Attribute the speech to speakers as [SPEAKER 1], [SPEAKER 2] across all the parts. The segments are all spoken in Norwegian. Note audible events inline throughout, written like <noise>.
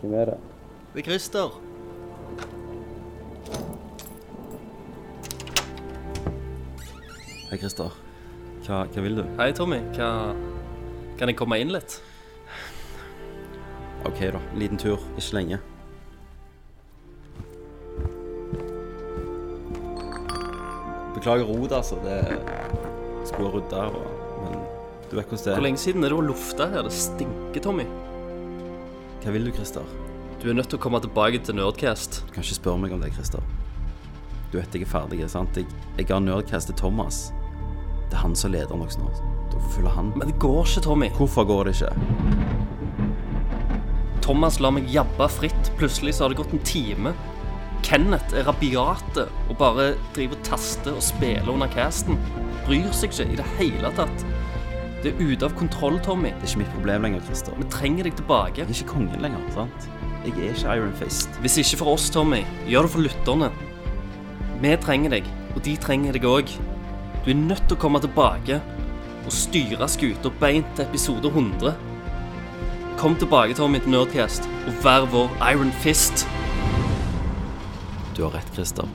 [SPEAKER 1] Hvem er det?
[SPEAKER 2] Det er Christer.
[SPEAKER 3] Hei, Christer. Hva, hva vil du?
[SPEAKER 2] Hei, Tommy. Hva Kan jeg komme inn litt?
[SPEAKER 3] OK, da. En liten tur. Ikke lenge. Beklager rotet, altså. Det skulle vært rydda, og- men du vet hvordan det
[SPEAKER 2] Hvor
[SPEAKER 3] er.
[SPEAKER 2] lenge siden er det å lufte her? Det stinker, Tommy.
[SPEAKER 3] Hva vil du, Christer?
[SPEAKER 2] Du er nødt til å komme tilbake til Nerdcast.
[SPEAKER 3] Du kan ikke spørre meg om det, Christer. Du vet jeg er ferdig, sant? Jeg, jeg har nerdcast til Thomas. Det er han som leder dere nå. Da følger han
[SPEAKER 2] Men det går ikke, Tommy.
[SPEAKER 3] Hvorfor går det ikke?
[SPEAKER 2] Thomas lar meg jabbe fritt. Plutselig så har det gått en time. Kenneth er rabiate og bare driver og taster og spiller under casten. Bryr seg ikke i det hele tatt. Det er ute av kontroll, Tommy.
[SPEAKER 3] Det er ikke mitt problem lenger, Christer.
[SPEAKER 2] Vi trenger deg tilbake.
[SPEAKER 3] Jeg er ikke kongen lenger, sant? Jeg er ikke Iron Fist.
[SPEAKER 2] Hvis ikke for oss, Tommy, gjør det for lytterne. Vi trenger deg, og de trenger deg òg. Du er nødt til å komme tilbake og styre skuta beint til episode 100. Kom tilbake, Tommy, til Nerdcast, og vær vår Iron Fist.
[SPEAKER 3] Du har rett, Christer.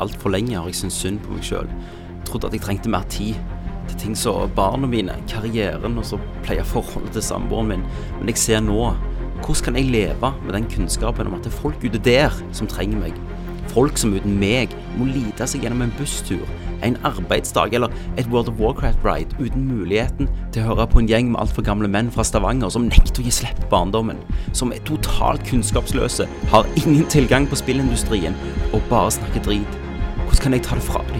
[SPEAKER 3] Altfor lenge har jeg syntes synd på meg sjøl. Trodde at jeg trengte mer tid til ting som barna mine, karrieren og så pleier forholdet til samboeren min. Men jeg ser nå hvordan kan jeg leve med den kunnskapen om at det er folk ute der som trenger meg? Folk som uten meg må lide seg gjennom en busstur, en arbeidsdag eller et World of Warcraft-ride uten muligheten til å høre på en gjeng med altfor gamle menn fra Stavanger som nekter å gi slipp på barndommen, som er totalt kunnskapsløse, har ingen tilgang på spillindustrien og bare snakker drit. Hvordan kan jeg ta det fra dem?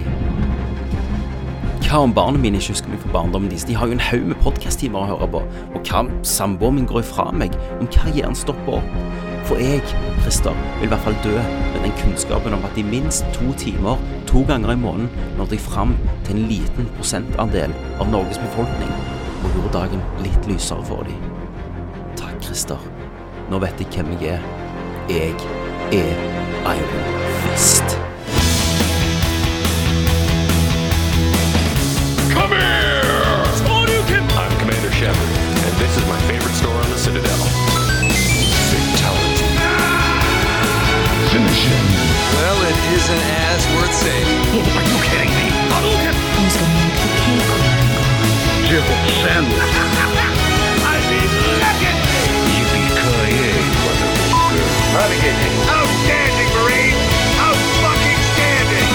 [SPEAKER 3] Hva om barna mine ikke husker meg fra barndommen deres? De har jo en haug med podkast-timer å høre på. Og hva om samboeren min går ifra meg? Om karrieren stopper opp? For jeg, Christer, vil i hvert fall dø med den kunnskapen om at i minst to timer, to ganger i måneden, nådde jeg fram til en liten prosentandel av Norges befolkning og gjorde dagen litt lysere for dem. Takk, Christer. Nå vet jeg hvem jeg er. Jeg er Iron Fist.
[SPEAKER 4] Come here! I'm Commander Shepard, and this is my favorite store on the Citadel. Fatality.
[SPEAKER 5] Well, it isn't as worth saying.
[SPEAKER 4] Are you kidding me?
[SPEAKER 6] Who's gonna make the cake?
[SPEAKER 4] I mean, legacy! Yippee-ki-yay, motherfucker. Outstanding, Marine! Out-fucking-standing!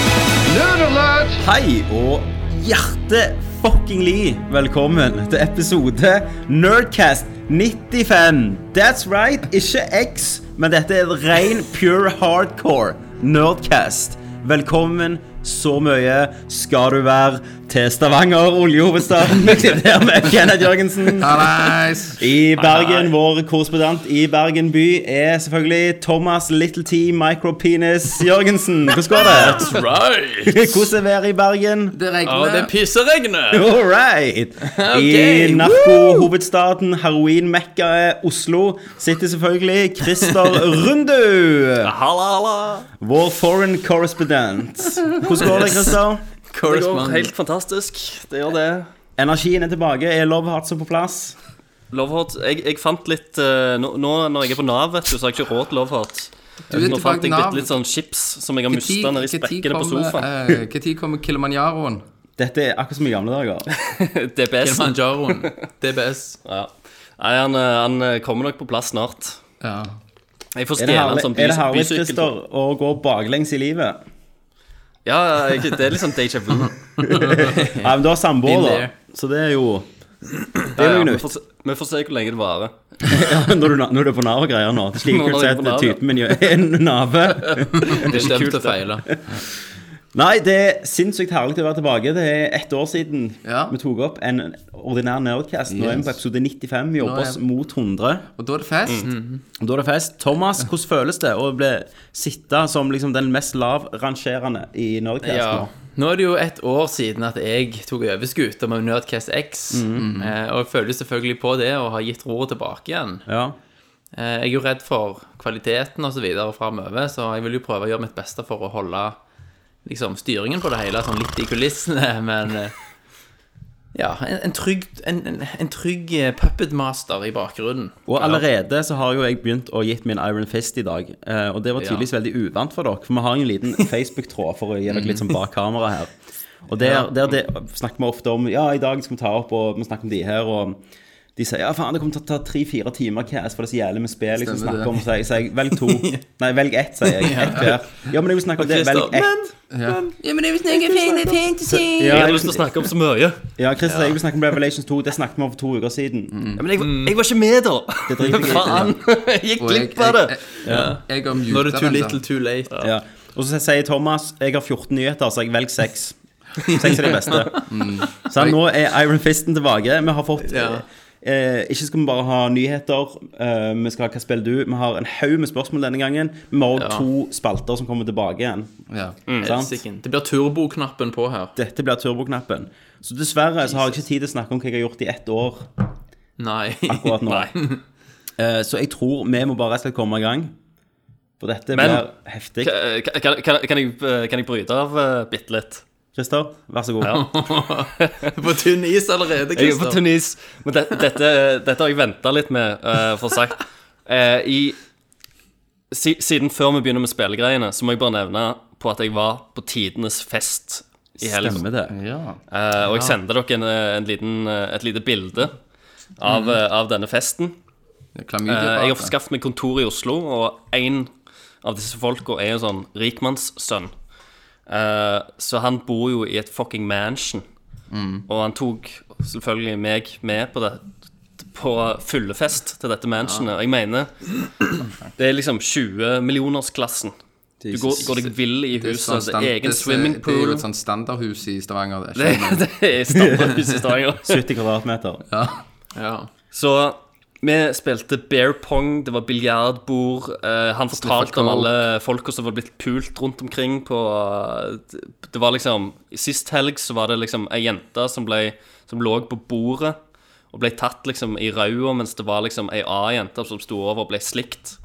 [SPEAKER 3] Hei og hjerte-fucking-li velkommen til episode Nerdcast 95. That's right, ikke X, men dette er ren pure hardcore Nerdcast. Velkommen så mye skal du være til Stavanger, oljehovedstaden. Der med Kenneth Jørgensen. I Bergen, vår korrespondent i Bergen by er selvfølgelig Thomas Little T Micropenis Jørgensen. Hvordan går det? <laughs>
[SPEAKER 7] Right.
[SPEAKER 3] Hvordan er været i Bergen?
[SPEAKER 8] Det regner.
[SPEAKER 7] Og det pisseregner.
[SPEAKER 3] All right! I
[SPEAKER 7] Ok,
[SPEAKER 3] narkohovedstaden, heroinmekkaet Oslo, sitter selvfølgelig Christer Rundu,
[SPEAKER 2] Halla, halla.
[SPEAKER 3] vår foreign correspondent. Hvordan går det, Christer?
[SPEAKER 2] Det går helt fantastisk. Det gjør det.
[SPEAKER 3] Energien er tilbake. Er love hearts på plass?
[SPEAKER 2] Lovhot, jeg, jeg fant litt eh, nå, nå når jeg er på Nav, vet du, så har jeg ikke råd til Lovhot.
[SPEAKER 8] er
[SPEAKER 2] Nå fant
[SPEAKER 8] tilbake
[SPEAKER 2] jeg
[SPEAKER 8] Nav.
[SPEAKER 2] bitte litt sånn chips som jeg har mista nedi sprekkene på sofaen.
[SPEAKER 8] eh,
[SPEAKER 2] <laughs>
[SPEAKER 8] Når kommer Kilimanjaroen?
[SPEAKER 3] Dette er akkurat som i gamle dager.
[SPEAKER 2] DPS.
[SPEAKER 8] <laughs>
[SPEAKER 7] Kilimanjaroen. DBS.
[SPEAKER 2] Ja. Nei, han, eh, han eh, kommer nok på plass snart.
[SPEAKER 8] Ja.
[SPEAKER 2] Jeg får
[SPEAKER 3] Er det
[SPEAKER 2] stjele en
[SPEAKER 3] herlig,
[SPEAKER 2] sånn
[SPEAKER 3] er det herlig,
[SPEAKER 2] bysykkel.
[SPEAKER 3] Christer, å gå baklengs i livet?
[SPEAKER 2] Ja, jeg- det er litt sånn déjà vu.
[SPEAKER 3] Nei, men du har samboer,
[SPEAKER 8] Been
[SPEAKER 3] da.
[SPEAKER 8] there.
[SPEAKER 3] Så det er jo <laughs> Det er noe
[SPEAKER 2] Ja, ja, vi,
[SPEAKER 3] nytt.
[SPEAKER 2] får se, vi får se hvor lenge det varer.
[SPEAKER 3] Når du, når du er på Nav og greier nå. Det er slik
[SPEAKER 2] Når
[SPEAKER 3] kult
[SPEAKER 2] jeg er på
[SPEAKER 3] sett
[SPEAKER 2] Nav, ja.
[SPEAKER 3] typen min gjør en nave.
[SPEAKER 7] Det er
[SPEAKER 2] kult,
[SPEAKER 7] dømt til
[SPEAKER 2] det.
[SPEAKER 7] å feile.
[SPEAKER 3] Nei, det er sinnssykt herlig å være tilbake. Det er ett år siden
[SPEAKER 8] Ja.
[SPEAKER 3] vi tok opp en ordinær Nerdcast. Nå er vi på episode 95. Vi jobber
[SPEAKER 8] Nå er-
[SPEAKER 3] oss mot 100.
[SPEAKER 8] Og da er det
[SPEAKER 2] Mm.
[SPEAKER 8] fest.
[SPEAKER 3] Og Da er det fest. Thomas, hvordan føles det å bli sitte som liksom den mest lavrangerende i Nerdcast
[SPEAKER 7] Ja.
[SPEAKER 3] nå?
[SPEAKER 7] Nå er det jo et år siden at jeg tok over skuta med Nerdcast X.
[SPEAKER 8] Mm.
[SPEAKER 7] eh, Og jeg føler selvfølgelig på det og har gitt roret tilbake igjen.
[SPEAKER 3] Ja.
[SPEAKER 7] Eh, Jeg er jo redd for kvaliteten osv. framover, så jeg vil jo prøve å gjøre mitt beste for <laughs> å holde liksom, styringen på det hele sånn litt i kulissene, men eh, Ja, en, en trygg, en, en, en trygg eh, puppetmaster i bakgrunnen.
[SPEAKER 8] Og allerede så har jo jeg begynt å gitt min Iron Fist i dag. eh, Og det var tydeligvis veldig uvant for dere, for vi har jo en
[SPEAKER 3] <laughs>
[SPEAKER 8] liten <laughs> Facebook-tråd for å gi dere litt sånn bak kamera her. Og der, der det, snakker vi ofte om Ja, i dag skal vi ta opp, og vi snakker om de her, og de sier ja, faen, det kommer til å ta tre-fire timer cast, for det er så jævlig med spill jeg skal
[SPEAKER 9] Stemmer det.
[SPEAKER 8] snakke om. Så jeg sier velg <laughs>
[SPEAKER 3] <laughs>
[SPEAKER 8] to. Nei, velg ett, sier jeg. Ett hver. Ja, men jeg vil snakke om det.
[SPEAKER 7] Christer,
[SPEAKER 8] Velg ett.
[SPEAKER 2] Jeg
[SPEAKER 8] Ja,
[SPEAKER 2] hadde
[SPEAKER 8] jeg,
[SPEAKER 2] lyst til å snakke om så mye.
[SPEAKER 8] ja, Christer, jeg vil snakke om Revelations 2. Det snakket vi om for to uker siden.
[SPEAKER 2] Ja, men jeg, jeg var ikke med, da!
[SPEAKER 8] Det driter jeg i.
[SPEAKER 2] Faen! Jeg gikk
[SPEAKER 9] Og jeg,
[SPEAKER 2] glipp av det.
[SPEAKER 9] jeg, jeg, jeg har
[SPEAKER 7] Nå er
[SPEAKER 9] muta
[SPEAKER 7] det too
[SPEAKER 9] den,
[SPEAKER 7] little
[SPEAKER 9] da.
[SPEAKER 7] too late.
[SPEAKER 8] Ja. Og så sier Thomas jeg har 14 nyheter, så jeg velger 6. 6 er det beste.
[SPEAKER 2] Mm.
[SPEAKER 8] Så nå er Iron Fisten tilbake. Vi har fått
[SPEAKER 7] Ja.
[SPEAKER 8] eh, Ikke skal vi bare ha nyheter, eh, vi skal ha Hva spiller du? Vi har en haug med spørsmål denne gangen. Vi har også to spalter som kommer tilbake igjen.
[SPEAKER 9] Ja.
[SPEAKER 8] Sant?
[SPEAKER 7] Sikken. Mm. Det blir turboknappen på her.
[SPEAKER 8] Dette blir turboknappen. Så dessverre så har jeg ikke tid til å snakke om hva jeg har gjort i ett år
[SPEAKER 7] <laughs> Nei.
[SPEAKER 8] akkurat nå. Eh, så jeg tror vi må bare rett og slett komme i gang. For dette
[SPEAKER 2] Men-
[SPEAKER 8] blir heftig.
[SPEAKER 2] Kan, kan, kan, kan, jeg, kan jeg bryte av eh, bitte litt?
[SPEAKER 8] Christer, vær så god.
[SPEAKER 2] Ja.
[SPEAKER 7] <laughs> På tynn is
[SPEAKER 2] Jeg er
[SPEAKER 7] allerede,
[SPEAKER 2] på
[SPEAKER 7] Christer.
[SPEAKER 2] tynn is. Men det, dette, dette har jeg venta litt med, eh, for å si. Eh, i- si, siden før vi begynner med spillegreiene, så må jeg bare nevne på at jeg var på tidenes fest i helgen.
[SPEAKER 8] Stemmer det.
[SPEAKER 9] ja.
[SPEAKER 2] Eh, og jeg sender dere en, en liten, eh, et lite bilde av, eh, av denne festen.
[SPEAKER 9] Klamydia.
[SPEAKER 2] Eh, jeg har
[SPEAKER 9] bare.
[SPEAKER 2] skaffet meg kontor i Oslo, og en av disse folka er jo sånn rikmannssønn. Eh, så han bor jo i et fucking mansion.
[SPEAKER 9] Mm.
[SPEAKER 2] Og han tok selvfølgelig meg med på det på fyllefest til dette mansionet. Og jeg mener det er liksom 20 millionersklassen. Du går, går deg vill i
[SPEAKER 9] Det er
[SPEAKER 2] huset.
[SPEAKER 9] sånn
[SPEAKER 2] altså, Det
[SPEAKER 9] stand-
[SPEAKER 2] er egen
[SPEAKER 9] det er- Det er jo
[SPEAKER 2] swimmingpool.
[SPEAKER 9] et sånt standardhus i Stavanger. Det,
[SPEAKER 2] Det,
[SPEAKER 9] er ikke noe-
[SPEAKER 2] <laughs> det er standardhus i Stavanger.
[SPEAKER 9] <laughs>
[SPEAKER 8] 70 kvadratmeter.
[SPEAKER 7] Ja.
[SPEAKER 2] Så vi spilte bear pong, det var biljardbord. eh, han fortalte om
[SPEAKER 9] Sniffer coke.
[SPEAKER 2] alle folka som var blitt pult rundt omkring på eh, Det var liksom Sist helg så var det liksom ei jente som, ble, som lå på bordet og ble tatt liksom i rauda, mens det var liksom ei annen jente som sto over og ble slikt.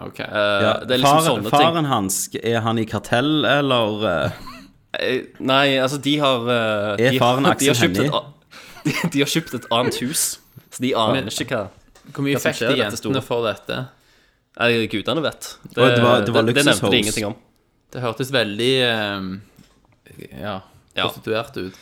[SPEAKER 7] Ok.
[SPEAKER 2] Eh,
[SPEAKER 8] Ja,
[SPEAKER 2] det er liksom
[SPEAKER 8] faren,
[SPEAKER 2] sånne ting.
[SPEAKER 8] faren hans, er han i kartell, eller eh,
[SPEAKER 2] Eh, Nei, altså, de har eh, de,
[SPEAKER 8] faren
[SPEAKER 2] de har
[SPEAKER 8] Aksel
[SPEAKER 2] kjøpt et
[SPEAKER 8] Hennie?
[SPEAKER 2] a- <laughs> de, de har kjøpt et annet hus, så de aner ikke hva
[SPEAKER 7] Hvor mye
[SPEAKER 2] hva som
[SPEAKER 7] fikk
[SPEAKER 2] skjer
[SPEAKER 7] de
[SPEAKER 2] i dette store?
[SPEAKER 7] jentene for dette?
[SPEAKER 2] Nei, Gudene vet. Det,
[SPEAKER 8] Å, det var- det var
[SPEAKER 2] det, det nevnte
[SPEAKER 8] luksushus.
[SPEAKER 2] de ingenting om.
[SPEAKER 7] Det hørtes veldig eh, ja,
[SPEAKER 2] Ja.
[SPEAKER 7] prostituert ut.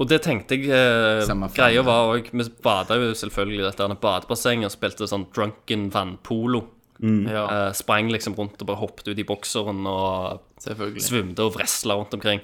[SPEAKER 2] Og det tenkte jeg eh,
[SPEAKER 9] Samme faen,
[SPEAKER 2] Greia
[SPEAKER 9] ja.
[SPEAKER 2] var òg Vi bada jo selvfølgelig i dette her badebassenget og spilte sånn drunken vannpolo.
[SPEAKER 9] Mm.
[SPEAKER 7] Ja,
[SPEAKER 2] Eh, sprang liksom rundt og bare hoppet ut i bokseren og
[SPEAKER 7] selvfølgelig.
[SPEAKER 2] svømte og vresla rundt omkring.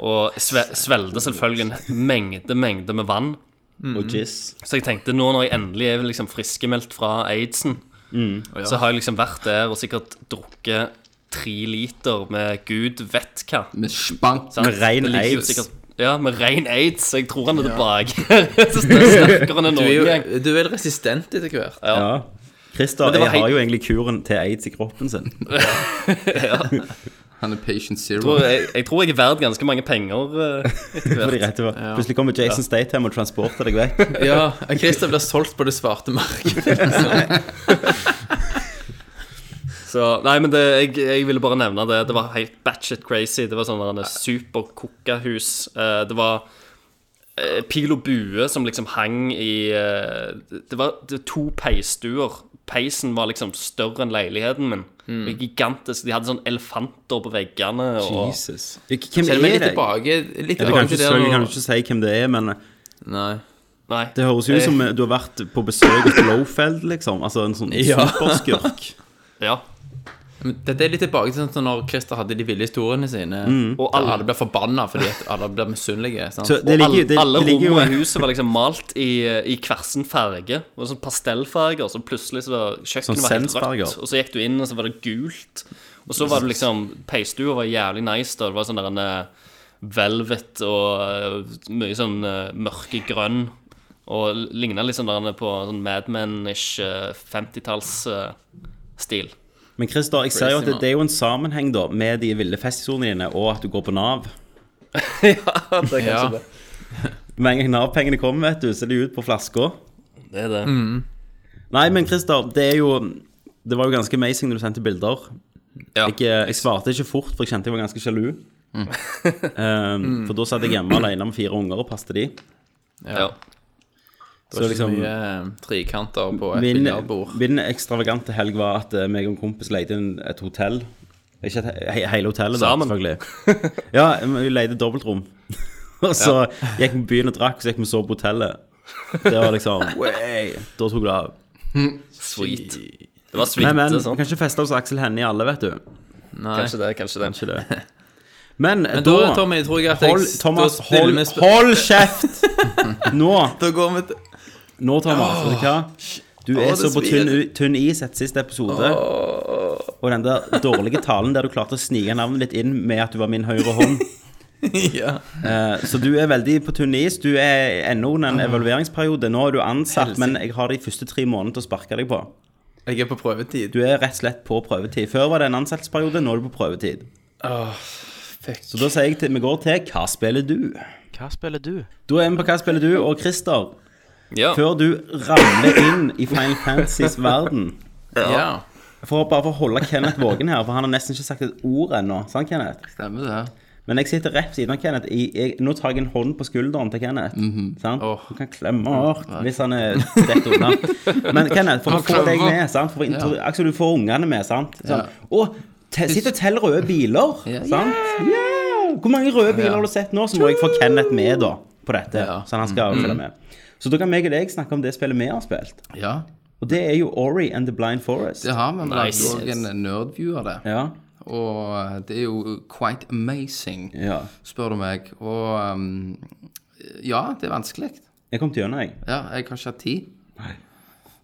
[SPEAKER 2] Og sve
[SPEAKER 9] <laughs>
[SPEAKER 2] svelgte selvfølgelig en mengde, mengde med vann.
[SPEAKER 7] Mm.
[SPEAKER 8] og Jizz?
[SPEAKER 2] Så jeg tenkte nå når jeg endelig er liksom friskmeldt fra aidsen,
[SPEAKER 9] Mm.
[SPEAKER 2] så har jeg liksom vært der og sikkert drukket tre liter med gud vet hva.
[SPEAKER 9] Med spank.
[SPEAKER 2] Sant?
[SPEAKER 8] Med ren
[SPEAKER 2] Det ligger jo
[SPEAKER 8] AIDS.
[SPEAKER 2] sikkert- Ja, med ren aids. Jeg tror han er tilbake. <laughs> Så sterkere enn
[SPEAKER 7] Du er,
[SPEAKER 2] noen gang.
[SPEAKER 7] jo, du er vel resistent etter hvert.
[SPEAKER 8] Ja. Christer
[SPEAKER 2] Men det var
[SPEAKER 8] jeg har
[SPEAKER 2] hei-
[SPEAKER 8] jo egentlig kuren til aids i kroppen
[SPEAKER 2] <laughs>
[SPEAKER 8] sin.
[SPEAKER 9] Han er patient zero.
[SPEAKER 2] Tror Jeg, jeg tror jeg er verdt ganske mange penger eh, etter
[SPEAKER 8] <laughs> Fordi
[SPEAKER 2] hvert.
[SPEAKER 8] rett over- Plutselig kommer Jason Statham og transporter deg vekk.
[SPEAKER 2] <laughs>
[SPEAKER 9] <laughs>
[SPEAKER 7] Ja, Christer blir solgt på det svarte markedet.
[SPEAKER 2] Så, nei, men det, jeg, jeg ville bare nevne det. Det var helt batshit crazy. Det var sånn superkokkahus. Eh, Det var eh, pil og bue som liksom hang i eh, Det var det var to peisstuer. Peisen var liksom større enn leiligheten min.
[SPEAKER 8] Hmm.
[SPEAKER 2] Det var Gigantisk. De hadde sånn elefanter på veggene. Og,
[SPEAKER 8] Hvem
[SPEAKER 7] Selv
[SPEAKER 8] er
[SPEAKER 7] om jeg er litt
[SPEAKER 8] det?
[SPEAKER 7] tilbake litt
[SPEAKER 8] Ja, du kan
[SPEAKER 7] tilbake
[SPEAKER 8] ikke,
[SPEAKER 7] til det
[SPEAKER 8] jeg kan
[SPEAKER 7] nå.
[SPEAKER 8] ikke si hvem det er, men eh,
[SPEAKER 7] Nei.
[SPEAKER 2] Nei.
[SPEAKER 8] det høres jo ut som eh, du har vært på besøk hos Lowfeld, liksom. Altså en
[SPEAKER 2] <laughs>
[SPEAKER 8] sånn
[SPEAKER 7] Ja.
[SPEAKER 8] superskurk.
[SPEAKER 2] Ja.
[SPEAKER 7] Men Dette er litt tilbake til sånn som når Christer hadde de ville historiene sine. Og alle, alle ble forbanna fordi at alle ble misunnelige. sant?
[SPEAKER 8] Så det ligger,
[SPEAKER 2] Alle,
[SPEAKER 8] det, det
[SPEAKER 2] alle
[SPEAKER 8] ligger jo
[SPEAKER 2] rommene i huset var liksom malt i, i kversen farge. Det var sånn pastellfarger, så plutselig så var
[SPEAKER 8] Sånn
[SPEAKER 2] kjøkkenet var helt rødt.
[SPEAKER 8] sensfarger.
[SPEAKER 2] Og så gikk du inn, og så var det gult. Og så var det liksom Peistua var jævlig nice. da Det var sånn der en eh, velvet og eh, mye sånn eh, mørkegrønn. Og ligna litt sånn der en på sånn Mad Men-ish eh, 50-tallsstil.
[SPEAKER 8] Men Christer, jeg ser jo at
[SPEAKER 7] Crazy,
[SPEAKER 8] det, det er jo en sammenheng da med de ville festhistoriene dine, og at du går på Nav.
[SPEAKER 7] ja.
[SPEAKER 8] Med en gang Nav-pengene kommer, vet du, så er de ut på flaska.
[SPEAKER 2] Det er det.
[SPEAKER 8] Mm. Nei, men Christer, det er jo Det var jo ganske amazing når du sendte bilder.
[SPEAKER 2] Ja.
[SPEAKER 8] Jeg, eh, jeg svarte ikke fort, for jeg kjente jeg
[SPEAKER 7] Mm.
[SPEAKER 8] <laughs> var ganske sjalu. um, for da satt jeg hjemme alene med fire unger og passet de.
[SPEAKER 7] Ja.
[SPEAKER 2] Ja.
[SPEAKER 7] Det var
[SPEAKER 8] Så
[SPEAKER 7] ikke så
[SPEAKER 8] liksom-
[SPEAKER 7] mye eh, trekanter på et
[SPEAKER 8] Min,
[SPEAKER 7] biljardbord.
[SPEAKER 8] min ekstravagante helg var at eh, meg og en kompis leide inn et hotell. Ikke et, he, hele hotellet, da,
[SPEAKER 2] Sammen.
[SPEAKER 8] selvfølgelig. <laughs> Ja, men vi leide dobbeltrom. <laughs> og så gikk vi på byen og drakk, og så gikk vi og sov på hotellet. Det var liksom way. Da tok det av.
[SPEAKER 2] Sweet. Det var sånn.
[SPEAKER 8] Nei,
[SPEAKER 2] suite,
[SPEAKER 8] men
[SPEAKER 7] sånn.
[SPEAKER 8] vi
[SPEAKER 2] sant?
[SPEAKER 8] kan ikke feste hos Aksel Hennie alle, vet du.
[SPEAKER 7] Nei.
[SPEAKER 2] Kanskje det, kanskje det.
[SPEAKER 8] Ikke
[SPEAKER 7] <laughs>
[SPEAKER 8] det. Men,
[SPEAKER 7] Men
[SPEAKER 8] da,
[SPEAKER 7] da, Tommy, tror jeg at jeg
[SPEAKER 8] hold,
[SPEAKER 7] da
[SPEAKER 8] Thomas,
[SPEAKER 7] stiller
[SPEAKER 8] hold,
[SPEAKER 7] vi sp-
[SPEAKER 8] hold kjeft!
[SPEAKER 7] <laughs>
[SPEAKER 8] Nå,
[SPEAKER 7] Da går vi til
[SPEAKER 8] nå Thomas, vet du hva? Du er
[SPEAKER 7] Åh, det
[SPEAKER 8] så på tynn,
[SPEAKER 7] svir.
[SPEAKER 8] u- tynn is etter siste episode. Og den der dårlige talen der du klarte å snike navnet ditt inn med at du var min høyre
[SPEAKER 7] <laughs>
[SPEAKER 8] hånd.
[SPEAKER 7] ja.
[SPEAKER 8] Eh, Så du er veldig på tynn is. Du er ennå under en evalueringsperiode. Nå er du ansatt, men jeg har de første tre månedene til å sparke deg på.
[SPEAKER 7] Jeg er på prøvetid.
[SPEAKER 8] Du er rett og slett på prøvetid. Før var det en ansettelsesperiode, nå er du på prøvetid. Så da sier jeg til, vi går til Hva spiller du?
[SPEAKER 3] Hva spiller du?
[SPEAKER 8] Da er vi på Hva spiller du? Og Christer,
[SPEAKER 2] Ja.
[SPEAKER 8] før du ramler inn i Final Fantasys verden
[SPEAKER 7] Ja.
[SPEAKER 8] For å bare for å holde Kenneth våken her, for han har nesten ikke sagt et ord ennå. Sant, Kenneth?
[SPEAKER 9] Stemmer det.
[SPEAKER 8] Men jeg sitter rett ved siden av Kenneth. I, jeg, nå tar jeg en hånd på skulderen til Kenneth. sant?
[SPEAKER 7] Mhm. Åh.
[SPEAKER 8] Du kan klemme hardt hvis han er rett unna. Men Kenneth, for å få deg med sant? For å intro- Aksel, du får ungene med, sant? Sånn. Og te, sitt og tell røde biler, sant? Ja! Hvor mange røde biler har du sett nå? Så må jeg få Kenneth med da, på dette,
[SPEAKER 7] Ja. Mm-hmm.
[SPEAKER 8] så han skal følge med. Så da kan meg og deg snakke om det spillet vi har spilt.
[SPEAKER 9] Ja,
[SPEAKER 8] Og det er jo Ori and the Blind Forest.
[SPEAKER 9] det har vi. Vi lagde
[SPEAKER 2] Nice.
[SPEAKER 9] òg en nerdview av det.
[SPEAKER 8] Ja.
[SPEAKER 9] Og eh, det er jo quite amazing,
[SPEAKER 8] Ja.
[SPEAKER 9] spør du meg. Og um, ja, det er vanskelig.
[SPEAKER 8] Jeg kom til gjennom, jeg.
[SPEAKER 9] Ja, jeg har ikke hatt tid.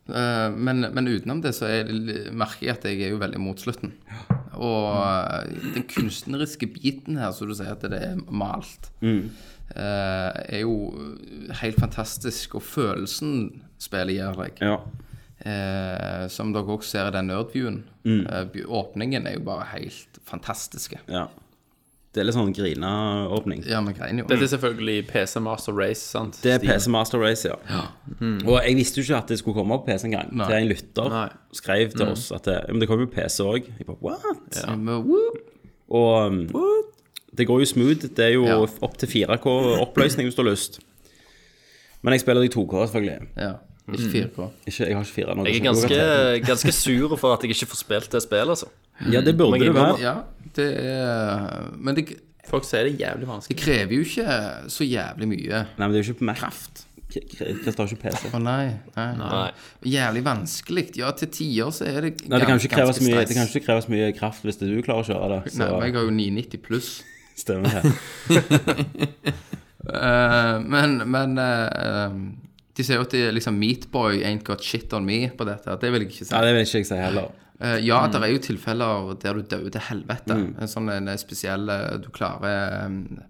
[SPEAKER 9] Eh, men, men utenom det så er, merker jeg at jeg er jo veldig mot slutten. Og eh, den kunstneriske biten her, så du sier at det er malt, eh, er jo helt fantastisk. Og følelsen spillet gir deg.
[SPEAKER 8] Ja.
[SPEAKER 9] Eh, som dere også ser i den nerdviewen. Eh, by- åpningen er jo bare helt fantastiske.
[SPEAKER 8] ja. Det er litt sånn grina-åpning.
[SPEAKER 9] Ja, men greien jo.
[SPEAKER 7] Dette er selvfølgelig PC Master Race, sant?
[SPEAKER 8] Mm. Det er
[SPEAKER 7] Stilen.
[SPEAKER 8] PC Master Race, ja. Mm. Og jeg visste jo ikke at det skulle komme opp PC en gang.
[SPEAKER 9] Nei. Mm.
[SPEAKER 8] Det er en lytter
[SPEAKER 7] Nei.
[SPEAKER 8] skrev til oss at det, men det kom jo PC òg. Jeg bare what?
[SPEAKER 9] Men, whoop,
[SPEAKER 8] Og um, det går jo smooth. Det er jo
[SPEAKER 9] Ja.
[SPEAKER 8] opp til 4K oppløsning hvis du har lyst. Men jeg spiller i 2K, selvfølgelig.
[SPEAKER 9] Ja, ikke 4K.
[SPEAKER 8] Ikke, jeg har ikke 4 nå.
[SPEAKER 2] Jeg er ganske, ganske sur for at jeg ikke får spilt det spillet, altså.
[SPEAKER 8] Ja, det burde
[SPEAKER 2] Men jeg
[SPEAKER 8] du
[SPEAKER 2] innrømmer-
[SPEAKER 8] være.
[SPEAKER 9] Ja, det er Men det,
[SPEAKER 7] Folk sier det er jævlig vanskelig.
[SPEAKER 9] det krever jo ikke så jævlig mye.
[SPEAKER 8] Nei, men det er jo ikke Mac. Kraft. Kristian har ikke PC.
[SPEAKER 9] Å nei, nei.
[SPEAKER 2] Nei.
[SPEAKER 9] Jævlig vanskelig. Ja, til tider så er det ganske
[SPEAKER 8] Nei, det kan jo ikke kreve så mye,
[SPEAKER 9] stress.
[SPEAKER 8] det kan jo ikke kreve så mye kraft hvis det du klarer å kjøre det.
[SPEAKER 9] Nei,
[SPEAKER 8] Så
[SPEAKER 9] men jeg har jo 990 pluss.
[SPEAKER 8] stemmer det.
[SPEAKER 9] Eh, men men eh, um, de sier jo at det er liksom Meatboy ain't got shit on me på dette. Det vil jeg ikke si.
[SPEAKER 8] Nei, det Mm. vil ikke jeg si heller.
[SPEAKER 9] Eh, ja, det er jo tilfeller der du dør til helvete.
[SPEAKER 8] Mm.
[SPEAKER 9] En sånn en spesiell eh, Du klarer eh,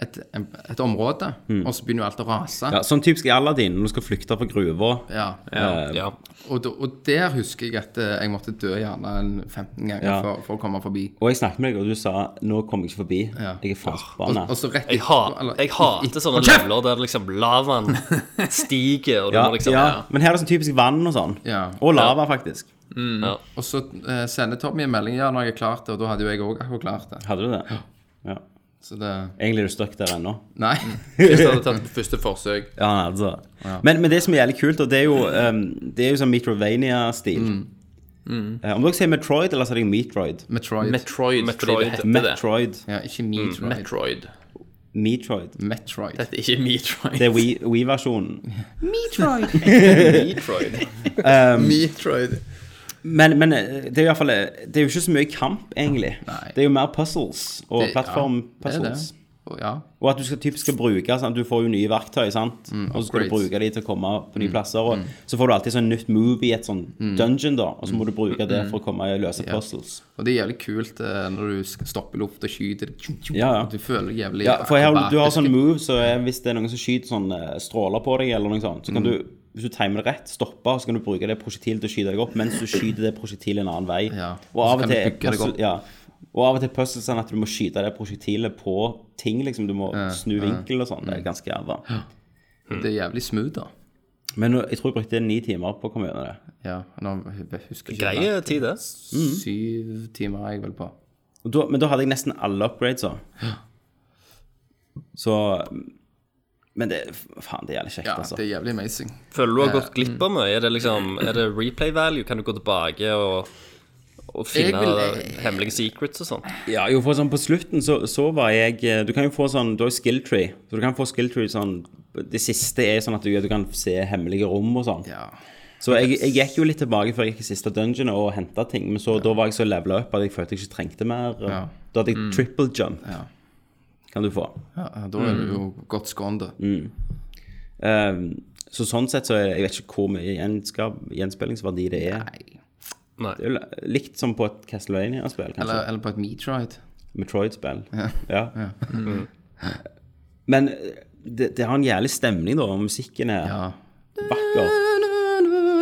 [SPEAKER 9] et, en, et område, og så begynner jo alt å rase.
[SPEAKER 8] Mm. Ja, sånn typisk i Aladdin, når du skal flykte fra gruva.
[SPEAKER 9] Ja.
[SPEAKER 8] Eh,
[SPEAKER 2] Ja.
[SPEAKER 9] Og, da- og der husker jeg at eh, jeg måtte dø gjerne en 15 ganger
[SPEAKER 8] Ja.
[SPEAKER 9] for, for å komme forbi.
[SPEAKER 8] Og jeg snakket med deg, og du sa 'nå kommer jeg ikke forbi'.
[SPEAKER 9] Ja.
[SPEAKER 8] Jeg er faen så
[SPEAKER 9] Og,
[SPEAKER 8] forbanna.
[SPEAKER 9] og så rett
[SPEAKER 2] Jeg,
[SPEAKER 9] etterpå,
[SPEAKER 2] ha,
[SPEAKER 9] eller-
[SPEAKER 2] jeg hater sånne
[SPEAKER 9] Hold kjeft!
[SPEAKER 2] leveler der liksom lavaen stiger, og du
[SPEAKER 8] Ja,
[SPEAKER 2] må liksom
[SPEAKER 8] ja. Men her er det sånn typisk vann og sånn.
[SPEAKER 9] Ja.
[SPEAKER 8] Og lava, faktisk.
[SPEAKER 2] Ja.
[SPEAKER 9] Og så eh, sender Tommy en melding ja, når jeg har klart det, og da hadde jo jeg òg akkurat klart det.
[SPEAKER 8] Hadde du det? Ja.
[SPEAKER 9] Så det
[SPEAKER 8] Egentlig er du stuck der ennå.
[SPEAKER 9] Nei.
[SPEAKER 8] Mm.
[SPEAKER 9] <laughs> sånn
[SPEAKER 7] Hvis du hadde tatt det på første forsøk
[SPEAKER 8] Ja, altså. Men, men det som er jævlig kult, og det er jo, ehm, det er jo sånn Metrovania-stil Eh, Om dere sier Metroid, eller så er det Metroid.
[SPEAKER 9] Mm. Metroid.
[SPEAKER 7] Metroid, fordi det
[SPEAKER 2] Metroid.
[SPEAKER 7] heter det.
[SPEAKER 8] Metroid.
[SPEAKER 9] ja, ikke Metroid.
[SPEAKER 7] Metroid.
[SPEAKER 8] Metroid.
[SPEAKER 9] Metroid.
[SPEAKER 7] Dette er ikke Metroid.
[SPEAKER 8] Det er Wii- Wii-versjonen.
[SPEAKER 7] Metroid.
[SPEAKER 8] Um,
[SPEAKER 7] Metroid.
[SPEAKER 8] Men, men eh, det er jo i hvert fall eh, Det er jo ikke så mye kamp, egentlig.
[SPEAKER 9] Nei.
[SPEAKER 8] Det er jo mer puzzles og
[SPEAKER 9] Det- ja, det er
[SPEAKER 8] plattform-puzzles.
[SPEAKER 9] det. Og ja.
[SPEAKER 8] Og at du skal, typisk skal bruke sant? Du får jo nye verktøy, sant? og så skal du
[SPEAKER 9] Mm, upgrades. Mm.
[SPEAKER 8] bruke de til å komme på nye plasser. Og så får du alltid sånn nytt move i et sånn dungeon, da. Og så må du bruke
[SPEAKER 9] Mm.
[SPEAKER 8] det for å komme og løse puzzles.
[SPEAKER 9] Og det er jævlig kult eh, når du sk- stopper i lufta og skyter. Tjum, tjum,
[SPEAKER 8] Ja, ja.
[SPEAKER 9] og Du føler deg jævlig
[SPEAKER 8] Ja, for her, har du- du har
[SPEAKER 9] akrobatisk.
[SPEAKER 8] sånn move, så eh, hvis det er noen som skyter sånn eh, stråler på deg, eller noe sånt, så
[SPEAKER 9] Mm.
[SPEAKER 8] kan du, hvis du timer det rett, stoppe, og så kan du bruke det prosjektilet til å skyte deg opp, mens du skyter det prosjektilet en annen vei.
[SPEAKER 9] Ja,
[SPEAKER 8] Og
[SPEAKER 9] så
[SPEAKER 8] av
[SPEAKER 9] kan
[SPEAKER 8] og
[SPEAKER 9] du
[SPEAKER 8] til er
[SPEAKER 9] bygge deg
[SPEAKER 8] puzzle-
[SPEAKER 9] opp.
[SPEAKER 8] ja, og av og til puzzles sånn at du må skyte det prosjektilet på ting, liksom. Du må snu vinkel og
[SPEAKER 9] Mm.
[SPEAKER 8] sånn. Det er ganske jævla.
[SPEAKER 9] Det er jævlig smooth, da.
[SPEAKER 8] Men nå- jeg tror jeg brukte ni timer på å komme gjennom det.
[SPEAKER 9] Ja, nå husker jeg
[SPEAKER 2] Greie tid, det.
[SPEAKER 9] det.
[SPEAKER 8] Mm.
[SPEAKER 9] Syv timer er jeg vel på.
[SPEAKER 8] Og da, men da hadde jeg nesten alle upgrades. Så, så Men det faen, det er jævlig kjekt,
[SPEAKER 9] Ja,
[SPEAKER 8] altså.
[SPEAKER 9] det er jævlig amazing.
[SPEAKER 2] Føler du du har gått glipp av mye? Er det liksom, er det replay value? Kan du gå tilbake og, og finne
[SPEAKER 9] vil-
[SPEAKER 2] hemmelige secrets og sånn?
[SPEAKER 8] Ja, jo, for sånn på slutten så, så var jeg eh, Du kan jo få sånn, du har jo skill tree. Så du kan få skill tree sånn Det siste er sånn at du, du kan se hemmelige rom og sånn.
[SPEAKER 9] Ja.
[SPEAKER 8] Så jeg, jeg gikk jo litt tilbake før jeg gikk i siste dungeon og henta ting. Men så da var jeg så levela opp at jeg følte jeg ikke trengte mer. og
[SPEAKER 9] Ja. Mm.
[SPEAKER 8] Da hadde jeg triple jump.
[SPEAKER 9] Ja.
[SPEAKER 8] Kan du få.
[SPEAKER 9] ja, da
[SPEAKER 8] Mm.
[SPEAKER 9] er du jo godt skånda.
[SPEAKER 8] Ehm, så sånn sett så er, jeg vet ikke hvor mye gjenskap, gjenspillingsverdi det er.
[SPEAKER 9] Nei.
[SPEAKER 2] Nei.
[SPEAKER 8] Det er jo li- likt som på et Castlevania-spill, kanskje.
[SPEAKER 9] Eller, eller på et Meatride.
[SPEAKER 8] Metroid-spill. Ja. <laughs> Men eh, det, det har en jævlig stemning, da, og musikken er
[SPEAKER 9] Ja.
[SPEAKER 8] vakker.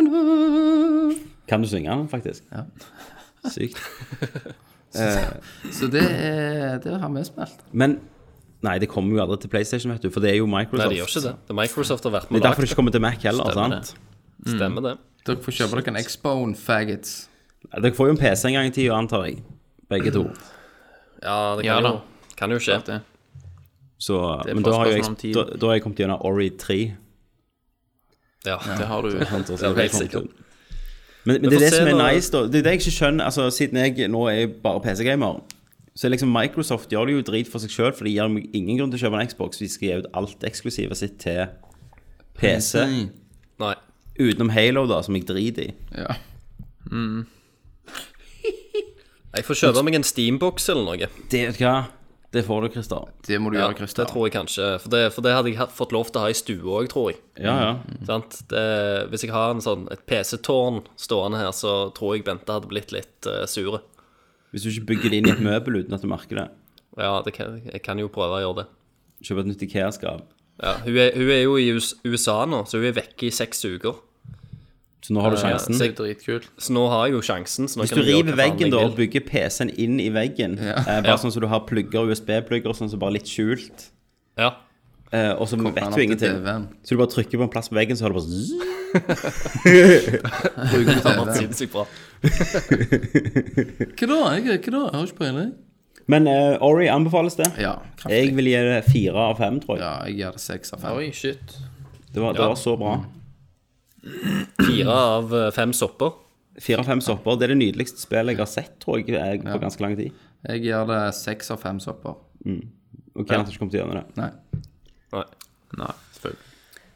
[SPEAKER 8] Kan du synge den, faktisk? Ja. Sykt.
[SPEAKER 9] <laughs> Så det, er, det har vi spilt.
[SPEAKER 8] Men Nei, det kommer jo aldri til PlayStation, vet du, for det er jo
[SPEAKER 2] Nei,
[SPEAKER 8] Microsoft.
[SPEAKER 2] de gjør ikke det. Det er Microsoft har vært
[SPEAKER 8] Det er
[SPEAKER 2] med og
[SPEAKER 8] derfor det
[SPEAKER 2] lagd.
[SPEAKER 8] ikke kommer til Mac heller.
[SPEAKER 2] Stemmer
[SPEAKER 8] sant?
[SPEAKER 2] Stemmer det.
[SPEAKER 9] Dere får kjøpe dere en X-Bone Faggots.
[SPEAKER 8] Dere får jo en PC en gang i tida, antar jeg. Begge to.
[SPEAKER 2] Ja, det
[SPEAKER 7] Ja
[SPEAKER 2] kan
[SPEAKER 7] da.
[SPEAKER 2] jo, kan jo skje.
[SPEAKER 7] Det.
[SPEAKER 8] Så,
[SPEAKER 7] Det er
[SPEAKER 8] men
[SPEAKER 7] bare
[SPEAKER 8] da har, jo
[SPEAKER 7] spørsmål
[SPEAKER 8] jeg,
[SPEAKER 7] om tid.
[SPEAKER 8] da, da har jeg kommet gjennom Ori 3.
[SPEAKER 2] Ja.
[SPEAKER 7] det har du.
[SPEAKER 8] sant, og så
[SPEAKER 2] Det er
[SPEAKER 8] det
[SPEAKER 2] helt
[SPEAKER 8] kommer
[SPEAKER 2] sikkert.
[SPEAKER 8] til. Men, men
[SPEAKER 2] Vi
[SPEAKER 8] det er
[SPEAKER 2] får
[SPEAKER 8] det
[SPEAKER 2] se
[SPEAKER 8] som er
[SPEAKER 2] når-
[SPEAKER 8] nice, da. Det er det jeg ikke skjønner. Altså, siden jeg nå er bare PC-gamer, så er liksom Microsoft gjør det jo drit for seg sjøl, for de gir meg ingen grunn til å kjøpe en Xbox. De skal gi ut alt eksklusivet sitt til PC,
[SPEAKER 2] Nei.
[SPEAKER 8] utenom Halo, da, som jeg driter i.
[SPEAKER 9] Ja.
[SPEAKER 2] Jeg får kjøpe meg en steambox eller noe.
[SPEAKER 8] Det vet du hva? Det får du, Christer.
[SPEAKER 9] Det må du
[SPEAKER 2] Ja,
[SPEAKER 9] gjøre,
[SPEAKER 2] det
[SPEAKER 9] Christer.
[SPEAKER 2] tror jeg kanskje. For det, for det hadde jeg hatt- fått lov til å ha i stua òg, tror jeg.
[SPEAKER 8] Ja, ja.
[SPEAKER 2] Sant? Det, hvis jeg har en sånn, et PC-tårn stående her, så tror jeg Bente hadde blitt litt uh, sure.
[SPEAKER 8] Hvis du ikke bygger det inn i et møbel uten at du merker det.
[SPEAKER 2] Ja, det kan, jeg kan jo prøve å gjøre det.
[SPEAKER 8] Kjøp et nytt Ikea-skap.
[SPEAKER 2] Ja, hun, er, hun er jo i US- USA nå, så hun er vekke i seks uker.
[SPEAKER 8] Så nå har du
[SPEAKER 2] Ja,
[SPEAKER 8] sjansen.
[SPEAKER 2] så
[SPEAKER 7] Det er dritkult.
[SPEAKER 2] Så nå har jeg jo sjansen. Så nå
[SPEAKER 8] Hvis
[SPEAKER 2] kan jeg
[SPEAKER 8] du
[SPEAKER 2] gjøre
[SPEAKER 8] river
[SPEAKER 2] hva faen
[SPEAKER 8] veggen
[SPEAKER 2] jeg
[SPEAKER 8] da
[SPEAKER 2] vil.
[SPEAKER 8] og
[SPEAKER 2] <laughs>
[SPEAKER 8] bygger PC-en inn i veggen, eh, bare sånn som du har plugger, USB-plugger, sånn som bare litt skjult
[SPEAKER 2] Ja,
[SPEAKER 8] Eh, og så vet du
[SPEAKER 9] han opp
[SPEAKER 8] ingenting.
[SPEAKER 9] til TV-en.
[SPEAKER 8] Så du bare trykker på en plass på veggen, så har du bare zzz.
[SPEAKER 9] Bruker
[SPEAKER 2] det
[SPEAKER 9] TV.
[SPEAKER 2] var sinnssykt bra.
[SPEAKER 9] Hva da? Jeg, hva da? Jeg har ikke peiling.
[SPEAKER 8] Men eh, Ori anbefales det.
[SPEAKER 9] Ja,
[SPEAKER 8] Jeg
[SPEAKER 9] kraftig.
[SPEAKER 8] vil gi det fire av fem, tror jeg.
[SPEAKER 9] Ja, jeg gir det seks av fem.
[SPEAKER 7] Oi, shit.
[SPEAKER 8] Det, var, det
[SPEAKER 2] Ja.
[SPEAKER 8] var så bra.
[SPEAKER 2] Fire av eh, fem sopper.
[SPEAKER 8] Fire av fem sopper. Det er det nydeligste spillet jeg har sett, tror jeg, eh, på ganske lang tid.
[SPEAKER 9] Jeg gir det seks av fem sopper.
[SPEAKER 8] Og Kenneth har ikke kommet gjennom det.
[SPEAKER 9] Nei.
[SPEAKER 2] Nei.
[SPEAKER 7] Nei, selvfølgelig.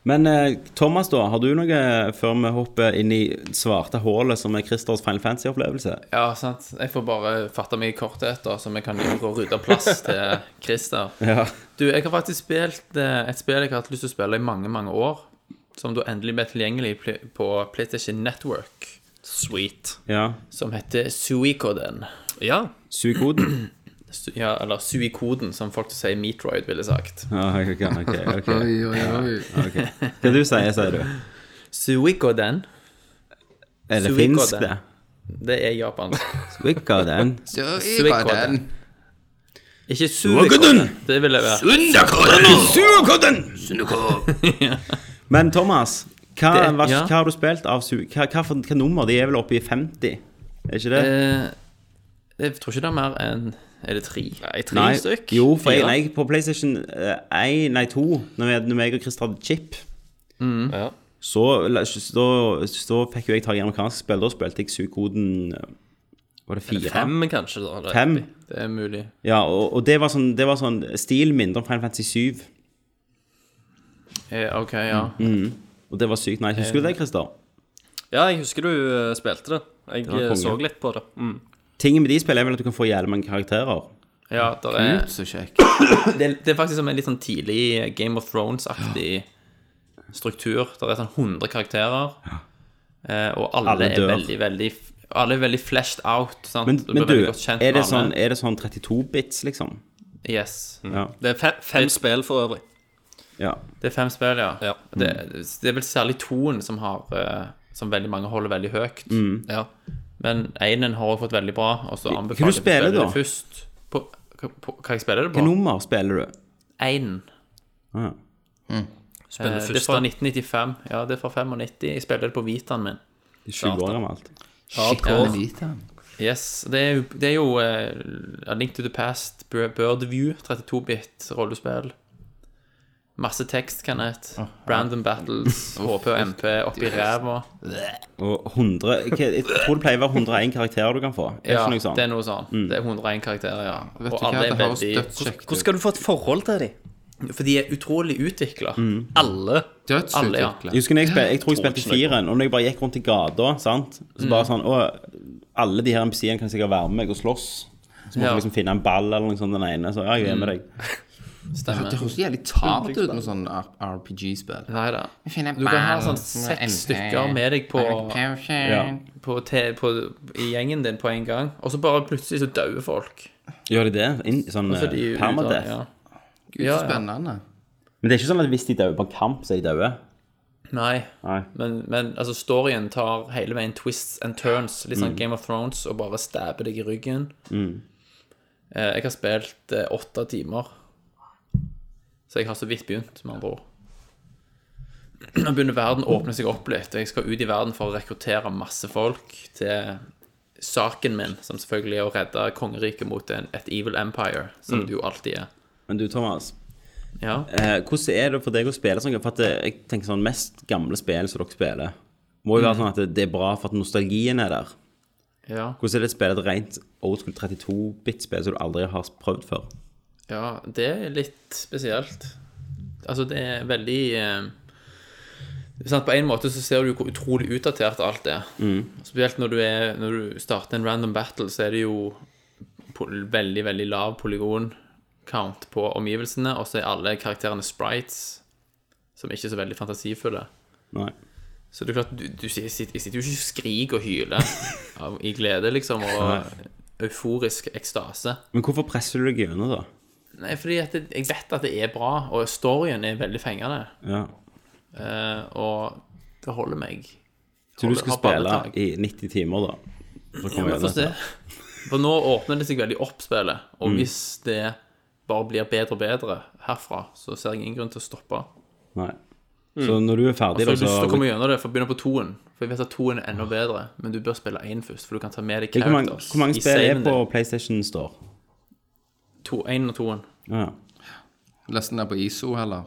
[SPEAKER 8] Men eh, Thomas, da, har du noe eh, før vi hopper inn i svarte hullet som er Christers Final Fantasy-opplevelse?
[SPEAKER 7] Ja, sant. Jeg får bare fatte meg i korthet, da, så vi kan gjøre og rydde plass til Christer.
[SPEAKER 8] Ja.
[SPEAKER 7] Du, jeg har faktisk spilt eh, et spill jeg har hatt lyst til å spille i mange, mange år. Som da endelig ble tilgjengelig pl- på PlayStation Network.
[SPEAKER 2] Sweet.
[SPEAKER 8] ja.
[SPEAKER 7] Som heter Suikoden.
[SPEAKER 2] Ja.
[SPEAKER 8] Sug <clears throat> koden.
[SPEAKER 7] Su- Ja, eller Suikoden, som folk sier Meatroid ville sagt.
[SPEAKER 8] Ja, Ah, ok, ok. ok.
[SPEAKER 9] <laughs> Oi, oi, oi.
[SPEAKER 8] Hva du sier, sier
[SPEAKER 7] <laughs>
[SPEAKER 8] du?
[SPEAKER 7] Suikoden,
[SPEAKER 8] Er det
[SPEAKER 7] Suikoden.
[SPEAKER 8] finsk, det?
[SPEAKER 7] det er <laughs> japansk.
[SPEAKER 8] Suikoden.
[SPEAKER 9] Så jeg
[SPEAKER 7] Svikk
[SPEAKER 9] var
[SPEAKER 7] var
[SPEAKER 9] den.
[SPEAKER 7] Ikke Suikoden! Det ville vært
[SPEAKER 8] Men Thomas, hva,
[SPEAKER 7] Det-
[SPEAKER 8] hva,
[SPEAKER 7] ja.
[SPEAKER 8] hva har du spilt av su... Hva, hva, for, hva nummer? De er vel oppe i 50? Er ikke det?
[SPEAKER 7] Eh, Jeg tror ikke det er mer enn Er det tre? Nei, tre stykk.
[SPEAKER 8] Jo, for jeg,
[SPEAKER 7] Fire.
[SPEAKER 8] nei, på PlayStation 1, nei 2, når, jeg, når jeg og Christer hadde chip,
[SPEAKER 7] Mm.
[SPEAKER 2] Ja.
[SPEAKER 8] så, la- så, da- så fikk jo jeg tak i amerikansk spill. Da spilte jeg sugekoden eh, Var det fire?
[SPEAKER 2] Fem, kanskje. da eller?
[SPEAKER 8] Fem?
[SPEAKER 7] Det er mulig.
[SPEAKER 8] Ja, og, og det, var sånn, det var sånn stil mindre om Final Fantasy 7.
[SPEAKER 7] Eh, OK, ja.
[SPEAKER 8] Og det var sykt nice. Husker du
[SPEAKER 7] Mm.
[SPEAKER 8] det, Christer?
[SPEAKER 2] Ja, jeg husker du eh, spilte det. Jeg
[SPEAKER 8] var
[SPEAKER 2] eh,
[SPEAKER 8] konge.
[SPEAKER 2] så litt på det. Mm.
[SPEAKER 8] Tingen med de spillene er vel at du kan få jævlig mange karakterer.
[SPEAKER 7] Ja, der er,
[SPEAKER 9] Så kjekk.
[SPEAKER 7] <coughs> det, det er faktisk som en litt sånn tidlig Game of Thrones-aktig struktur. Der er sånn 100 karakterer, eh, og alle,
[SPEAKER 8] Alle
[SPEAKER 7] er
[SPEAKER 8] dør.
[SPEAKER 7] veldig, veldig Alle er veldig flashed out. Sant?
[SPEAKER 8] Men,
[SPEAKER 7] Du blir
[SPEAKER 8] men du,
[SPEAKER 7] veldig godt kjent
[SPEAKER 8] er det,
[SPEAKER 7] med
[SPEAKER 8] sånn,
[SPEAKER 7] alle.
[SPEAKER 8] er det sånn 32 bits, liksom?
[SPEAKER 7] Yes. Mm.
[SPEAKER 8] Ja.
[SPEAKER 2] Det er fem, fem spill for øvrig.
[SPEAKER 8] ja.
[SPEAKER 7] Det er fem spill, ja.
[SPEAKER 2] Ja.
[SPEAKER 7] Det, det er vel særlig toen som har eh, Som veldig mange holder veldig høyt.
[SPEAKER 2] Ja.
[SPEAKER 7] Men Einen har også fått veldig bra, og så
[SPEAKER 8] Mm. Hva
[SPEAKER 7] anbefaler
[SPEAKER 8] du
[SPEAKER 7] jeg å
[SPEAKER 8] spiller
[SPEAKER 7] spille
[SPEAKER 8] da?
[SPEAKER 7] det først. På, på, på, hva jeg spiller det
[SPEAKER 8] Hva
[SPEAKER 7] på?
[SPEAKER 8] nummer spiller du?
[SPEAKER 7] Einen.
[SPEAKER 8] Ah,
[SPEAKER 9] Mm.
[SPEAKER 7] Eh,
[SPEAKER 2] Spiller
[SPEAKER 7] det er
[SPEAKER 2] først.
[SPEAKER 7] fra
[SPEAKER 2] da.
[SPEAKER 7] 1995. Ja, det er fra 95. Jeg spiller det på Vitaen min.
[SPEAKER 8] 20 år gammelt.
[SPEAKER 2] Hardcore.
[SPEAKER 7] Yes, Det er jo, det er jo eh, A Link to the Past, Bird View, 32-bit rollespill. Masse tekst, Kenneth. Random battles,
[SPEAKER 9] <laughs>
[SPEAKER 7] HP og MP oppi ræva.
[SPEAKER 8] Og 100 hva- Jeg tror det pleier å være 101 karakterer du kan få. Er
[SPEAKER 7] Ja,
[SPEAKER 8] ikke noe sånt?
[SPEAKER 7] det er noe sånn. Det er 101 karakterer, ja.
[SPEAKER 9] Vet
[SPEAKER 7] Og
[SPEAKER 9] du hva,
[SPEAKER 7] alle
[SPEAKER 9] det
[SPEAKER 7] er
[SPEAKER 9] høres
[SPEAKER 7] veldig
[SPEAKER 9] dødskjekt
[SPEAKER 2] Hvordan
[SPEAKER 9] ut.
[SPEAKER 2] skal du få et forhold til dem?
[SPEAKER 7] <laughs> For de er utrolig utvikla. Alle. Alle, ja.
[SPEAKER 9] Dødsutviklet.
[SPEAKER 8] Jeg husker når jeg, spil, jeg tror jeg
[SPEAKER 2] Tror ikke
[SPEAKER 8] spilte fireren, og når jeg bare gikk rundt i gata, sant? så
[SPEAKER 7] Mm.
[SPEAKER 8] bare sånn Å, alle de her MC-ene kan sikkert være med meg og slåss. Så måtte
[SPEAKER 7] Ja. Mm.
[SPEAKER 8] jeg liksom finne en ball eller noe sånt den ene. Så ja, jeg er med deg.
[SPEAKER 7] Stemmer.
[SPEAKER 9] Det høres jævlig tart ut med sånn RPG-spill.
[SPEAKER 7] Nei da.
[SPEAKER 9] finner
[SPEAKER 7] Du kan ha
[SPEAKER 9] ballen
[SPEAKER 7] sånn
[SPEAKER 9] som er
[SPEAKER 7] seks
[SPEAKER 9] MP.
[SPEAKER 7] stykker med deg på,
[SPEAKER 8] Ja.
[SPEAKER 7] på, te, på i gjengen din på en gang, og så bare plutselig så dauer folk.
[SPEAKER 8] Gjør de det? Inn, i sånn
[SPEAKER 7] Så de
[SPEAKER 8] eh,
[SPEAKER 7] er ute,
[SPEAKER 8] permadeath.
[SPEAKER 7] ja.
[SPEAKER 9] Gud,
[SPEAKER 7] Ja,
[SPEAKER 9] så
[SPEAKER 7] ja.
[SPEAKER 9] spennende.
[SPEAKER 8] Men det er ikke sånn at hvis de dauer på kamp, så er de daue.
[SPEAKER 7] Nei,
[SPEAKER 8] Nei.
[SPEAKER 7] men, men altså, storyen tar hele veien twists and turns. Litt sånn Game of Thrones og bare stabber deg i ryggen. Eh, jeg har spilt eh, åtte timer, så jeg har så vidt begynt, med andre ord. Nå begynner verden å åpne seg opp litt. og Jeg skal ut i verden for å rekruttere masse folk til saken min, som selvfølgelig er å redde kongeriket mot en, et evil empire, som det jo alltid er.
[SPEAKER 8] Men du, Thomas.
[SPEAKER 7] Ja.
[SPEAKER 8] Eh, hvordan er det for deg å spille sånn? For at eh, jeg tenker sånn, mest gamle spill som dere spiller, må jo
[SPEAKER 7] Mm.
[SPEAKER 8] være sånn at det- det er bra for at nostalgien er der.
[SPEAKER 7] ja.
[SPEAKER 8] Hvordan er det å spille et rent old school 32-bit-spill som du aldri har prøvd før?
[SPEAKER 7] Ja, det er litt spesielt. Altså, det er veldig eh, sant? På en måte så ser du jo hvor utrolig utdatert alt er. Spesielt når du, er, når du starter en random battle, så er det jo po- veldig, veldig lav polygon-count på omgivelsene, og så er alle karakterene sprites, som ikke er så veldig fantasifulle.
[SPEAKER 8] Nei.
[SPEAKER 7] Så det er klart, du, du sitter, jeg sitter jo ikke og skriker og hyler av, i glede, liksom, og euforisk ekstase.
[SPEAKER 8] Men hvorfor presser du deg gjennom, da?
[SPEAKER 7] Nei, fordi at det, jeg vet at det er bra, og storyen er veldig fengende.
[SPEAKER 8] Ja.
[SPEAKER 7] Eh, og det holder meg.
[SPEAKER 8] Så du skal
[SPEAKER 7] Har ballet
[SPEAKER 8] spille
[SPEAKER 7] tak.
[SPEAKER 8] i 90 timer, da? For å komme
[SPEAKER 7] Vi
[SPEAKER 8] gjennom
[SPEAKER 7] får se.
[SPEAKER 8] dette.
[SPEAKER 7] For nå åpner det seg veldig opp, spillet.
[SPEAKER 8] Mm.
[SPEAKER 7] Og hvis det bare blir bedre og bedre herfra, så ser jeg ingen grunn til å stoppe.
[SPEAKER 8] Nei. Så når du er altså- ferdig,
[SPEAKER 7] Så jeg
[SPEAKER 8] da,
[SPEAKER 7] har lyst til å
[SPEAKER 8] så
[SPEAKER 7] komme gjennom Mm. Altså, det, for å begynne på toen. For jeg vet at toen er enda bedre, men du bør spille én først, for du kan ta med deg
[SPEAKER 8] hvor mange,
[SPEAKER 7] characters
[SPEAKER 8] hvor mange spill er
[SPEAKER 7] saven
[SPEAKER 8] på
[SPEAKER 7] din.
[SPEAKER 8] PlayStation Store?
[SPEAKER 7] To- Én og toen.
[SPEAKER 8] Ja.
[SPEAKER 9] Leste den der på ISO, heller.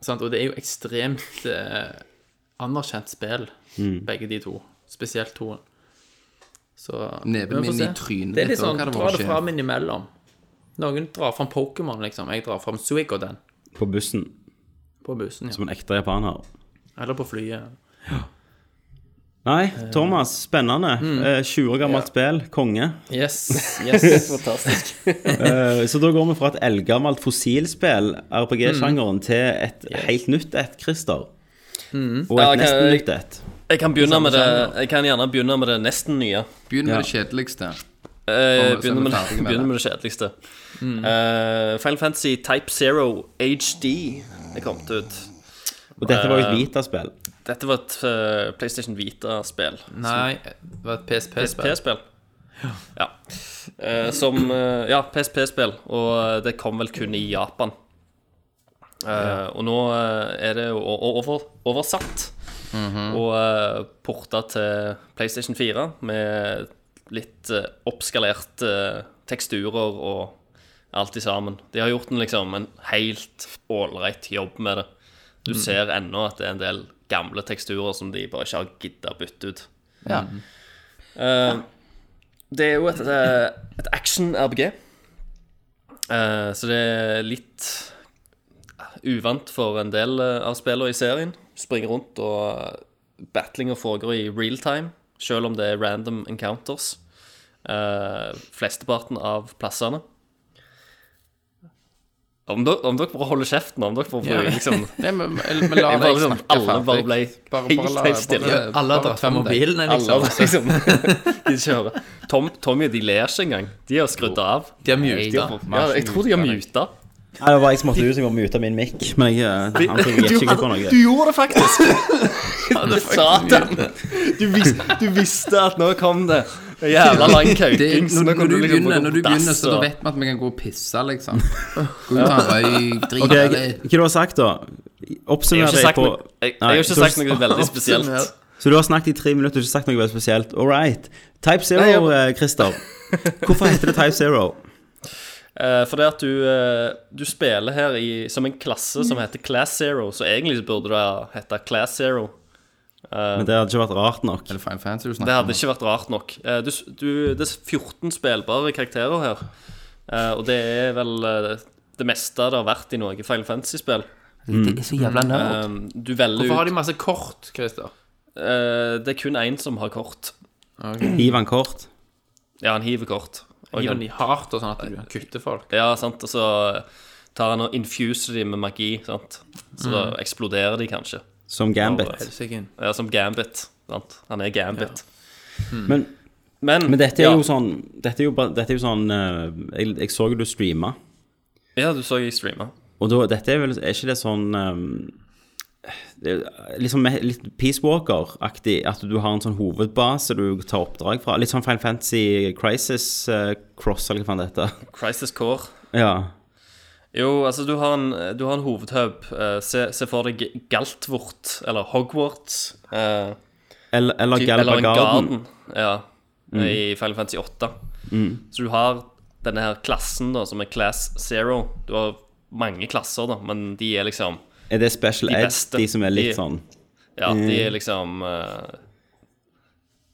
[SPEAKER 7] Sant? Og det er jo ekstremt eh, anerkjent spill, begge de to. Spesielt toen. Så Men
[SPEAKER 9] Neven
[SPEAKER 7] vi får
[SPEAKER 9] min
[SPEAKER 7] se.
[SPEAKER 9] i trynet
[SPEAKER 7] Det er litt
[SPEAKER 9] ditt, og
[SPEAKER 7] sånn,
[SPEAKER 9] hva det var
[SPEAKER 7] dra det
[SPEAKER 9] skjer.
[SPEAKER 7] fram innimellom. Noen drar fram Pokémon, liksom. Jeg drar fram Suicoden
[SPEAKER 8] På bussen,
[SPEAKER 7] på bussen. Ja.
[SPEAKER 8] som en ekte japaner.
[SPEAKER 7] Eller på flyet.
[SPEAKER 8] Nei,
[SPEAKER 7] Eh.
[SPEAKER 8] Thomas, spennende.
[SPEAKER 7] Mm.
[SPEAKER 8] Eh, 20 år gammelt spill, konge.
[SPEAKER 7] Yes, <laughs> yes. Fantastisk.
[SPEAKER 8] Eh, Så da går vi fra et eldgammelt fossilspill,
[SPEAKER 2] Mm.
[SPEAKER 8] RPG-sjangeren, til et helt nytt et, Christer. Og
[SPEAKER 2] Mm. Ja, ok,
[SPEAKER 8] et nesten
[SPEAKER 2] jeg-
[SPEAKER 8] nytt et.
[SPEAKER 2] Jeg kan, begynne med det, jeg kan gjerne begynne med det nesten nye.
[SPEAKER 9] Begynn med
[SPEAKER 8] Ja.
[SPEAKER 9] det kjedeligste.
[SPEAKER 2] Eh,
[SPEAKER 9] Og så er
[SPEAKER 2] begynner,
[SPEAKER 9] vi
[SPEAKER 2] med,
[SPEAKER 9] ferdige
[SPEAKER 2] <laughs>
[SPEAKER 9] med
[SPEAKER 2] begynner
[SPEAKER 9] det.
[SPEAKER 2] med det kjedeligste. Eh, Final Fantasy Type Zero HD er kommet ut.
[SPEAKER 8] Og dette var jo
[SPEAKER 2] Eh.
[SPEAKER 8] et Vita-spill.
[SPEAKER 2] Dette var et eh, PlayStation Vita-spill.
[SPEAKER 7] Nei, det var et PSP-spill.
[SPEAKER 2] PSP-spill. Ja. Eh, som eh, Ja, PSP-spill, og eh, det kom vel kun i Japan. Eh, Og nå eh, er det jo o- o- over, oversatt og uh, porta til PlayStation 4 med litt eh, oppskalert eh, teksturer og alt i sammen. De har gjort en, liksom, en helt ålreit jobb med det. Du ser ennå at det er en del gamle teksturer som de bare ikke har gidda bytte ut. Eh, det er jo et, eh, et action-RBG. Eh, så det er litt eh, uvant for en del eh, av spillene i serien. Springer rundt, og eh, battlinger foregår i real time, selv om det er random encounters. eh, flesteparten av plassene. Om dere, om dere bare holder kjeften, om dere bare
[SPEAKER 7] Ja.
[SPEAKER 2] liksom
[SPEAKER 9] Nei, men, men la
[SPEAKER 2] Jeg
[SPEAKER 9] deg
[SPEAKER 2] bare liksom,
[SPEAKER 9] snakke
[SPEAKER 2] Alle bare ble
[SPEAKER 9] Bare- bare
[SPEAKER 2] helt,
[SPEAKER 9] la-
[SPEAKER 2] helt stille.
[SPEAKER 9] bare-
[SPEAKER 7] Alle har dratt fram mobilene,
[SPEAKER 2] Alle
[SPEAKER 7] liksom.
[SPEAKER 2] har liksom De kjører. Tom, Tommy de ler ikke engang. De har skrudd av.
[SPEAKER 7] <laughs> De har muta.
[SPEAKER 2] Ja, jeg tror de har muta.
[SPEAKER 8] Nei, det var jeg som måtte ut, så jeg var muta min mic. <laughs> Men jeg, eh, han tok jeg ikke på noe.
[SPEAKER 2] Du gjorde det faktisk! Satan. Du, vis, du visste at nå kom det. En Jævla lang
[SPEAKER 9] Det, <laughs>
[SPEAKER 2] kauking. så
[SPEAKER 9] når,
[SPEAKER 2] nå kan
[SPEAKER 9] når, du
[SPEAKER 2] liksom bare
[SPEAKER 9] begynner,
[SPEAKER 2] gå
[SPEAKER 9] når du
[SPEAKER 2] på dass
[SPEAKER 9] begynner, så da
[SPEAKER 2] og-
[SPEAKER 9] vet vi at vi kan gå og pisse, <laughs> liksom. Gå ut og ta en røyk,
[SPEAKER 8] Ok,
[SPEAKER 9] drite litt.
[SPEAKER 8] Hva du har sagt, da?
[SPEAKER 2] Jeg
[SPEAKER 8] Oppsummer
[SPEAKER 2] har ikke
[SPEAKER 8] deg
[SPEAKER 2] sagt
[SPEAKER 8] på
[SPEAKER 2] noe, jeg, jeg
[SPEAKER 8] Nei,
[SPEAKER 2] har ikke
[SPEAKER 8] så-
[SPEAKER 2] sagt noe veldig spesielt.
[SPEAKER 8] Så du har snakket i tre minutter og ikke sagt noe
[SPEAKER 2] <laughs>
[SPEAKER 8] veldig spesielt. All right. Type Zero, eh, Christer. Hvorfor heter det Type Zero?
[SPEAKER 2] Eh, for det at du, eh, du spiller her i, som en klasse som heter Class Zero, så egentlig så burde det ha hette Class Zero.
[SPEAKER 8] Men det hadde ikke vært rart nok.
[SPEAKER 2] Mm.
[SPEAKER 9] Er det Fine Fantasy du
[SPEAKER 2] Det
[SPEAKER 9] snakker
[SPEAKER 2] hadde ikke vært rart nok. Eh, Du, du, det er 14 spillbare karakterer her. Eh, Og det er vel eh, det meste det har vært i noe Final Fantasy-spill.
[SPEAKER 9] om? Det er så jævla nerd.
[SPEAKER 2] Eh, Du velger
[SPEAKER 7] Hvorfor har
[SPEAKER 2] ut
[SPEAKER 7] de masse kort, Christer?
[SPEAKER 2] eh, Det er kun én som har kort.
[SPEAKER 8] Hiv han kort.
[SPEAKER 2] Ja, han hiver kort. Og
[SPEAKER 7] Gir
[SPEAKER 2] han-
[SPEAKER 7] de hardt og sånn at du kutter folk?
[SPEAKER 2] Ja, sant, og så tar han og infuser de med magi, sant. Så da
[SPEAKER 8] Mm.
[SPEAKER 2] eksploderer de kanskje.
[SPEAKER 8] Som Gambit.
[SPEAKER 7] Helsike.
[SPEAKER 2] Ja, som Gambit, sant. Han er Gambit.
[SPEAKER 8] Men,
[SPEAKER 2] Men,
[SPEAKER 8] men dette er
[SPEAKER 2] ja.
[SPEAKER 8] jo sånn Dette er jo, bare- dette er jo sånn eh, jeg, jeg så jo du streama.
[SPEAKER 2] Ja, du så jeg streama.
[SPEAKER 8] Og da, dette er vel Er ikke det sånn eh, det er Liksom me- litt Peace Walker-aktig, at du har en sånn hovedbase du tar oppdrag fra. Litt sånn Final Fantasy Crisis eh, Cross, eller hva faen det heter. <laughs>
[SPEAKER 2] Crisis Core.
[SPEAKER 8] Ja.
[SPEAKER 2] Jo, altså, du har en, du har en hovedhub. Eh, se, se for deg Galtvort, eller Hogwarts. eh,
[SPEAKER 8] Eller, eller
[SPEAKER 2] typ-
[SPEAKER 8] Galba
[SPEAKER 2] eller en
[SPEAKER 8] Garden.
[SPEAKER 2] garden. Ja,
[SPEAKER 8] Mm.
[SPEAKER 2] i Final Fantasy 8. Så du har denne her klassen, da, som er Class Zero. Du har mange klasser, da, men de er liksom
[SPEAKER 8] Er det Special
[SPEAKER 2] De
[SPEAKER 8] Ed,
[SPEAKER 2] beste.
[SPEAKER 8] de som er litt
[SPEAKER 2] De-
[SPEAKER 8] sånn
[SPEAKER 2] Ja, de er liksom eh,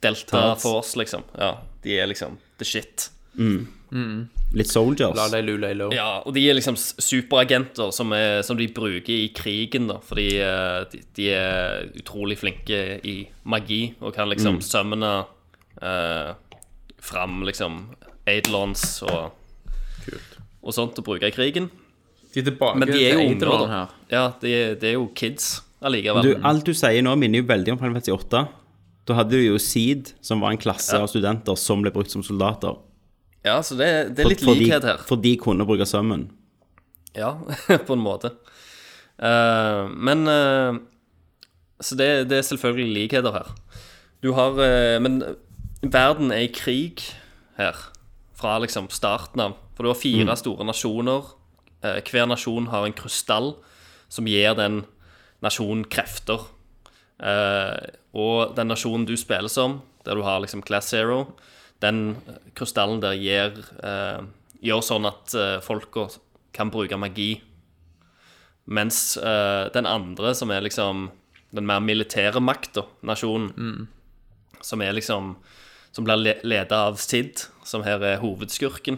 [SPEAKER 2] Delta
[SPEAKER 8] Tards.
[SPEAKER 2] Force, liksom. Ja, de er liksom the shit.
[SPEAKER 8] Litt Soldiers?
[SPEAKER 7] La deg lule i lov.
[SPEAKER 2] Ja, og de er liksom s- superagenter som, er, som de bruker i krigen, da. Fordi eh, de, de er utrolig flinke i magi og kan liksom summone eh, fram liksom Aidlons og Og sånt å bruke i krigen.
[SPEAKER 7] De er tilbake
[SPEAKER 2] Men de er jo
[SPEAKER 7] til
[SPEAKER 2] unger,
[SPEAKER 7] Eidolon
[SPEAKER 2] da.
[SPEAKER 7] her.
[SPEAKER 2] Ja, de, er- de er jo kids allikevel.
[SPEAKER 8] Du, alt du sier nå, minner jo veldig om Final Fantasy 8. Da hadde du jo Seed, som var en klasse av studenter som ble brukt som soldater.
[SPEAKER 2] Ja, så det, det er litt
[SPEAKER 8] For- for de-
[SPEAKER 2] likhet her.
[SPEAKER 8] For de kunne bruke sømmen.
[SPEAKER 2] Ja, <laughs> på en måte. Eh, men eh, Så det, det er selvfølgelig likheter her. Du har eh, Men verden er i krig her fra liksom starten av. For du har fire store nasjoner. Eh, hver nasjon har en krystall som gir den nasjonen krefter. Eh, og den nasjonen du spiller som, der du har liksom Class Zero, den krystallen der gir eh, Gjør sånn at uh, folka kan bruke magi. Mens eh, den andre, som er liksom den mer militære makta, nasjonen, som er liksom Som blir le leda av Sid, som her er hovedskurken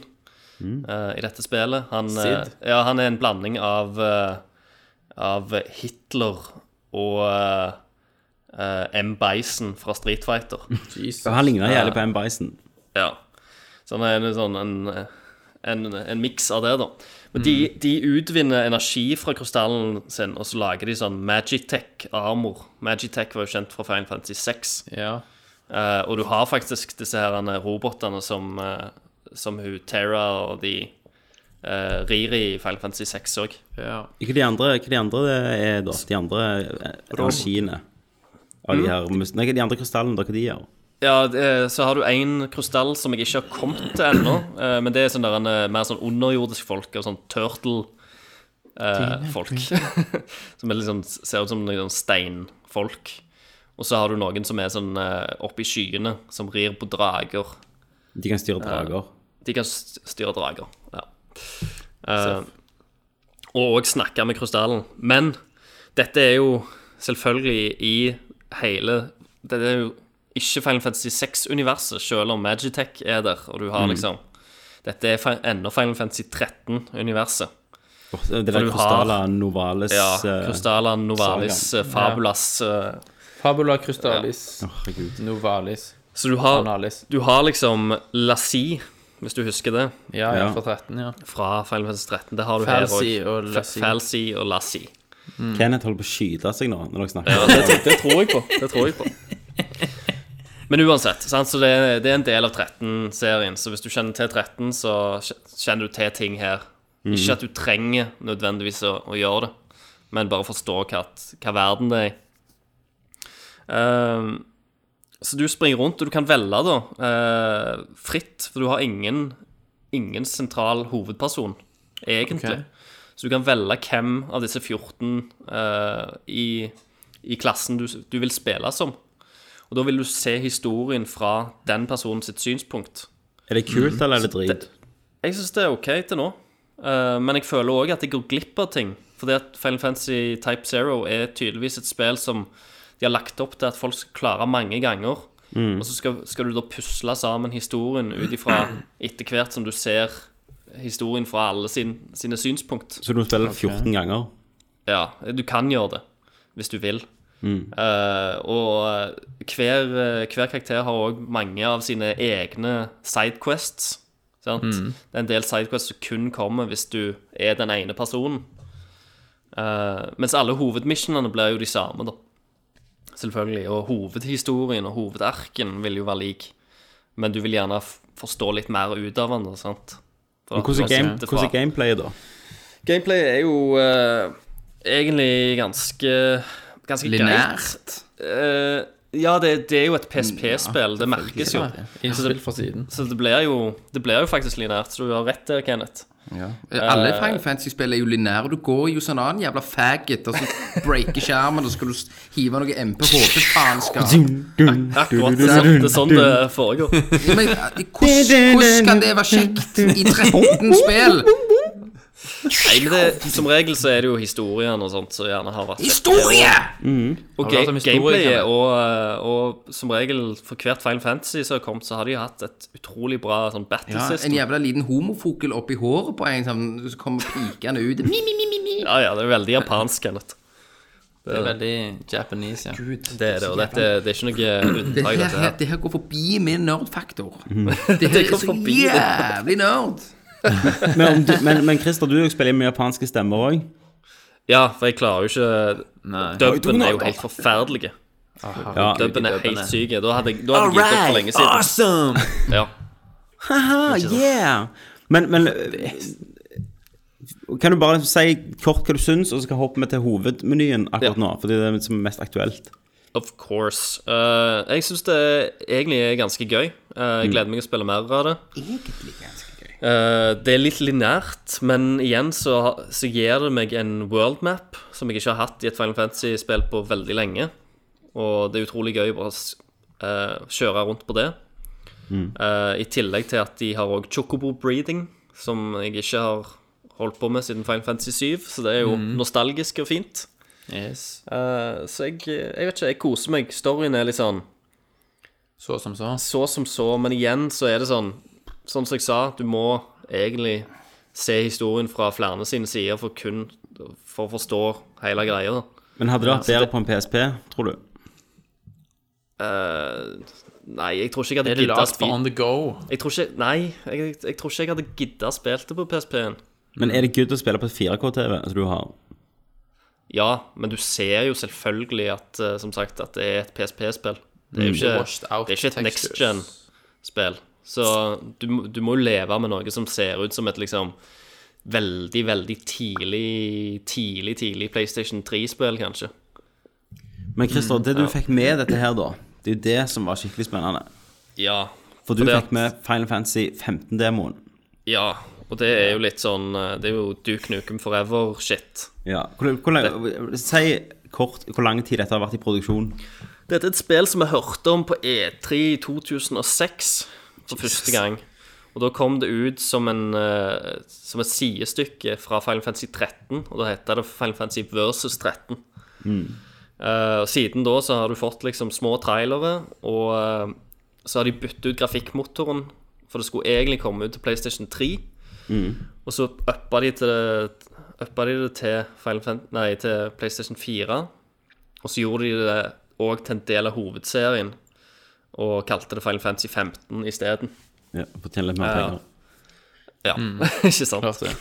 [SPEAKER 2] eh, i dette spillet. Han, eh, ja, han er en blanding av eh, av Hitler og eh, eh, M. Bison fra Street Fighter.
[SPEAKER 7] Jesus.
[SPEAKER 8] Og Han ligner jævlig på M. Bison.
[SPEAKER 2] ja. Så han er en sånn en, en, en miks av det, da. Men de, de utvinner energi fra krystallen sin, og så lager de sånn Magitech-armor. Magitech var jo kjent fra Final Fantasy 6.
[SPEAKER 7] Ja.
[SPEAKER 2] Eh, og du har faktisk disse her eh, robotene som, eh, som hun Terra og de eh, rir i Final Fantasy 6 òg.
[SPEAKER 7] ja.
[SPEAKER 8] Ikke de andre, hva de andre det er, da? De andre eh, energiene av de
[SPEAKER 2] Mm.
[SPEAKER 8] her mus- Nei, de andre krystallene, da, hva de gjør?
[SPEAKER 2] Ja, det, så har du én krystall som jeg ikke har kommet til ennå. eh, Men det er sånn der en eh, mer sånn underjordisk folk, og sånn turtle-folk. <laughs> som er litt sånn- ser ut som noen sånn steinfolk. Og så har du noen som er sånn eh, oppe i skyene, som rir på drager.
[SPEAKER 8] De kan styre drager.
[SPEAKER 2] De kan s- styre drager. Ja. Eh, og òg snakke med krystallen. Men dette er jo selvfølgelig i hele Dette er jo ikke Final Fantasy 6-universet, selv om Magitech er der, og du har liksom Dette er fi- ennå Final Fantasy 13-universet.
[SPEAKER 8] Det
[SPEAKER 2] For du
[SPEAKER 8] der
[SPEAKER 2] har-
[SPEAKER 8] krystalla novales
[SPEAKER 2] Ja,
[SPEAKER 8] eh,
[SPEAKER 2] Krystalla, Novalis, eh, Fabulas eh,
[SPEAKER 7] Fabula crustalis.
[SPEAKER 8] herregud.
[SPEAKER 7] Novalis.
[SPEAKER 2] Så du har,
[SPEAKER 7] Analis.
[SPEAKER 2] du har liksom Lassie, hvis du husker det,
[SPEAKER 7] Ja, ja,
[SPEAKER 8] Ja.
[SPEAKER 7] fra 13, ja.
[SPEAKER 2] fra Final Fantasy 13. Det har du
[SPEAKER 7] Falsi
[SPEAKER 2] her
[SPEAKER 7] og
[SPEAKER 2] òg.
[SPEAKER 7] Lassie.
[SPEAKER 2] Falsi og Lassie. Mm.
[SPEAKER 8] Kenneth holder på å skyte seg nå, når dere snakker.
[SPEAKER 2] Det tror
[SPEAKER 7] <laughs>
[SPEAKER 2] jeg på. Det tror jeg på. Men uansett, sant? så det, er- det er en del av 13-serien. Så hvis du kjenner til 13, så kj- kjenner du til ting her. Ikke at du trenger nødvendigvis å, å gjøre det, men bare forstå hva, at- hva verden det er i. Ehm, så du springer rundt, og du kan velge da eh, fritt, for du har ingen, ingen sentral hovedperson, egentlig.
[SPEAKER 7] Ok.
[SPEAKER 2] Så du kan velge hvem av disse 14 eh, i, i klassen du, du vil spille som. Og da vil du se historien fra den personens sitt synspunkt. Mm.
[SPEAKER 8] Er det kult, eller er det drit?
[SPEAKER 2] Jeg syns det er OK til nå, eh, men jeg føler òg at jeg går glipp av ting. Fordi at Final Fantasy Type Zero er tydeligvis et spill som de har lagt opp til at folk skal klare mange ganger. Og så skal, skal du da pusle sammen historien ut ifra etter hvert som du ser historien fra alle sin, sine synspunkt.
[SPEAKER 8] Så du må spille 14 ganger.
[SPEAKER 2] Ja, du kan gjøre det hvis du vil.
[SPEAKER 8] Mm.
[SPEAKER 2] Eh, og eh, hver, hver karakter har òg mange av sine egne sidequests. Sant?
[SPEAKER 8] Mm.
[SPEAKER 2] Det er en del sidequests som kun kommer hvis du er den ene personen. Eh, mens alle hovedmissionene blir jo de samme, da. Selvfølgelig. Og hovedhistorien og hovedarken vil jo være lik. Men du vil gjerne f forstå litt mer ut av den. da, Sant? For
[SPEAKER 8] Men
[SPEAKER 2] at
[SPEAKER 8] hvordan
[SPEAKER 2] du
[SPEAKER 8] er
[SPEAKER 2] har
[SPEAKER 8] game,
[SPEAKER 2] sett det fra-
[SPEAKER 8] hvordan er gameplayet, da?
[SPEAKER 2] Gameplay er jo eh, egentlig ganske Ganske
[SPEAKER 9] Linært.
[SPEAKER 2] greit. Eh, ja, det, det er jo et PSP-spill. det merkes jo.
[SPEAKER 7] Innspill fra siden.
[SPEAKER 2] Så det blir jo, det blir jo faktisk linært. Så du har rett der, Kenneth.
[SPEAKER 9] Eh, Alle Final Fantasy-spill er jo linære. Du går jo sånn annen jævla faggot, og så breaker skjermen, og så skal du s- hive noe MP faenskap.
[SPEAKER 2] Akkurat det, er- det er sånn det foregår.
[SPEAKER 9] Men eh, hvordan hvordan kan det være kjekt i 13 spill?
[SPEAKER 2] Nei, men det, som regel så er det jo historien og sånt som gjerne har vært
[SPEAKER 9] Historie!
[SPEAKER 2] Og
[SPEAKER 7] Har du hørt om
[SPEAKER 2] ga-
[SPEAKER 7] historien,
[SPEAKER 2] gameplayet
[SPEAKER 7] Kenneth?
[SPEAKER 2] og, eh, og som regel for hvert Final Fantasy som har kommet, så har de hatt et utrolig bra sånn battle
[SPEAKER 9] Ja, en
[SPEAKER 2] system. Ja,
[SPEAKER 9] jævla liten homofokel oppi håret på en som som kommer pikende ut. Mi, mi, mi, mi, mi.
[SPEAKER 2] ja, det er veldig japansk, Kenneth.
[SPEAKER 7] Det er veldig japanese, ja.
[SPEAKER 2] Det er det, og dette, det er ikke noe
[SPEAKER 9] Det
[SPEAKER 2] unntak,
[SPEAKER 9] her,
[SPEAKER 2] dette her.
[SPEAKER 9] det her går forbi min nerdfaktor. Det her er
[SPEAKER 2] går
[SPEAKER 9] så
[SPEAKER 2] forbi det.
[SPEAKER 9] jævlig nerd.
[SPEAKER 8] Men, om du- men, men Christer, du spiller med japanske stemmer òg.
[SPEAKER 2] Ja, for jeg klarer jo ikke Dubben er jo helt forferdelig.
[SPEAKER 8] Ja.
[SPEAKER 2] Dubben er helt syk. Da hadde jeg da hadde jeg gitt opp for lenge siden.
[SPEAKER 8] Awesome!
[SPEAKER 2] Ja.
[SPEAKER 8] Haha, Ah, yeah! Men, men eh, Kan du bare si kort hva du syns, og så skal hoppe vi til hovedmenyen akkurat
[SPEAKER 2] Ja.
[SPEAKER 8] nå? Fordi det er det som er mest aktuelt.
[SPEAKER 2] Of course. Eh, jeg syns det egentlig er ganske gøy. Eh, jeg gleder meg å spille mer av det. Egentlig ganske gøy. det er litt linært, men igjen så, ha- så gir det meg en worldmap som jeg ikke har hatt i et Final Fantasy-spill på veldig lenge. Og det er utrolig gøy å bare s- eh, kjøre rundt på det. Eh, I tillegg til at de har òg chocobo breeding, som jeg ikke har holdt på med siden Final Fantasy 7, så det er jo nostalgisk og fint.
[SPEAKER 7] Yes.
[SPEAKER 2] Eh, så jeg, jeg vet ikke, jeg koser meg. Storyen er litt sånn
[SPEAKER 7] Så som så.
[SPEAKER 2] så som så, men igjen så er det sånn Sånn som jeg sa, du må egentlig se historien fra flere sine sider for kun for å forstå hele greia.
[SPEAKER 8] Men hadde det vært
[SPEAKER 2] Ja, så
[SPEAKER 8] bedre
[SPEAKER 2] det-
[SPEAKER 8] på en PSP, tror du?
[SPEAKER 2] Eh, Nei, jeg tror ikke jeg
[SPEAKER 7] Er
[SPEAKER 2] hadde
[SPEAKER 7] det
[SPEAKER 2] gidda
[SPEAKER 7] lagd for on the go?
[SPEAKER 2] Jeg tror ikke Nei, jeg, jeg tror ikke jeg hadde gidda spilt det på PSP-en.
[SPEAKER 8] Men er det good å spille på et 4K-TV som du har?
[SPEAKER 2] Ja, men du ser jo selvfølgelig at eh, Som sagt, at det er et PSP-spill. Det er jo ikke,
[SPEAKER 7] Mm. Washed out
[SPEAKER 2] det er ikke et
[SPEAKER 7] textures.
[SPEAKER 2] next gen-spill. Så du, må- du må jo leve med noe som ser ut som et liksom veldig, veldig tidlig, tidlig, tidlig PlayStation 3-spill, kanskje.
[SPEAKER 8] Men Christer, det du fikk med dette her, da, det er jo det som var skikkelig spennende.
[SPEAKER 2] Ja.
[SPEAKER 8] For du
[SPEAKER 2] det at-
[SPEAKER 8] fikk med Final Fantasy 15-demoen.
[SPEAKER 2] Ja, og det er jo litt sånn eh, Det er jo Duke Nukem Forever-shit.
[SPEAKER 8] Ja. Hvor, hvor lang, si kort hvor lang tid dette har vært i produksjon.
[SPEAKER 2] Dette er et spill som jeg hørte om på E3 i 2006 for første gang. Og da kom det ut som, en, eh, som et sidestykke fra Final Fantasy 13, og da heter det Final Fantasy versus 13. Eh, og siden da så har du fått liksom små trailere, og eh, så har de byttet ut grafikkmotoren, for det skulle egentlig komme ut til PlayStation 3. Og så uppa de, til det, uppa de det til, Final Fan- nei, til PlayStation 4. Og så gjorde de det òg til en del av hovedserien, og kalte det Final Fantasy 15 isteden.
[SPEAKER 8] Ja, for å tjene litt mer
[SPEAKER 2] Ja.
[SPEAKER 8] penger.
[SPEAKER 2] Ja, <laughs> ikke sant?
[SPEAKER 7] Klart det.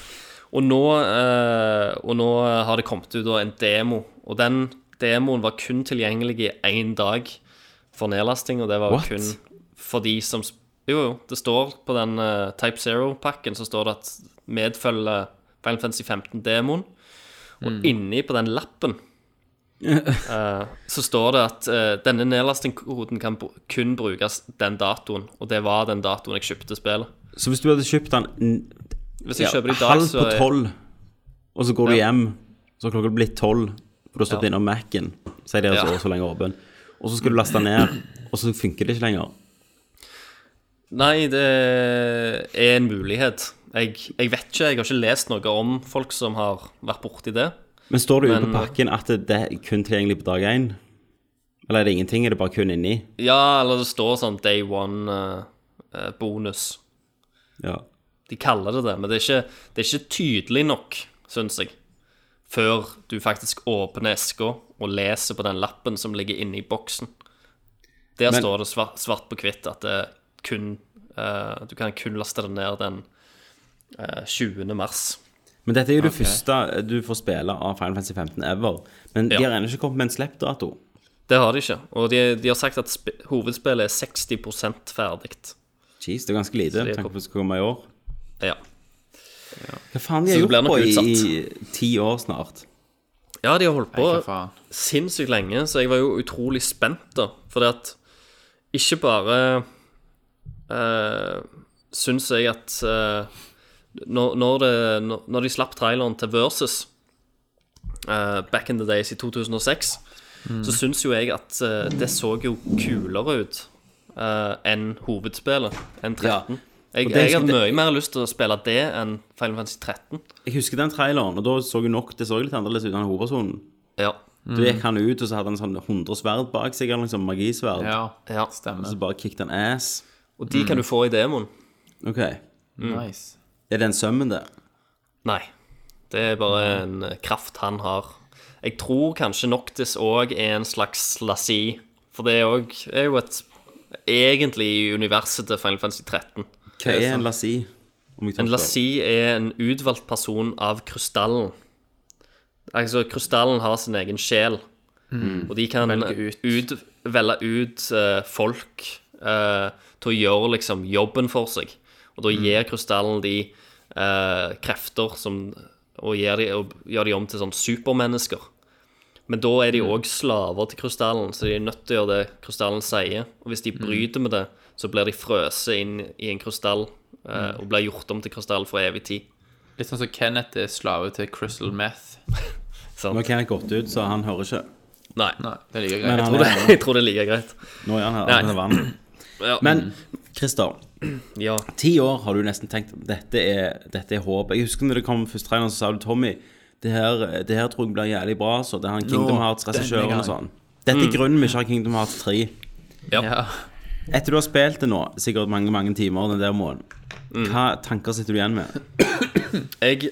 [SPEAKER 2] Og nå, eh, og nå har det kommet ut da en demo, og den demoen var kun tilgjengelig i én dag for nedlasting, og det var jo
[SPEAKER 8] What?
[SPEAKER 2] kun for de som sp- Jo, jo, det står på den eh, Type Zero-pakken så står det at medfølger Final Fantasy 15-demoen, og
[SPEAKER 8] Mm.
[SPEAKER 2] inni på den
[SPEAKER 8] <laughs>
[SPEAKER 2] lappen eh, så står det at eh, denne nedlastingkoden kan br- kun brukes den datoen, og det var den datoen jeg kjøpte spillet.
[SPEAKER 8] Så hvis du hadde kjøpt den n-
[SPEAKER 2] Hvis jeg
[SPEAKER 8] ja,
[SPEAKER 2] kjøper det i dag,
[SPEAKER 8] halv
[SPEAKER 2] så
[SPEAKER 8] på
[SPEAKER 2] er-
[SPEAKER 8] tolv, og så går du
[SPEAKER 2] Ja.
[SPEAKER 8] hjem, så har klokka blitt tolv, for du har stått
[SPEAKER 2] Ja.
[SPEAKER 8] innom Mac-en, så er det
[SPEAKER 2] Ja.
[SPEAKER 8] så, så lenge åpen, og så skal du laste ned, og så funker det ikke lenger.
[SPEAKER 2] Nei, det er en mulighet. Jeg, jeg vet ikke, jeg har ikke lest noe om folk som har vært borti det.
[SPEAKER 8] Men står det jo
[SPEAKER 2] Men-
[SPEAKER 8] på pakken at det er kun tilgjengelig på dag én? Eller er det ingenting? Er det bare kun inni?
[SPEAKER 2] Ja, eller det står sånn day one-bonus.
[SPEAKER 8] Ja.
[SPEAKER 2] De kaller det det, men det er ikke, det er ikke tydelig nok, syns jeg. Før du faktisk åpner eska og leser på den lappen som ligger inne i boksen. Der
[SPEAKER 8] Men-
[SPEAKER 2] står det svart, svart på hvitt at det er kun, eh, du kan kun laste det ned den eh, 20. mars.
[SPEAKER 8] Men dette er jo det første du får spille av Final Fantasy 15 ever. Men de
[SPEAKER 2] Ja.
[SPEAKER 8] har ennå ikke kommet med en slippdato.
[SPEAKER 2] Det har de ikke. Og de, de har sagt at sp hovedspillet er 60 ferdig.
[SPEAKER 8] Jeez, det er ganske lite.
[SPEAKER 2] det
[SPEAKER 8] Tenk
[SPEAKER 2] kom-
[SPEAKER 8] på det skal komme i år.
[SPEAKER 2] Ja.
[SPEAKER 8] Hva faen de
[SPEAKER 2] Så
[SPEAKER 8] har
[SPEAKER 2] det blir
[SPEAKER 8] gjort
[SPEAKER 2] nok
[SPEAKER 8] på i
[SPEAKER 2] utsatt.
[SPEAKER 8] ti år snart?
[SPEAKER 2] ja, de har holdt på
[SPEAKER 7] Hva faen?
[SPEAKER 2] sinnssykt lenge, så jeg var jo utrolig spent, da. Fordi at ikke bare uh, syns jeg at eh, når, når, det, når- når de slapp traileren til Versus eh, back in the days i 2006,
[SPEAKER 8] Mm.
[SPEAKER 2] så syns jo jeg at eh, det så jo kulere ut eh, enn hovedspillet, enn 13.
[SPEAKER 8] Ja.
[SPEAKER 2] Jeg,
[SPEAKER 8] Og det-
[SPEAKER 2] jeg har mye mer lyst til å spille det enn Final Fantasy 13.
[SPEAKER 8] Jeg husker den traileren, og da så jo nok det så litt annerledes ut enn hovedpersonen.
[SPEAKER 2] Ja.
[SPEAKER 8] Da
[SPEAKER 2] Mm.
[SPEAKER 8] gikk han ut, og så hadde han sånn 100 sverd bak seg, eller liksom magisverd.
[SPEAKER 7] Ja,
[SPEAKER 2] Ja.
[SPEAKER 8] Og
[SPEAKER 7] stemmer.
[SPEAKER 8] så bare kicked han ass.
[SPEAKER 2] Og de
[SPEAKER 8] Mm.
[SPEAKER 2] kan du få i demoen.
[SPEAKER 8] OK. Er
[SPEAKER 7] Nice.
[SPEAKER 8] det en sømmen, det?
[SPEAKER 2] Nei. Det er bare en eh, kraft han har. Jeg tror kanskje Noctis òg er en slags Lassie. For det er òg er jo et Egentlig i universet til Final Fantasy 13.
[SPEAKER 8] Hva er en lassi? Om jeg tar
[SPEAKER 2] En
[SPEAKER 8] feil.
[SPEAKER 2] Lassie er en utvalgt person av krystallen. Altså, krystallen har sin egen sjel. Og de kan
[SPEAKER 7] Velge
[SPEAKER 2] ut,
[SPEAKER 7] ut.
[SPEAKER 2] velge ut eh, folk eh, til å gjøre liksom jobben for seg. Og
[SPEAKER 7] Mm.
[SPEAKER 2] da gir krystallen de eh, krefter som og gjør, de, og gjør de om til sånn supermennesker. Men da er de
[SPEAKER 7] Mm.
[SPEAKER 2] òg slaver til krystallen, så de er nødt til å gjøre det krystallen sier. Og hvis de
[SPEAKER 7] Mm.
[SPEAKER 2] bryter med det, så blir de frøset inn i en krystall
[SPEAKER 7] Mm.
[SPEAKER 2] eh, og blir gjort om til krystall for evig tid.
[SPEAKER 7] Litt sånn som Kenneth er slave til Crystal Meth.
[SPEAKER 8] Nå har Kenneth gått ut, så han hører ikke.
[SPEAKER 2] Nei.
[SPEAKER 7] Nei, det er like
[SPEAKER 8] Men
[SPEAKER 7] greit.
[SPEAKER 8] han
[SPEAKER 2] Det, <laughs>
[SPEAKER 8] er,
[SPEAKER 2] jeg tror det er like greit.
[SPEAKER 8] nå er han her.
[SPEAKER 2] Nei.
[SPEAKER 8] Han er vann.
[SPEAKER 2] <clears throat> Ja.
[SPEAKER 8] Men Christer,
[SPEAKER 2] Ja.
[SPEAKER 8] ti år har du nesten tenkt dette er, dette er håp. Jeg husker når det kom første traileren, så sa du Tommy det her, det her tror jeg blir jævlig bra. Så det er han Kingdom
[SPEAKER 7] Nå,
[SPEAKER 8] Hearts-regissøren
[SPEAKER 7] denne
[SPEAKER 8] og sånn. Dette er
[SPEAKER 2] Mm.
[SPEAKER 8] grunnen vi ikke har Kingdom Hearts 3.
[SPEAKER 7] Ja.
[SPEAKER 8] Etter du har spilt det nå, sikkert mange mange timer, den der måneden, hva tanker sitter du igjen med?
[SPEAKER 2] Jeg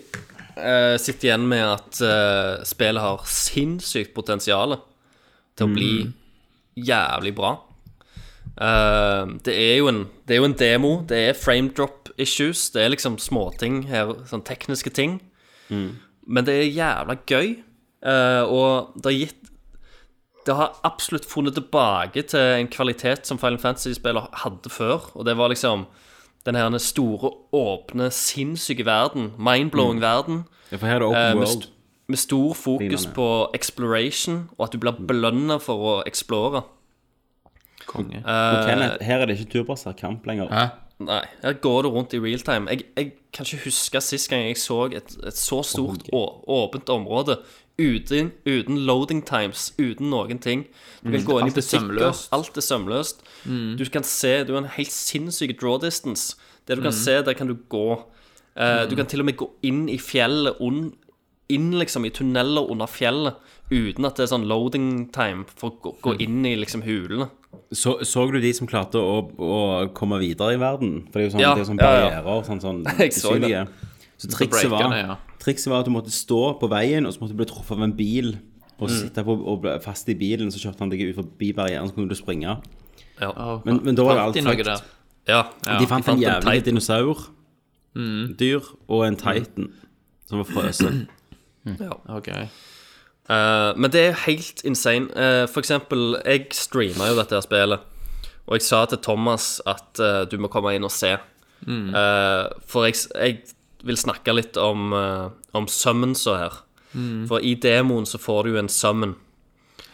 [SPEAKER 2] eh, sitter igjen med at eh, spillet har sinnssykt potensial til å bli jævlig bra. Eh, det, er jo en, det er jo en demo, det er frame drop issues, det er liksom småting her, sånn tekniske ting. Men det er jævla gøy, eh, og det har gitt Det har absolutt funnet tilbake til en kvalitet som Final Fantasy-spiller hadde før, og det var liksom den her store, åpne, sinnssyke verden. Mindblowing verden.
[SPEAKER 8] Ja, For her er det open
[SPEAKER 2] eh, med,
[SPEAKER 8] world.
[SPEAKER 2] st med stor fokus
[SPEAKER 8] Lignende.
[SPEAKER 2] på exploration, og at du blir belønna for å explore.
[SPEAKER 7] Konge.
[SPEAKER 8] Og Kenneth, her er det ikke turbasert kamp lenger.
[SPEAKER 9] Hæ?
[SPEAKER 2] Nei, her går det rundt i real time. Jeg, jeg kan ikke huske sist gang jeg så et, et så stort, å, åpent område uten, uten loading times, uten noen ting. Du kan gå inn i
[SPEAKER 7] alt er
[SPEAKER 2] butikker,
[SPEAKER 7] sømløst.
[SPEAKER 2] alt er sømløst. Du kan se, du har en helt sinnssyk draw distance. Det du kan se, der kan du gå. Eh, Du kan til og med gå inn i fjellet, un- inn liksom i tunneler under fjellet, uten at det er sånn loading time for å gå, gå inn i liksom hulene.
[SPEAKER 8] Så, så du de som klarte å, å komme videre i verden? For det er jo sånn,
[SPEAKER 2] Ja,
[SPEAKER 8] det er sånn
[SPEAKER 2] ja, ja.
[SPEAKER 8] barrierer og sånn, sånn
[SPEAKER 2] Jeg så det.
[SPEAKER 8] usynlige. Så trikset
[SPEAKER 7] breaker
[SPEAKER 8] var,
[SPEAKER 7] det, ja.
[SPEAKER 8] trikset var at du måtte stå på veien, og så måtte du bli truffet av en bil. Og sitte på, og ble fast i bilen, så kjørte han deg ut forbi barrieren, så kunne du springe.
[SPEAKER 2] Ja.
[SPEAKER 8] Men, men da var det alt
[SPEAKER 7] Alltid
[SPEAKER 8] fucked.
[SPEAKER 7] noe der.
[SPEAKER 2] ja.
[SPEAKER 8] De fant en jævlig
[SPEAKER 2] titan.
[SPEAKER 8] dinosaur, dyr, og en titan som var frøset.
[SPEAKER 7] Ok.
[SPEAKER 2] Eh, men det er helt insane. Eh, for eksempel, jeg streama jo dette her spillet, og jeg sa til Thomas at eh, du må komme inn og se. Eh, for jeg, s- jeg vil snakke litt om, uh, om summonsa her. For i demoen så får du jo en summon.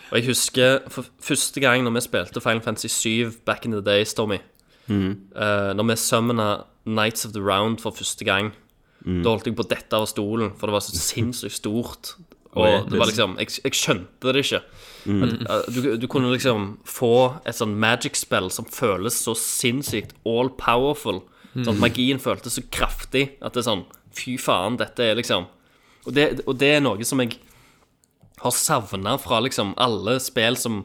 [SPEAKER 2] Og jeg husker for første gang når vi spilte Final Fantasy 7 back in the days, Tommy. eh, når vi summona Nights of the Round for første gang, da holdt jeg på å dette av stolen, for det var så sinnssykt stort. Og det var liksom Jeg, jeg skjønte det ikke. Men, eh, du, du kunne liksom få et sånn magic-spill som føles så sinnssykt all powerful, Sånn at magien føltes så kraftig at det er sånn Fy faen, dette er liksom Og det, og det er noe som jeg har savna fra liksom alle spill som,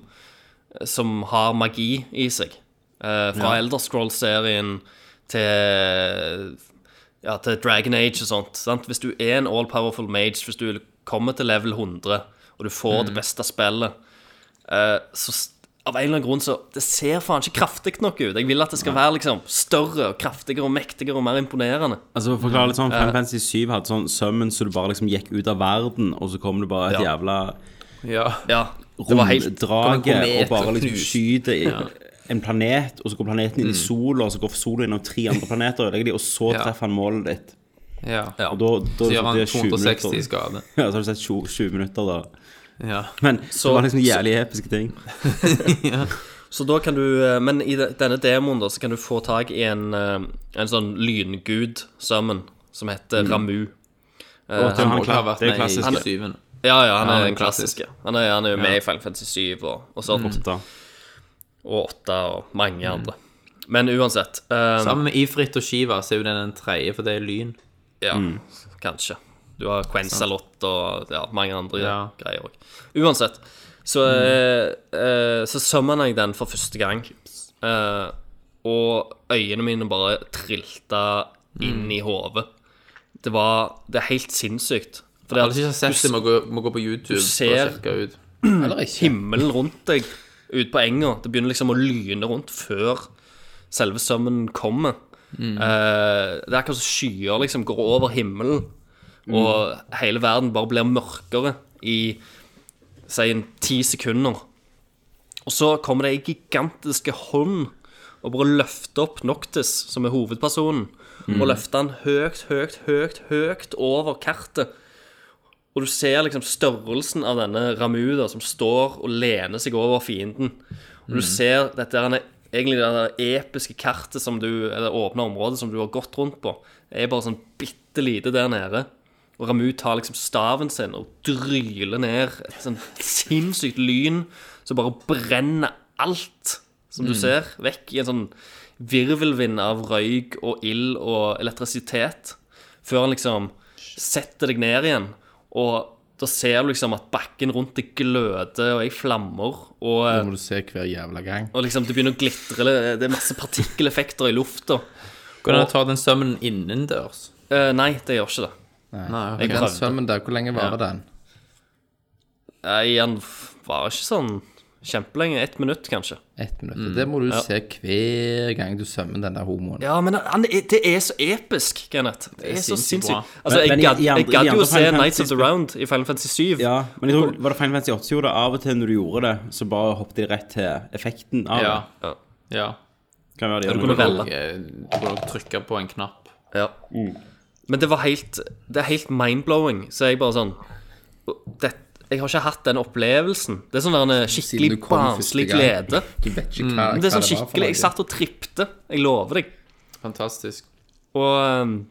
[SPEAKER 2] som har magi i seg. Eh, fra Elder Scrolls-serien til ja, til Dragon Age og sånt. Sant? Hvis du er en all-powerful mage, hvis du kommer til level 100, og du får det beste spillet, eh, så s- av en eller annen grunn så Det ser faen ikke kraftig nok ut. Jeg vil at det skal være liksom større og kraftigere og mektigere og mer imponerende.
[SPEAKER 3] Altså for å forklare litt
[SPEAKER 7] Eh,
[SPEAKER 3] sånn Final Fantasy 7 hadde sånn summon Så du bare liksom gikk ut av verden Og så kom det bare et
[SPEAKER 2] Ja.
[SPEAKER 3] jævla
[SPEAKER 7] Ja.
[SPEAKER 2] Ja, det var helt
[SPEAKER 3] romdrage
[SPEAKER 7] komet
[SPEAKER 3] Og bare
[SPEAKER 7] og
[SPEAKER 3] liksom
[SPEAKER 7] knust. Mm.
[SPEAKER 3] skyter i en planet Og så går planeten inn i sola Og så går sola innom tre andre planeter og ødelegger de, Og så
[SPEAKER 7] Ja.
[SPEAKER 3] treffer han målet ditt
[SPEAKER 7] ja.
[SPEAKER 3] Og da, da
[SPEAKER 7] Så gjør han
[SPEAKER 3] det er 20 minutter.
[SPEAKER 7] 260 i skade.
[SPEAKER 3] <laughs> Ja, så har du sett 20, 20 minutter da
[SPEAKER 7] Ja.
[SPEAKER 3] Men det var liksom jævlig episke
[SPEAKER 7] <laughs>
[SPEAKER 3] ting
[SPEAKER 2] Så da kan du eh, Men i de- denne demoen da, så kan du få tak i en, eh, en sånn lyngud sammen, som heter
[SPEAKER 7] Mm.
[SPEAKER 2] Ramu. Eh,
[SPEAKER 3] Og at han
[SPEAKER 7] Må ikke ha
[SPEAKER 3] klart-
[SPEAKER 7] vært
[SPEAKER 3] det er
[SPEAKER 7] med
[SPEAKER 3] klassisk.
[SPEAKER 7] i syvende.
[SPEAKER 2] ja, ja, han
[SPEAKER 7] Ja,
[SPEAKER 2] er
[SPEAKER 7] han er
[SPEAKER 2] den klassiske. Han er, han er jo med i Final Fantasy 7 og, og sånt.
[SPEAKER 7] Mm.
[SPEAKER 3] Da.
[SPEAKER 2] Og 8 og mange andre. Men uansett eh,
[SPEAKER 7] Sammen med Ifrit og Shiva så er jo den den tredje, for det er lyn.
[SPEAKER 2] Ja, kanskje. Du har Quensalot og ja, mange andre
[SPEAKER 7] Ja.
[SPEAKER 2] greier òg. Uansett, så, eh, eh, så summona jeg den for første gang. Eh, og øynene mine bare trilta inn i hodet. Det var Det er helt sinnssykt. For det
[SPEAKER 7] Alle som ikke har sett det, må gå, må gå på YouTube
[SPEAKER 2] ser-
[SPEAKER 7] og sjekke ut.
[SPEAKER 9] Eller ikke.
[SPEAKER 2] himmelen rundt deg ut på enga. Det begynner liksom å lyne rundt før selve sømmen kommer. Eh, det er akkurat som skyer liksom går over himmelen, og hele verden bare blir mørkere i si en ti sekunder. Og så kommer det ei gigantiske hånd og bare løfter opp Noctis, som er hovedpersonen, og løfter han høyt, høyt, høyt, høyt over kartet. Og du ser liksom størrelsen av denne Ramu da, som står og lener seg over fienden. Og du ser dette her, egentlig det her episke kartet som du, eller åpne området som du har gått rundt på. Det er bare sånn bitte lite der nede. Og Ramu tar liksom staven sin og dryler ned et sånn sinnssykt lyn som bare brenner alt som du ser, vekk i en sånn virvelvind av røyk og ild og elektrisitet. Før han liksom setter deg ned igjen, og da ser du liksom at bakken rundt deg gløder og er i flammer. Og, eh,
[SPEAKER 9] Det må du se hver jævla gang.
[SPEAKER 2] og liksom det begynner å glitre, eh, det er masse partikkeleffekter i lufta.
[SPEAKER 7] Går det an å ta den sømmen innendørs?
[SPEAKER 2] Eh, nei, det gjør ikke det.
[SPEAKER 7] Nei, ok.
[SPEAKER 2] Jeg
[SPEAKER 9] Den
[SPEAKER 2] prøvde.
[SPEAKER 9] sømmen der, hvor lenge varer den?
[SPEAKER 2] Nei, han var ikke sånn kjempelenge. Ett minutt, kanskje.
[SPEAKER 9] Ett minutt.
[SPEAKER 2] Mm.
[SPEAKER 9] Det må du se hver gang du sømmer den der homoen.
[SPEAKER 2] Ja, men han, er- det er så episk, Kenneth. Det er, så
[SPEAKER 7] sinnssykt
[SPEAKER 2] sinnssykt.
[SPEAKER 7] bra.
[SPEAKER 2] Altså,
[SPEAKER 3] Men-
[SPEAKER 2] jeg
[SPEAKER 3] men i-
[SPEAKER 2] gadd-
[SPEAKER 3] i andre-
[SPEAKER 2] jeg gadd
[SPEAKER 3] i
[SPEAKER 2] jo
[SPEAKER 3] andre
[SPEAKER 2] å se
[SPEAKER 3] Final
[SPEAKER 2] Nights of the
[SPEAKER 3] Fantasy-
[SPEAKER 2] Round i Final Fantasy 7.
[SPEAKER 3] Ja, men jeg tror, var det Final Fantasy 8 som gjorde det? Av og til når du gjorde det, så bare hoppet de rett til effekten av
[SPEAKER 7] Ja.
[SPEAKER 3] det.
[SPEAKER 2] Ja.
[SPEAKER 7] ja.
[SPEAKER 3] Kan være de
[SPEAKER 7] Du
[SPEAKER 3] gjør
[SPEAKER 7] kunne
[SPEAKER 3] noe.
[SPEAKER 2] velge.
[SPEAKER 7] også, eh, du kunne også trykke på en knapp.
[SPEAKER 2] Ja. Men det var helt Det er helt mindblowing. Så jeg bare sånn det, Jeg har ikke hatt den opplevelsen. Det er sånn der en
[SPEAKER 9] Siden du
[SPEAKER 2] skikkelig
[SPEAKER 9] kom første
[SPEAKER 2] barnslig
[SPEAKER 9] gang.
[SPEAKER 2] glede.
[SPEAKER 9] Du vet ikke hva,
[SPEAKER 2] Men det er
[SPEAKER 9] hva
[SPEAKER 2] sånn
[SPEAKER 9] var for
[SPEAKER 2] skikkelig Jeg
[SPEAKER 9] noe.
[SPEAKER 2] satt og tripte. Jeg lover deg.
[SPEAKER 7] Fantastisk.
[SPEAKER 2] Og um,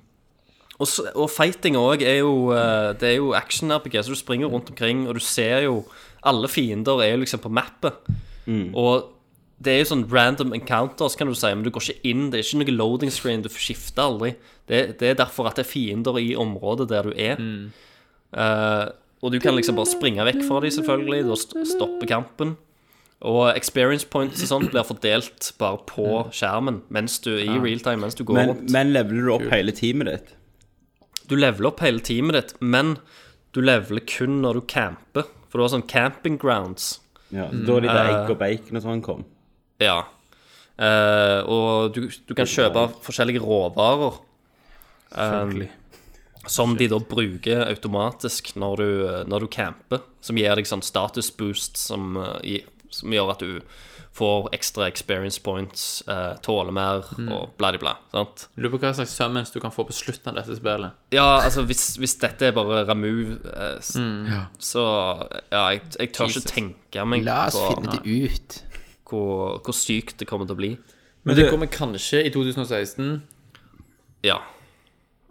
[SPEAKER 2] og, så- og fighting òg er jo eh, Det er jo action-RPG, så du springer rundt omkring, og du ser jo Alle fiender er jo liksom på mappet. Og det er jo sånn random encounters, kan du si, men du går ikke inn. Det er ikke noe loading screen, du skifter aldri. Det, det er derfor at det er fiender i området der du er. Eh, og du kan liksom bare springe vekk fra dem, selvfølgelig. Da st- stopper kampen. Og experience points og sånt blir fordelt bare på skjermen mens du i real time, mens du går
[SPEAKER 3] Men,
[SPEAKER 2] rundt
[SPEAKER 3] men leveler du opp hele teamet ditt?
[SPEAKER 2] du leveler opp hele teamet ditt, men du leveler kun når du camper. For du har sånn camping grounds.
[SPEAKER 3] Ja, Da er det
[SPEAKER 2] Mm.
[SPEAKER 3] der egg og bacon og sånn kom.
[SPEAKER 2] Ja. Eh, og du, du kan kjøpe forskjellige råvarer. Selvfølgelig. som de da bruker automatisk når du, eh, når du camper. Som gir deg sånn status boost som, eh, gi- som gjør at du får ekstra experience points, eh, tåler mer og bla, bla, bla. Sant?
[SPEAKER 7] Lurer på hva slags summons du kan få på slutten av dette spillet.
[SPEAKER 2] Ja, altså hvis, hvis dette er bare Ramu eh, s-
[SPEAKER 9] Mm.
[SPEAKER 2] Så ja, jeg, jeg tør ikke tenke meg
[SPEAKER 9] La oss
[SPEAKER 2] på
[SPEAKER 9] finne det ut.
[SPEAKER 2] hvor, hvor sykt det kommer til å bli.
[SPEAKER 7] Men det kommer kanskje i 2016.
[SPEAKER 2] Ja.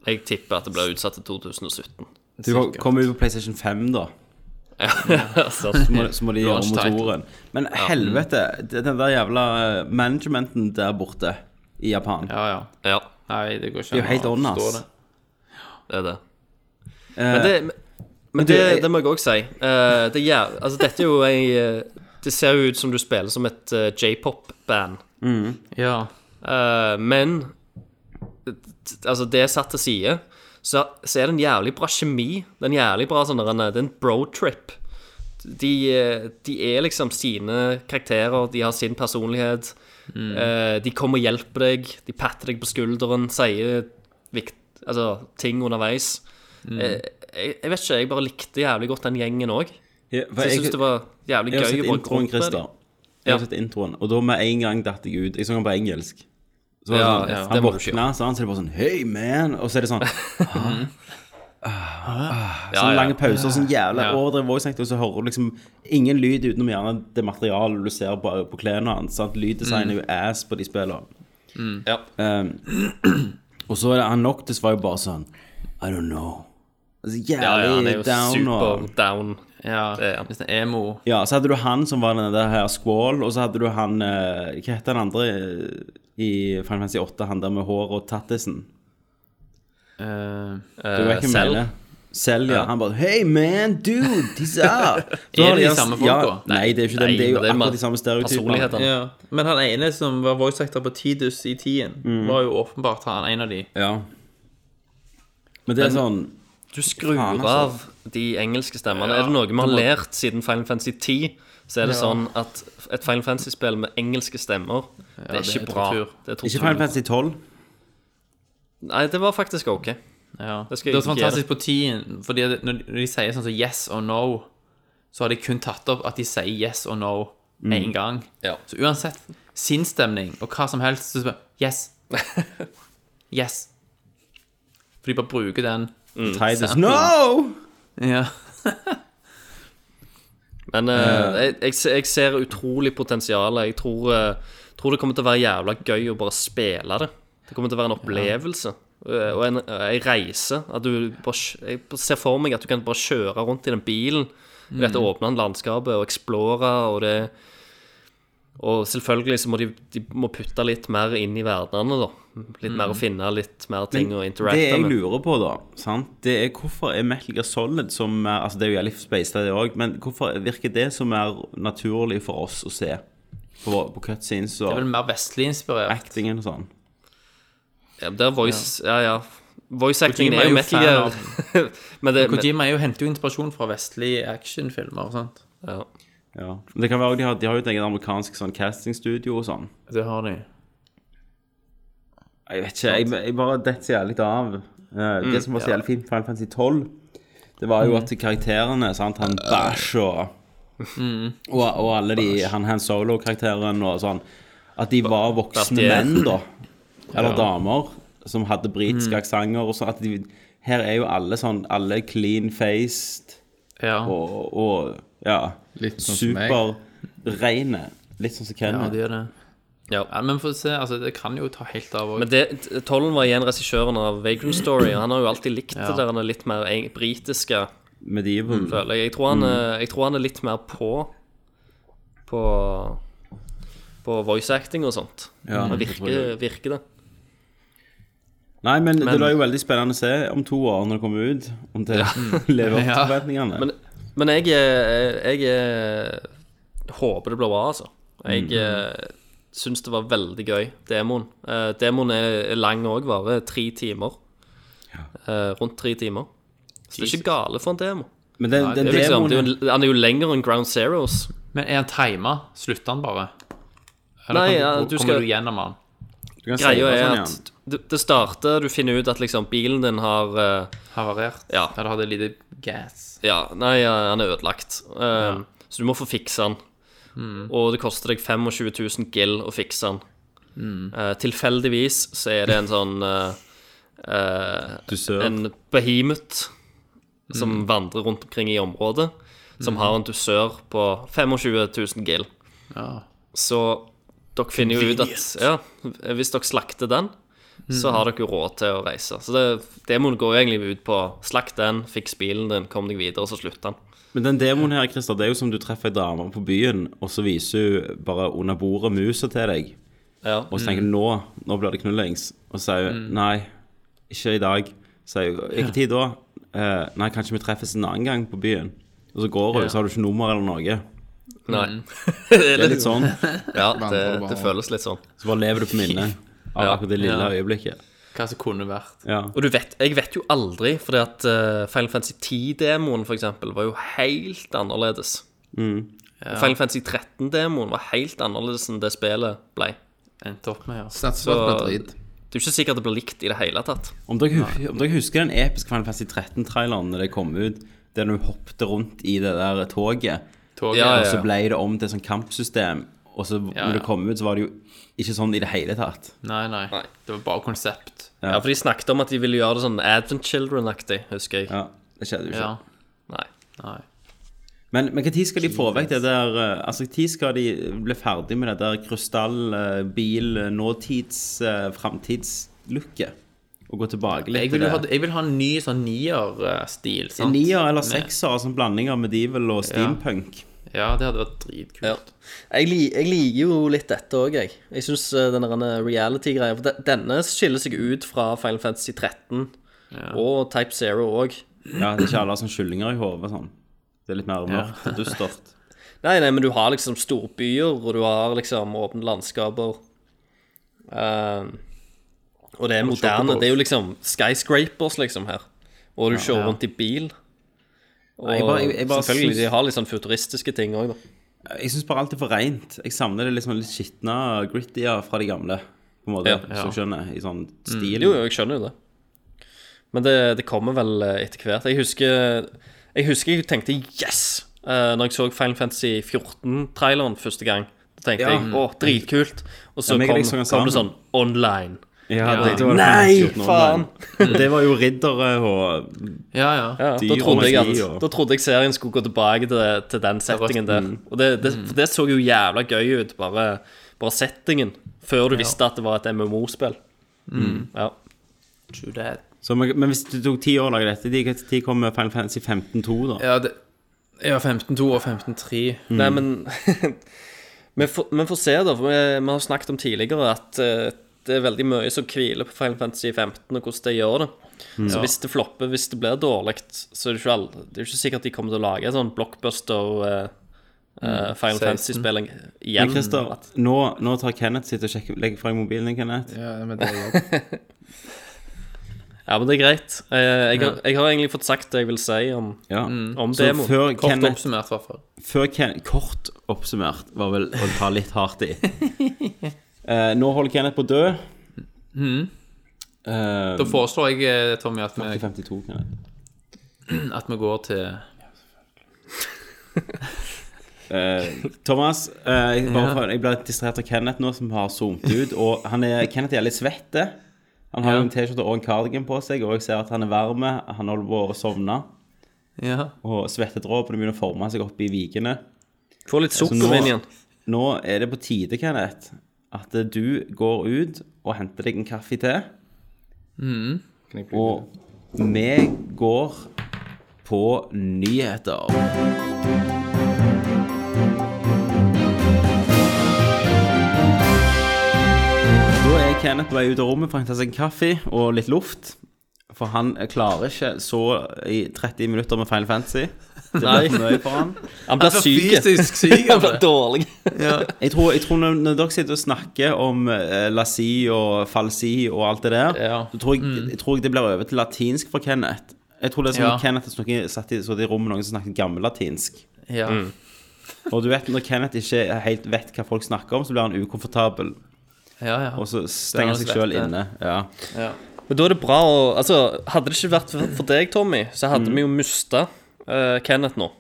[SPEAKER 2] Jeg tipper at det blir utsatt til 2017.
[SPEAKER 3] Du kom- kommer jo på PlayStation 5, da.
[SPEAKER 2] altså,
[SPEAKER 3] Så må, så må de gjøre
[SPEAKER 7] Launch title.
[SPEAKER 3] motoren. Men helvete, det- den der jævla managementen der borte i Japan
[SPEAKER 7] Ja, ja.
[SPEAKER 2] ja.
[SPEAKER 7] Nei, det går ikke
[SPEAKER 8] Det er jo helt on, ass.
[SPEAKER 7] det.
[SPEAKER 2] Det er det. Men det, men det,
[SPEAKER 8] jeg-
[SPEAKER 2] det må jeg òg si. Eh, det er, jæv- altså, dette er jo ei eh, Det ser jo ut som du spiller som et eh, j-pop-band,
[SPEAKER 7] Ja.
[SPEAKER 2] Eh, men t- t- Altså, det er satt til side, så, så er det en jævlig bra kjemi. Det er en jævlig bra sånn der en- Det er en bro-trip. De, eh, de er liksom sine karakterer, de har sin personlighet. Eh, de kommer og hjelper deg, de patter deg på skulderen, sier vikt, altså, ting underveis. Eh, jeg, jeg vet ikke, jeg bare likte jævlig godt den gjengen òg.
[SPEAKER 8] Ja, for
[SPEAKER 2] Jeg
[SPEAKER 8] jeg,
[SPEAKER 2] syns det var jævlig
[SPEAKER 8] jeg har
[SPEAKER 2] gøy
[SPEAKER 8] sett
[SPEAKER 2] å bare
[SPEAKER 8] introen,
[SPEAKER 2] gråte med
[SPEAKER 8] Christer.
[SPEAKER 2] dem.
[SPEAKER 8] Jeg
[SPEAKER 2] Ja.
[SPEAKER 8] har sett introen, og da med en gang datt jeg ut. Jeg sang den på engelsk. Så var det
[SPEAKER 2] Ja,
[SPEAKER 8] sånn,
[SPEAKER 2] ja, det
[SPEAKER 8] Han
[SPEAKER 2] må du ikke
[SPEAKER 8] våkna, sant, så er det bare sånn Hey, man! Og så er
[SPEAKER 2] <laughs>
[SPEAKER 8] det sånn
[SPEAKER 2] Mhm.
[SPEAKER 8] Ah,
[SPEAKER 2] Ja,
[SPEAKER 8] Sånne
[SPEAKER 2] ja.
[SPEAKER 8] lange pauser, sånn jævla overdrevet voice acting, og så hører du liksom ingen lyd utenom gjerne det materialet du ser på, på klærne hans. sant? Lyddesign
[SPEAKER 2] Mm.
[SPEAKER 8] er jo ass på de spillene.
[SPEAKER 2] Ja.
[SPEAKER 8] Um, og så er det han Noctis var jo bare sånn I don't know. Altså, jævlig
[SPEAKER 2] Ja, ja, han er jo
[SPEAKER 8] down
[SPEAKER 2] super
[SPEAKER 8] og
[SPEAKER 2] down.
[SPEAKER 7] ja.
[SPEAKER 2] Det er han.
[SPEAKER 7] Hvis det er emo
[SPEAKER 8] Ja, så hadde du han som var den der her Squall, og så hadde du han eh, Hva heter han andre eh, i Final Fantasy 8, han der med hår og tattisen?
[SPEAKER 7] eh,
[SPEAKER 8] Du vet hvem jeg
[SPEAKER 2] Selv.
[SPEAKER 8] mener? Selv, ja. Han bare Hey man, dude, these are Så
[SPEAKER 7] Er
[SPEAKER 8] har
[SPEAKER 7] det de
[SPEAKER 8] gjerne-
[SPEAKER 7] samme folka?
[SPEAKER 8] Ja, nei, det er jo ikke dem.
[SPEAKER 2] Nei,
[SPEAKER 8] Det er jo
[SPEAKER 2] men det er
[SPEAKER 8] akkurat
[SPEAKER 2] mer
[SPEAKER 8] de samme stereotypene.
[SPEAKER 2] personlighetene.
[SPEAKER 7] ja. Men han ene som var voice actor på Tidus i tien,
[SPEAKER 2] Mm.
[SPEAKER 7] var jo åpenbart han en av de.
[SPEAKER 8] Ja. Men det er sånn
[SPEAKER 2] Du skrur
[SPEAKER 8] Faen, altså.
[SPEAKER 2] av de engelske stemmene. er det noe vi har lært siden Final Fantasy 10, så er det sånn at et Final Fantasy-spill med engelske stemmer, det er
[SPEAKER 7] det
[SPEAKER 2] ikke
[SPEAKER 7] er
[SPEAKER 2] bra.
[SPEAKER 7] tortur.
[SPEAKER 2] Det er
[SPEAKER 8] Ikke
[SPEAKER 2] tortur.
[SPEAKER 8] Final Fantasy 12.
[SPEAKER 2] Nei, det var faktisk OK.
[SPEAKER 7] Ja.
[SPEAKER 2] Det
[SPEAKER 7] Det,
[SPEAKER 2] skal jeg
[SPEAKER 7] er
[SPEAKER 2] ikke
[SPEAKER 7] fantastisk på tien, fordi det- når de sier sånn som yes og no, så har de kun tatt opp at de sier yes og no
[SPEAKER 2] Mm.
[SPEAKER 7] én gang.
[SPEAKER 2] Ja.
[SPEAKER 7] Så uansett sinnsstemning og hva som helst, så spør yes. yes. For de bare bruker den.
[SPEAKER 8] Tidus No!
[SPEAKER 7] Ja.
[SPEAKER 2] Men eh, jeg, jeg, se- jeg ser utrolig potensial. Jeg tror, eh, tror det kommer til å være jævla gøy å bare spille det. Det kommer til å være en opplevelse. eh, Og en, eh, en reise. At du bare, kj- jeg ser for meg at du kan bare kjøre rundt i den bilen i dette åpne landskapet og explore. Og, det, og selvfølgelig så må de, de må putte litt mer inn i verdenene, da. Litt mer å finne litt mer ting å
[SPEAKER 8] Det
[SPEAKER 2] interacte
[SPEAKER 8] jeg
[SPEAKER 2] med.
[SPEAKER 8] lurer på, da, sant? det er hvorfor er Metal Gear Solid som mer- Altså, det er jo jævlig space, det òg, men hvorfor virker det som er naturlig for oss å se? På, på cutscenes
[SPEAKER 7] Det er vel
[SPEAKER 8] og
[SPEAKER 7] mer vestlig inspirert.
[SPEAKER 8] actingen og sånn.
[SPEAKER 2] Ja, det er voice, ja, ja. voice acting er
[SPEAKER 7] Kojima er jo
[SPEAKER 2] jo Metal
[SPEAKER 7] fan
[SPEAKER 2] Gear.
[SPEAKER 7] av-
[SPEAKER 2] <laughs> Men det, men,
[SPEAKER 7] Kojima er jo, henter jo inspirasjon fra vestlige actionfilmer og sånt.
[SPEAKER 2] ja.
[SPEAKER 8] Ja. Men Det kan være, de har, de har jo et eget amerikansk sånn castingstudio og sånn.
[SPEAKER 7] Det har de.
[SPEAKER 8] Jeg vet ikke, jeg, jeg bare detter så jævlig av. Eh, Det som var så jævlig fint på Final Fantasy 12, det var jo at karakterene, sant, han Bæsj og, og Og alle de, han Han Solo-karakteren og sånn, at de var voksne
[SPEAKER 2] Batier.
[SPEAKER 8] menn, da. Eller damer, som hadde britiske aksenter og sånn. At de Her er jo alle sånn, alle clean-faced
[SPEAKER 7] Ja.
[SPEAKER 8] og, og ja,
[SPEAKER 10] Litt sånn som meg.
[SPEAKER 8] superreine. Litt sånn som
[SPEAKER 7] ja,
[SPEAKER 8] Kenneth.
[SPEAKER 7] de er det.
[SPEAKER 2] Ja.
[SPEAKER 7] Ja, men få se, altså, det kan jo ta helt av òg.
[SPEAKER 2] Men det, Tollen var igjen regissøren av Vagrant Story. og Han har jo alltid likt det der han er litt mer eng- britiske,
[SPEAKER 8] Medieval.
[SPEAKER 2] føler jeg. Jeg tror,
[SPEAKER 8] Mm.
[SPEAKER 2] han, er- jeg tror han er litt mer på på, på voice acting og sånt.
[SPEAKER 8] Ja,
[SPEAKER 2] det
[SPEAKER 8] jeg tror
[SPEAKER 2] virker, virker det.
[SPEAKER 8] Nei, men, det blir jo veldig spennende å se om to år når det kommer ut, om det <laughs> lever opp til
[SPEAKER 7] Ja.
[SPEAKER 8] forventningene.
[SPEAKER 2] Men, men jeg, eh, jeg eh, håper det blir bra, altså. Jeg mm. syns det var veldig gøy, demoen. Eh, demoen er er lang òg, varer tre timer. Eh, rundt tre timer. Så det er ikke gale for en demo.
[SPEAKER 8] Men den, den
[SPEAKER 2] Det er liksom, det
[SPEAKER 8] demoen
[SPEAKER 2] er jo, han er jo lenger enn Ground Zeroes.
[SPEAKER 7] Men er han tima? Slutter han bare? Eller
[SPEAKER 2] Nei,
[SPEAKER 7] kan
[SPEAKER 2] ja,
[SPEAKER 7] du,
[SPEAKER 2] du
[SPEAKER 7] kommer
[SPEAKER 2] skal-
[SPEAKER 7] du gjennom han?
[SPEAKER 8] du kan
[SPEAKER 2] Greia
[SPEAKER 8] save
[SPEAKER 2] er
[SPEAKER 8] sånn igjen.
[SPEAKER 2] at det, det starter, du finner ut at liksom bilen din har eh,
[SPEAKER 7] Havarert?
[SPEAKER 2] Ja.
[SPEAKER 7] Eller hadde lite gas?
[SPEAKER 2] Ja, nei, eh, han er ødelagt. Eh, Så du må få fikse han. Og det koster deg 25 000 gill å fikse han. Eh, tilfeldigvis så er det en sånn eh, eh,
[SPEAKER 8] Du sør.
[SPEAKER 2] En behemoth som vandrer rundt omkring i området, som har en dusør på 25 000 gill.
[SPEAKER 7] Ja.
[SPEAKER 2] Så dere finner jo ut at ja, hvis dere slakter den, så har dere jo råd til å reise. Så det, demoen går jo egentlig ut på slakt den, fiks bilen din, kom deg videre, og så slutter den.
[SPEAKER 8] Men den demoen her, Christer, det er jo som du treffer ei dame på byen, og så viser hun bare under bordet musa til deg.
[SPEAKER 2] Ja.
[SPEAKER 8] Og så tenker jeg nå, nå blir det knullings. Og så sier
[SPEAKER 2] Mm.
[SPEAKER 8] hun nei, ikke i dag. Så sier hun ikke tid da. Eh, nei, kanskje vi treffes en annen gang på byen. Og så går hun, så har du ikke nummer eller noe.
[SPEAKER 2] Nei. det liksom-
[SPEAKER 8] Det er litt sånn.
[SPEAKER 2] Ja, det, det føles litt sånn.
[SPEAKER 8] Så bare lever du
[SPEAKER 2] <laughs>
[SPEAKER 8] på minnet av akkurat det lille øyeblikket.
[SPEAKER 7] Hva som kunne vært.
[SPEAKER 8] Ja.
[SPEAKER 2] Og du vet, jeg vet jo aldri, fordi at eh, Final Fantasy 10-demoen for eksempel var jo helt annerledes. Og Final Fantasy 13-demoen var helt annerledes enn det spillet ble.
[SPEAKER 7] Endte opp med, ja.
[SPEAKER 9] Satser på at det blir drit.
[SPEAKER 2] Det er jo ikke sikkert det blir likt i det hele tatt.
[SPEAKER 8] Om, dere, hu- om dere husker den episke Final Fantasy 13-traileren da det kom ut, der du hoppet rundt i det der toget,
[SPEAKER 7] Toget.
[SPEAKER 2] Ja,
[SPEAKER 8] og
[SPEAKER 2] ja.
[SPEAKER 8] så ble det om til sånn kampsystem, og så
[SPEAKER 7] Ja,
[SPEAKER 8] når
[SPEAKER 7] ja.
[SPEAKER 8] det kom ut, så var det jo ikke sånn i det hele tatt.
[SPEAKER 7] Nei, nei, Det var bare konsept.
[SPEAKER 2] Ja, for de snakket om at de ville gjøre det sånn Advent Children-aktig, husker jeg.
[SPEAKER 8] Ja, det skjedde jo ikke.
[SPEAKER 7] Ja.
[SPEAKER 2] Nei.
[SPEAKER 7] Nei.
[SPEAKER 8] Men, men hva tid skal de få vekk det der eh, Altså, tid skal de bli ferdig med det der krystall, eh, bil, eh, nåtids, eh, framtidslooket? Og gå tilbake litt
[SPEAKER 7] Jeg vil, jo
[SPEAKER 8] til
[SPEAKER 7] ha,
[SPEAKER 8] det?
[SPEAKER 7] jeg vil ha en ny sånn nier-stil, sant?
[SPEAKER 8] Nier eller sekser, altså en blanding av medieval og steampunk.
[SPEAKER 7] Ja, det hadde vært dritkult.
[SPEAKER 2] Ja. Jeg, li- jeg liker jo litt dette òg, jeg. Jeg syns den der eh, reality-greia For de- denne skiller seg ut fra Final Fantasy 13 og Type Zero òg.
[SPEAKER 8] Ja, det er ikke alle som kyllinger i hodet sånn. Det er litt mer mørkt og dystert.
[SPEAKER 2] Nei, nei, men du har liksom storbyer, og du har liksom åpne landskaper. Eh, og det er moderne. Det er jo liksom skyscrapers, liksom, her. Og du kjører rundt i bil. Og
[SPEAKER 8] jeg bare- jeg- jeg bare
[SPEAKER 2] selvfølgelig, de
[SPEAKER 8] syns-
[SPEAKER 2] har litt sånn futuristiske ting òg, da.
[SPEAKER 8] Jeg syns bare alt er for reint. Jeg savner det liksom litt skitne grittier fra de gamle. På en måte,
[SPEAKER 2] Ja. Mm.
[SPEAKER 8] hvis du skjønner. I sånn stil.
[SPEAKER 2] Jo, jo, jeg skjønner jo det. Men det, det kommer vel eh, etter hvert. Jeg husker jeg, husker jeg tenkte yes! eh, når jeg så Final Fantasy 14-traileren første gang. Da tenkte
[SPEAKER 8] Ja. Mm.
[SPEAKER 2] jeg å, dritkult. Og så
[SPEAKER 8] Ja, meg og
[SPEAKER 2] kom,
[SPEAKER 8] deg så den
[SPEAKER 2] kom det sånn
[SPEAKER 8] sammen.
[SPEAKER 2] online.
[SPEAKER 8] Ja, det- det var
[SPEAKER 2] Nei,
[SPEAKER 8] 14 år
[SPEAKER 2] Mm.
[SPEAKER 8] gammel. Det var jo riddere og
[SPEAKER 7] Ja, ja.
[SPEAKER 2] Ja, da,
[SPEAKER 8] Dyr
[SPEAKER 2] trodde jeg at,
[SPEAKER 8] og magi og-
[SPEAKER 2] da trodde jeg serien skulle gå tilbake til, til den settingen der. Og det, det, for det så jo jævla gøy ut, bare, bare settingen, før du visste at det var et MMO-spill. Ja.
[SPEAKER 7] True that.
[SPEAKER 8] Så, men, men hvis det tok ti år å lage dette, de- når de kommer Final Fantasy 15-2 da?
[SPEAKER 7] Ja, det ja, 15-2 og 15-3.
[SPEAKER 2] Nei, men vi, får, vi får se, da. For vi, vi har snakket om tidligere at eh, det er veldig mye som hviler på Final Fantasy 15, og hvordan de gjør det. Så hvis det flopper, hvis det blir dårlig, så er det ikke, all, det er ikke sikkert de kommer til å lage en sånn blockbuster eh, eh, Final
[SPEAKER 7] 16.
[SPEAKER 2] Fantasy-spilling
[SPEAKER 8] Men
[SPEAKER 2] igjen.
[SPEAKER 8] Christer,
[SPEAKER 2] Mm.
[SPEAKER 8] nå, nå tar Kenneth sitt og sjekker, legger fra deg mobilen din, Kenneth.
[SPEAKER 9] Ja, men det er jobb.
[SPEAKER 2] Ja, men det er greit. Eh, jeg, har, jeg har egentlig fått sagt det jeg vil si om,
[SPEAKER 8] Ja.
[SPEAKER 2] om
[SPEAKER 8] Så
[SPEAKER 2] demoen.
[SPEAKER 8] før
[SPEAKER 7] Kort
[SPEAKER 8] Kenneth,
[SPEAKER 7] oppsummert, i hvert fall.
[SPEAKER 8] før Ken, kort oppsummert var vel å ta litt hardt i. Eh, nå holder Kenneth på å dø. Eh,
[SPEAKER 7] Mm. Da foreslår jeg, eh, Tommy, at vi,
[SPEAKER 8] 52, Kenneth.
[SPEAKER 7] at vi går til
[SPEAKER 8] Eh, Thomas, eh, jeg, bare, for- jeg ble litt distrahert av Kenneth nå, som har zoomt ut. Og han er, Kenneth er litt svette. Han har jo en T-skjorte og en cardigan på seg, og jeg ser at han er varm. Han holder på å sovne.
[SPEAKER 7] Ja.
[SPEAKER 8] og svettedråpene begynner å forme seg opp i vikene.
[SPEAKER 2] Få litt
[SPEAKER 8] Altså, nå-
[SPEAKER 2] sukker inn igjen.
[SPEAKER 8] Nå er det på tide, Kenneth, at du går ut og henter deg en kaffe til. Og vi går på nyheter. Da er Kenneth på vei ut av rommet for å hente seg en kaffe og litt luft. For han klarer ikke så i 30 minutter med Final Fantasy. Det blir for mye for han.
[SPEAKER 2] Han blir syk.
[SPEAKER 7] Altså, Fysisk syk,
[SPEAKER 2] Han blir dårlig.
[SPEAKER 8] Jeg tror, jeg tror når, når dere sitter og snakker om eh, lasi og falsi og alt det der,
[SPEAKER 7] Ja. Mm.
[SPEAKER 8] så tror jeg, jeg tror det blir over til latinsk for Kenneth. Jeg tror det er som
[SPEAKER 7] Ja.
[SPEAKER 8] om Kenneth snakker, satt i, satt i rommet med noen som snakket gammellatinsk.
[SPEAKER 7] Ja.
[SPEAKER 2] Mm.
[SPEAKER 8] Og du vet, når Kenneth ikke helt vet hva folk snakker om, så blir han ukomfortabel.
[SPEAKER 7] ja, ja.
[SPEAKER 8] Og så
[SPEAKER 7] han
[SPEAKER 8] stenger han seg sjøl
[SPEAKER 7] svette.
[SPEAKER 8] inne. Ja.
[SPEAKER 2] Men da er det bra å Altså, hadde det ikke vært for- for deg, Tommy, så hadde vi jo mista Kenneth nå.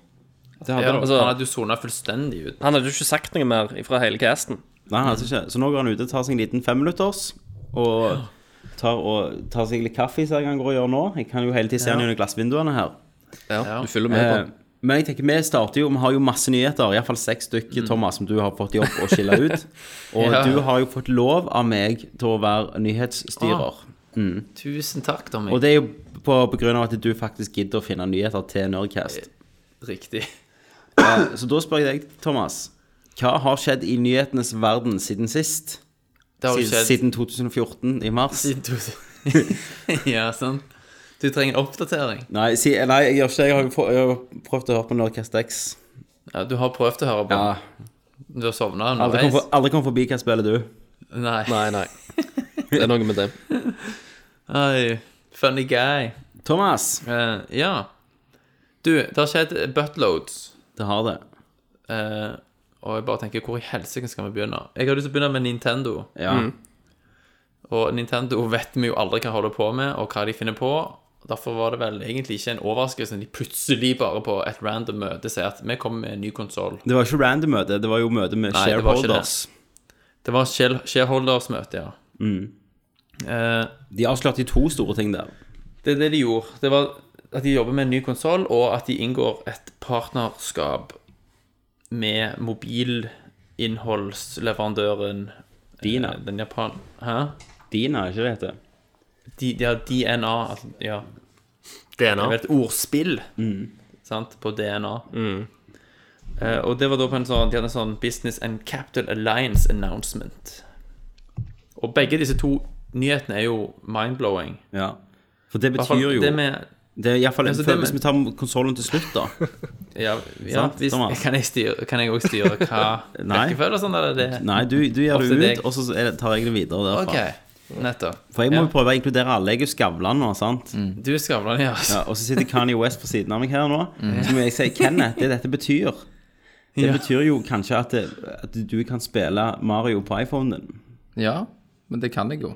[SPEAKER 8] Det hadde
[SPEAKER 7] ja
[SPEAKER 8] han.
[SPEAKER 2] altså-
[SPEAKER 7] han hadde jo sona fullstendig ut.
[SPEAKER 2] Han hadde jo ikke sagt noe mer fra hele <laughs> casten.
[SPEAKER 8] Nei, altså ikke. Så nå går han ut og tar seg en liten femminutters. Og tar, og tar seg litt kaffe, ser jeg han går og gjør nå. Jeg kan jo hele tiden se han gjennom glassvinduene her.
[SPEAKER 7] Ja.
[SPEAKER 9] Du følger med på
[SPEAKER 8] Eh,
[SPEAKER 9] den.
[SPEAKER 8] Men jeg tenker, vi starter jo, vi har jo masse nyheter, iallfall seks stykker, Thomas, som du har fått i opp å skille
[SPEAKER 7] <laughs>
[SPEAKER 8] ut. Og
[SPEAKER 7] Mm. Ja.
[SPEAKER 8] du har jo fått lov av meg til å være nyhetsstyrer.
[SPEAKER 7] Tusen takk, Tommy.
[SPEAKER 8] Og det er jo på, på grunn av at du faktisk gidder å finne nyheter til Nerdcast.
[SPEAKER 7] Riktig.
[SPEAKER 8] Så da spør jeg deg, Thomas, hva har skjedd i nyhetenes verden siden sist?
[SPEAKER 7] Det har jo
[SPEAKER 11] Siden, siden
[SPEAKER 7] skjedd
[SPEAKER 11] 2014, i mars.
[SPEAKER 7] siden to <laughs> Ja, sant. Du trenger en oppdatering.
[SPEAKER 8] Nei, si, nei jeg gjør ikke det. Jeg har, jo få- jeg har prøvd å høre på Nerdcast X.
[SPEAKER 7] Ja, du har prøvd å høre på.
[SPEAKER 8] Ja.
[SPEAKER 7] den. Du har sovna
[SPEAKER 8] Aldri kom,
[SPEAKER 7] underveis.
[SPEAKER 8] for, aldri kom forbi hva spiller du.
[SPEAKER 7] Nei.
[SPEAKER 2] Nei, nei. Det er noe med det.
[SPEAKER 7] <laughs> Oi, funny guy.
[SPEAKER 8] Thomas.
[SPEAKER 7] Eh, ja. Du, det har skjedd buttloads.
[SPEAKER 8] Det har det.
[SPEAKER 7] Eh, og jeg bare tenker, hvor i helsike skal vi begynne? Jeg har lyst til å begynne med Nintendo.
[SPEAKER 8] Ja.
[SPEAKER 7] Og Nintendo vet vi jo aldri hva holder på med, og hva de finner på. Derfor var det vel egentlig ikke en overraskelse når de plutselig bare på et random møte sier at vi kommer med en ny konsoll.
[SPEAKER 8] Det var ikke random møte. Det var jo møte med
[SPEAKER 7] Nei, det var ikke det.
[SPEAKER 8] shareholders.
[SPEAKER 7] Det var share- shareholders-møte, ja. Eh,
[SPEAKER 8] De avslørte to store ting der.
[SPEAKER 7] det er det de gjorde. Det var at de jobber med en ny konsoll, og at de inngår et partnerskap med mobilinnholdsleverandøren
[SPEAKER 8] Dina.
[SPEAKER 7] eh, Den japan... Hæ?
[SPEAKER 8] Dina, ikke det heter?
[SPEAKER 7] De, de har DNA, altså, ja.
[SPEAKER 2] DNA.
[SPEAKER 7] Det var et ordspill
[SPEAKER 8] Mm.
[SPEAKER 7] sant, på DNA. Eh, og det var da på en sånn, de hadde en sånn Business and Capital Alliance announcement. Og begge disse to nyhetene er jo mind-blowing.
[SPEAKER 8] Ja. For det
[SPEAKER 7] I hvert fall
[SPEAKER 8] betyr jo
[SPEAKER 7] Det med,
[SPEAKER 8] Det er i hvert fall
[SPEAKER 7] Altså, det
[SPEAKER 8] for,
[SPEAKER 7] med-
[SPEAKER 8] Hvis vi tar konsollen til slutt,
[SPEAKER 7] <laughs>
[SPEAKER 8] da.
[SPEAKER 7] ja, ja
[SPEAKER 8] Sant,
[SPEAKER 7] hvis,
[SPEAKER 8] Thomas?
[SPEAKER 7] kan jeg styre- kan jeg òg styre hva
[SPEAKER 8] <laughs> Nei.
[SPEAKER 7] rekkefølge og sånn, eller er det
[SPEAKER 8] Nei, du, du gjør
[SPEAKER 7] Ofte
[SPEAKER 8] det
[SPEAKER 7] deg.
[SPEAKER 8] ut, og så er det- tar jeg det videre derfra.
[SPEAKER 7] OK, nettopp.
[SPEAKER 8] For jeg må jo
[SPEAKER 7] ja. Mm.
[SPEAKER 8] prøve å inkludere alle. Jeg er jo Skavlan nå, sant?
[SPEAKER 7] Du er Skavlan, ja.
[SPEAKER 8] Ja, og så sitter Kanye West på siden av meg her nå. Så må jeg si Kenneth, det dette betyr Det
[SPEAKER 7] Mm. Ja.
[SPEAKER 8] betyr jo kanskje at, det, at du kan spille Mario på iPhonen din.
[SPEAKER 9] Ja, men det kan jeg jo.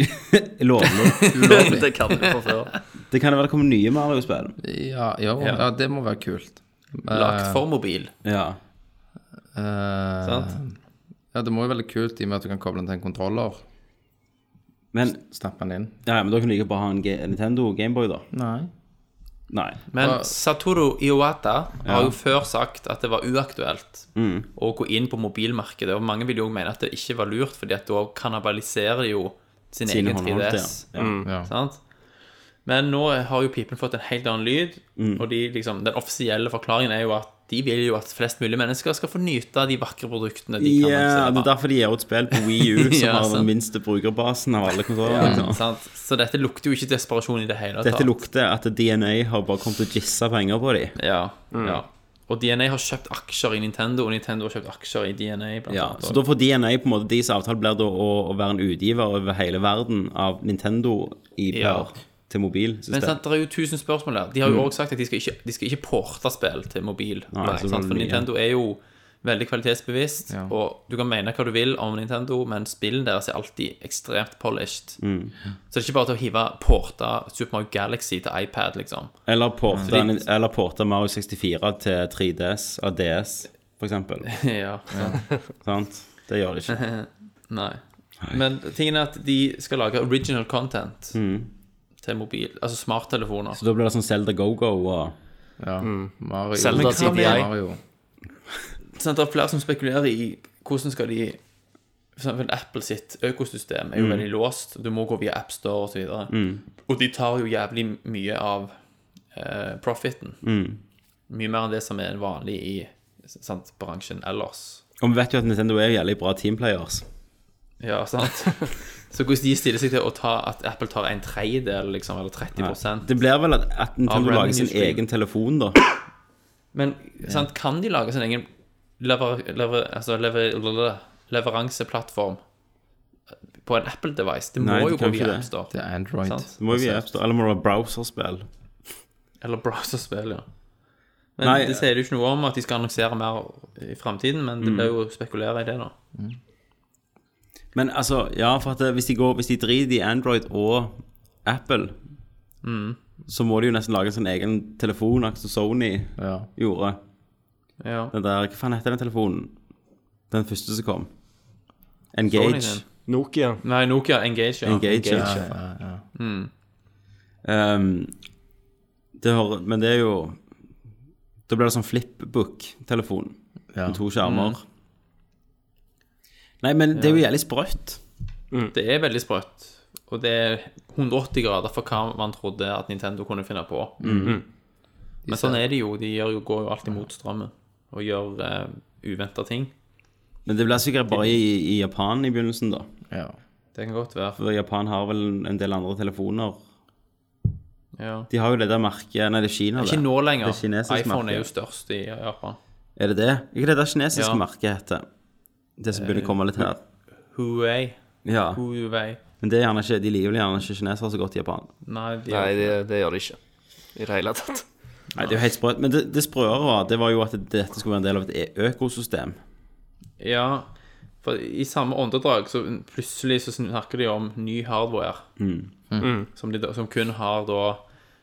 [SPEAKER 7] <laughs>
[SPEAKER 8] Lovlig.
[SPEAKER 9] Ulovlig.
[SPEAKER 2] Det kan du fra før.
[SPEAKER 8] Det kan jo være det kommer nye Mario-spill.
[SPEAKER 9] Ja, jo, ja. det må være kult.
[SPEAKER 7] Lagt for mobil.
[SPEAKER 8] Ja.
[SPEAKER 9] Eh,
[SPEAKER 7] Sant?
[SPEAKER 9] ja, det må jo være litt kult i og med at du kan koble den til en kontroller.
[SPEAKER 8] Men,
[SPEAKER 9] Snappe den inn.
[SPEAKER 8] ja, men da kan du like bare ha en G Nintendo Gameboy, da.
[SPEAKER 9] Nei.
[SPEAKER 8] Nei.
[SPEAKER 7] Men Satoru Iwata har jo før sagt at det var uaktuelt
[SPEAKER 8] Mm.
[SPEAKER 7] å gå inn på mobilmarkedet. Og mange vil jo mene at det ikke var lurt, fordi at da kannibaliserer de jo sin
[SPEAKER 8] Sine
[SPEAKER 7] egen
[SPEAKER 8] håndholdte,
[SPEAKER 7] 3DS.
[SPEAKER 8] ja. Ja.
[SPEAKER 9] Ja.
[SPEAKER 7] Sant? Men nå har jo pipen fått en helt annen lyd,
[SPEAKER 8] Mm.
[SPEAKER 7] og de, liksom, den offisielle forklaringen er jo at de vil jo at flest mulig mennesker skal få nyte av de vakre produktene de
[SPEAKER 8] Ja,
[SPEAKER 7] kan
[SPEAKER 8] eh, det er
[SPEAKER 7] lansere.
[SPEAKER 8] derfor de gir ut spill på
[SPEAKER 7] <laughs>
[SPEAKER 8] Wii U, som
[SPEAKER 7] Ja,
[SPEAKER 8] har den
[SPEAKER 7] sant.
[SPEAKER 8] minste brukerbasen av alle konsoller. liksom.
[SPEAKER 7] Mm, Sant? Så dette lukter jo ikke desperasjon i det hele tatt.
[SPEAKER 8] Dette lukter at DNA har bare kommet til å gisse penger på dem.
[SPEAKER 7] Ja,
[SPEAKER 8] Mm.
[SPEAKER 7] ja. Og DNA har kjøpt aksjer i Nintendo, og Nintendo har kjøpt aksjer i DNA. Blant
[SPEAKER 8] Ja,
[SPEAKER 7] annet,
[SPEAKER 8] så da får DNA på en måte deres avtale blir da å, å være en utgiver over hele verden av Nintendo i per
[SPEAKER 7] Ja.
[SPEAKER 8] til
[SPEAKER 7] Men
[SPEAKER 8] mobilsystem.
[SPEAKER 7] sant, det er jo tusen spørsmål der. De har jo også sagt at de skal ikke, de skal ikke porte spill til mobil.
[SPEAKER 8] Nei, så
[SPEAKER 7] sant?
[SPEAKER 8] veldig
[SPEAKER 7] For
[SPEAKER 8] mye.
[SPEAKER 7] Nintendo er jo veldig kvalitetsbevisst, og du kan mene hva du vil om Nintendo, men spillene deres er alltid ekstremt polished. Så det er ikke bare til å hive porta Super Mario Galaxy til iPad, liksom.
[SPEAKER 8] Eller porte,
[SPEAKER 7] Mm.
[SPEAKER 8] eller porte Mario 64 til 3DS av DS, for
[SPEAKER 7] <laughs>
[SPEAKER 8] eksempel.
[SPEAKER 7] <laughs> ja, sant.
[SPEAKER 8] sant? Det gjør de ikke.
[SPEAKER 7] Nei. Men tingen er at de skal lage original content til mobil, altså smarttelefoner.
[SPEAKER 8] Så da blir det sånn Zelda Go-Go og
[SPEAKER 9] Ja. Mario.
[SPEAKER 2] Zelda
[SPEAKER 9] Men hva med-
[SPEAKER 2] CDI?
[SPEAKER 9] Mario.
[SPEAKER 7] sånn, at det er flere som spekulerer i hvordan skal de For eksempel Apple sitt økosystem er jo veldig låst. Du må gå via AppStore osv. videre Og de tar jo jævlig mye av eh, profiten. Mye mer enn det som er vanlig i sant, bransjen ellers.
[SPEAKER 8] Og vi vet jo at Nintendo er jævlig bra teamplayers.
[SPEAKER 7] Ja, sant? Så hvordan de stiller seg til å ta at Apple tar en tredjedel, liksom, eller 30
[SPEAKER 8] Det blir vel at, at Nintendo
[SPEAKER 7] Av
[SPEAKER 8] lager sin
[SPEAKER 7] revenue stream.
[SPEAKER 8] egen telefon, da.
[SPEAKER 7] Men sant, kan de lage sin egen lever, lever, altså lever, lever, leveranseplattform på en Apple-device? Det må
[SPEAKER 8] Nei, de
[SPEAKER 7] jo
[SPEAKER 8] kan
[SPEAKER 7] gå
[SPEAKER 8] ikke
[SPEAKER 7] via
[SPEAKER 8] det.
[SPEAKER 9] Det
[SPEAKER 7] AppStore.
[SPEAKER 9] er Android.
[SPEAKER 8] Det må jo være AppStore. Eller må det være browserspill?
[SPEAKER 7] Eller browserspill, ja. Men
[SPEAKER 8] Nei,
[SPEAKER 7] Det sier det jo ikke noe om at de skal annonsere mer i framtiden, men
[SPEAKER 8] Mm.
[SPEAKER 7] det blir jo å spekulere i det, da.
[SPEAKER 8] Men altså, ja, for at eh, hvis de, går, hvis de driter i Android og Apple,
[SPEAKER 7] Mm.
[SPEAKER 8] så må de jo nesten lage sin egen telefon, akkurat som Sony
[SPEAKER 9] Ja.
[SPEAKER 8] gjorde.
[SPEAKER 7] Ja.
[SPEAKER 8] Den der, Hva faen heter den telefonen? Den første som kom.
[SPEAKER 7] Sony
[SPEAKER 8] Engage.
[SPEAKER 7] sin.
[SPEAKER 2] Nokia.
[SPEAKER 7] Nei, Nokia Engage, ja.
[SPEAKER 8] Engage, ja. Mm. Ehm, det har, men det er jo Da blir det sånn flipbook-telefon
[SPEAKER 9] Ja.
[SPEAKER 8] med to skjermer. Nei, men det er jo jævlig sprøtt.
[SPEAKER 7] Det er veldig sprøtt. Og det er 180 grader for hva man trodde at Nintendo kunne finne på.
[SPEAKER 8] Mm-hmm.
[SPEAKER 9] Mm.
[SPEAKER 7] Men sånn er det jo. De gjør jo, går jo alltid mot strømmen og gjør uh, uventa eh, ting.
[SPEAKER 8] Men det blir sikkert bare i, i Japan i begynnelsen, da.
[SPEAKER 7] Ja. Det kan godt være.
[SPEAKER 8] For Japan har vel en- en del andre telefoner.
[SPEAKER 7] Ja.
[SPEAKER 8] De har jo det der merket Nei, det er Kina, det.
[SPEAKER 7] Ikke nå lenger.
[SPEAKER 8] Det er kinesisk
[SPEAKER 7] iPhone
[SPEAKER 8] merke.
[SPEAKER 7] er jo størst i Japan.
[SPEAKER 8] Er det det? Ikke det der kinesiske
[SPEAKER 7] Ja.
[SPEAKER 8] merket heter. Det som begynner å komme litt her.
[SPEAKER 7] Huawei.
[SPEAKER 8] Ja.
[SPEAKER 7] Huawei.
[SPEAKER 8] Men det er gjerne ikke, de liker vel gjerne ikke kinesere så godt i Japan.
[SPEAKER 7] Nei, de
[SPEAKER 2] Nei, det, det gjør det ikke. I det hele tatt.
[SPEAKER 8] Nei, det er jo helt sprøtt. Men det, det sprøere var, det var jo at dette skulle være en del av et e- økosystem.
[SPEAKER 7] Ja, for i samme åndedrag så plutselig så snakker de om ny hardware.
[SPEAKER 8] Mm.
[SPEAKER 7] Mm. Som, de, da- som kun har da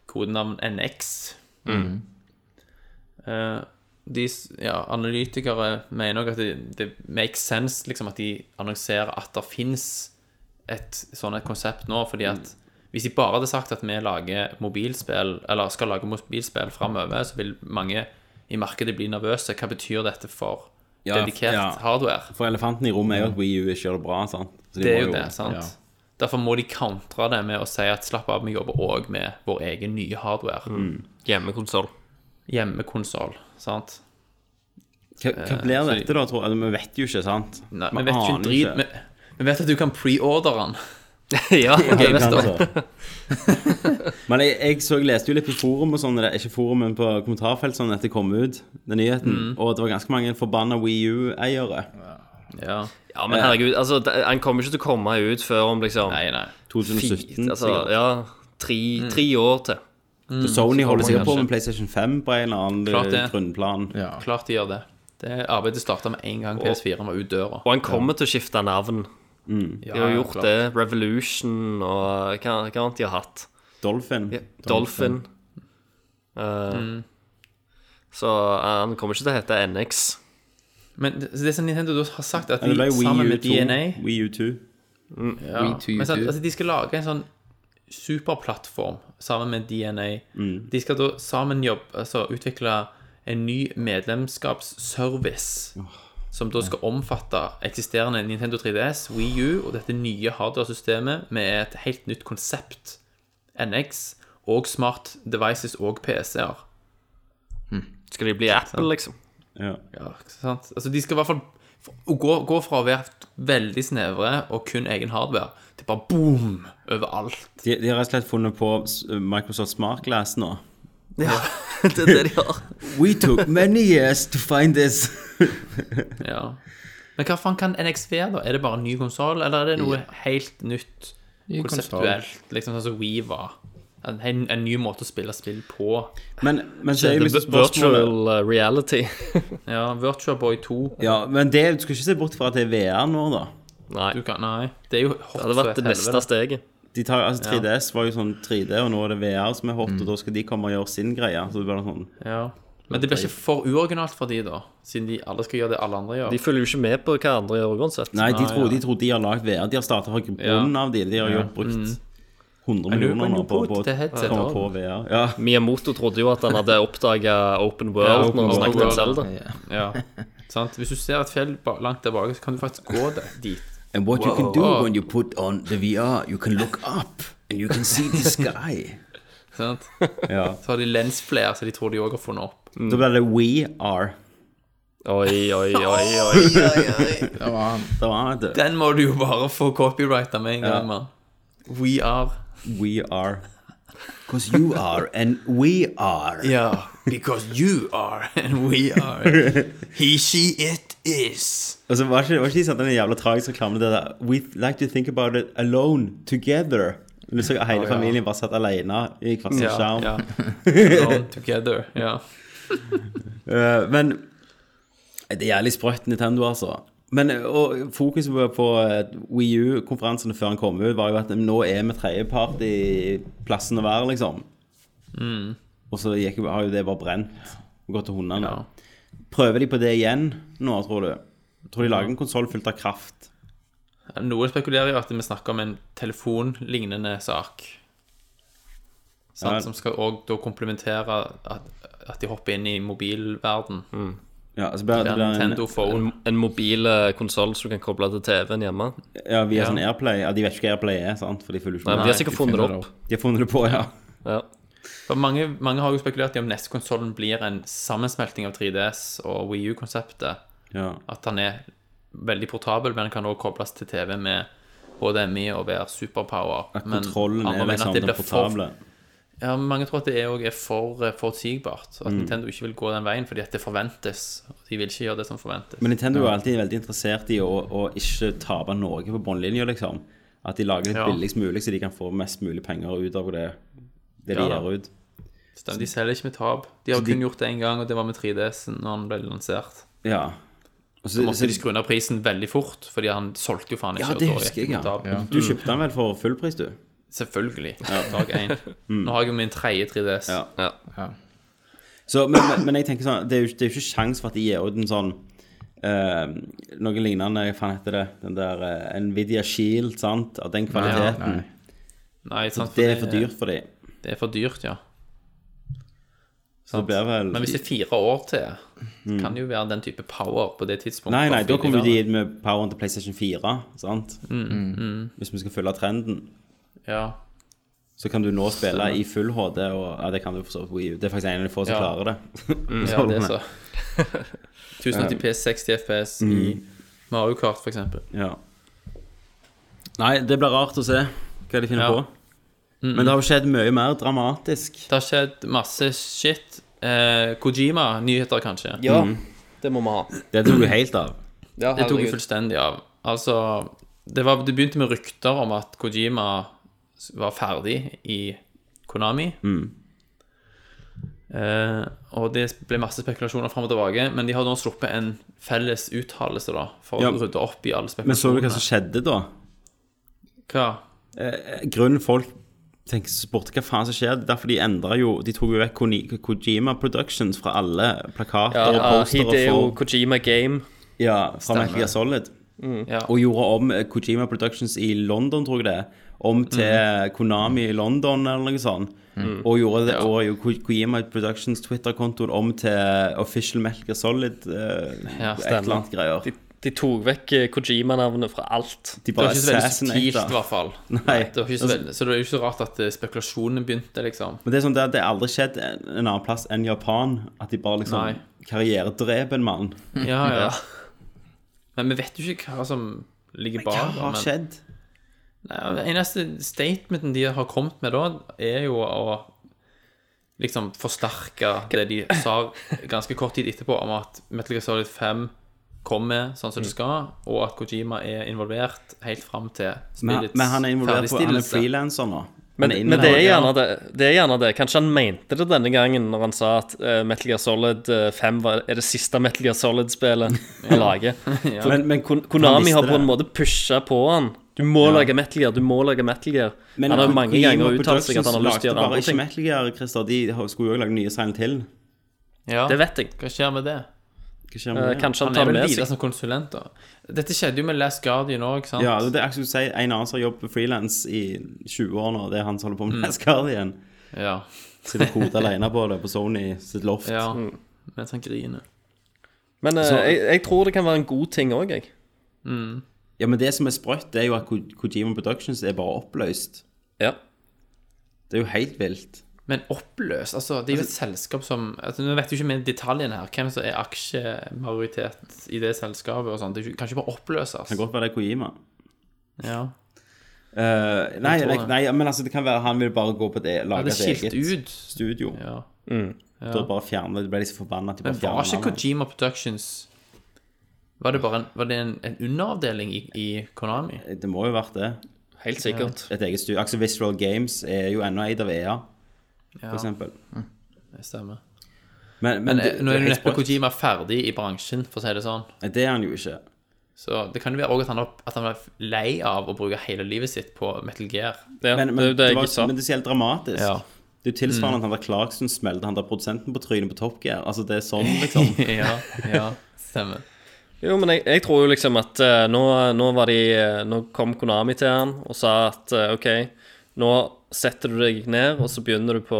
[SPEAKER 7] kodenavn NX.
[SPEAKER 8] Mm.
[SPEAKER 7] Eh, de, s- ja, analytikere mener nok at det, det makes sense liksom, at de annonserer at det fins et sånn et konsept nå, fordi at
[SPEAKER 8] Mm.
[SPEAKER 7] hvis de bare hadde sagt at vi lager mobilspill, eller skal lage mobilspill framover, så vil mange i markedet bli nervøse. Hva betyr dette for
[SPEAKER 8] Ja,
[SPEAKER 7] dedikert
[SPEAKER 8] ja.
[SPEAKER 7] hardware?
[SPEAKER 8] For elefanten i rommet er jo at Wii U ikke gjør det bra, sant? Så de
[SPEAKER 7] Det
[SPEAKER 8] må
[SPEAKER 7] er jo det, sant? Derfor må de kantre det med å si at slapp av, vi jobber òg med vår egen nye hardware.
[SPEAKER 2] Hjemmekonsoll.
[SPEAKER 7] Hjemmekonsoll, sant?
[SPEAKER 8] Hva, hva blir dette da, tror jeg? Vi vet jo ikke, sant?
[SPEAKER 7] Eh, Nei, vi vet ikke en
[SPEAKER 8] aner
[SPEAKER 7] drit
[SPEAKER 8] <laughs>
[SPEAKER 7] Vi vi vet at du kan preordre den. <laughs>
[SPEAKER 2] ja.
[SPEAKER 8] Ja, det
[SPEAKER 7] GameStop.
[SPEAKER 8] kan
[SPEAKER 7] <laughs>
[SPEAKER 8] så. Men jeg, jeg så, jeg leste jo litt på forum og sånn, det- ikke forum, men på kommentarfelt sånn etter det kom ut, den nyheten,
[SPEAKER 7] Mm.
[SPEAKER 8] og det var ganske mange forbanna Wii U-eiere.
[SPEAKER 7] Ja.
[SPEAKER 2] ja, men herregud, altså, det- han kommer ikke til å komme ut før om liksom
[SPEAKER 7] Nei, nei. mm.
[SPEAKER 8] 2017.
[SPEAKER 2] altså,
[SPEAKER 8] sikkert.
[SPEAKER 2] ja, tre, tre år til.
[SPEAKER 8] Sony holder sikkert på
[SPEAKER 7] kanskje.
[SPEAKER 8] med PlayStation 5 på en eller annen eh,
[SPEAKER 7] Klart det.
[SPEAKER 8] grunnplan.
[SPEAKER 9] Ja.
[SPEAKER 7] Klart de gjør det. Det Arbeidet starta med en gang PS4 var ut døra.
[SPEAKER 2] Og han kommer til å skifte navn. De har gjort
[SPEAKER 7] klart.
[SPEAKER 2] det. Revolution og eh, hva, hva annet de har hatt.
[SPEAKER 8] Dolphin.
[SPEAKER 2] Dolphin. Eh, Så eh, han kommer ikke til å hete NX.
[SPEAKER 7] Men det, det som Nintendo da har sagt, at
[SPEAKER 8] Ja, det ble
[SPEAKER 7] de
[SPEAKER 8] jo
[SPEAKER 7] sammen
[SPEAKER 8] Wii U
[SPEAKER 7] med
[SPEAKER 8] 2.
[SPEAKER 7] DNA
[SPEAKER 8] Wii U 2.
[SPEAKER 7] ja.
[SPEAKER 9] Wii to,
[SPEAKER 7] Men sant,
[SPEAKER 9] two.
[SPEAKER 7] altså, de skal lage en sånn superplattform sammen med DNA. De skal da sammen jobbe, altså utvikle en ny medlemskapsservice som da skal omfatte eksisterende Nintendo 3DS, Wii U og dette nye hardware-systemet med et helt nytt konsept, NX, og smart devices og PC-er.
[SPEAKER 2] Skal de bli Apple, liksom? <laughs>
[SPEAKER 8] Ja.
[SPEAKER 7] Ja, ikke sant? Altså, de skal i hvert fall f- å gå, gå fra å være veldig snevre og kun egen hardware, til bare boom overalt.
[SPEAKER 8] De, de har rett og slett funnet på s- Microsoft Smart Glass nå.
[SPEAKER 2] Ja, det er det de har.
[SPEAKER 8] We took many years to find this.
[SPEAKER 7] Ja. Men hva faen kan NX være, da? Er det bare en ny konsoll, eller er det noe helt nytt
[SPEAKER 9] Ny konsol.
[SPEAKER 7] konseptuelt? Liksom sånn som Wii var. En, en, en ny måte å spille spill på.
[SPEAKER 8] Men, men så er jo liksom spørsmålet
[SPEAKER 2] Virtual eh, reality.
[SPEAKER 7] Ja, Virtua Boy 2
[SPEAKER 8] ja, Men det, du skal ikke se bort fra at det er VR nå, da.
[SPEAKER 2] Nei.
[SPEAKER 7] du kan, Nei, det er jo hot
[SPEAKER 2] Det hadde vært det neste steget.
[SPEAKER 8] De tar, altså 3DS var jo sånn 3D, og nå er det VR som er hot, og da skal de komme og gjøre sin greie. Så det blir sånn
[SPEAKER 7] Ja. Men det blir ikke for uoriginalt for de da, siden de alle skal gjøre det alle andre gjør.
[SPEAKER 2] De følger jo ikke med på hva andre gjør uansett.
[SPEAKER 8] Nei, de tror de, tror de har lagd VR. De har starta fra grunnen av de. De har jo
[SPEAKER 7] Mm.
[SPEAKER 8] brukt 100
[SPEAKER 7] lurer på
[SPEAKER 8] millioner
[SPEAKER 7] om
[SPEAKER 8] nå
[SPEAKER 7] de
[SPEAKER 8] på,
[SPEAKER 7] bodde
[SPEAKER 8] på,
[SPEAKER 7] til headset
[SPEAKER 8] på,
[SPEAKER 7] også.
[SPEAKER 8] på VR. Ja.
[SPEAKER 2] Miyamoto trodde jo at han hadde oppdaga Open World
[SPEAKER 7] Open
[SPEAKER 2] når han snakket om
[SPEAKER 7] World.
[SPEAKER 2] Zelda.
[SPEAKER 7] Ja, sant? Hvis du ser et fjell ba- langt der bak, så kan du faktisk gå der, dit.
[SPEAKER 8] And what you can do when you put on the VR, you can look up and you can see <laughs> the sky.
[SPEAKER 7] Sant?
[SPEAKER 8] ja.
[SPEAKER 7] Så har de lensflare, så de tror de òg har funnet opp.
[SPEAKER 8] Da blir det We Are.
[SPEAKER 2] Oi, oi, oi, <laughs> oi.
[SPEAKER 9] Det var han.
[SPEAKER 8] Da var det
[SPEAKER 7] Den må du jo bare få copyrighta med en gang, mann. We are
[SPEAKER 8] We Are. Because you are and we are.
[SPEAKER 7] Ja, because you are and we are. He, she, it is.
[SPEAKER 8] Og så var ikke, var ikke de sånn den jævla tragiske reklamen det der We like to think about it alone, together. Men Du så hele familien bare satt alene i hver sin skjerm.
[SPEAKER 7] ja. Alone together. Ja.
[SPEAKER 8] Eh, men Det er jævlig sprøtt Nintendo, altså. Men eh, og fokuset på, på eh, Wii U-konferansene før han kom ut, var jo at eh, nå er vi tredjepart i plassen å være, liksom. Og så gikk, har jo det bare brent og gått til hundene.
[SPEAKER 7] Mm. Ja.
[SPEAKER 8] Prøver de på det igjen nå, tror du? Tror de lager en konsoll fullt av kraft?
[SPEAKER 7] Noen spekulerer jo at vi snakker om en telefonlignende sak. Sant?
[SPEAKER 8] Ja.
[SPEAKER 7] Som skal òg da komplementere at, at de hopper inn i mobilverden.
[SPEAKER 8] Ja, så blir det
[SPEAKER 7] Der
[SPEAKER 8] blir en,
[SPEAKER 7] Nintendo Phone
[SPEAKER 2] En, en mobil eh, konsoll som du kan koble til TV-en hjemme.
[SPEAKER 8] ja, via sånn Airplay. Ja, de vet ikke hva Airplay er, sant? For de følger ikke
[SPEAKER 2] Nei,
[SPEAKER 8] med.
[SPEAKER 2] De har sikkert funnet det opp.
[SPEAKER 8] De har funnet det på, ja.
[SPEAKER 2] Ja.
[SPEAKER 7] For mange, mange har jo spekulert i om neste konsollen blir en sammensmelting av 3DS og Wii U-konseptet.
[SPEAKER 8] ja.
[SPEAKER 7] At han er veldig portabel, men den kan også kobles til TV med HDMI og være superpower.
[SPEAKER 8] At
[SPEAKER 7] Men
[SPEAKER 8] kontrollen
[SPEAKER 7] andre
[SPEAKER 8] er
[SPEAKER 7] mener at
[SPEAKER 8] liksom
[SPEAKER 7] det
[SPEAKER 8] den
[SPEAKER 7] blir for-
[SPEAKER 8] portable.
[SPEAKER 7] Ja, men mange tror at det òg er for eh, forutsigbart.
[SPEAKER 8] Mm.
[SPEAKER 7] At Nintendo ikke vil gå den veien fordi at det forventes. og De vil ikke gjøre det som forventes.
[SPEAKER 8] Men Nintendo er alltid veldig interessert i å, å ikke tape noe på bunnlinja, liksom. At de lager litt
[SPEAKER 7] Ja.
[SPEAKER 8] billigst mulig, så de kan få mest mulig penger ut av det, det de
[SPEAKER 7] Ja, da.
[SPEAKER 8] gir ut.
[SPEAKER 7] Stemmer, de selger ikke med tap. De har
[SPEAKER 8] de-
[SPEAKER 7] kun gjort det én gang, og det var med 3DS-en når den ble lansert.
[SPEAKER 8] Ja. Og så,
[SPEAKER 7] Måtte de skru ned prisen veldig fort, fordi han solgte jo faen ikke.
[SPEAKER 8] ja,
[SPEAKER 7] og
[SPEAKER 8] det
[SPEAKER 7] da gikk
[SPEAKER 8] husker jeg,
[SPEAKER 7] mot
[SPEAKER 8] ja.
[SPEAKER 7] tap.
[SPEAKER 8] Du kjøpte den vel for full pris, du?
[SPEAKER 7] Selvfølgelig. Dag én. Nå har jeg jo min tredje 3DS.
[SPEAKER 8] Mm. Ja.
[SPEAKER 2] Ja.
[SPEAKER 8] Så, men, men, men jeg tenker sånn, det er jo, det er jo ikke sjans for at de gir ut en sånn eh, noe lignende, hva faen heter det, den der eh, Nvidia Shield, sant, av den kvaliteten.
[SPEAKER 7] Nei, sant,
[SPEAKER 8] det er for dyrt for dem.
[SPEAKER 7] Det er for dyrt, ja.
[SPEAKER 8] Så det blir vel
[SPEAKER 7] Men hvis det er fire år til, kan det jo være den type power på det tidspunktet.
[SPEAKER 8] Nei, nei, da
[SPEAKER 7] Fordi
[SPEAKER 8] kommer jo de inn med poweren til PlayStation 4, sant? Hvis vi skal følge trenden, <laughs>
[SPEAKER 7] Ja,
[SPEAKER 8] så kan du nå spille i full HD, og ja, det kan du for så vidt på Wii U. Det er faktisk en av de få som
[SPEAKER 7] Ja.
[SPEAKER 8] klarer det.
[SPEAKER 7] ja det er så. <laughs> 1080p, 60 FPS
[SPEAKER 8] Mm.
[SPEAKER 7] i Mario Kart, for eksempel.
[SPEAKER 8] Ja. Nei, det blir rart å se hva de finner
[SPEAKER 7] Ja.
[SPEAKER 8] på. Men det har jo skjedd mye mer dramatisk.
[SPEAKER 7] Det har skjedd masse shit. Eh, Kojima, nyheter kanskje.
[SPEAKER 2] ja det må vi ha.
[SPEAKER 8] Det tok jo helt av.
[SPEAKER 2] Ja,
[SPEAKER 7] Det tok
[SPEAKER 2] herregud.
[SPEAKER 7] jeg fullstendig av. Altså, det, var, det begynte med rykter om at Kojima var ferdig i Konami.
[SPEAKER 8] Mm.
[SPEAKER 7] Eh, og det ble masse spekulasjoner fram og tilbake, men de har nå sluppet en felles uttalelse da, for
[SPEAKER 8] Ja.
[SPEAKER 7] å rydde opp i alle
[SPEAKER 8] Men så du
[SPEAKER 7] spekulasjonene.
[SPEAKER 8] hva som skjedde da?
[SPEAKER 7] Hva?
[SPEAKER 8] Eh, Grunnen folk tenker spurte hva faen som skjedde, derfor de endret jo De tok jo vekk Koni- Kojima Productions fra alle plakater
[SPEAKER 2] Ja,
[SPEAKER 8] og
[SPEAKER 2] ja,
[SPEAKER 8] postere
[SPEAKER 2] Hideo
[SPEAKER 8] for
[SPEAKER 2] Kojima Game.
[SPEAKER 8] Ja, fra Metal Gear Solid.
[SPEAKER 7] Mm. Ja.
[SPEAKER 8] Og gjorde om eh, Kojima Productions i London, tror jeg det. er, Om til
[SPEAKER 7] Mm.
[SPEAKER 8] Konami i London eller noe sånt. Og gjorde det, og jo, Ko- Kojima Productions Twitter-kontoen om til Official Metal Gear Solid. eh,
[SPEAKER 7] Ja,
[SPEAKER 8] et eller annet greier.
[SPEAKER 2] De, de tok vekk eh, Kojima-navnet fra alt.
[SPEAKER 8] De
[SPEAKER 7] Det
[SPEAKER 8] bare
[SPEAKER 7] var ikke så veldig subtilt, i
[SPEAKER 8] assassinater.
[SPEAKER 7] hvert fall.
[SPEAKER 8] <laughs> Nei. Altså-
[SPEAKER 7] Det var ikke så, veldig, så det er jo ikke så rart at eh, spekulasjonene begynte,
[SPEAKER 8] <laughs>
[SPEAKER 7] liksom.
[SPEAKER 8] Men det er sånn det, det har aldri skjedd en en annen plass enn Japan. At de bare
[SPEAKER 7] Nei.
[SPEAKER 8] liksom karrieredreper en mann.
[SPEAKER 7] Ja, ja. Men vi vet jo ikke hva som ligger bak.
[SPEAKER 8] Hva
[SPEAKER 7] da,
[SPEAKER 8] har
[SPEAKER 7] men-
[SPEAKER 8] skjedd?
[SPEAKER 7] Nei, Den eneste statementen de har kommet med da, er jo å liksom forsterke det de sa ganske kort tid etterpå om at Metal Gear Solid 5 kommer sånn som det
[SPEAKER 8] Mm.
[SPEAKER 7] skal, og at Kojima er involvert helt fram til
[SPEAKER 8] Men,
[SPEAKER 7] spillets
[SPEAKER 8] men han er involvert på Han er
[SPEAKER 7] ferdigstillelse.
[SPEAKER 8] frilanser nå.
[SPEAKER 2] Men,
[SPEAKER 8] Han er
[SPEAKER 2] men det, er gjerne
[SPEAKER 8] involvert.
[SPEAKER 2] det, det er gjerne det. Kanskje han mente det denne gangen når han sa at eh, Metal Gear Solid eh, 5 var, er det siste Metal Gear Solid-spillet han lager. For
[SPEAKER 8] Men- men
[SPEAKER 2] Kon-
[SPEAKER 8] han
[SPEAKER 2] Konami
[SPEAKER 8] visste
[SPEAKER 2] har på
[SPEAKER 8] det.
[SPEAKER 2] en måte pusha på han. Du må lage Metal Gear, du må lage Metal Gear.
[SPEAKER 8] Men
[SPEAKER 2] han har jo mange
[SPEAKER 8] Kojima
[SPEAKER 2] ganger uttalt seg at han har lyst til å gjøre
[SPEAKER 8] Productions lagde
[SPEAKER 2] andre ting.
[SPEAKER 8] Bare ikke Metal Gear, Christer. De har- skulle jo også lage nye Silent Hill.
[SPEAKER 7] Ja.
[SPEAKER 2] Det vet jeg.
[SPEAKER 7] Hva skjer med det?
[SPEAKER 8] Hva skjer
[SPEAKER 2] Eh,
[SPEAKER 8] med det?
[SPEAKER 2] Kanskje han
[SPEAKER 7] Han er
[SPEAKER 2] tar det
[SPEAKER 7] vel
[SPEAKER 2] med
[SPEAKER 7] videre
[SPEAKER 2] seg.
[SPEAKER 7] som konsulent, da. Dette skjedde jo med Last Guardian òg, sant?
[SPEAKER 8] Ja, det er akkurat som du sier, en annen som har jobbet frilans i 20 år nå, det er han som holder på
[SPEAKER 2] Mm.
[SPEAKER 8] med Last Guardian.
[SPEAKER 7] ja.
[SPEAKER 8] Sitter og koder alene på det på Sony sitt loft.
[SPEAKER 7] ja. Mens han griner.
[SPEAKER 2] Men eh, jeg, jeg tror det kan være en god ting òg, jeg.
[SPEAKER 8] Ja, men det som er sprøtt, det er jo at Ko- Kojima Productions er bare oppløst.
[SPEAKER 2] Ja.
[SPEAKER 8] Det er jo helt vilt.
[SPEAKER 7] Men oppløst, altså det er jo et selskap som altså, Nå vet jo ikke vi detaljene her, hvem som er aksjemajoritet i det selskapet og sånn. Det er jo ikke- kan ikke bare oppløses.
[SPEAKER 8] Det kan godt være det er Kojima.
[SPEAKER 7] Ja.
[SPEAKER 8] Eh, nei,
[SPEAKER 7] tror
[SPEAKER 8] nei,
[SPEAKER 7] det.
[SPEAKER 8] nei, men altså, det kan være han vil bare gå på det,
[SPEAKER 7] Ja,
[SPEAKER 8] lage
[SPEAKER 7] det er
[SPEAKER 8] et
[SPEAKER 7] skilt
[SPEAKER 8] eget
[SPEAKER 7] ut.
[SPEAKER 8] studio.
[SPEAKER 7] Ja.
[SPEAKER 8] Da bare fjerne det, ble de så forbanna at de
[SPEAKER 7] Men
[SPEAKER 8] bare
[SPEAKER 7] var ikke
[SPEAKER 8] fjerna det.
[SPEAKER 7] Kojima Productions Var det bare en, var det en, en underavdeling i, i Konami?
[SPEAKER 8] Det må jo vært det.
[SPEAKER 2] Helt sikkert.
[SPEAKER 8] Et eget studio. Axel Visual Games er jo ennå eid av EA, for eksempel.
[SPEAKER 7] Det stemmer.
[SPEAKER 8] Men, men,
[SPEAKER 7] Men eh,
[SPEAKER 8] det,
[SPEAKER 7] nå er jo
[SPEAKER 8] helt
[SPEAKER 7] neppe
[SPEAKER 8] sprøtt.
[SPEAKER 7] Kojima ferdig i bransjen, for å si det sånn.
[SPEAKER 8] Nei, Det er han jo ikke.
[SPEAKER 7] Så det kan jo være også at han, har- at han er lei av å bruke hele livet sitt på Metal Gear.
[SPEAKER 2] Ja,
[SPEAKER 8] Men, men,
[SPEAKER 2] det er jo det
[SPEAKER 8] var,
[SPEAKER 2] jeg sa.
[SPEAKER 8] men det er så helt dramatisk.
[SPEAKER 7] Ja.
[SPEAKER 8] Det er jo tilsvarende at han der Clarkson smelte han der produsenten på trynet på Top Gear. Altså, det er sånn, liksom.
[SPEAKER 7] <laughs> <laughs> ja, ja, stemmer.
[SPEAKER 2] Jo, men jeg, jeg tror jo liksom at eh, nå, nå var de eh, Nå kom Konami til han og sa at eh, OK, nå setter du deg ned, og så begynner du på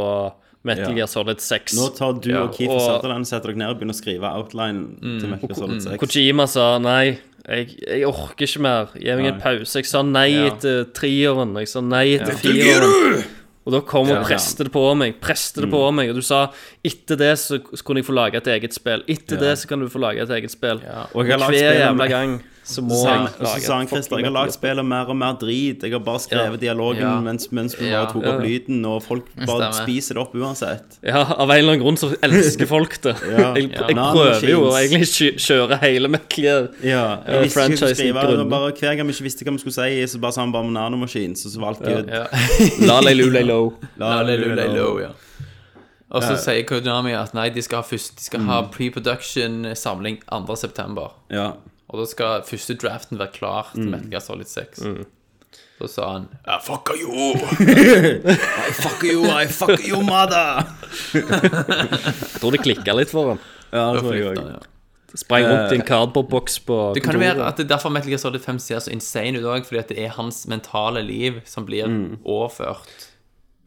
[SPEAKER 2] Metal
[SPEAKER 8] Ja.
[SPEAKER 2] Gear Solid 6.
[SPEAKER 8] Nå tar du
[SPEAKER 2] Ja,
[SPEAKER 8] og Keefer
[SPEAKER 2] og-
[SPEAKER 8] Sutherland setter dere ned og begynner å skrive outline til Metal Gear Solid 6.
[SPEAKER 2] Kojima sa nei, jeg, jeg orker ikke mer. Gi meg en
[SPEAKER 8] Nei.
[SPEAKER 2] pause. Jeg sa nei
[SPEAKER 7] Ja.
[SPEAKER 2] etter treeren. Jeg sa nei etter fireren. Og da kom og preste det på meg, preste det på
[SPEAKER 8] Mm.
[SPEAKER 2] meg. Og du sa etter det så kunne jeg få lage et eget spill. Etter det så kan du få lage et eget spill.
[SPEAKER 8] Og jeg har
[SPEAKER 2] Hver
[SPEAKER 8] lagd spillet
[SPEAKER 2] jævla
[SPEAKER 8] med-
[SPEAKER 2] gang så må
[SPEAKER 8] Så sa han-
[SPEAKER 2] jeg
[SPEAKER 8] så sa han
[SPEAKER 2] et
[SPEAKER 8] Christer, jeg har
[SPEAKER 2] fucking
[SPEAKER 8] lagd spillet mer og mer drit. Jeg har bare skrevet dialogen
[SPEAKER 7] Ja.
[SPEAKER 8] mens, mens vi
[SPEAKER 7] Ja.
[SPEAKER 8] bare tok opp lyden, og folk bare
[SPEAKER 7] Stemmer.
[SPEAKER 8] spiser det opp uansett.
[SPEAKER 2] Ja, av en eller annen grunn så elsker folk det.
[SPEAKER 8] <laughs> Ja.
[SPEAKER 2] Jeg,
[SPEAKER 8] Ja.
[SPEAKER 2] jeg prøver jo å egentlig kjø- kjøre hele Metal Gear.
[SPEAKER 8] Ja,
[SPEAKER 2] Ja,
[SPEAKER 8] jeg visste ikke hva jeg skulle
[SPEAKER 2] franchisen
[SPEAKER 8] skrive.
[SPEAKER 2] grunner.
[SPEAKER 8] og Bare, hver gang vi ikke visste hva vi skulle si, så bare sa han bare med nanomaskin. Så, så valgte jeg
[SPEAKER 7] Ja.
[SPEAKER 2] La lei lu lei lo.
[SPEAKER 8] La-
[SPEAKER 7] Lulei Low, ja. Og
[SPEAKER 8] Ja.
[SPEAKER 7] så sier Kodami at nei, de skal ha, først- de skal ha eh, pre-production-samling 2.9.
[SPEAKER 8] Ja.
[SPEAKER 7] Og da skal første draften være klar til Metal Gear Solid 6. Så sa han
[SPEAKER 12] I fuck you! I fuck you, I fuck you, mother!
[SPEAKER 2] Jeg tror det klikka litt for ham.
[SPEAKER 8] ja, det tror jeg
[SPEAKER 7] «Flytt den,
[SPEAKER 8] også.
[SPEAKER 7] ja.
[SPEAKER 2] Sprang rundt
[SPEAKER 8] Eh,
[SPEAKER 2] i en cardboardbox på
[SPEAKER 7] Det kan jo være at det er derfor Metal Gear Solid 5 ser så insane ut òg, fordi at det er hans mentale liv som blir overført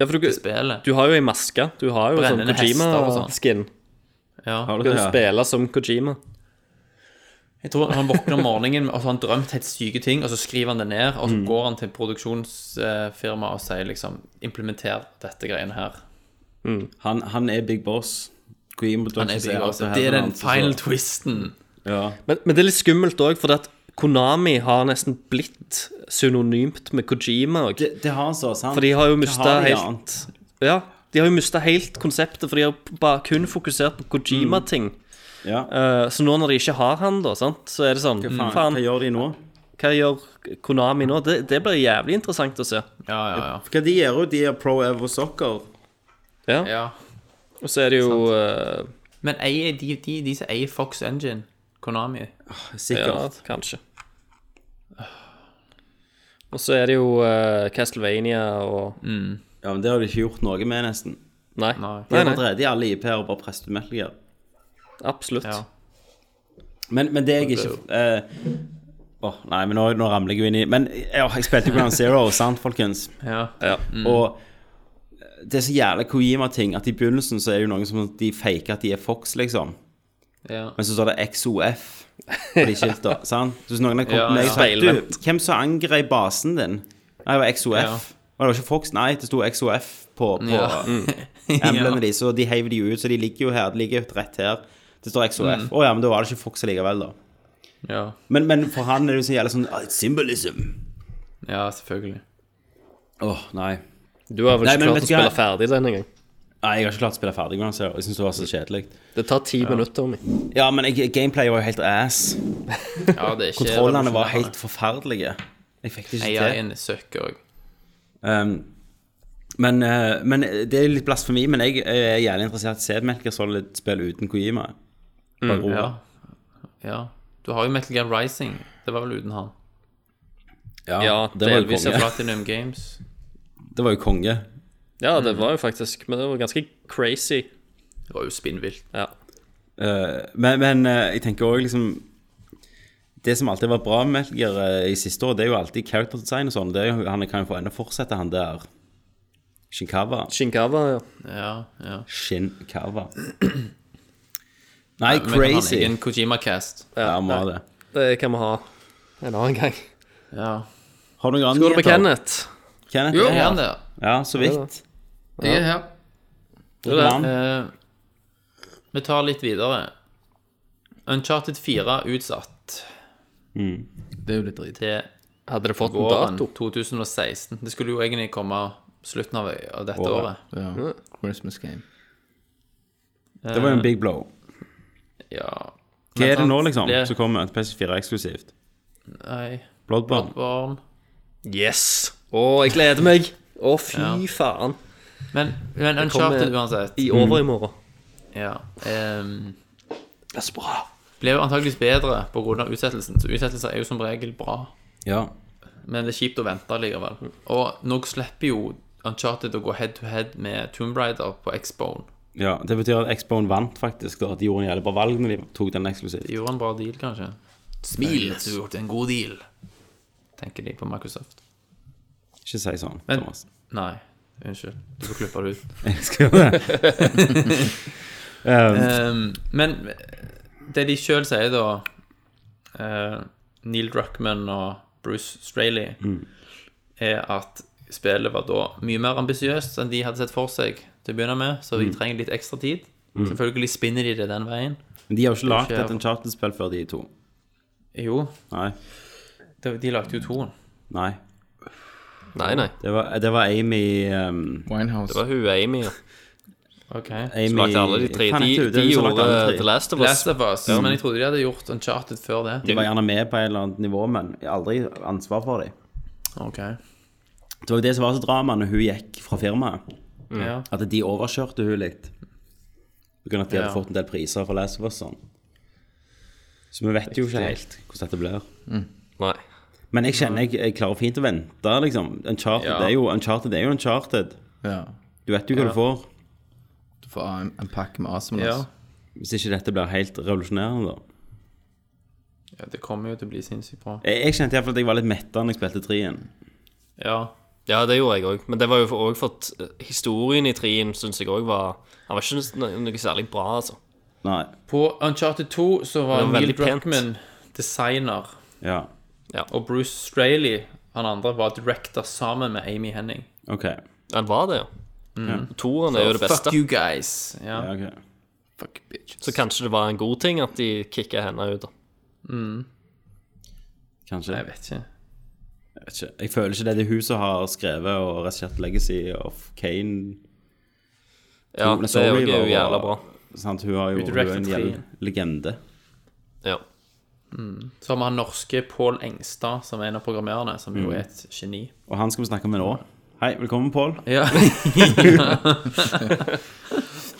[SPEAKER 2] Ja, for
[SPEAKER 7] til
[SPEAKER 2] du,
[SPEAKER 7] spillet.
[SPEAKER 2] du har jo ei maske. Du har jo sånn
[SPEAKER 7] Brennende hester og sånn.
[SPEAKER 2] Kojima-skin.
[SPEAKER 7] Ja.
[SPEAKER 8] Har
[SPEAKER 2] Du
[SPEAKER 8] du
[SPEAKER 2] kan
[SPEAKER 8] det? Ja.
[SPEAKER 2] spille som Kojima.
[SPEAKER 7] Jeg tror han våkner om morgenen og så har han drømt helt syke ting, og så skriver han det ned, og så går han til produksjonsfirmaet og sier liksom Implementer dette greiene her.
[SPEAKER 8] Han, han er big boss. Kojima
[SPEAKER 7] Han er
[SPEAKER 8] produserer
[SPEAKER 7] sikker,
[SPEAKER 8] alt
[SPEAKER 7] altså.
[SPEAKER 8] her
[SPEAKER 7] Det er den
[SPEAKER 8] hans, så-
[SPEAKER 7] final twisten.
[SPEAKER 8] Ja.
[SPEAKER 2] Men, men det er litt skummelt òg, fordi at Konami har nesten blitt synonymt med Kojima. Og,
[SPEAKER 8] Det, det har han så, sant?
[SPEAKER 2] for de har jo mista
[SPEAKER 8] har de
[SPEAKER 2] helt
[SPEAKER 8] annet?
[SPEAKER 2] Ja, de har jo mista helt konseptet, for de har bare kun fokusert på Kojima-ting.
[SPEAKER 8] Ja.
[SPEAKER 2] Eh, så nå når de ikke har han, da, sant, så er det sånn
[SPEAKER 8] Hva
[SPEAKER 2] Faen,
[SPEAKER 8] faen, hva gjør de nå?
[SPEAKER 2] hva gjør Konami nå? Det, det blir jævlig interessant å se.
[SPEAKER 7] Ja, ja, ja.
[SPEAKER 8] Hva de gjør jo? De er pro evo soccer.
[SPEAKER 2] Ja.
[SPEAKER 7] ja.
[SPEAKER 2] Og så er det jo eh,
[SPEAKER 7] Men eier de, de, de som eier Fox Engine, Konami
[SPEAKER 2] eh, Ja,
[SPEAKER 8] Sikkert.
[SPEAKER 2] kanskje. Og så er det jo eh, Castlevania og
[SPEAKER 8] Ja. men det har de ikke gjort noe med, nesten.
[SPEAKER 2] Nei.
[SPEAKER 7] Nei.
[SPEAKER 8] De
[SPEAKER 2] nei,
[SPEAKER 8] har
[SPEAKER 2] nei.
[SPEAKER 8] drevet i alle IP-er og bare presset ut Metal Gear.
[SPEAKER 2] Absolutt.
[SPEAKER 7] Ja.
[SPEAKER 8] Men, men det jeg ikke eh, Åh, nei, men nå, nå ramler jeg jo inn i Men ja, jeg spilte jo Ground Zero, <laughs> sant, folkens?
[SPEAKER 7] Ja.
[SPEAKER 2] Ja.
[SPEAKER 7] Mm.
[SPEAKER 8] Og eh, det er så jævla Kojima-ting at i begynnelsen så er det jo noen som de faker at de er Fox, liksom.
[SPEAKER 7] ja.
[SPEAKER 8] Men så står det XOF på de
[SPEAKER 7] <laughs>
[SPEAKER 8] skilta, sant? Så hvis noen har kommet
[SPEAKER 7] Ja,
[SPEAKER 8] med
[SPEAKER 7] ja.
[SPEAKER 8] og sagt Du, hvem som angrep basen din? Nei, det var XOF.
[SPEAKER 7] Ja.
[SPEAKER 8] Og det var ikke Fox, nei, det sto XOF på, på
[SPEAKER 7] Ja. <laughs>
[SPEAKER 8] emblemet
[SPEAKER 7] Ja.
[SPEAKER 8] de, så de heiv de jo ut, så de ligger jo her, de ligger jo rett her. Det står XOF. Å
[SPEAKER 7] Mm.
[SPEAKER 8] ja, men da var det ikke Fox likevel, da.
[SPEAKER 7] Ja.
[SPEAKER 8] Men, men for han er det jo så jævlig sånn ah, it's Symbolism.
[SPEAKER 7] ja, selvfølgelig.
[SPEAKER 8] Åh, nei.
[SPEAKER 2] Du har vel
[SPEAKER 8] Nei,
[SPEAKER 2] ikke
[SPEAKER 8] men
[SPEAKER 2] klart å
[SPEAKER 8] vet du hva?
[SPEAKER 2] spille ferdig den engang.
[SPEAKER 8] Nei, jeg har ikke klart å spille ferdig Ground Zero. Jeg syns det var så kjedelig.
[SPEAKER 2] Det tar ti minutter. Min.
[SPEAKER 8] Ja, men jeg, gameplay var jo helt ass.
[SPEAKER 7] Ja, det er ikke
[SPEAKER 8] Kontrollene var helt forferdelige. Jeg fikk det ikke til.
[SPEAKER 7] AI-en søkker òg.
[SPEAKER 8] Um, men, eh, men det er litt blasfemi, men jeg er jævlig interessert i å se et Metal Gear Solid-spill uten Kojima. Bare ro.
[SPEAKER 7] Ja. ja. Du har jo Metal Gear Rising. Det var vel uten han.
[SPEAKER 8] Ja,
[SPEAKER 2] Ja,
[SPEAKER 8] det, var jo
[SPEAKER 7] Delvis
[SPEAKER 8] <laughs>
[SPEAKER 7] av
[SPEAKER 8] konge.
[SPEAKER 7] Platinum Games.
[SPEAKER 8] det var jo konge.
[SPEAKER 2] Ja, det var jo faktisk Men det var ganske crazy.
[SPEAKER 7] Det var jo spinnvilt.
[SPEAKER 2] Ja.
[SPEAKER 8] Eh, men men eh, jeg tenker òg liksom Det som alltid har vært bra med Metal Gear eh, i siste år, det er jo alltid character design og sånn. Det er jo- Han kan jo få enda fortsette, han der Shinkawa.
[SPEAKER 2] Shinkawa, ja.
[SPEAKER 7] Ja, ja.
[SPEAKER 8] Shinkawa. Nei,
[SPEAKER 7] Men kan
[SPEAKER 8] crazy.
[SPEAKER 7] ha en egen Kojima-cast.
[SPEAKER 8] Ja, må ha det.
[SPEAKER 2] Det kan vi ha en annen gang.
[SPEAKER 7] Ja.
[SPEAKER 8] Har du noen
[SPEAKER 2] Går det med
[SPEAKER 8] nyheter?
[SPEAKER 2] Kenneth?
[SPEAKER 8] Kenneth?
[SPEAKER 13] Jo.
[SPEAKER 8] er
[SPEAKER 7] Er
[SPEAKER 8] her.
[SPEAKER 7] han der?
[SPEAKER 8] Ja, så vidt.
[SPEAKER 13] Jeg er her.
[SPEAKER 2] Det er det.
[SPEAKER 8] Mann.
[SPEAKER 7] Eh, vi tar litt videre. Uncharted 4 utsatt
[SPEAKER 13] Det er jo litt drit.
[SPEAKER 7] til
[SPEAKER 2] Mm. Hadde det fått en
[SPEAKER 7] våren
[SPEAKER 2] dato?
[SPEAKER 7] 2016. Det skulle jo egentlig komme slutten av, av dette
[SPEAKER 8] Året.
[SPEAKER 7] året.
[SPEAKER 13] Ja. Christmas game.
[SPEAKER 8] Det var jo en big blow.
[SPEAKER 7] Ja.
[SPEAKER 8] Hva
[SPEAKER 7] Men
[SPEAKER 8] er det nå,
[SPEAKER 7] sant,
[SPEAKER 8] liksom,
[SPEAKER 7] det-
[SPEAKER 8] som kommer til PS4 eksklusivt?
[SPEAKER 7] Nei,
[SPEAKER 8] Bloodborne.
[SPEAKER 7] varm.
[SPEAKER 2] Yes! Å, jeg gleder meg! Å, fy
[SPEAKER 7] Ja.
[SPEAKER 2] faen.
[SPEAKER 7] Men, men
[SPEAKER 2] kommer-
[SPEAKER 7] Uncharted uansett
[SPEAKER 2] I overmorgen.
[SPEAKER 7] ja, ehm,
[SPEAKER 2] Det er så bra.
[SPEAKER 7] ble jo antageligvis bedre på grunn av utsettelsen. Så utsettelser er jo som regel bra.
[SPEAKER 8] Ja.
[SPEAKER 7] Men det er kjipt å vente likevel. Og nå slipper jo Uncharted å gå head to head med Tomb Raider på X-Bone.
[SPEAKER 8] ja. Det betyr at Xbone vant, faktisk. Da. De gjorde en jævlig bra valg når de tok den eksklusivt.
[SPEAKER 7] De gjorde en bra deal, kanskje. Smil! Du gjorde en god deal, tenker de på Microsoft.
[SPEAKER 8] Ikke si sånn,
[SPEAKER 7] Men-
[SPEAKER 8] Thomas. <laughs>
[SPEAKER 7] Nei, unnskyld. Du får klippe det ut.
[SPEAKER 8] Jeg skal gjøre det.
[SPEAKER 7] Ehm, men det de sjøl sier, da eh, Neil Druckman og Bruce Straley, er at spillet var da mye mer ambisiøst enn de hadde sett for seg til å begynne med, så vi trenger litt ekstra tid. Selvfølgelig spinner de det den veien.
[SPEAKER 8] Men de har jo ikke lagd
[SPEAKER 7] skjer.
[SPEAKER 8] et Uncharted-spill før, de to.
[SPEAKER 7] Jo,
[SPEAKER 8] Nei.
[SPEAKER 7] de, de lagde jo toen.
[SPEAKER 8] Nei.
[SPEAKER 2] Nei, nei.
[SPEAKER 8] Det var, det var Amy um,
[SPEAKER 2] Det
[SPEAKER 9] Winehouse.
[SPEAKER 2] var hun Amy. ja.
[SPEAKER 7] Ok.
[SPEAKER 8] Amy
[SPEAKER 2] Som lagde alle de tre.
[SPEAKER 8] Faen, jeg
[SPEAKER 2] De,
[SPEAKER 8] trodde
[SPEAKER 2] de
[SPEAKER 8] hun som lagde alle
[SPEAKER 2] gjorde
[SPEAKER 8] tre.
[SPEAKER 2] The Last of Us.
[SPEAKER 7] Last of Us, men jeg trodde de hadde gjort Uncharted før det.
[SPEAKER 8] De var gjerne med på et eller annet nivå, men jeg har aldri ansvar for dem.
[SPEAKER 7] Ok.
[SPEAKER 8] Det var jo det som var så drama når hun gikk fra firmaet.
[SPEAKER 7] Ja.
[SPEAKER 8] At de overkjørte hun litt. På grunn av at de
[SPEAKER 7] Ja.
[SPEAKER 8] hadde fått en del priser for Last of Us sånn. Så vi vet jo ikke helt hvordan dette blir.
[SPEAKER 2] Nei.
[SPEAKER 8] Men jeg kjenner jeg, jeg klarer fint å vente, liksom. Uncharted,
[SPEAKER 7] Ja.
[SPEAKER 8] det er, jo, Uncharted er jo Uncharted.
[SPEAKER 9] Ja.
[SPEAKER 8] Du vet jo hva du får.
[SPEAKER 9] Du får en, en pakke med Asimlas.
[SPEAKER 7] Ja.
[SPEAKER 8] Hvis ikke dette blir helt revolusjonerende, da.
[SPEAKER 7] ja, det kommer jo til å bli sinnssykt bra.
[SPEAKER 8] Jeg, jeg kjente iallfall at jeg var litt metta når jeg spilte treen.
[SPEAKER 7] Ja.
[SPEAKER 2] Ja, det gjorde jeg òg. Men det var jo òg for at eh, historien i trien syns jeg òg var Han var ikke noe, noe særlig bra, altså.
[SPEAKER 8] Nei.
[SPEAKER 7] På Uncharted 2 så var,
[SPEAKER 2] Det var
[SPEAKER 7] Neil
[SPEAKER 2] veldig pent.
[SPEAKER 7] Druckmann designer,
[SPEAKER 8] Ja.
[SPEAKER 7] og Bruce Straley, han andre, var director sammen med Amy Henning.
[SPEAKER 8] OK.
[SPEAKER 2] Den var det, ja. Toeren er jo det beste.
[SPEAKER 7] Mm. Fuck you guys. Ja.
[SPEAKER 8] Ja, ok.
[SPEAKER 9] Fuck bitches.
[SPEAKER 2] Så kanskje det var en god ting at de kicka henne ut, da.
[SPEAKER 8] Kanskje.
[SPEAKER 7] Jeg vet ikke.
[SPEAKER 8] Jeg, vet ikke. jeg føler ikke det. Det er hun som har skrevet og regissert Legacy of Kane.
[SPEAKER 2] Ja,
[SPEAKER 8] Men
[SPEAKER 2] det
[SPEAKER 8] Sony
[SPEAKER 2] òg er
[SPEAKER 8] var-
[SPEAKER 2] jo jævla bra.
[SPEAKER 8] Sant? Hun, har jo, hun er
[SPEAKER 7] Directed
[SPEAKER 8] en
[SPEAKER 7] treen.
[SPEAKER 8] jævla legende.
[SPEAKER 2] Ja.
[SPEAKER 7] Så har vi han norske Pål Engstad, som er en av programmererne, som jo er et geni.
[SPEAKER 8] Og han skal vi snakke med nå. Hei, velkommen, Pål. <laughs>
[SPEAKER 7] Ja.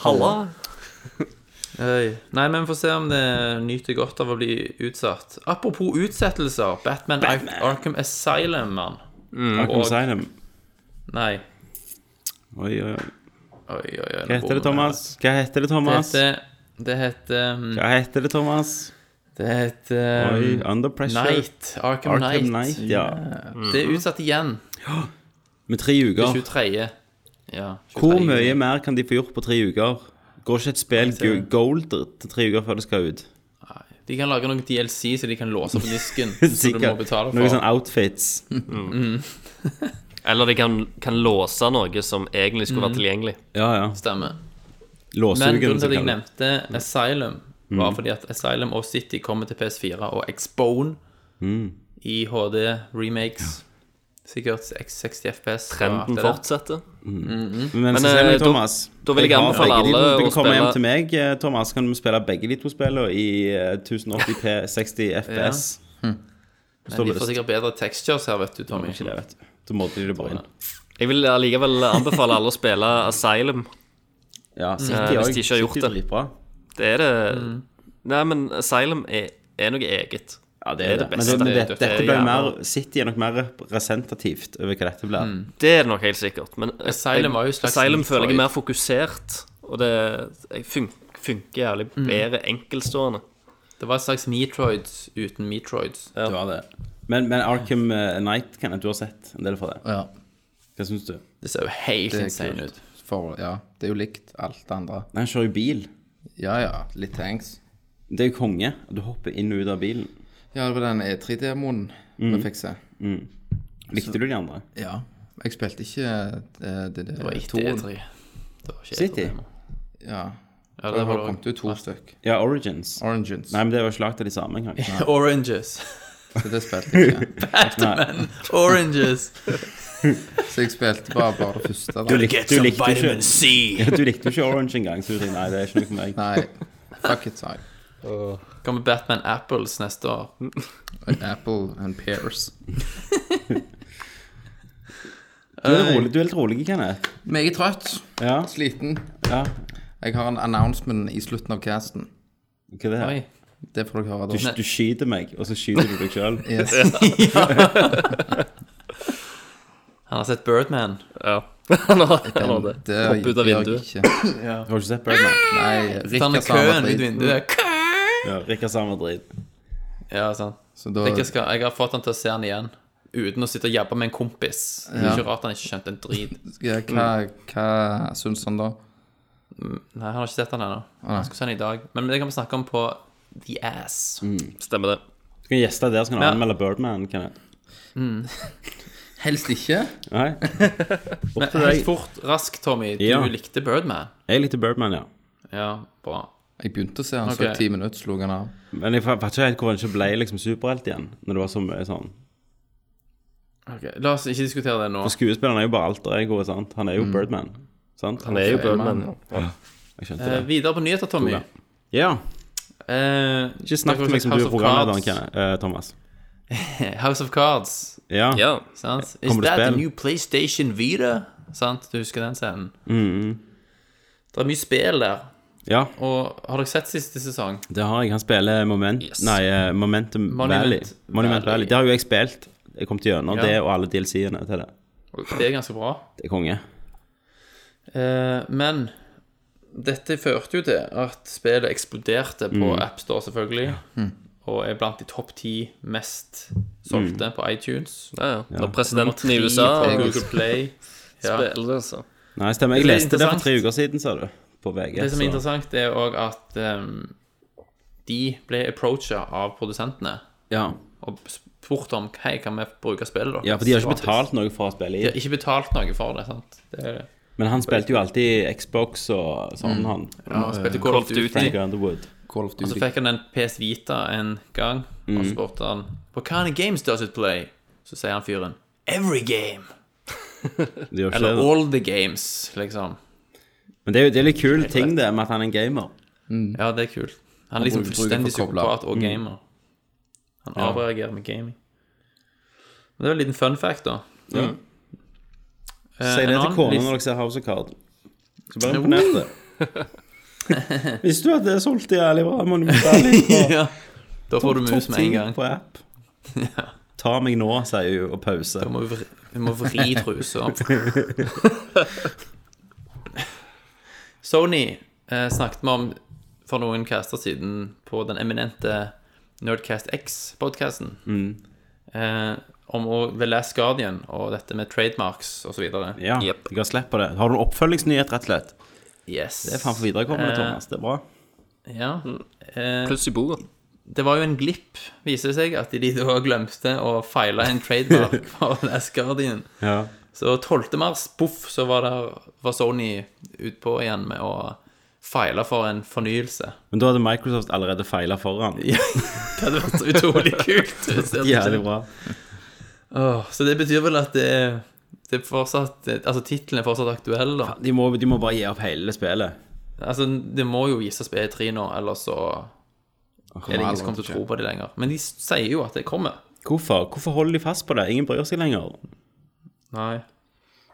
[SPEAKER 2] Halla.
[SPEAKER 7] Nei, men vi får se om det nyter godt av å bli utsatt. Apropos utsettelser. Batman, Ar- Arkham Asylum, mann.
[SPEAKER 8] Mm. Arkham
[SPEAKER 7] og-
[SPEAKER 8] Asylum.
[SPEAKER 7] Nei.
[SPEAKER 8] Oi, oi, oi.
[SPEAKER 7] Oi, oi, oi.
[SPEAKER 8] Hva heter det, Thomas? Hva heter det,
[SPEAKER 7] Det
[SPEAKER 8] Thomas?
[SPEAKER 7] heter Det heter um,
[SPEAKER 8] Hva heter det, Thomas?
[SPEAKER 7] Det heter
[SPEAKER 8] Oi,
[SPEAKER 7] um,
[SPEAKER 8] Under Pressure.
[SPEAKER 7] Knight. Arkham,
[SPEAKER 8] Arkham
[SPEAKER 7] Knight.
[SPEAKER 8] Knight, ja.
[SPEAKER 7] Det er utsatt igjen.
[SPEAKER 8] Med tre uker.
[SPEAKER 7] 23. Ja, 23.
[SPEAKER 8] Hvor mye mer kan de få gjort på tre uker? Går ikke et spill
[SPEAKER 7] ser det.
[SPEAKER 8] go- gold til tre uker før det skal ut?
[SPEAKER 7] De kan lage noen DLC så de kan låse på
[SPEAKER 8] <laughs>
[SPEAKER 7] disken. så du må betale
[SPEAKER 8] Noen
[SPEAKER 7] for.
[SPEAKER 8] sånne outfits.
[SPEAKER 2] Eller de kan, kan låse noe som egentlig skulle
[SPEAKER 7] Mm.
[SPEAKER 2] vært tilgjengelig.
[SPEAKER 8] Ja, ja.
[SPEAKER 7] Stemmer. Men
[SPEAKER 8] Låsugen, så
[SPEAKER 7] grunnen til at jeg
[SPEAKER 8] kaller det.
[SPEAKER 7] nevnte Asylum, var fordi at Asylum og City kommer til PS4 og Expone i HD remakes. Sikkert 60 FPS. og alt
[SPEAKER 2] Trenden
[SPEAKER 7] det der.
[SPEAKER 2] fortsetter.
[SPEAKER 8] Men så
[SPEAKER 2] eh,
[SPEAKER 8] ser vi,
[SPEAKER 2] da-
[SPEAKER 8] Thomas
[SPEAKER 2] da vil jeg
[SPEAKER 8] har
[SPEAKER 2] anbefale
[SPEAKER 8] begge de to.
[SPEAKER 2] alle å
[SPEAKER 8] Du kan komme hjem
[SPEAKER 2] spille-
[SPEAKER 8] til meg, eh, Thomas, kan vi spille begge de to spillene i eh, 1080p 60 FPS.
[SPEAKER 7] Men de får sikkert bedre textures her, vet du, Tommy.
[SPEAKER 8] Ikke det, vet du. Da målte de det bare inn.
[SPEAKER 2] Jeg vil allikevel anbefale alle å spille Asylum.
[SPEAKER 8] Ja,
[SPEAKER 2] Eh, hvis de ikke har gjort det.
[SPEAKER 8] Dritbra.
[SPEAKER 2] Det er det
[SPEAKER 7] Mm.
[SPEAKER 2] Nei, men Asylum er, er noe eget.
[SPEAKER 8] Ja, det
[SPEAKER 2] er
[SPEAKER 8] er det.
[SPEAKER 2] det
[SPEAKER 8] Men,
[SPEAKER 2] beste.
[SPEAKER 8] det, men det,
[SPEAKER 2] Det er
[SPEAKER 8] dette blir jo
[SPEAKER 2] jævla-
[SPEAKER 8] mer City er nok mer rep- representativt over hva dette blir.
[SPEAKER 2] Det er det nok helt sikkert. Men jeg-
[SPEAKER 7] Asylum var jo slags
[SPEAKER 2] Asylum
[SPEAKER 7] Metroid.
[SPEAKER 2] føler jeg er mer fokusert, og det jeg fun funker jævlig
[SPEAKER 7] Mm.
[SPEAKER 2] bedre
[SPEAKER 7] <laughs>
[SPEAKER 2] enkeltstående.
[SPEAKER 7] Det var et slags Metroids uten Metroids.
[SPEAKER 8] Det var det. Men, men Arkham eh, Knight, kan jeg, du har sett en del fra det.
[SPEAKER 9] Ja.
[SPEAKER 8] Hva syns du?
[SPEAKER 7] Det ser jo helt
[SPEAKER 9] Det er
[SPEAKER 7] insane
[SPEAKER 9] kult.
[SPEAKER 7] ut.
[SPEAKER 9] For, ja, det er jo likt alt det andre.
[SPEAKER 8] Nei, Han kjører jo bil.
[SPEAKER 9] Ja, ja. Litt tanks.
[SPEAKER 8] Det er jo konge. Du hopper inn og ut av bilen.
[SPEAKER 9] Ja, det var den E3-demoen
[SPEAKER 7] Mm.
[SPEAKER 9] vi fikk se.
[SPEAKER 8] Likte du de andre?
[SPEAKER 9] Ja. Jeg spilte ikke eh, det, det,
[SPEAKER 7] Det var ikke
[SPEAKER 9] toen.
[SPEAKER 7] E3. Det var ikke
[SPEAKER 8] City?
[SPEAKER 7] E3 -demo.
[SPEAKER 9] Ja.
[SPEAKER 7] Ja, det
[SPEAKER 9] Det
[SPEAKER 7] var
[SPEAKER 9] har
[SPEAKER 7] det
[SPEAKER 9] kommet ut to stykk.
[SPEAKER 8] Ja, Origins.
[SPEAKER 9] Origins. <laughs>
[SPEAKER 8] Nei, men det var ikke lagd av de samme engang.
[SPEAKER 7] <laughs> også. <laughs> Oranges.
[SPEAKER 9] Så det spilte jeg ikke.
[SPEAKER 8] Nei,
[SPEAKER 7] Oranges.
[SPEAKER 9] Så jeg spilte bare, bare det første. Da.
[SPEAKER 8] du likte jo ikke <laughs> Ja, Du likte jo ikke Orange engang, så du tenkte nei, det er ikke noe for meg.
[SPEAKER 9] Nei. Fuck it, sa jeg.
[SPEAKER 7] Kommer Batman Apples neste år.
[SPEAKER 9] An apple and pears.
[SPEAKER 8] Du er, rolig, du er litt rolig, Kenneth.
[SPEAKER 9] Meget trøtt.
[SPEAKER 8] Ja,
[SPEAKER 9] Sliten.
[SPEAKER 8] ja.
[SPEAKER 9] Jeg har en announcement i slutten av casten.
[SPEAKER 8] Hva er det her?
[SPEAKER 7] Oi.
[SPEAKER 9] Det får dere høre
[SPEAKER 8] Du,
[SPEAKER 9] da.
[SPEAKER 8] du skyter meg, og så skyter du deg sjøl.
[SPEAKER 9] Yes.
[SPEAKER 7] Han har sett Birdman.
[SPEAKER 2] Ja. Eller eller det.
[SPEAKER 9] Det
[SPEAKER 2] Hopp ut av
[SPEAKER 9] gjør jeg
[SPEAKER 2] vinduet.
[SPEAKER 9] ikke.
[SPEAKER 8] Har du ikke sett Birdman?
[SPEAKER 9] Nei,
[SPEAKER 7] Så han er
[SPEAKER 9] Rikka sa han
[SPEAKER 7] Sånn køen
[SPEAKER 9] var
[SPEAKER 7] ut
[SPEAKER 9] drit.
[SPEAKER 7] vinduet.
[SPEAKER 8] Ja, Rikard Samer drit.
[SPEAKER 7] <laughs> Ja, sant.
[SPEAKER 9] Så da
[SPEAKER 7] Rikke skal, jeg har fått han til å se han igjen. Uten å sitte og jabbe med en kompis. Det er
[SPEAKER 9] Ja.
[SPEAKER 7] ikke rart han ikke skjønte en
[SPEAKER 8] <laughs>
[SPEAKER 7] drit.
[SPEAKER 9] ja, Hva, hva syns han da?
[SPEAKER 7] Nei, han har ikke sett han ennå. Han skulle se han i dag. Men det kan vi snakke om på The Ass.
[SPEAKER 8] Mm.
[SPEAKER 2] Stemmer det.
[SPEAKER 8] Du kan gjeste der, så kan du
[SPEAKER 7] Ja.
[SPEAKER 8] anmelde Birdman, Kenneth.
[SPEAKER 14] Helst ikke.
[SPEAKER 7] <laughs>
[SPEAKER 8] Nei.
[SPEAKER 7] Men helt fort, raskt, Tommy. Du
[SPEAKER 8] Ja.
[SPEAKER 7] likte Birdman.
[SPEAKER 8] Jeg likte Birdman, ja.
[SPEAKER 7] Ja, bra.
[SPEAKER 14] Jeg begynte å se han
[SPEAKER 7] Ok.
[SPEAKER 14] så ti minutter, slo han av.
[SPEAKER 8] Men jeg vet ikke helt hvor han ikke ble liksom superhelt igjen. Når det var så mye sånn
[SPEAKER 7] Ok, La oss ikke diskutere det nå.
[SPEAKER 8] For skuespilleren er jo bare alter ego, sant? Han er
[SPEAKER 7] Mm.
[SPEAKER 8] jo Birdman. Sant?
[SPEAKER 2] Han er jo Birdman.
[SPEAKER 8] Jeg skjønte
[SPEAKER 7] Eh,
[SPEAKER 8] det.
[SPEAKER 7] videre på nyheter, Tommy.
[SPEAKER 8] Toga. Ja.
[SPEAKER 7] Eh,
[SPEAKER 8] Ikke snakk til meg som du
[SPEAKER 7] House
[SPEAKER 8] er
[SPEAKER 7] of
[SPEAKER 8] programlederen,
[SPEAKER 7] Cards. Eh,
[SPEAKER 8] Kenneth, eh, Thomas.
[SPEAKER 7] House of Cards.
[SPEAKER 8] Ja.
[SPEAKER 2] Ja.
[SPEAKER 7] Sant? Is
[SPEAKER 8] Kommer det
[SPEAKER 7] that the
[SPEAKER 8] spill?
[SPEAKER 7] new PlayStation Vita? Sant? Du husker den scenen?
[SPEAKER 8] Mm.
[SPEAKER 7] Det er mye spill der.
[SPEAKER 8] ja,
[SPEAKER 7] Og har dere sett siste sesong?
[SPEAKER 8] det har jeg. Han spiller Moment, nei, eh, Momentum
[SPEAKER 7] Monument
[SPEAKER 8] Valley. Monument
[SPEAKER 7] Valley.
[SPEAKER 8] Valley. Det har jo jeg spilt. Jeg kom til gjennom
[SPEAKER 7] Ja.
[SPEAKER 8] det og alle DLC-ene til det.
[SPEAKER 7] Det er ganske bra.
[SPEAKER 8] Det er konge.
[SPEAKER 7] Eh, men dette førte jo til at spillet eksploderte på AppStore, selvfølgelig. Og er blant de topp ti mest solgte på iTunes.
[SPEAKER 2] Ja, ja. Når
[SPEAKER 7] Nummer
[SPEAKER 2] presidenten
[SPEAKER 7] tre
[SPEAKER 2] i USA
[SPEAKER 7] på
[SPEAKER 2] spiller
[SPEAKER 7] Google Play. <laughs> Ja.
[SPEAKER 2] det, altså.
[SPEAKER 8] Nei, stemmer. Jeg
[SPEAKER 7] Det er
[SPEAKER 8] leste det for
[SPEAKER 7] interessant.
[SPEAKER 8] tre uker siden, sa du. På VG.
[SPEAKER 7] Det som
[SPEAKER 8] så-
[SPEAKER 7] er interessant, er òg at ehm, de ble approacha av produsentene
[SPEAKER 8] Ja.
[SPEAKER 7] og spurt om hei, kan vi bruke spillet deres?
[SPEAKER 8] ja, for de har ikke
[SPEAKER 7] gratis?»
[SPEAKER 8] betalt noe for å spille i.
[SPEAKER 7] De har ikke betalt noe for det, sant? Det er det.
[SPEAKER 8] Men han spilte jo alltid Xbox og
[SPEAKER 7] Mm.
[SPEAKER 8] sånn, han.
[SPEAKER 7] Ja, han spilte Call of Duty.
[SPEAKER 8] Frank Underwood.
[SPEAKER 14] Call of
[SPEAKER 7] Og så
[SPEAKER 14] Duty.
[SPEAKER 7] fikk han en PS Vita en gang, og
[SPEAKER 14] Mhm.
[SPEAKER 7] så spurte han What kind of games does it play? Så sier han fyren Every game.
[SPEAKER 8] Det gjør ikke
[SPEAKER 7] Eller
[SPEAKER 8] det.
[SPEAKER 7] all the games, liksom.
[SPEAKER 8] Men det er jo det er litt kul ting, det, med at han er en gamer.
[SPEAKER 7] Ja, det er kult. Han er liksom
[SPEAKER 14] bruker
[SPEAKER 7] fullstendig
[SPEAKER 14] for Mhm. å koble av.
[SPEAKER 7] psykopat og gamer. Han avreagerer med gaming. Men det er jo en liten fun fact, da.
[SPEAKER 8] Si
[SPEAKER 7] Eh, en
[SPEAKER 8] det til
[SPEAKER 7] annen
[SPEAKER 8] kona
[SPEAKER 7] litt-
[SPEAKER 8] når dere ser House of Card. Så bare imponert
[SPEAKER 7] <laughs>
[SPEAKER 8] det. Visste du at det er solgt jævlig bra? Monument
[SPEAKER 7] <laughs>
[SPEAKER 8] Valley på
[SPEAKER 7] ja. Da får du mus med en
[SPEAKER 8] sånn ting
[SPEAKER 7] gang.
[SPEAKER 8] på
[SPEAKER 7] <laughs>
[SPEAKER 8] app. Ta meg nå, sier hun, og pause.
[SPEAKER 7] Du må vri, du må
[SPEAKER 8] <laughs>
[SPEAKER 7] vri trusa opp. Sony eh, snakket vi om for noen caster siden på den eminente Nerdcast X-podkasten.
[SPEAKER 8] Mm.
[SPEAKER 7] Eh, om å- The Last Guardian og dette med trademarks osv.
[SPEAKER 8] Ja,
[SPEAKER 2] Jep.
[SPEAKER 8] jeg har slipp på det. Har du en oppfølgingsnyhet, rett og slett?
[SPEAKER 7] Yes.
[SPEAKER 8] Det er faen for viderekommende,
[SPEAKER 7] Eh,
[SPEAKER 8] Thomas. Mm. Det er bra.
[SPEAKER 7] Ja. Eh,
[SPEAKER 2] Pluss i bordet.
[SPEAKER 7] det var jo en glipp, viser det seg, at de da glemte å feile en
[SPEAKER 8] <laughs>
[SPEAKER 7] trademark for The Last Guardian.
[SPEAKER 8] Ja.
[SPEAKER 7] Så 12. mars, poff, så var, der, var Sony utpå igjen med å feile for en fornyelse.
[SPEAKER 8] Men da hadde Microsoft allerede feila foran.
[SPEAKER 7] Det hadde vært så
[SPEAKER 8] <laughs>
[SPEAKER 7] utrolig kult. hvis det hadde
[SPEAKER 8] Jævlig
[SPEAKER 7] skjedd.
[SPEAKER 8] bra.
[SPEAKER 7] Åh, så det betyr vel at det, er- det er fortsatt Altså, tittelen er fortsatt aktuell, da.
[SPEAKER 8] De må, de må bare gi opp hele spillet.
[SPEAKER 7] Altså, det må jo vises på E3 E nå, ellers så er det ingen som kommer til å tro på det lenger. Men de sier jo at det kommer.
[SPEAKER 8] Hvorfor? Hvorfor holder de fast på det? Ingen bryr seg lenger.
[SPEAKER 7] Nei.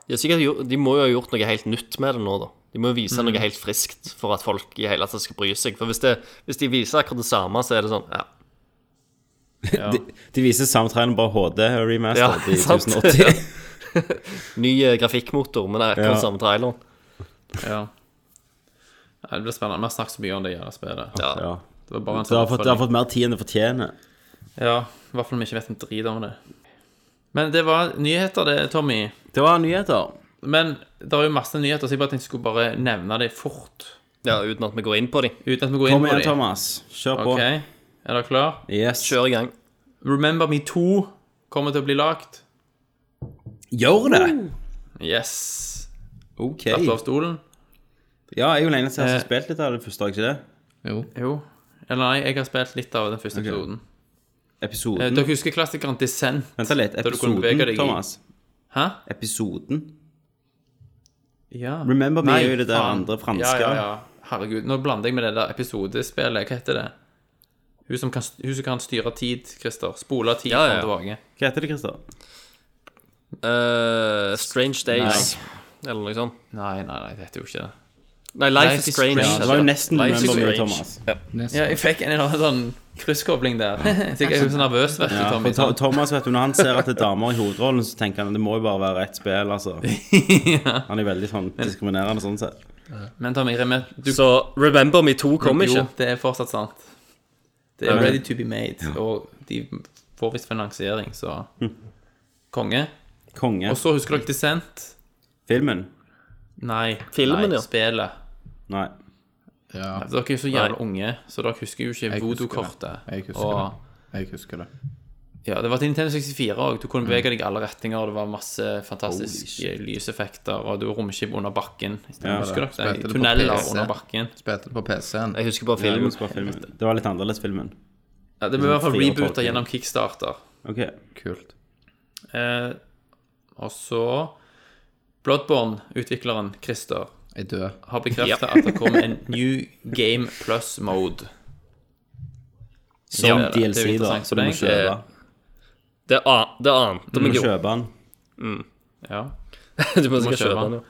[SPEAKER 2] De, har sikkert, gjort- de må jo ha gjort noe helt nytt med det nå, da. De må jo vise
[SPEAKER 7] Mm.
[SPEAKER 2] noe helt friskt for at folk i hele tatt skal bry seg. For hvis, det, hvis de viser akkurat det samme, så er det sånn ja.
[SPEAKER 8] De, de viser samtrenet bare HD
[SPEAKER 2] ja
[SPEAKER 8] remastered
[SPEAKER 2] <laughs>
[SPEAKER 8] i
[SPEAKER 2] sant?
[SPEAKER 7] <laughs>
[SPEAKER 8] 1080.
[SPEAKER 2] <laughs> Ny eh, grafikkmotor, men det er akkurat
[SPEAKER 8] Ja.
[SPEAKER 2] samme traileren.
[SPEAKER 7] Ja. Nei, Det blir spennende. Vi har snakket så mye om det i det spillet.
[SPEAKER 2] Ja.
[SPEAKER 8] Ja.
[SPEAKER 7] Det var bare en
[SPEAKER 8] Så det har,
[SPEAKER 7] sånn
[SPEAKER 8] fått, det har fått mer tid enn det fortjener.
[SPEAKER 7] Ja, i hvert fall om vi ikke vet en drit om det. Men det var nyheter, det, Tommy.
[SPEAKER 8] Det var nyheter.
[SPEAKER 7] Men det er jo masse nyheter, så jeg bare tenkte jeg skulle bare nevne det fort.
[SPEAKER 2] ja, uten at vi går inn på dem.
[SPEAKER 7] Uten at vi går
[SPEAKER 8] Kom
[SPEAKER 7] inn på
[SPEAKER 8] igjen,
[SPEAKER 7] det.
[SPEAKER 8] Thomas. Kjør på.
[SPEAKER 7] Ok, er dere klar?
[SPEAKER 8] Yes.
[SPEAKER 2] Kjør i gang.
[SPEAKER 7] Remember Me 2 kommer til å bli lagt.
[SPEAKER 8] Gjør det!
[SPEAKER 7] Uh. Yes.
[SPEAKER 8] Ok.
[SPEAKER 7] Datt av stolen?
[SPEAKER 8] Ja, jeg er jo lenge siden jeg
[SPEAKER 7] Eh.
[SPEAKER 8] har spilt litt av det første, har jeg ikke det?
[SPEAKER 7] Jo. Eller nei, jeg har spilt litt av den første episoden. Eh,
[SPEAKER 8] Episoden.
[SPEAKER 7] Dere husker klassikeren Descent?
[SPEAKER 8] Mm. Vent litt.
[SPEAKER 7] du kunne bevege
[SPEAKER 8] Episoden,
[SPEAKER 7] deg i-
[SPEAKER 8] Thomas.
[SPEAKER 7] Hæ?
[SPEAKER 8] Episoden.
[SPEAKER 7] Ja.
[SPEAKER 8] Remember Me
[SPEAKER 7] Nei,
[SPEAKER 8] er jo det der
[SPEAKER 7] faen.
[SPEAKER 8] andre franske.
[SPEAKER 7] Ja, ja, ja. Herregud. Nå blander jeg med det der episodespillet. Hva heter det? Hun som kan, hun som kan styre tid, Christer. Spole tid
[SPEAKER 2] Ja, ja,
[SPEAKER 7] ja,
[SPEAKER 2] ja.
[SPEAKER 7] tilbake.
[SPEAKER 8] Hva heter det, Christer?
[SPEAKER 2] Eh, Strange Days, eller noe sånt.
[SPEAKER 7] Nei, nei, nei, det heter jo ikke det.
[SPEAKER 2] Nei, Life, is Strange.
[SPEAKER 7] Ja,
[SPEAKER 8] Det var jo nesten
[SPEAKER 2] Life is
[SPEAKER 8] Remember Me,
[SPEAKER 2] Strange.
[SPEAKER 8] Thomas.
[SPEAKER 7] Ja, jeg fikk en eller annen sånn krysskobling der. Så <laughs> jeg er jo så nervøs, vet du,
[SPEAKER 8] Ja,
[SPEAKER 7] Tommy.
[SPEAKER 8] for Tho- Thomas, vet du, når han ser at det er damer i hovedrollen, så tenker han at det må jo bare være ett spill,
[SPEAKER 7] <laughs>
[SPEAKER 8] altså. Han er veldig sånn diskriminerende sånn sett.
[SPEAKER 7] Men Tommy, remember, du
[SPEAKER 2] Så Remember Me 2 kom
[SPEAKER 7] Jo,
[SPEAKER 2] ikke.
[SPEAKER 7] det er fortsatt sant. Det er ready to be made, og de får visst finansiering, så Konge.
[SPEAKER 8] Konge.
[SPEAKER 7] Og så husker dere Descent?
[SPEAKER 8] Filmen?
[SPEAKER 7] Nei.
[SPEAKER 2] Filmen,
[SPEAKER 7] nei,
[SPEAKER 2] ja.
[SPEAKER 7] Spillet. Altså,
[SPEAKER 8] Nei.
[SPEAKER 14] Ja,
[SPEAKER 7] Dere er jo så jævla unge, så dere husker jo ikke
[SPEAKER 14] husker
[SPEAKER 7] voodoo-kortet.
[SPEAKER 14] det. Jeg husker
[SPEAKER 7] Og
[SPEAKER 14] jeg husker det.
[SPEAKER 7] Ja, det var til Nintendo 64 òg. Du kunne bevege deg i alle retninger, og det var masse fantastiske lyseffekter, og du var romskip under bakken. Husker dere
[SPEAKER 14] Spilte
[SPEAKER 7] det?
[SPEAKER 14] det på
[SPEAKER 7] Tunneler
[SPEAKER 14] PC.
[SPEAKER 7] under bakken.
[SPEAKER 14] Spilte det på PC-en.
[SPEAKER 2] Jeg husker bare
[SPEAKER 3] Ja, jeg
[SPEAKER 2] filmen.
[SPEAKER 3] husker bare filmen. Det var litt annerledes, filmen.
[SPEAKER 7] Ja, det ble i hvert fall
[SPEAKER 3] Fire og tolv,
[SPEAKER 7] reboota
[SPEAKER 3] ja.
[SPEAKER 7] gjennom kickstarter.
[SPEAKER 3] Ok.
[SPEAKER 14] Kult.
[SPEAKER 7] Eh, og så Bloodborne-utvikleren Christer
[SPEAKER 14] Jeg dør.
[SPEAKER 7] har bekrefta at det kommer en New Game Plus Mode.
[SPEAKER 3] Som
[SPEAKER 7] Ja, det er jo
[SPEAKER 3] DLC, da.
[SPEAKER 7] interessant
[SPEAKER 3] Så
[SPEAKER 7] for
[SPEAKER 3] du må
[SPEAKER 7] deg. Eh,
[SPEAKER 3] kjøpe.
[SPEAKER 2] Det, an, det ante
[SPEAKER 3] Du
[SPEAKER 2] meg
[SPEAKER 3] må
[SPEAKER 2] jo.
[SPEAKER 3] kjøpe den.
[SPEAKER 7] Ja.
[SPEAKER 2] <laughs> Du må
[SPEAKER 7] Du må
[SPEAKER 2] sikkert
[SPEAKER 7] kjøpe
[SPEAKER 2] kjøpe den.
[SPEAKER 7] den.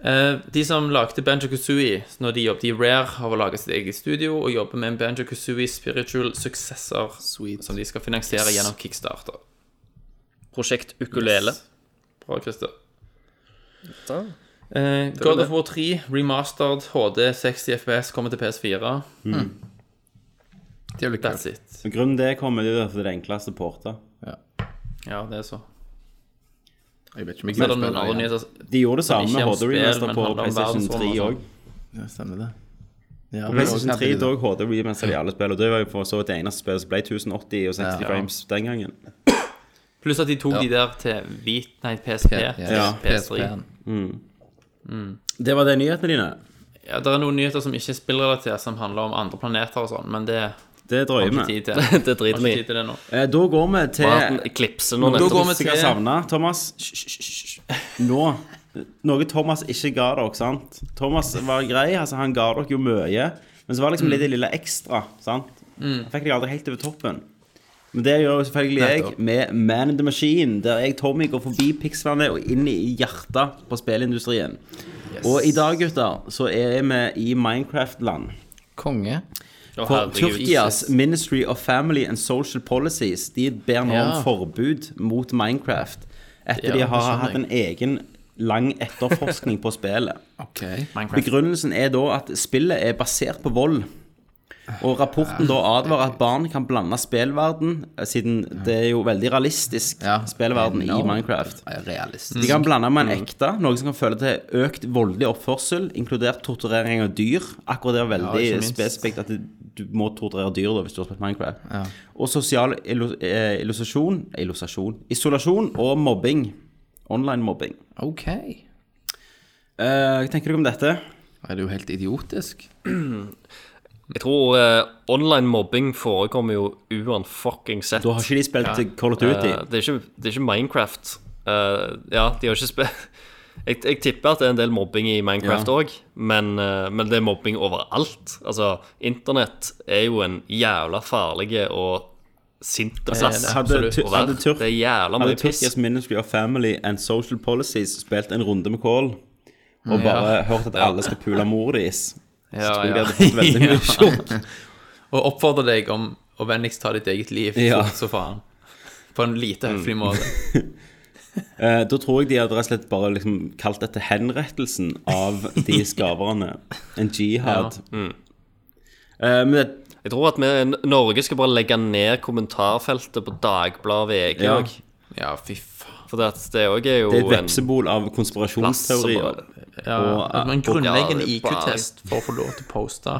[SPEAKER 7] Eh, de som lagde Banjo Kazooie når de jobbet i Rare, har laga sitt eget studio og jobber med en Banjo Kazooie Spiritual Successor som de skal finansiere gjennom kickstarter.
[SPEAKER 2] Prosjekt Ukulele.
[SPEAKER 7] Bra, Christer.
[SPEAKER 2] Da.
[SPEAKER 7] Eh, God of War 3 remastered HD 60 FPS kommer til PS4.
[SPEAKER 14] Hmm. Det er jo litt
[SPEAKER 7] Hmm.
[SPEAKER 14] kult.
[SPEAKER 7] That's it.
[SPEAKER 3] Men Grunnen til det kommer det er jo derfor det er det enkleste porta.
[SPEAKER 7] Ja, det er så.
[SPEAKER 14] Jeg vet ikke om jeg
[SPEAKER 7] Så er
[SPEAKER 14] kan
[SPEAKER 7] det noen andre
[SPEAKER 14] spille det igjen.
[SPEAKER 7] nyheter.
[SPEAKER 3] De gjorde det
[SPEAKER 7] Som
[SPEAKER 3] samme
[SPEAKER 7] ikke
[SPEAKER 3] med
[SPEAKER 7] er om
[SPEAKER 3] HD
[SPEAKER 7] spill,
[SPEAKER 3] Remaster
[SPEAKER 7] men
[SPEAKER 3] på
[SPEAKER 7] handler om
[SPEAKER 3] PlayStation
[SPEAKER 7] verdensrom
[SPEAKER 3] 3
[SPEAKER 7] og
[SPEAKER 3] òg.
[SPEAKER 7] sånn.
[SPEAKER 14] Ja, stemmer det. Ja,
[SPEAKER 3] På
[SPEAKER 14] men-
[SPEAKER 3] PlayStation 3 da òg HD remaster i alle spill, og det var jo for så vidt det eneste spillet som ble 1080 og 60
[SPEAKER 14] Ja.
[SPEAKER 3] frames den gangen.
[SPEAKER 7] Pluss at de tok
[SPEAKER 14] Ja.
[SPEAKER 7] de der til hvit Nei, PSP.
[SPEAKER 14] Ja,
[SPEAKER 7] PS3.
[SPEAKER 14] PSP-en.
[SPEAKER 3] Det var det nyhetene dine.
[SPEAKER 7] Ja, det er noen nyheter som ikke er spillrelatert, som handler om andre planeter og sånn, men det
[SPEAKER 3] Det
[SPEAKER 7] har
[SPEAKER 3] drøyer
[SPEAKER 7] ikke
[SPEAKER 3] vi.
[SPEAKER 7] tid til.
[SPEAKER 2] <laughs> Det driter
[SPEAKER 7] Har
[SPEAKER 2] vi
[SPEAKER 7] ikke
[SPEAKER 2] i.
[SPEAKER 7] tid til det nå.
[SPEAKER 3] Eh, Da går vi til
[SPEAKER 2] Verden eklipser nå.
[SPEAKER 7] Da går
[SPEAKER 2] nettopp.
[SPEAKER 7] vi
[SPEAKER 3] Jeg har
[SPEAKER 7] til-
[SPEAKER 3] savna Thomas. Hysj, hysj, hysj. Nå. Noe Thomas ikke ga dere, sant? Thomas var grei, altså han ga dere jo mye. Men så var det liksom litt det lille ekstra, sant? Han fikk deg aldri helt over toppen. Men det gjør jo selvfølgelig jeg med Man in the Machine, der jeg, Tommy, går forbi pikslene og inn i hjertet på spillindustrien. Og i dag, gutter, så er vi i Minecraft-land.
[SPEAKER 14] Konge.
[SPEAKER 2] Å,
[SPEAKER 3] For
[SPEAKER 2] herregud.
[SPEAKER 3] Tyrkias Ministry of Family and Social Policies De ber nå om
[SPEAKER 14] Ja.
[SPEAKER 3] forbud mot Minecraft etter
[SPEAKER 7] Ja,
[SPEAKER 3] de
[SPEAKER 7] det
[SPEAKER 3] har
[SPEAKER 7] skjønner
[SPEAKER 3] hatt en egen lang etterforskning på spillet.
[SPEAKER 14] Ok.
[SPEAKER 7] Minecraft.
[SPEAKER 3] Begrunnelsen er da at spillet er basert på vold. Og rapporten da advarer at barn kan blande spillverden, eh, siden det er jo veldig realistisk
[SPEAKER 14] Ja.
[SPEAKER 3] spillverden i
[SPEAKER 14] Enormt.
[SPEAKER 3] Minecraft.
[SPEAKER 14] Ja, Realist.
[SPEAKER 3] De kan blande med en ekte, noe som kan føre til økt voldelig oppførsel, inkludert torturering av dyr. Akkurat det er veldig
[SPEAKER 7] ikke minst.
[SPEAKER 3] spesifikt at du må torturere dyr da, hvis du har spilt Minecraft. Og sosial illu- eh, illustrasjon, illustrasjon, isolasjon og mobbing. Online mobbing.
[SPEAKER 14] Ok. Nei,
[SPEAKER 3] Eh, Hva tenker du om dette?
[SPEAKER 14] Det er jo helt idiotisk.
[SPEAKER 2] Jeg tror eh, online mobbing forekommer jo uanfucking sett.
[SPEAKER 3] Da har ikke de spilt Call of Duty.
[SPEAKER 2] Eh, det, er ikke, det er ikke Minecraft. Eh, ja, de har ikke spilt <laughs> jeg, jeg tipper at det er en del mobbing i Minecraft
[SPEAKER 3] Ja.
[SPEAKER 2] òg, men, eh, men det er mobbing overalt. Altså, internett er jo en jævla farlig og sint plass.
[SPEAKER 3] Altså, Hadde,
[SPEAKER 7] absolutt.
[SPEAKER 3] ty-
[SPEAKER 2] å være.
[SPEAKER 3] hadde, Tyrk-
[SPEAKER 2] det er jævla
[SPEAKER 3] hadde
[SPEAKER 2] mye piss.
[SPEAKER 3] Tyrkias Ministry of Family and Social Policies spilt en runde med Call og bare hørt at alle skal pule mor deres,
[SPEAKER 7] Mm, Ja,
[SPEAKER 3] tror jeg de
[SPEAKER 7] <laughs> ja.
[SPEAKER 3] hadde fått veldig mye sjokk.
[SPEAKER 7] Og oppfordrer deg om å vennligst ta ditt eget liv
[SPEAKER 3] Ja. Mm.
[SPEAKER 7] fort så faen. På en lite høflig måte.
[SPEAKER 3] Eh, Da tror jeg de hadde rett og slett bare liksom kalt dette henrettelsen av de skaperne. En jihad.
[SPEAKER 7] mm.
[SPEAKER 3] Eh, men det,
[SPEAKER 2] Jeg tror at vi, Norge skal bare legge ned kommentarfeltet på Dagbladet VG
[SPEAKER 3] Ja.
[SPEAKER 2] òg.
[SPEAKER 7] Ja, fy faen.
[SPEAKER 2] For det, at det òg er jo
[SPEAKER 3] det er et
[SPEAKER 2] en
[SPEAKER 3] vepsebol av <laughs> konspirasjonsteorier.
[SPEAKER 7] Ja,
[SPEAKER 3] Og, eh,
[SPEAKER 7] altså, men
[SPEAKER 3] og-
[SPEAKER 7] grunnleggende
[SPEAKER 2] og-
[SPEAKER 7] IQ-test for å få lov til å poste.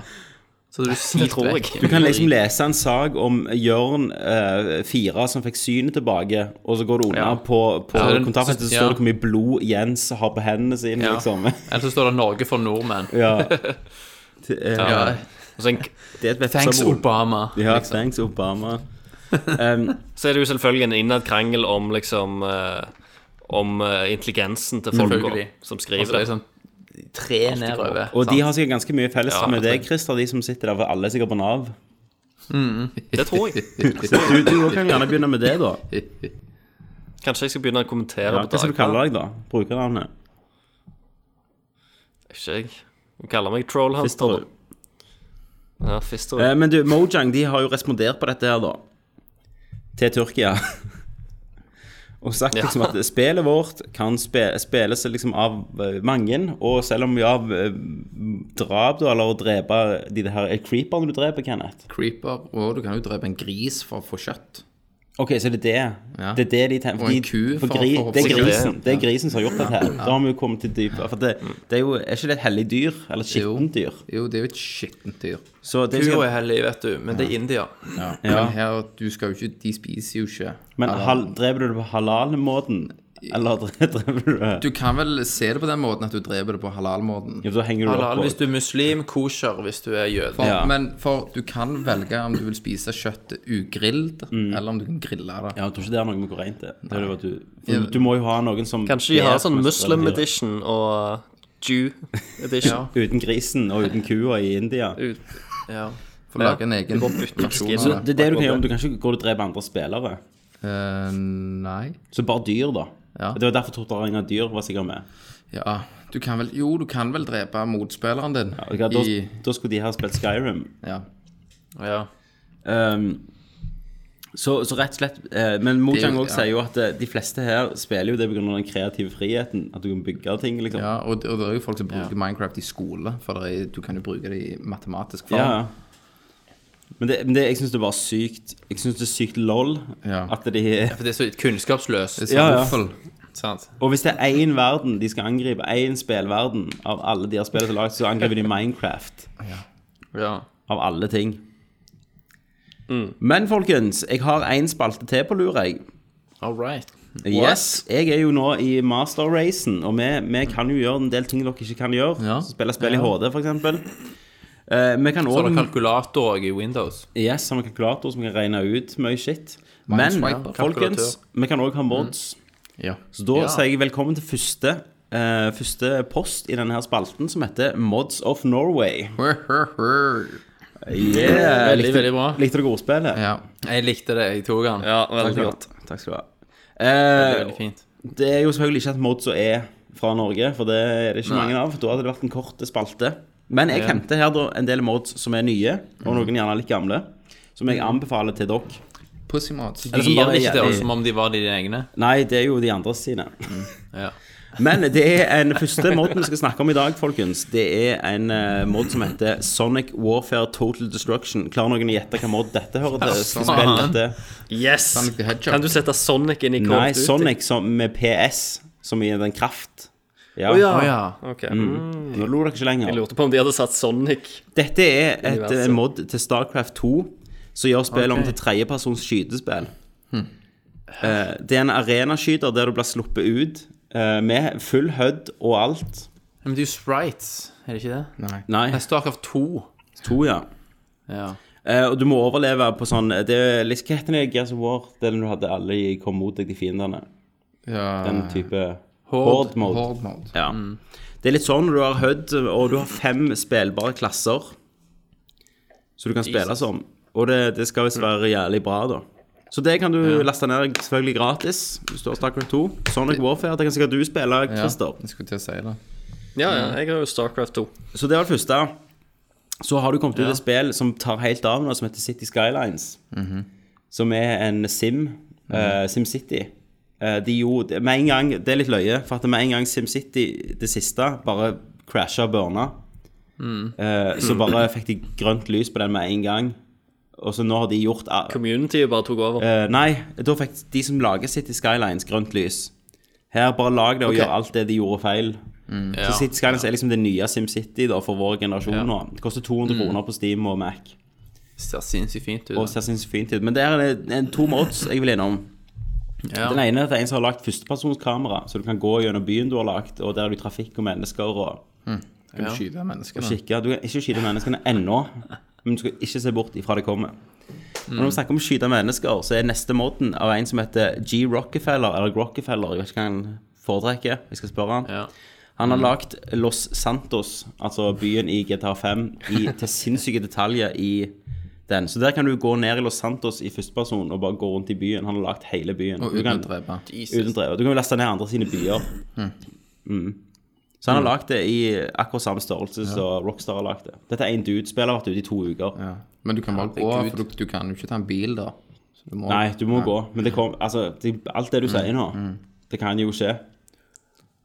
[SPEAKER 7] Så du
[SPEAKER 2] Det
[SPEAKER 7] sier
[SPEAKER 2] tror jeg.
[SPEAKER 3] Du kan liksom lese en sak om Jørn eh, Fira som fikk synet tilbake, og så går du unna
[SPEAKER 7] Ja.
[SPEAKER 3] på, på
[SPEAKER 7] Ja, den-
[SPEAKER 3] kontaktfeltet, så
[SPEAKER 7] ja.
[SPEAKER 3] står det hvor mye blod Jens har på hendene sine,
[SPEAKER 7] Ja.
[SPEAKER 3] liksom.
[SPEAKER 7] Eller så står det 'Norge for nordmenn'.
[SPEAKER 3] ja. <laughs> Det, eh,
[SPEAKER 7] Ja.
[SPEAKER 2] Og så en,
[SPEAKER 3] det er et
[SPEAKER 7] Thanks,
[SPEAKER 3] vepsebol.
[SPEAKER 7] Obama. liksom.
[SPEAKER 3] Ja, thanks, Obama. Um,
[SPEAKER 2] Så er det jo selvfølgelig en innad krangel om liksom eh, Om eh, intelligensen til folka
[SPEAKER 7] Selvfølgelig.
[SPEAKER 2] som
[SPEAKER 7] Og så
[SPEAKER 2] skriver
[SPEAKER 7] er
[SPEAKER 2] det.
[SPEAKER 7] det sånn tre nedover.
[SPEAKER 3] Og de
[SPEAKER 7] sant?
[SPEAKER 3] har sikkert ganske mye felles
[SPEAKER 2] Ja,
[SPEAKER 3] med
[SPEAKER 2] det-
[SPEAKER 3] deg, Christer, de som sitter der, for alle er sikkert på Nav.
[SPEAKER 7] sånn-
[SPEAKER 2] Det tror jeg.
[SPEAKER 3] Du, du også kan gjerne begynne med det, da.
[SPEAKER 2] Kanskje jeg skal begynne å kommentere
[SPEAKER 3] Ja,
[SPEAKER 2] på
[SPEAKER 3] hva skal du kalle deg, da? Brukernavnet?
[SPEAKER 2] Ikke jeg. Du kaller meg Trollhunter.
[SPEAKER 3] Fisterud.
[SPEAKER 2] da. Ja, Fisterud.
[SPEAKER 3] Eh, Men du, Mojang de har jo respondert på dette her, da. Til Tyrkia. <laughs> Og sagt
[SPEAKER 2] Ja.
[SPEAKER 3] liksom at spillet vårt kan spe spilles liksom av eh, mange. Og selv om ja, eh, drap, da, eller å drepe de her eh, creeperne du dreper, Kenneth
[SPEAKER 14] Creeper. Og du kan jo drepe en gris for å få kjøtt.
[SPEAKER 3] OK, så det er det.
[SPEAKER 9] Ja.
[SPEAKER 3] Det er det de tenker.
[SPEAKER 9] Og en
[SPEAKER 3] fordi-
[SPEAKER 9] ku
[SPEAKER 3] for
[SPEAKER 9] for-
[SPEAKER 3] gri,
[SPEAKER 9] for å
[SPEAKER 3] det, er
[SPEAKER 9] hoppe
[SPEAKER 3] grisen, det er grisen som har gjort dette her. Da har vi jo kommet til dypet. For det, det er jo er ikke det et hellig dyr? Eller et skittent dyr?
[SPEAKER 9] Jo, det er jo et skittent dyr.
[SPEAKER 3] Så det
[SPEAKER 7] Kua
[SPEAKER 3] skal,
[SPEAKER 7] er hellig, vet du, men det er India.
[SPEAKER 3] ja.
[SPEAKER 9] Men her, du skal jo ikke De spiser jo ikke
[SPEAKER 3] Men hal, dreper du det på halal-måten? Eller dre- <laughs> dreper du det
[SPEAKER 9] Du kan vel se det på den måten at du dreper det på halal-måten.
[SPEAKER 3] Jo, så henger du det
[SPEAKER 7] Halal
[SPEAKER 3] opp
[SPEAKER 7] hvis du er muslim, kosher hvis du er jøde.
[SPEAKER 9] For,
[SPEAKER 3] Ja.
[SPEAKER 9] Men for du kan velge om du vil spise kjøttet ugrilt,
[SPEAKER 3] Mm.
[SPEAKER 9] eller om du kan grille det.
[SPEAKER 3] Ja, jeg tror ikke det er noe med hvor rent det er. Det er jo at du, for du må jo ha noen som
[SPEAKER 14] Kanskje de har
[SPEAKER 3] ber
[SPEAKER 14] sånn
[SPEAKER 3] mest
[SPEAKER 14] Muslim
[SPEAKER 3] relativer.
[SPEAKER 14] edition og Jew edition.
[SPEAKER 3] Uten grisen og uten kua i India.
[SPEAKER 7] Ja.
[SPEAKER 9] For å lage en egen
[SPEAKER 14] skin.
[SPEAKER 9] versjon
[SPEAKER 3] Så
[SPEAKER 9] av det.
[SPEAKER 3] det er det du kan gjøre. Du kan ikke gå og drepe andre spillere.
[SPEAKER 9] Eh, nei.
[SPEAKER 3] Så bare dyr, da.
[SPEAKER 9] Ja.
[SPEAKER 3] Det var derfor torturering av dyr var sikkert med.
[SPEAKER 9] Ja, du kan vel Jo, du kan vel drepe motspilleren din
[SPEAKER 3] Og Da,
[SPEAKER 9] i
[SPEAKER 3] da skulle de ha spilt Skyrim.
[SPEAKER 9] Ja.
[SPEAKER 7] ja.
[SPEAKER 3] Ehm, så, så rett og slett eh, Men Mojang
[SPEAKER 9] Det er jo-
[SPEAKER 3] også sier jo at eh, de fleste her spiller jo det pga. den kreative friheten. At du kan bygge ting, liksom.
[SPEAKER 9] Ja, og, og det er jo folk som bruker Minecraft i skole, for det er, du kan jo bruke det i matematisk form.
[SPEAKER 3] Ja, ja. Men, det, men det, jeg syns det var sykt Jeg synes det er sykt lol
[SPEAKER 9] Ja.
[SPEAKER 3] at de
[SPEAKER 7] For det er så kunnskapsløst.
[SPEAKER 9] Det er
[SPEAKER 3] Ja, ja.
[SPEAKER 9] sånn ja.
[SPEAKER 7] sant?
[SPEAKER 3] Og hvis det er én verden de skal angripe, én spillverden av alle de har spilt til lag, så angriper de Minecraft.
[SPEAKER 7] Ja.
[SPEAKER 3] Av alle ting.
[SPEAKER 9] Mm.
[SPEAKER 3] Men folkens, jeg har én spalte til på lur, jeg.
[SPEAKER 7] All right.
[SPEAKER 3] Yes, jeg er jo nå i master-racen, og vi, vi kan jo gjøre en del ting dere ikke kan gjøre.
[SPEAKER 9] Ja.
[SPEAKER 3] Så Spille spill i HD, f.eks. Uh, vi kan
[SPEAKER 7] Så er det
[SPEAKER 3] òg
[SPEAKER 7] kalkulator også i Windows.
[SPEAKER 3] Yes, som en kalkulator som kan regne ut mye shit. Men
[SPEAKER 9] Mineswipe, ja.
[SPEAKER 3] folkens, vi kan òg ha mods.
[SPEAKER 9] Ja.
[SPEAKER 3] Så da sier jeg velkommen til første, eh, første post i denne her spalten, som heter Mods of Norway. Yeah.
[SPEAKER 7] Veldig, veldig bra.
[SPEAKER 3] Likte dere ordspillet?
[SPEAKER 9] ja.
[SPEAKER 7] Jeg likte det. Jeg tok den.
[SPEAKER 14] Ja,
[SPEAKER 3] Takk
[SPEAKER 14] veldig
[SPEAKER 3] skal du
[SPEAKER 14] bra.
[SPEAKER 3] ha. Takk skal du ha.
[SPEAKER 7] Det er
[SPEAKER 3] Eh,
[SPEAKER 7] veldig fint.
[SPEAKER 3] det er jo selvfølgelig ikke et mod som er fra Norge, for det er det ikke mange av. Da hadde det vært en kort spalte. Men jeg henter her da en del mods som er nye, og noen gjerne litt gamle. Som jeg anbefaler til dere.
[SPEAKER 9] Pussymods.
[SPEAKER 7] Du
[SPEAKER 3] Eller som
[SPEAKER 7] gir
[SPEAKER 3] bare
[SPEAKER 7] den ikke
[SPEAKER 3] er
[SPEAKER 7] til oss
[SPEAKER 3] jævlig-
[SPEAKER 7] som om de var dine egne.
[SPEAKER 3] Nei, det er jo de andre sine.
[SPEAKER 7] Ja.
[SPEAKER 3] <laughs> Men det er en første mod vi skal snakke om i dag, folkens. Det er en eh, mod som heter Sonic Warfare Total Destruction. Klarer noen å gjette hva mod dette hører til? Skal vi spille
[SPEAKER 7] faen.
[SPEAKER 3] dette?
[SPEAKER 14] Yes!
[SPEAKER 9] Sonic the Hedgehog.
[SPEAKER 14] Kan du sette Sonic inn i Call
[SPEAKER 3] Nei,
[SPEAKER 14] of Duty?
[SPEAKER 3] Sonic som med PS, som i den kraft. Ja.
[SPEAKER 14] ja.
[SPEAKER 7] Å ja.
[SPEAKER 14] Ok.
[SPEAKER 3] Nå lo dere ikke lenger.
[SPEAKER 14] Jeg lurte på om de hadde satt Sonic.
[SPEAKER 3] Dette er et
[SPEAKER 14] Universet.
[SPEAKER 3] eh, mod til Starcraft 2 som gjør spillet om til tredjepersons skytespill. Eh, det er en arenaskyter der du blir sluppet ut eh, med full HUD og alt.
[SPEAKER 7] Men det er jo sprites, er det ikke det?
[SPEAKER 3] Nei,
[SPEAKER 7] Nei, Starcraft 2.
[SPEAKER 3] to, ja.
[SPEAKER 7] Ja.
[SPEAKER 3] Eh, og du må overleve på sånn Det er litt Hva heter det i Gears of War? Det er når du hadde alle i- kom mot deg, de fiendene. Den
[SPEAKER 9] Ja.
[SPEAKER 3] type
[SPEAKER 7] Horde.
[SPEAKER 3] mode.
[SPEAKER 9] Horde mode.
[SPEAKER 3] Ja. Det er litt sånn du har HUD, og du har fem spillbare klasser som du kan spille som. Og det, det skal visst være jævlig bra, da. Så det kan du laste ned selvfølgelig gratis hvis du har Starcraft 2. Sonic Warfare, det kan sikkert du spille,
[SPEAKER 9] Ja,
[SPEAKER 3] Christer.
[SPEAKER 9] jeg skulle til å si det.
[SPEAKER 14] Ja, ja, jeg har jo Starcraft 2.
[SPEAKER 3] Så det var det første. Så har du kommet ut et spill som tar helt av nå, som heter City Skylines. Som er en Sim, eh, SimCity. Eh, de gjorde Med en gang Det er litt løye, for at med en gang SimCity, det siste, bare crasha og burna, eh, så bare fikk de grønt lys på den med en gang. Og så nå har de gjort
[SPEAKER 14] Community bare tok over.
[SPEAKER 3] Eh, Nei, da fikk de som lager City Skylines, grønt lys. Her, bare lag det og gjør alt det de gjorde feil.
[SPEAKER 7] Mm. Ja.
[SPEAKER 3] Så City Skylines er liksom det nye SimCity da, for vår generasjon nå. Det koster 200
[SPEAKER 7] Mm.
[SPEAKER 3] kroner på Steam og Mac.
[SPEAKER 7] Ser sinnssykt fint ut.
[SPEAKER 3] Og ser
[SPEAKER 7] da.
[SPEAKER 3] sinnssykt fint ut. Men der er det en, to mods jeg vil innom.
[SPEAKER 7] Ja.
[SPEAKER 3] Den ene er at det er en som har lagd førstepersonskamera, så du kan gå gjennom byen du har lagd, og der er det trafikk og mennesker og
[SPEAKER 9] Skal du skyte mennesker? da?
[SPEAKER 3] kikke. Du kan ikke skyte menneskene ennå, men du skal ikke se bort ifra det kommer. Og Når vi snakker om å skyte mennesker, så er neste modden av en som heter G. Rockefeller, eller Rockefeller, jeg vet ikke hva han foretrekker. Jeg skal spørre han.
[SPEAKER 7] Ja.
[SPEAKER 3] Han har lagd Los Santos, altså byen i GTA 5, i, til sinnssyke detaljer i den. Så der kan du gå ned i Los Santos i førsteperson og bare gå rundt i byen. Han har lagd hele byen.
[SPEAKER 9] Og
[SPEAKER 3] Du
[SPEAKER 9] uten
[SPEAKER 3] kan-
[SPEAKER 9] å drepe.
[SPEAKER 3] Uten drevet. Du kan jo laste ned andre sine byer. Mm. Så han har lagd det i akkurat samme størrelse som Rockstar har lagd det. Dette er én dude. Spillet har vært ute i to uker.
[SPEAKER 9] Ja. Men du kan bare gå, for du, du kan jo ikke ta en bil, da. Så du må,
[SPEAKER 3] Nei, du må gå. Men det kom, altså, det, alt det du sier nå, det kan jo skje.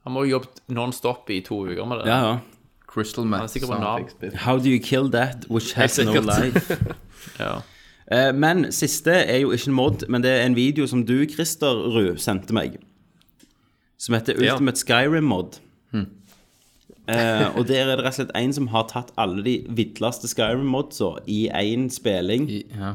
[SPEAKER 7] Han må jo jobbe non-stop i to uker med det.
[SPEAKER 3] Ja, ja.
[SPEAKER 9] Crystal Meth.
[SPEAKER 7] sikkert på
[SPEAKER 9] sånn
[SPEAKER 3] Eh,
[SPEAKER 7] Nav.
[SPEAKER 9] fikk spill.
[SPEAKER 3] How do you kill that which has no
[SPEAKER 14] sikkert.
[SPEAKER 3] life?
[SPEAKER 7] Ja.
[SPEAKER 3] Eh, Men siste er jo ikke en mod, men det er en video som du, Christer Ruud, sendte meg. Som heter
[SPEAKER 14] Ja.
[SPEAKER 3] Ultimate Skyrim Mod. Eh, og der er det rett og slett en som har tatt alle de vidleste Skyrim-modsa i én spilling.
[SPEAKER 9] I, ja.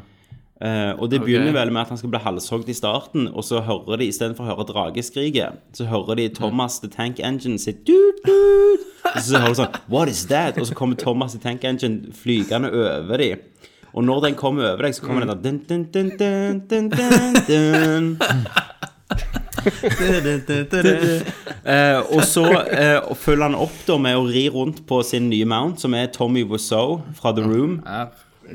[SPEAKER 3] Eh, og det begynner vel med at han skal bli halshogd i starten, og så hører de istedenfor å høre drageskriket, så hører de Thomas the Tank Engine sitt dut, dut. Og så hører du sånn What is that? Og så kommer Thomas the Tank Engine flygende over dem. Og når den kommer over deg, så kommer den der dun, dun, dun, dun, dun, dun, dun. Eh, og så eh, og følger han opp da med å ri rundt på sin nye mount, som er Tommy Wiseau fra The Room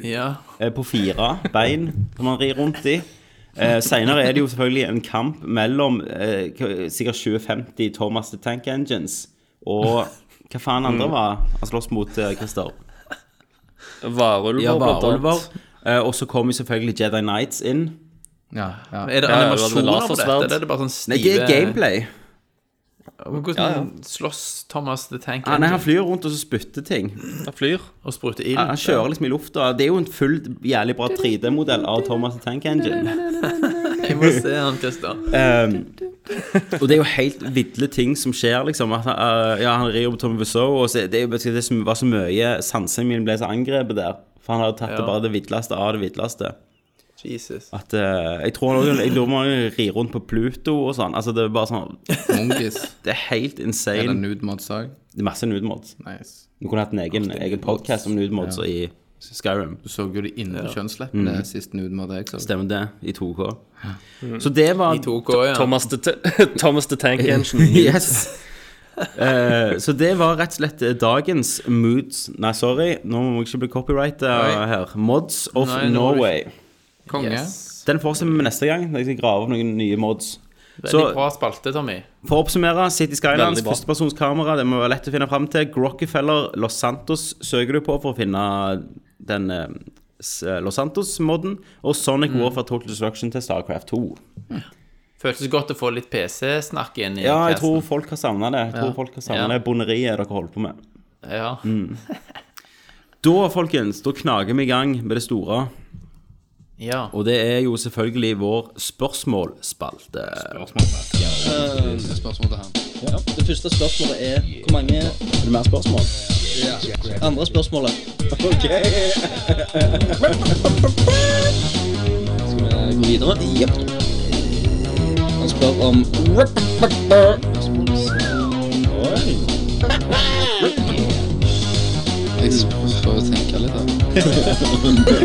[SPEAKER 7] Ja.
[SPEAKER 3] eh, på fire bein som han rir rundt i. Eh, Seinere er det jo selvfølgelig en kamp mellom eh, k- sikkert 2050 Thomas the Tank Engines og hva faen andre var han slåss mot, eh, Christer?
[SPEAKER 14] Varulver,
[SPEAKER 3] Ja,
[SPEAKER 14] blant
[SPEAKER 3] varulver.
[SPEAKER 14] annet.
[SPEAKER 3] Eh, og så kommer selvfølgelig Jedi Knights inn.
[SPEAKER 9] Ja, ja.
[SPEAKER 7] Er det
[SPEAKER 14] Ja, ja, det var
[SPEAKER 7] animasjoner på dette?
[SPEAKER 14] lasersverd.
[SPEAKER 7] Eller er det bare sånn stive
[SPEAKER 3] Nei, det er gameplay.
[SPEAKER 7] Men Hvordan slåss Thomas the Tank
[SPEAKER 3] Ah, nei, han
[SPEAKER 7] Engine
[SPEAKER 3] flyr rundt og så spytter ting.
[SPEAKER 14] Han flyr.
[SPEAKER 7] og spruter ild?
[SPEAKER 3] Han kjører liksom i lufta. Det er jo en fullt jævlig bra 3D-modell av Thomas the Tank Engine.
[SPEAKER 7] Jeg må se han, Christer.
[SPEAKER 3] Um, og det er jo helt ville ting som skjer, liksom. At, han, eh, ja, han rir på Tommy Wiseau, og så, det, er jo, det som var så mye Sansene mine ble så angrepet der. For han hadde tatt
[SPEAKER 7] Ja.
[SPEAKER 3] det bare det villeste av det villeste.
[SPEAKER 7] Jesus.
[SPEAKER 3] At eh, Jeg tror han jeg lurer på om han rir rundt på Pluto og sånn. Altså, det er bare sånn
[SPEAKER 14] <laughs>
[SPEAKER 9] Mongis.
[SPEAKER 3] Det er helt
[SPEAKER 9] Eller
[SPEAKER 3] insane.
[SPEAKER 9] nude mods òg.
[SPEAKER 3] Det er masse nudemods.
[SPEAKER 9] Nice.
[SPEAKER 3] Vi kunne hatt en egen, egen podkast om nudemods i Skyrim.
[SPEAKER 9] Du så jo de indre
[SPEAKER 3] Mm.
[SPEAKER 9] kjønnsleppene sist nude mod jeg så.
[SPEAKER 3] Stemmer det? I 2K. Så det var
[SPEAKER 7] 2K, ja.
[SPEAKER 14] Thomas the, Ta- <laughs> Thomas the Tank Engine.
[SPEAKER 3] <laughs>
[SPEAKER 14] <laughs>
[SPEAKER 3] Yes. Eh, så det var rett og slett eh, dagens moods Nei, sorry, nå må jeg ikke bli copyrighta
[SPEAKER 7] Nei.
[SPEAKER 3] her. Mods of
[SPEAKER 7] Nei, nå må du
[SPEAKER 3] Norway.
[SPEAKER 9] Konge.
[SPEAKER 7] Yes.
[SPEAKER 3] Den fortsetter vi med neste gang. når Jeg skal grave opp noen nye mods. Så
[SPEAKER 7] Veldig bra spalte, Tommy.
[SPEAKER 3] for å oppsummere, City Skylines,
[SPEAKER 14] Veldig bra.
[SPEAKER 3] førstepersonskamera, det må være lett å finne fram til. Rockefeller Los Santos søker du på for å finne den eh, s- Los Santos-modden. Og Sonic
[SPEAKER 7] Mm.
[SPEAKER 3] Warfare Total Destruction til Starcraft 2.
[SPEAKER 7] Føltes godt å få litt PC-snakk inn i
[SPEAKER 3] Ja, jeg
[SPEAKER 7] casten.
[SPEAKER 3] tror folk har savna det. Jeg tror folk har savnet
[SPEAKER 7] Ja.
[SPEAKER 3] det bonderiet dere holder på med.
[SPEAKER 7] Ja.
[SPEAKER 2] Mm.
[SPEAKER 3] Da, folkens, da knager vi i gang med det store.
[SPEAKER 7] ja.
[SPEAKER 3] Og det er jo selvfølgelig vår spørsmålsspalte.
[SPEAKER 9] Spørsmål til han.
[SPEAKER 2] Det første spørsmålet er hvor mange Er det mer spørsmål? Andre spørsmålet. OK. Skal vi gå videre? Jepp. Han spør om
[SPEAKER 9] Jeg prøver å tenke litt, da.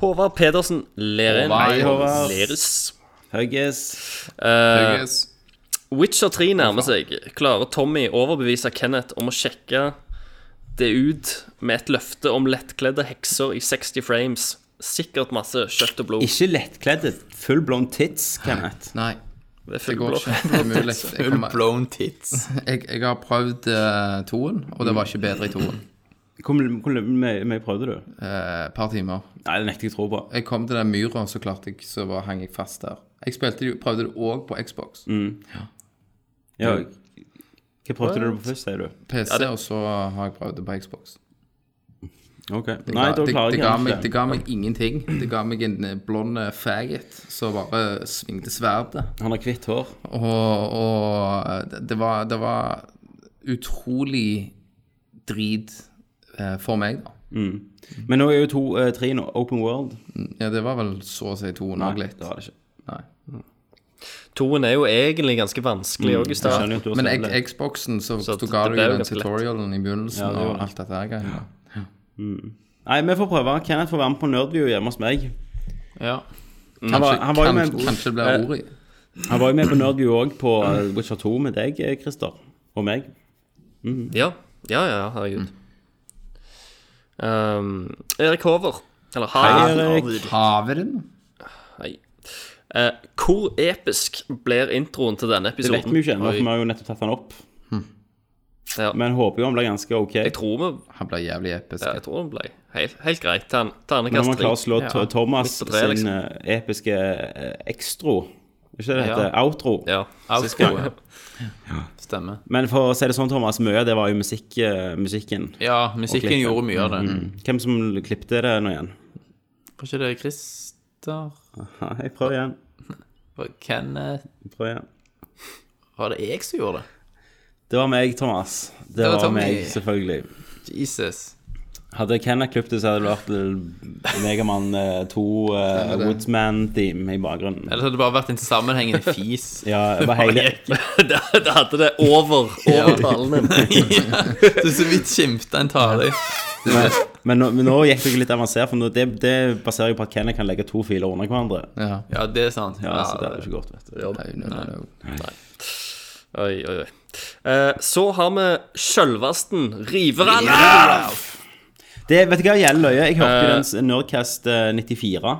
[SPEAKER 14] Håvard Pedersen Lerin.
[SPEAKER 9] Håvard. Hei, Håvard.
[SPEAKER 14] Lerus.
[SPEAKER 3] Hugges.
[SPEAKER 14] Eh,
[SPEAKER 9] Yes.
[SPEAKER 14] Witcher 3 nærmer seg. Klarer Tommy overbevise Kenneth om å sjekke det ut med et løfte om lettkledde hekser i 60 frames? Sikkert masse kjøtt og blod.
[SPEAKER 3] Ikke lettkledde. Full blown tits, Kenneth.
[SPEAKER 9] Nei,
[SPEAKER 14] Det er
[SPEAKER 9] det
[SPEAKER 14] full
[SPEAKER 9] går
[SPEAKER 14] blå.
[SPEAKER 9] ikke. Det er mulig.
[SPEAKER 3] <laughs>
[SPEAKER 9] Jeg,
[SPEAKER 7] Full
[SPEAKER 9] kommer,
[SPEAKER 7] blown tits.
[SPEAKER 9] <laughs> jeg, jeg har prøvd eh, toen, og det var ikke bedre i toen.
[SPEAKER 3] Hvor hvor mye prøvde du?
[SPEAKER 9] Eh, Et par timer.
[SPEAKER 3] Nei, det nekter jeg å tro på.
[SPEAKER 9] Jeg kom til den myra, så klarte jeg, så var, hang jeg fast der. Jeg spilte det jo, prøvde det òg på Xbox.
[SPEAKER 3] Ja. Hva prøvde du på først, sier du?
[SPEAKER 9] PC, og så har jeg prøvd det på Xbox.
[SPEAKER 3] Ok.
[SPEAKER 9] Det
[SPEAKER 3] Nei,
[SPEAKER 9] ga-
[SPEAKER 3] da
[SPEAKER 9] det-
[SPEAKER 3] klarer
[SPEAKER 9] det
[SPEAKER 3] jeg
[SPEAKER 9] ga
[SPEAKER 3] ikke.
[SPEAKER 9] meg- Det ga meg ingenting. Det ga meg en eh, blond eh, faggot som bare svingte sverdet.
[SPEAKER 3] Han har hvitt hår.
[SPEAKER 9] Og, og det- det, var, det var utrolig drit eh, for meg, da.
[SPEAKER 3] Men nå er jo to, eh, tre nå. Open World.
[SPEAKER 9] Ja, det var vel så å si toen
[SPEAKER 3] Nei,
[SPEAKER 9] òg litt.
[SPEAKER 3] det var det ikke.
[SPEAKER 9] Nei.
[SPEAKER 14] Toen er jo egentlig ganske vanskelig
[SPEAKER 9] Mm,
[SPEAKER 14] òg,
[SPEAKER 3] Jeg
[SPEAKER 14] Gustav.
[SPEAKER 3] skjønner jo at du har
[SPEAKER 9] Men
[SPEAKER 3] spilt det.
[SPEAKER 9] X- Xboxen, så,
[SPEAKER 14] Så
[SPEAKER 9] så
[SPEAKER 14] det-
[SPEAKER 9] ga
[SPEAKER 14] det
[SPEAKER 9] du
[SPEAKER 14] ble
[SPEAKER 9] jo
[SPEAKER 14] jo
[SPEAKER 9] den
[SPEAKER 14] ganske lett.
[SPEAKER 9] tutorialen i begynnelsen
[SPEAKER 3] Ja, det
[SPEAKER 9] og
[SPEAKER 3] gjorde
[SPEAKER 9] alt dette her greiene.
[SPEAKER 3] Mm. Nei, vi får prøve. Kenneth får være med på Nerdview hjemme hos meg.
[SPEAKER 7] Ja.
[SPEAKER 3] Han var, han var jo
[SPEAKER 9] kanskje,
[SPEAKER 3] med
[SPEAKER 9] kanskje det blir ordet.
[SPEAKER 3] Han var jo med på Nerdview òg på eh, Witcher 2 med deg, eh, Christer. Og meg.
[SPEAKER 14] Ja, ja, ja, herregud.
[SPEAKER 3] Mm.
[SPEAKER 14] Um, Erik Håver, eller
[SPEAKER 3] Hei,
[SPEAKER 14] Harald
[SPEAKER 3] Erik.
[SPEAKER 14] Harald.
[SPEAKER 9] Haveren?
[SPEAKER 14] Hei. Eh, hvor episk blir introen til denne
[SPEAKER 3] Det vet
[SPEAKER 14] episoden?
[SPEAKER 3] vi jo ikke ennå, for vi har jo nettopp tatt han opp.
[SPEAKER 2] Hm.
[SPEAKER 14] Ja.
[SPEAKER 3] Men håper jo han blir ganske ok.
[SPEAKER 14] Jeg tror vi
[SPEAKER 9] Han ble jævlig episk.
[SPEAKER 14] Ja, jeg tror den ble helt, helt greit. Tern-
[SPEAKER 3] Når
[SPEAKER 14] Ternekast
[SPEAKER 3] man klarer å slå
[SPEAKER 7] Ja.
[SPEAKER 3] T- Thomas
[SPEAKER 14] Midt på treet,
[SPEAKER 3] sin eh, episke eh, ekstro Ikke det det heter? Outro.
[SPEAKER 2] Ja.
[SPEAKER 14] <laughs>
[SPEAKER 7] Outro. Stemmer.
[SPEAKER 3] Men for å si det sånn, Thomas, mye av det var jo musikk, eh, musikken.
[SPEAKER 7] Ja, musikken
[SPEAKER 3] klippet. Mm,
[SPEAKER 7] gjorde mye av det.
[SPEAKER 3] Hvem som klippte det nå igjen?
[SPEAKER 7] Var ikke det Christer?
[SPEAKER 3] Ja, jeg prøver igjen.
[SPEAKER 7] <laughs> Var det Kenneth?
[SPEAKER 3] Jeg prøver igjen.
[SPEAKER 7] Var det jeg som gjorde det?
[SPEAKER 3] Det var meg, Thomas. Det,
[SPEAKER 7] var
[SPEAKER 3] var,
[SPEAKER 7] Tommy.
[SPEAKER 3] meg, selvfølgelig.
[SPEAKER 7] Jesus.
[SPEAKER 3] Hadde Kenneth klippet det, så hadde det vært Megamann 2
[SPEAKER 7] Sånn
[SPEAKER 3] eh, Woodsman-team i bakgrunnen.
[SPEAKER 7] Ellers hadde det bare vært en
[SPEAKER 3] <laughs>
[SPEAKER 7] sammenhengende fis.
[SPEAKER 3] Ja, det var hele
[SPEAKER 7] <laughs>
[SPEAKER 2] det, det hadde det over, over talen din.
[SPEAKER 7] Du så vidt skimta en tale.
[SPEAKER 3] Men, men, nå, men nå gikk det litt avansert, for nå, det, det baserer jo på at Kenneth kan legge to filer under hverandre.
[SPEAKER 14] Ja.
[SPEAKER 7] Ja, det er sant.
[SPEAKER 3] Ja, altså. så det hadde ikke gått, vet du.
[SPEAKER 14] Nei, nei, nei, nei.
[SPEAKER 2] Oi, oi, oi. Eh, så har vi sjølvasten Riveralv.
[SPEAKER 3] Det, vet du hva, gjelder løye. Jeg hørte jo den s- Nerdcast eh, 94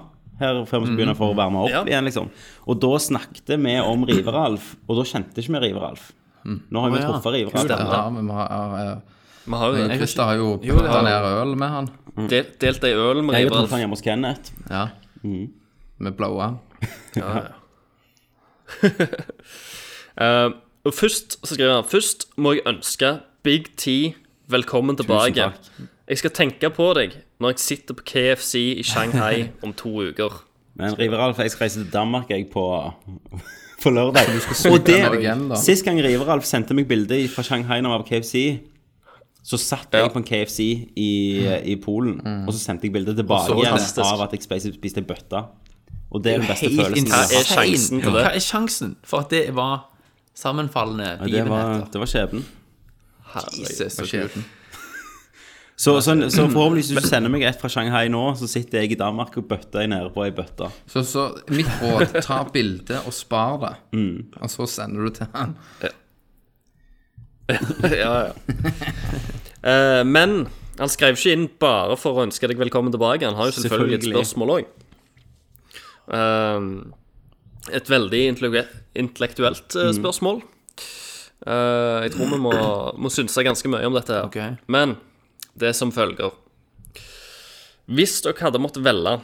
[SPEAKER 3] her før vi skulle begynne for å varme opp
[SPEAKER 2] Ja.
[SPEAKER 3] igjen, liksom. Og da snakket vi om Riveralf, og da kjente ikke vi Riveralf. Nå har vi
[SPEAKER 7] Å, ja.
[SPEAKER 3] truffet Riveralf.
[SPEAKER 2] Stemmer.
[SPEAKER 14] Ja, men vi har, ja, ja.
[SPEAKER 2] Vi har jo
[SPEAKER 14] Christer har jo putta
[SPEAKER 2] har-
[SPEAKER 14] ned øl med han.
[SPEAKER 2] delt, delt ei øl med
[SPEAKER 3] Jeg har truffet
[SPEAKER 2] Riveralv.
[SPEAKER 3] han hjemme hos Kenneth.
[SPEAKER 14] Ja.
[SPEAKER 3] Mm.
[SPEAKER 14] Med blowa.
[SPEAKER 2] Eh, og først så skriver han Først må jeg ønske Big T velkommen tilbake.
[SPEAKER 3] takk.
[SPEAKER 2] Jeg skal tenke på deg når jeg sitter på KFC i Shanghai om to uker.
[SPEAKER 3] Men Riveralf, jeg skal reise til Danmark jeg på, på lørdag. Og
[SPEAKER 14] den
[SPEAKER 3] det,
[SPEAKER 14] igjen, da.
[SPEAKER 3] sist gang Riveralf sendte meg bilde fra Shanghai når jeg var på KFC, så satt jeg på en KFC i, i Polen, og så sendte jeg bilde tilbake
[SPEAKER 7] Og så
[SPEAKER 3] igjen
[SPEAKER 7] fantastisk.
[SPEAKER 3] av at jeg spiste- spiste ei bøtte. Og det er den beste
[SPEAKER 7] Helt
[SPEAKER 3] følelsen. Altså, jeg har
[SPEAKER 2] Hva
[SPEAKER 3] hatt.
[SPEAKER 2] er sjansen til det?
[SPEAKER 7] Hva er sjansen for at det var sammenfallende
[SPEAKER 3] Ja, det var,
[SPEAKER 7] begivenheter?
[SPEAKER 3] det var skjebnen.
[SPEAKER 7] Jesus, så kult.
[SPEAKER 3] Så, så, så forhåpentligvis hvis du sender meg et fra Shanghai nå, så sitter jeg i Danmark og bøtter jeg nede på ei bøtte.
[SPEAKER 14] Så, så mitt råd, ta bilde og spar det.
[SPEAKER 3] Mm.
[SPEAKER 14] Og så sender du til han.
[SPEAKER 2] ja, ja. Eh, men han skrev ikke inn bare for å ønske deg velkommen tilbake. Han har jo selvfølgelig, et
[SPEAKER 3] Selvfølgelig.
[SPEAKER 2] spørsmål òg. et veldig intellige- intellektuelt eh,
[SPEAKER 3] Mm.
[SPEAKER 2] spørsmål. Eh, jeg tror vi må, må synse ganske mye om dette. her
[SPEAKER 7] Ok.
[SPEAKER 2] Men det er som følger Hvis dere hadde måttet velge,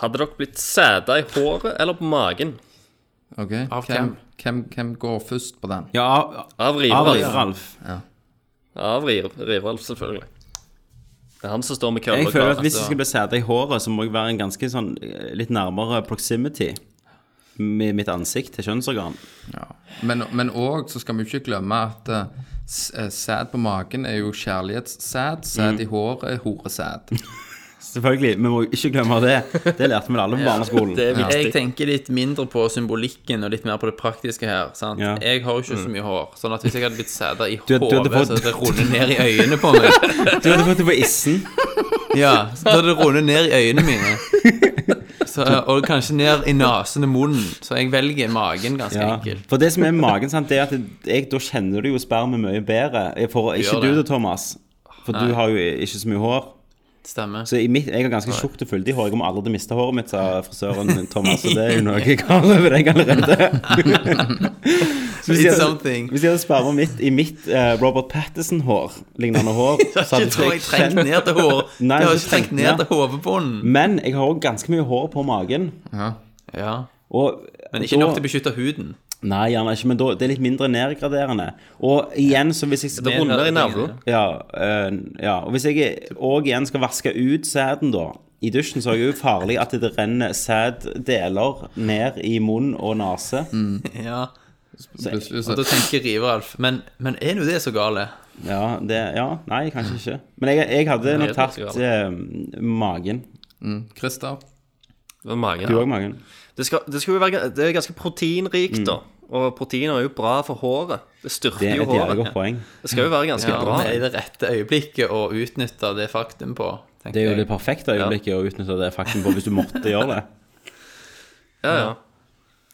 [SPEAKER 2] hadde dere blitt sæda i håret eller på magen?
[SPEAKER 14] Ok?
[SPEAKER 7] Av hvem?
[SPEAKER 14] hvem, hvem, hvem går først på den?
[SPEAKER 3] Ja,
[SPEAKER 2] Av
[SPEAKER 3] av
[SPEAKER 2] river.
[SPEAKER 3] Riveralf.
[SPEAKER 2] Av Riv- Rivalf, selvfølgelig. Det er han som står med kølla
[SPEAKER 3] Jeg
[SPEAKER 2] og
[SPEAKER 3] føler
[SPEAKER 2] klarer.
[SPEAKER 3] at hvis jeg skal bli sæda i håret, så må jeg være en ganske sånn eh, litt nærmere proximity med mitt ansikt til kjønnsorgan.
[SPEAKER 14] Men- Men òg så skal vi ikke glemme at eh, s- eh, sæd på magen er jo kjærlighetssæd.
[SPEAKER 3] Mm.
[SPEAKER 14] Sæd i håret er horesæd.
[SPEAKER 3] Selvfølgelig. Vi må jo ikke glemme det. Det lærte vi alle på
[SPEAKER 8] <laughs>
[SPEAKER 3] barneskolen.
[SPEAKER 2] Det er viktig.
[SPEAKER 7] Jeg tenker litt mindre på symbolikken og litt mer på det praktiske her. sant?
[SPEAKER 3] Ja.
[SPEAKER 7] Jeg har jo ikke
[SPEAKER 2] Mm.
[SPEAKER 7] så mye hår, sånn at hvis jeg hadde blitt sæda i
[SPEAKER 3] Du- du hadde
[SPEAKER 7] hodet,
[SPEAKER 3] fått-
[SPEAKER 7] så hadde det rundet ned i øynene på
[SPEAKER 3] <laughs>
[SPEAKER 7] meg.
[SPEAKER 3] Du hadde fått det på issen.
[SPEAKER 7] Ja, Så hadde det rundet ned i øynene mine. Så, og kanskje ned i nesen og munnen. Så jeg velger magen ganske
[SPEAKER 3] Ja.
[SPEAKER 7] enkelt.
[SPEAKER 3] For det som er med magen, sant, det er at jeg, da kjenner du jo spermet mye bedre. For, ikke
[SPEAKER 7] Gjør
[SPEAKER 3] du
[SPEAKER 7] det.
[SPEAKER 3] det, Thomas. For du har jo ikke så mye hår.
[SPEAKER 7] Stemmer.
[SPEAKER 3] Så i mitt, jeg har ganske tjukt og fyldig hår. Jeg kommer aldri til å miste håret mitt, sa frisøren min, Thomas. Så det er jo noe jeg har over deg allerede. så hvis jeg,
[SPEAKER 7] It's
[SPEAKER 3] hadde-
[SPEAKER 7] something.
[SPEAKER 3] hvis jeg hadde sperma mitt i mitt eh, Robert Patterson-hår, lignende hår så
[SPEAKER 7] Jeg tror jeg trengte ned til hår.
[SPEAKER 3] Nei,
[SPEAKER 7] jeg har
[SPEAKER 3] du
[SPEAKER 7] ikke trengt
[SPEAKER 3] trengte
[SPEAKER 7] ned
[SPEAKER 3] ned.
[SPEAKER 7] til hovedbunnen.
[SPEAKER 3] Men jeg har òg ganske mye hår på magen.
[SPEAKER 7] Ja.
[SPEAKER 3] Og,
[SPEAKER 7] Men ikke nok til å beskytte huden.
[SPEAKER 3] Nei, gjerne ikke, men da, det er litt mindre nedgraderende. Og igjen, så hvis jeg
[SPEAKER 2] Det runder i navlen.
[SPEAKER 3] Ja, øh, ja. Og hvis jeg òg igjen skal vaske ut sæden, da I dusjen så er det jo farlig at det renner sæddeler ned i munn og nese.
[SPEAKER 7] Ja.
[SPEAKER 14] Plutselig
[SPEAKER 7] Og
[SPEAKER 14] så
[SPEAKER 7] da tenker Riveralf Men, men er nå det så gale?
[SPEAKER 3] Ja, det, ja, nei, kanskje ikke. Men jeg, jeg hadde nok
[SPEAKER 2] det
[SPEAKER 3] tatt
[SPEAKER 2] skal
[SPEAKER 3] eh, magen.
[SPEAKER 14] Christer.
[SPEAKER 2] Med magen.
[SPEAKER 3] Du òg, magen.
[SPEAKER 2] Det, skal, det, skal jo være, det er ganske proteinrikt, da. Og protein er jo bra for håret. Det styrker
[SPEAKER 3] Mm. Det er
[SPEAKER 2] jo
[SPEAKER 3] et jævlig
[SPEAKER 2] håret.
[SPEAKER 3] godt poeng.
[SPEAKER 2] Det skal jo være ganske
[SPEAKER 7] Ja,
[SPEAKER 2] bra.
[SPEAKER 7] men er det rette øyeblikket å utnytte det faktum på? tenker
[SPEAKER 3] Det er jo det
[SPEAKER 7] jeg.
[SPEAKER 3] perfekte øyeblikket å utnytte det faktum på hvis du måtte gjøre det.
[SPEAKER 2] Ja, ja.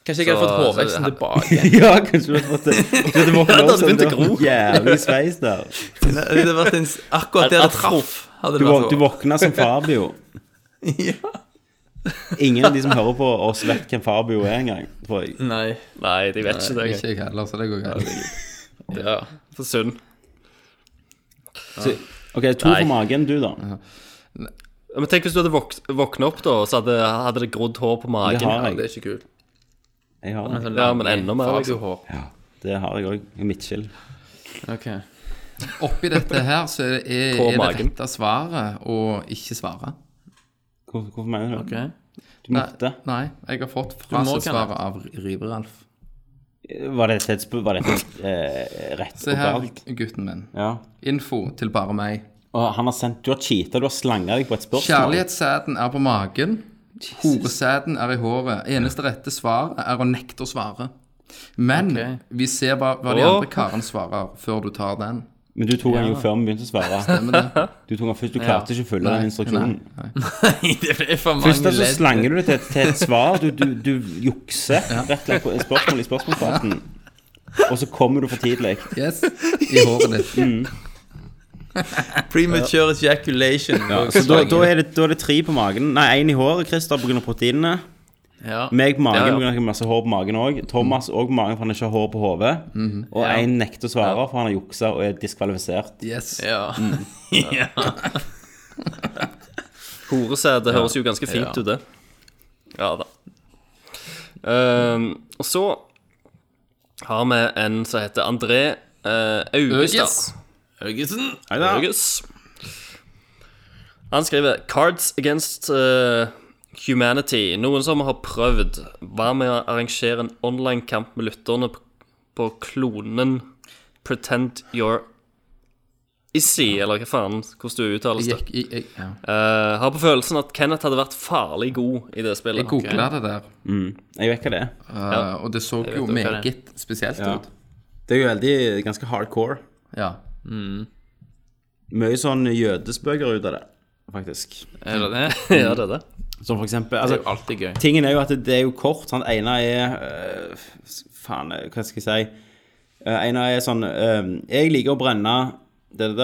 [SPEAKER 7] Kanskje jeg hadde fått
[SPEAKER 2] Så-
[SPEAKER 7] hårveksten
[SPEAKER 2] så-
[SPEAKER 7] <laughs> tilbake?
[SPEAKER 3] <laughs> ja, kanskje du hadde fått det. Du hadde våknet opp
[SPEAKER 2] hadde
[SPEAKER 3] sånn,
[SPEAKER 2] begynt
[SPEAKER 3] det
[SPEAKER 2] å
[SPEAKER 3] var
[SPEAKER 2] gro.
[SPEAKER 3] jævlig sveis der.
[SPEAKER 7] Det hadde vært en, s- akkurat der det traff. Hadde
[SPEAKER 3] Du,
[SPEAKER 7] det
[SPEAKER 3] vå-
[SPEAKER 7] vært
[SPEAKER 3] du
[SPEAKER 7] hår.
[SPEAKER 3] våkna som <laughs> Fabio.
[SPEAKER 7] Ja.
[SPEAKER 3] Ingen av de som hører på oss, vet hvem Fabio er engang. tror jeg.
[SPEAKER 7] Nei.
[SPEAKER 2] Nei, de vet ikke det.
[SPEAKER 14] Ikke jeg heller, så det går greit.
[SPEAKER 7] Ja.
[SPEAKER 2] For synd.
[SPEAKER 3] Ok, to
[SPEAKER 2] Nei.
[SPEAKER 3] på magen, du, da.
[SPEAKER 2] Men tenk hvis du hadde våk våkna opp, da, og så hadde, hadde det grodd hår på
[SPEAKER 3] Det
[SPEAKER 2] magen.
[SPEAKER 3] har
[SPEAKER 7] Det
[SPEAKER 3] jeg.
[SPEAKER 7] er ikke kult.
[SPEAKER 3] Jeg har det.
[SPEAKER 2] Ja, men enda mer, liksom.
[SPEAKER 7] hår.
[SPEAKER 3] Det har jeg òg. Midtskill.
[SPEAKER 7] Ok.
[SPEAKER 14] Oppi dette her så er, er,
[SPEAKER 2] På
[SPEAKER 14] er det
[SPEAKER 2] magen.
[SPEAKER 14] rette svaret å ikke svare.
[SPEAKER 3] Hvor, <laughs> hvorfor mener du det?
[SPEAKER 7] ok.
[SPEAKER 3] Du måtte.
[SPEAKER 14] Nei, jeg har fått
[SPEAKER 7] må
[SPEAKER 14] frasesvaret av Riveralf.
[SPEAKER 3] Var dette et, sp- var dette et eh, rett
[SPEAKER 14] Se her,
[SPEAKER 3] oppgave?
[SPEAKER 14] gutten min.
[SPEAKER 3] Ja.
[SPEAKER 14] Info til bare meg.
[SPEAKER 3] Og han har sendt Du har cheata, du har slanga deg på et spørsmål.
[SPEAKER 14] Kjærlighetssæden er på magen. Horesæden er i håret. Eneste rette svaret er å nekte å svare. Men
[SPEAKER 7] Ok.
[SPEAKER 14] vi ser hva, hva de
[SPEAKER 2] Åh.
[SPEAKER 14] andre karene svarer, før du tar den.
[SPEAKER 3] Men du tok den jo før vi begynte å
[SPEAKER 2] <laughs>
[SPEAKER 3] svare.
[SPEAKER 14] Stemmer det?
[SPEAKER 3] Du tok den først, du klarte ikke å følge den instruksjonen.
[SPEAKER 7] det ble for
[SPEAKER 3] Først så
[SPEAKER 7] mange ledd.
[SPEAKER 3] slanger du det til, et- til et svar. Du, du, du jukser rett og slett på et spørsmål i spørsmålsfelten. Og så kommer du for tidlig.
[SPEAKER 14] Yes. I håret ditt.
[SPEAKER 7] Premature ejaculation.
[SPEAKER 3] Så da, da, er det, da er det tre på magen. Nei, én i håret, Christer, pga. proteinene.
[SPEAKER 7] Ja.
[SPEAKER 3] Meg på magen
[SPEAKER 2] Ja, ja.
[SPEAKER 3] pga. Ja, masse hår på magen òg. Thomas òg på magen, for han ikke har hår på hodet.
[SPEAKER 2] Mhm.
[SPEAKER 3] Og én nekter å svare, for han har juksa og er diskvalifisert.
[SPEAKER 14] Yes.
[SPEAKER 7] Ja. ja.
[SPEAKER 2] Horesæde høres jo ganske fint
[SPEAKER 7] Ja.
[SPEAKER 2] ut, det. Ja da. Ehm, og så har vi en som heter André uh, Augestad.
[SPEAKER 7] Høgesen.
[SPEAKER 2] Augus. Han skriver Cards Against eh, Humanity. Noen som har prøvd. Hva med å arrangere en online kamp med lytterne på, på klonen Pretend You're Issy, eller hva faen, hvordan du uttales det.
[SPEAKER 14] Jeg, jeg, jeg, ja.
[SPEAKER 2] Eh, har på følelsen at Kenneth hadde vært farlig god i det spillet.
[SPEAKER 14] jeg googla det der,
[SPEAKER 3] Jeg vet hva det er.
[SPEAKER 14] eh, og det så
[SPEAKER 7] hva
[SPEAKER 14] jo
[SPEAKER 7] det er.
[SPEAKER 14] meget spesielt
[SPEAKER 3] Ja.
[SPEAKER 14] ut.
[SPEAKER 3] Det er jo veldig ganske hardcore. Mm.
[SPEAKER 14] Ja.
[SPEAKER 3] Mye sånn jødespøker ut av det, faktisk.
[SPEAKER 7] Er det det?
[SPEAKER 2] ja, det er det.
[SPEAKER 3] Som for eksempel
[SPEAKER 7] Det er
[SPEAKER 3] altså,
[SPEAKER 7] jo <laughs> alltid gøy.
[SPEAKER 3] Tingen er jo at det er jo kort. Sant? Ene er øh, Faen, øh, hva skal jeg si? Uh, ene er sånn øh, Jeg liker å brenne det, det,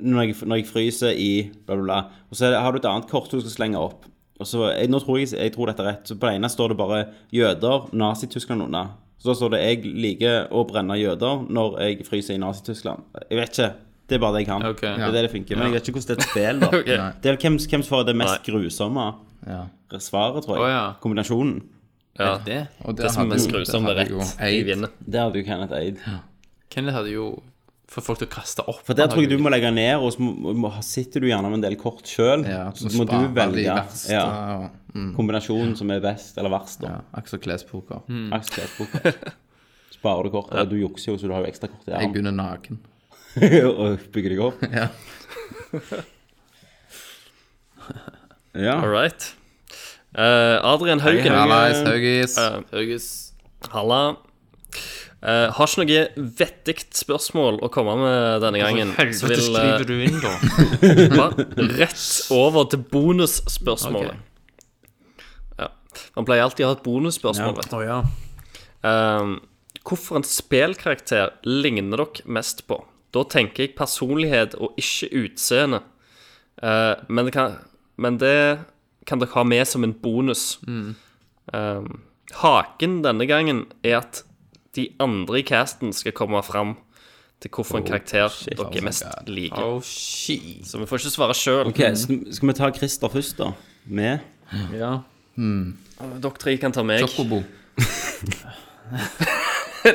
[SPEAKER 3] det når, jeg, når jeg fryser i bla, bla, bla. Og så er det, har du et annet kort du skal slenge opp. Og så, jeg, nå tror jeg, jeg tror dette er rett. Så På det ene står det bare 'jøder, Nazi-Tyskland' unna. Så da står det 'jeg liker å brenne jøder når jeg fryser i Nazi-Tyskland'. Jeg vet ikke. Det er bare det jeg kan.
[SPEAKER 7] Ok.
[SPEAKER 3] Det er det det funker. Men jeg vet ikke hvordan det er et spill, da. Det er vel hvem, hvem som får det mest grusomme
[SPEAKER 14] Ja.
[SPEAKER 3] svaret, tror jeg.
[SPEAKER 7] Å, ja.
[SPEAKER 3] Kombinasjonen.
[SPEAKER 2] Ja.
[SPEAKER 7] Det.
[SPEAKER 14] Og
[SPEAKER 2] Det som er
[SPEAKER 14] hadde
[SPEAKER 2] mest
[SPEAKER 14] jo-
[SPEAKER 2] grusomt,
[SPEAKER 14] det
[SPEAKER 2] er
[SPEAKER 14] hadde jo
[SPEAKER 2] rett. Jeg
[SPEAKER 14] eid.
[SPEAKER 2] vinner.
[SPEAKER 3] Det hadde jo Kenneth eid.
[SPEAKER 7] Kenneth hadde jo fått folk til å kaste opp.
[SPEAKER 3] For der tror jeg du må legge ned, og så må, må, sitter du gjerne med en del kort sjøl.
[SPEAKER 14] Ja,
[SPEAKER 3] så
[SPEAKER 14] så
[SPEAKER 3] må du
[SPEAKER 14] sparer de
[SPEAKER 3] velge
[SPEAKER 14] verste,
[SPEAKER 3] ja,
[SPEAKER 14] og- mm,
[SPEAKER 3] kombinasjonen som er best eller verst.
[SPEAKER 14] ja.
[SPEAKER 3] Da. Mm.
[SPEAKER 14] Aksel Mm. Klespoker.
[SPEAKER 3] Aksel
[SPEAKER 7] <laughs>
[SPEAKER 3] Klesbukk. Sparer du kort, eller du jukser jo, så du har jo ekstra kort i
[SPEAKER 14] Jeg
[SPEAKER 3] armen.
[SPEAKER 14] begynner naken.
[SPEAKER 3] <laughs> og bygger deg opp.
[SPEAKER 14] Ja.
[SPEAKER 3] <laughs> Ja.
[SPEAKER 2] All right. Eh, Adrian Haugen
[SPEAKER 14] Hallais, Haugis.
[SPEAKER 2] eh,
[SPEAKER 7] Høges.
[SPEAKER 2] Halla. Eh, har ikke noe vettig spørsmål å komme med denne gangen. Så
[SPEAKER 7] Altså, Helvete
[SPEAKER 2] vil
[SPEAKER 7] skriver du inn, da.
[SPEAKER 2] eh, hoppe rett over til bonusspørsmålet.
[SPEAKER 7] Ok.
[SPEAKER 2] Ja. Man pleier alltid å ha et bonusspørsmål. vet du.
[SPEAKER 7] Å ja.
[SPEAKER 2] Eh, hvorfor en spelkarakter ligner dere mest på? Da tenker jeg personlighet og ikke utseende. Eh, men, det kan, men det kan dere ha med som en bonus.
[SPEAKER 7] Mm.
[SPEAKER 2] Eh, haken denne gangen er at de andre i casten skal komme fram til hvorfor en karakter dere er mest liker.
[SPEAKER 7] Oh, shit.
[SPEAKER 2] Så vi får ikke svare sjøl.
[SPEAKER 3] Ok, så Skal vi ta Christer først, da? Med?
[SPEAKER 7] Ja.
[SPEAKER 2] Dere tre kan ta meg.
[SPEAKER 14] Chocobo.
[SPEAKER 2] <laughs>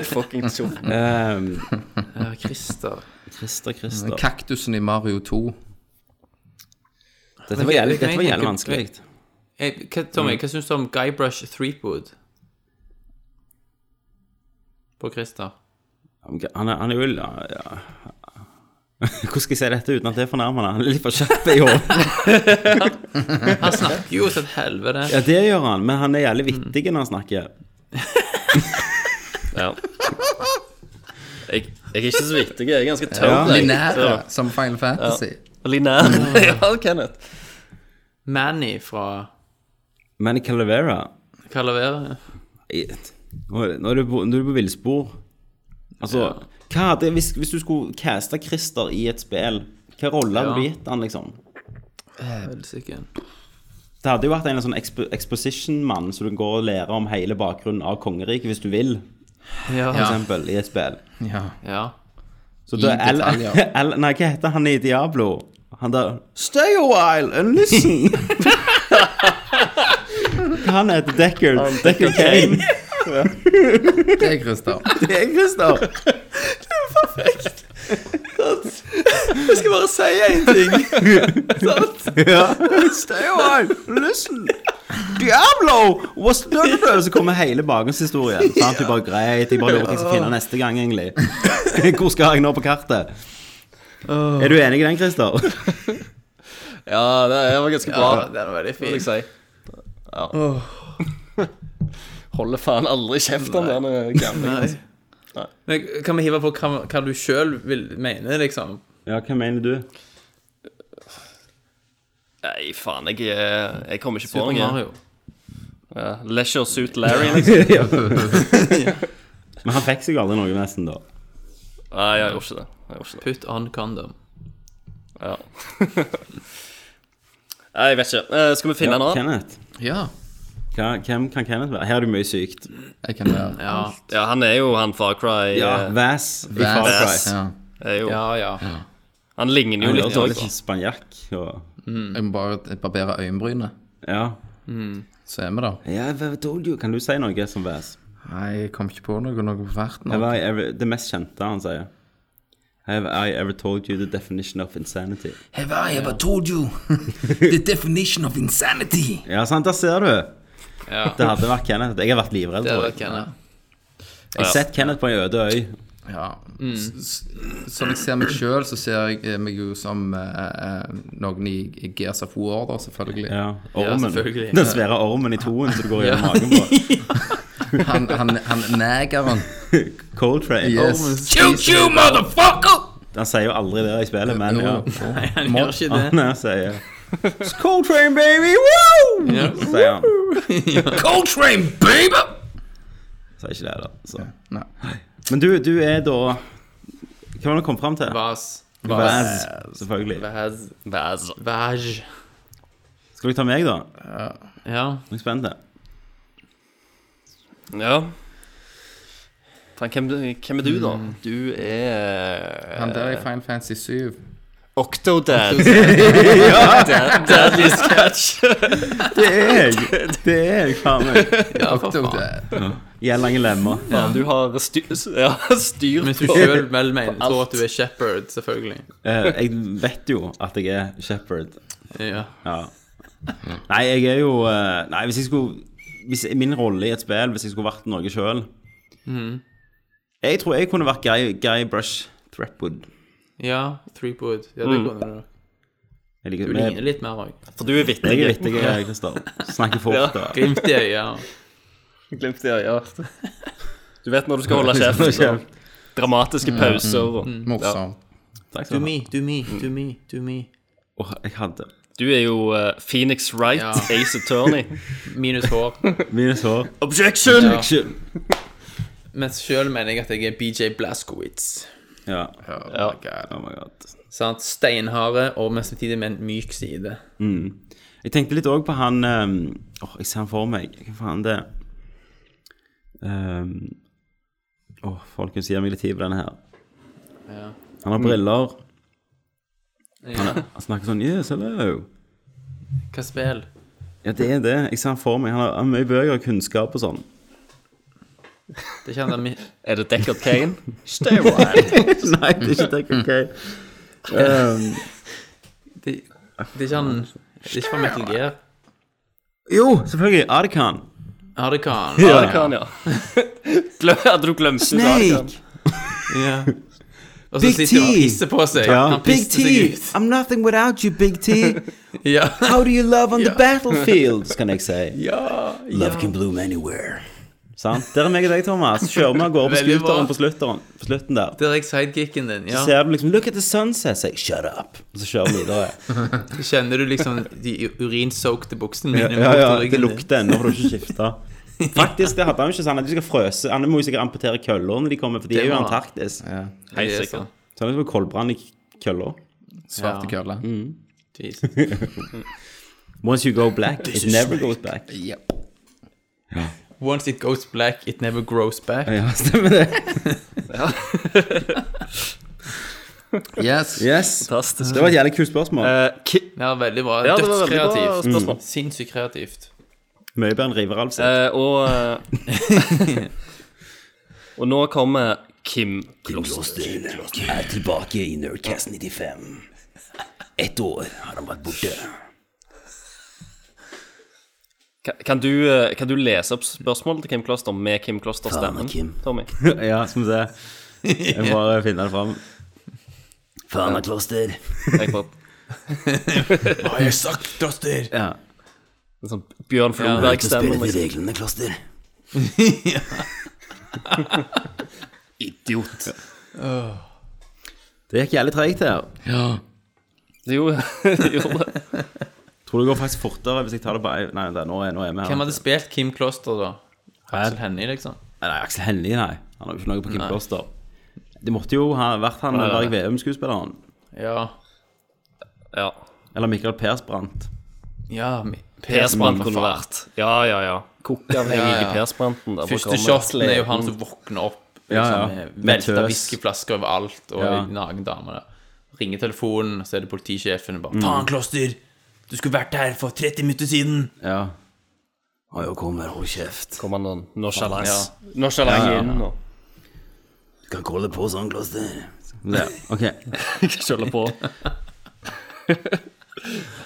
[SPEAKER 2] Fucking tjopp.
[SPEAKER 3] Ehm,
[SPEAKER 7] Ja, Christer.
[SPEAKER 3] Christer, Christer.
[SPEAKER 14] Kaktusen i Mario 2.
[SPEAKER 3] Dette var jævlig, dette var jævlig vanskelig.
[SPEAKER 7] Jeg, Eh, hva, Tommy,
[SPEAKER 2] Mm.
[SPEAKER 7] hva syns du om Guybrush Threepwood? På Christer.
[SPEAKER 3] Han er, han er jo ja, ja. <laughs> Hvordan skal jeg si dette uten at det er fornærmende? Han er litt for kjapp i hodet.
[SPEAKER 7] Han snakker jo til et helvete.
[SPEAKER 3] Ja, det gjør han, men han er jævlig vittig når han snakker.
[SPEAKER 2] Ja. Jeg, jeg er ikke så viktig, jeg er ganske
[SPEAKER 3] Ja.
[SPEAKER 2] tørr. jeg.
[SPEAKER 14] Linære, som Final Fantasy.
[SPEAKER 2] Linær.
[SPEAKER 8] Mm.
[SPEAKER 2] <laughs> ja, Kenneth.
[SPEAKER 7] Manny fra
[SPEAKER 3] Men Calavera
[SPEAKER 7] Calavera.
[SPEAKER 3] i- Nå er det- nå er du på, nå er du på villspor. Altså, hva hadde hvis, hvis du skulle caste Christer i et spill, hva rolle hadde
[SPEAKER 7] Ja.
[SPEAKER 3] du gitt han, liksom?
[SPEAKER 7] Helsike.
[SPEAKER 3] Det hadde jo vært en sånn expo exposition-mann som du går og lærer om hele bakgrunnen av kongeriket, hvis du vil,
[SPEAKER 7] Ja.
[SPEAKER 3] for eksempel, i et spill.
[SPEAKER 14] Ja.
[SPEAKER 7] ja.
[SPEAKER 3] Så da,
[SPEAKER 14] I
[SPEAKER 3] eller, <laughs>
[SPEAKER 14] detaljer.
[SPEAKER 3] eller, nei, hva heter han i Diablo? Han der Stay a while and <laughs> listen! Hva han heter Deckard? Deckard Kane.
[SPEAKER 14] Det er Christer.
[SPEAKER 8] Det er Christer.
[SPEAKER 7] Jeg skal bare si én ting.
[SPEAKER 8] Ja. Stay alive, listen. Diablo was the doctor. Så kommer hele bakgrunnshistorien. Sant? Du bare greit, jeg bare lurer på hva jeg skal finne neste gang, egentlig. <laughs> Hvor skal jeg nå på kartet? Er du enig i den, Christer?
[SPEAKER 2] Ja, det var ganske bra,
[SPEAKER 7] Ja, den var veldig
[SPEAKER 2] vil jeg
[SPEAKER 7] fin.
[SPEAKER 2] si. Ja. Holder faen aldri kjeft om den gamle.
[SPEAKER 7] Men kan vi hive på hva, hva du sjøl mener, liksom?
[SPEAKER 8] Ja, hva mener du?
[SPEAKER 2] Nei, faen, jeg, eh, jeg kommer ikke på noe.
[SPEAKER 7] Super Mario.
[SPEAKER 2] Ja. Leisure Suit Larry, <laughs> liksom.
[SPEAKER 8] Men han fikk seg aldri noe, nesten, da.
[SPEAKER 2] Nei, jeg gjorde ikke det. Jeg gjorde ikke det.
[SPEAKER 7] Put on condom.
[SPEAKER 2] Ja. <laughs> Nei, jeg vet ikke. Eh, skal vi finne
[SPEAKER 8] Ja,
[SPEAKER 2] en annen?
[SPEAKER 8] Kenneth.
[SPEAKER 14] Ja.
[SPEAKER 8] Hva, hvem kan Kenneth være? Her er det mye sykt.
[SPEAKER 14] Jeg kan være
[SPEAKER 7] Ja,
[SPEAKER 2] Ja, han er jo han Far Cry. eh,
[SPEAKER 8] Vass i Far
[SPEAKER 14] Vass,
[SPEAKER 8] Cry.
[SPEAKER 14] Ja.
[SPEAKER 2] Er jo.
[SPEAKER 7] ja. ja.
[SPEAKER 2] Han ligner jo
[SPEAKER 8] Han
[SPEAKER 2] litt
[SPEAKER 8] høres litt
[SPEAKER 2] òg.
[SPEAKER 8] sånn spanjakk og
[SPEAKER 14] Jeg må bare barbere øyenbrynet,
[SPEAKER 8] Ja.
[SPEAKER 14] så er vi der.
[SPEAKER 8] Yeah, I told you. Kan du si noe som Vass?
[SPEAKER 14] Nei, jeg kom ikke på noe noe på farten.
[SPEAKER 8] Have I ever, det mest kjente han sier. Have I ever told you the definition of insanity?
[SPEAKER 3] Have I ever told you <laughs> the definition of insanity?
[SPEAKER 8] Ja, sant, der ser du. Det hadde vært Kenneth. Jeg har vært livredd.
[SPEAKER 7] Det
[SPEAKER 8] tror
[SPEAKER 7] er det,
[SPEAKER 8] jeg.
[SPEAKER 7] Kenneth.
[SPEAKER 8] Jeg har sett Kenneth på ei øde øy.
[SPEAKER 14] Ja. S- s- Som jeg ser meg sjøl, så ser jeg eh, meg jo som eh, eh, noen i i Gears of War, da, selvfølgelig.
[SPEAKER 8] Ja, ormen.
[SPEAKER 7] selvfølgelig.
[SPEAKER 8] Den svære ormen i toen som du går gjennom magen
[SPEAKER 7] <laughs>
[SPEAKER 8] på.
[SPEAKER 14] Han, han, han negeren.
[SPEAKER 8] Cold Train.
[SPEAKER 14] Yes.
[SPEAKER 3] You motherfucker!
[SPEAKER 8] Han sier jo aldri det i spillet, men ja.
[SPEAKER 7] Nei, han gjør ikke det.
[SPEAKER 8] <laughs> Han sier It's Cold Train, baby! Woo!
[SPEAKER 7] Ja.
[SPEAKER 8] Sier han. <laughs>
[SPEAKER 3] Cold train, baby!
[SPEAKER 8] Sier ikke det, da. Så.
[SPEAKER 14] Nei.
[SPEAKER 8] Men du, du er da Hva var det du kom fram til?
[SPEAKER 7] Vas.
[SPEAKER 8] Vaz, selvfølgelig.
[SPEAKER 7] Vas.
[SPEAKER 2] Bæsj.
[SPEAKER 7] altså. Vaj.
[SPEAKER 8] Skal du ta meg, da?
[SPEAKER 7] Ja.
[SPEAKER 8] Jeg er spent. jeg.
[SPEAKER 2] Ja. Faen, hvem, hvem er du, da?
[SPEAKER 7] Mm.
[SPEAKER 2] Du er
[SPEAKER 14] Han der i Final Fantasy 7.
[SPEAKER 2] Octodad. Dad- Daddy Scratch.
[SPEAKER 8] <laughs> Det er jeg! Det er jeg, faen meg.
[SPEAKER 7] ja, for
[SPEAKER 14] Doktor,
[SPEAKER 7] faen.
[SPEAKER 14] det-
[SPEAKER 8] Gjelder lange lemmer.
[SPEAKER 2] Faen, du har styr, ja, <laughs> styr
[SPEAKER 7] Hvis du
[SPEAKER 2] på <laughs>
[SPEAKER 7] sjøl vel mener tror at du er shepherd, selvfølgelig.
[SPEAKER 8] Eh, jeg vet jo at jeg er shepherd.
[SPEAKER 7] Ja.
[SPEAKER 8] Ja. Nei, jeg er jo eh, Nei, hvis jeg skulle hvis, Min rolle i et spill, hvis jeg skulle vært noe sjøl Mhm. Jeg tror jeg kunne vært Guy, Guy Brush Threpwood.
[SPEAKER 7] ja Threepwood. Ja,
[SPEAKER 2] Mm.
[SPEAKER 7] det kunne du.
[SPEAKER 8] Jeg liker
[SPEAKER 7] Du ligner litt mer òg.
[SPEAKER 2] For du er vittig.
[SPEAKER 8] Jeg er vittig, jeg, er Christer. Snakker fort. og-
[SPEAKER 7] Glimt i øyet.
[SPEAKER 2] <laughs> Glimt i øyet. Du vet når du
[SPEAKER 8] <laughs>
[SPEAKER 2] skal holde kjeft. og Dramatiske
[SPEAKER 7] Mm.
[SPEAKER 2] pauser. Og.
[SPEAKER 14] Morsomt.
[SPEAKER 8] Takk skal du ha.
[SPEAKER 7] do me, do me, do me.
[SPEAKER 8] Åh, jeg hadde
[SPEAKER 2] Du er jo eh, Phoenix Wright,
[SPEAKER 7] Ja.
[SPEAKER 2] Ace Attorney.
[SPEAKER 7] Minus
[SPEAKER 2] <laughs>
[SPEAKER 7] hår.
[SPEAKER 8] mine sår.
[SPEAKER 2] Objection!
[SPEAKER 7] Ja. Men sjøl mener jeg at jeg er BJ Blaskowitz.
[SPEAKER 8] Ja.
[SPEAKER 2] Ja.
[SPEAKER 8] Oh my god.
[SPEAKER 7] Sant? Steinharde og men samtidig med en myk side.
[SPEAKER 8] Jeg tenkte litt òg på han um, Åh, jeg ser han for meg. Hva faen det um, Åh, folkens, gir meg litt tid på denne her.
[SPEAKER 7] Ja.
[SPEAKER 8] Han har briller.
[SPEAKER 7] Ja.
[SPEAKER 8] Han snakker sånn Yes, hello.
[SPEAKER 7] Hva spill?
[SPEAKER 8] Ja, det er det. Jeg ser han for meg. Han har, han har mye bøker og kunnskap og sånn.
[SPEAKER 7] Det er ikke han der mi-
[SPEAKER 2] Er det
[SPEAKER 7] <laughs>
[SPEAKER 2] Deckard Kane? Stay
[SPEAKER 8] <laughs>
[SPEAKER 2] right.
[SPEAKER 8] Nei, det er ikke det. Ok. Um,
[SPEAKER 7] Det, det er ikke han Det er ikke fra Metal Gear.
[SPEAKER 8] jo, selvfølgelig. Arkan.
[SPEAKER 7] Ardekan.
[SPEAKER 8] Ja.
[SPEAKER 2] Arkan, ja. <laughs> Glem- Hadde du glemt ut Arkan?
[SPEAKER 8] Snake.
[SPEAKER 7] <laughs> Ja. Og så
[SPEAKER 8] Big
[SPEAKER 7] sitter han og
[SPEAKER 8] T.
[SPEAKER 7] pisser på seg.
[SPEAKER 8] Ja.
[SPEAKER 7] Han
[SPEAKER 8] Big
[SPEAKER 7] pisser
[SPEAKER 2] <laughs>
[SPEAKER 8] T.
[SPEAKER 7] seg ut.
[SPEAKER 8] I'm nothing without you, Big T.
[SPEAKER 7] <laughs> Ja.
[SPEAKER 8] How do you love <laughs> on the
[SPEAKER 7] Ja.
[SPEAKER 8] battlefield, skal jeg si.
[SPEAKER 7] <laughs> ja.
[SPEAKER 3] Love can bloom anywhere.
[SPEAKER 8] Sant? Der er meg og deg, Thomas. Kjører vi av gårde på
[SPEAKER 7] Veldig bra.
[SPEAKER 8] scooteren på, slutteren- på slutten der.
[SPEAKER 7] Der er jeg sidekicken din. Ja.
[SPEAKER 8] Så ser du liksom Look at the sunset. Sier jeg, shut up. Og så kjører vi videre.
[SPEAKER 7] Kjenner du liksom de urinsoakte buksene
[SPEAKER 8] Ja,
[SPEAKER 7] mine?
[SPEAKER 8] ja, ja,
[SPEAKER 7] mot
[SPEAKER 8] det
[SPEAKER 7] ryggen din?
[SPEAKER 8] lukter ennå, for du har ikke <laughs> skifta. Faktisk, det hadde han jo ikke sånn at de skal frøse. Han må jo sikkert amputere køller når de kommer, for de
[SPEAKER 7] Det
[SPEAKER 8] er jo i
[SPEAKER 7] må han.
[SPEAKER 8] Antarktis. Så
[SPEAKER 2] Helt
[SPEAKER 7] Det er
[SPEAKER 2] sikkert.
[SPEAKER 7] sånn.
[SPEAKER 8] han er som en koldbrann i køller.
[SPEAKER 14] Svarte kølle.
[SPEAKER 7] Jesus.
[SPEAKER 8] Once you go black, <laughs> it never goes back.
[SPEAKER 14] Ja.
[SPEAKER 7] Once it goes black, it never grows back.
[SPEAKER 8] Ja, stemmer det.
[SPEAKER 14] Yes.
[SPEAKER 8] Yes.
[SPEAKER 2] Fantastisk.
[SPEAKER 8] Det var et jævlig kult spørsmål.
[SPEAKER 2] Eh, ki
[SPEAKER 7] Ja, veldig bra.
[SPEAKER 2] Ja, det var veldig bra
[SPEAKER 7] Dødskreativt.
[SPEAKER 2] spørsmål.
[SPEAKER 7] Sinnssykt kreativt.
[SPEAKER 3] Mye bedre enn Riveralv
[SPEAKER 8] altså.
[SPEAKER 3] sitt.
[SPEAKER 2] Eh, og eh, <laughs> Og nå kommer Kim Kloster.
[SPEAKER 8] er tilbake i Nerdcast 95. Ett år har han vært borte.
[SPEAKER 2] Ka- Kan du, eh, kan du lese opp spørsmålet til Kim Kloster med Kim Kloster-stemmen?
[SPEAKER 8] Faen, Kim.
[SPEAKER 2] Tommy?
[SPEAKER 3] ja, som det. Jeg må bare finne den fram.
[SPEAKER 8] Faen meg kloster.
[SPEAKER 2] Jeg får
[SPEAKER 8] Har jeg sagt kloster?
[SPEAKER 3] Ja.
[SPEAKER 2] en sånn Bjørn Floberg-stemme. liksom.
[SPEAKER 8] reglene, kloster.
[SPEAKER 2] Idiot.
[SPEAKER 3] Det gikk jævlig treigt her.
[SPEAKER 2] Jo, <laughs> gjorde det.
[SPEAKER 3] Tror det går faktisk fortere hvis jeg tar det på ei- Nei, vent da, nå er, nå er vi her.
[SPEAKER 7] Hvem hadde spilt Kim Kloster, da? Aksel Hennie, liksom?
[SPEAKER 3] Nei, nei, Aksel Hennie, nei. Han har jo ikke noe på Kim Kloster. Det måtte jo ha vært han Varg Veum-skuespilleren.
[SPEAKER 7] Ja.
[SPEAKER 2] Ja.
[SPEAKER 3] Eller Mikael Persbrandt.
[SPEAKER 7] ja mi-
[SPEAKER 2] Persbrandt kunne vært. Ja, ja, ja. Kokke av
[SPEAKER 7] Ja,
[SPEAKER 2] Helge
[SPEAKER 7] ja.
[SPEAKER 2] Persbrandten. der på
[SPEAKER 7] Første
[SPEAKER 2] kamera.
[SPEAKER 7] shoten er jo han som våkner opp
[SPEAKER 3] Ja,
[SPEAKER 7] liksom,
[SPEAKER 3] ja.
[SPEAKER 7] med
[SPEAKER 3] Med
[SPEAKER 7] velta
[SPEAKER 3] tøs.
[SPEAKER 7] whiskyflasker overalt, og
[SPEAKER 3] Ja.
[SPEAKER 7] en naken dame der. Ringer telefonen, så er det politisjefen og bare Faen, Kloster! Du skulle vært her for 30 minutter siden!
[SPEAKER 3] Ja.
[SPEAKER 8] Har jo kommet, hold kjeft.
[SPEAKER 2] Kommer han sånn nonchalance.
[SPEAKER 7] Ja.
[SPEAKER 2] Nonchalant
[SPEAKER 3] Ja, ja.
[SPEAKER 2] inn og <laughs>
[SPEAKER 8] Du kan ikke holde på sånn, kloster.
[SPEAKER 3] Det,
[SPEAKER 8] <laughs>
[SPEAKER 3] ok.
[SPEAKER 2] ikke kjøler på. <laughs>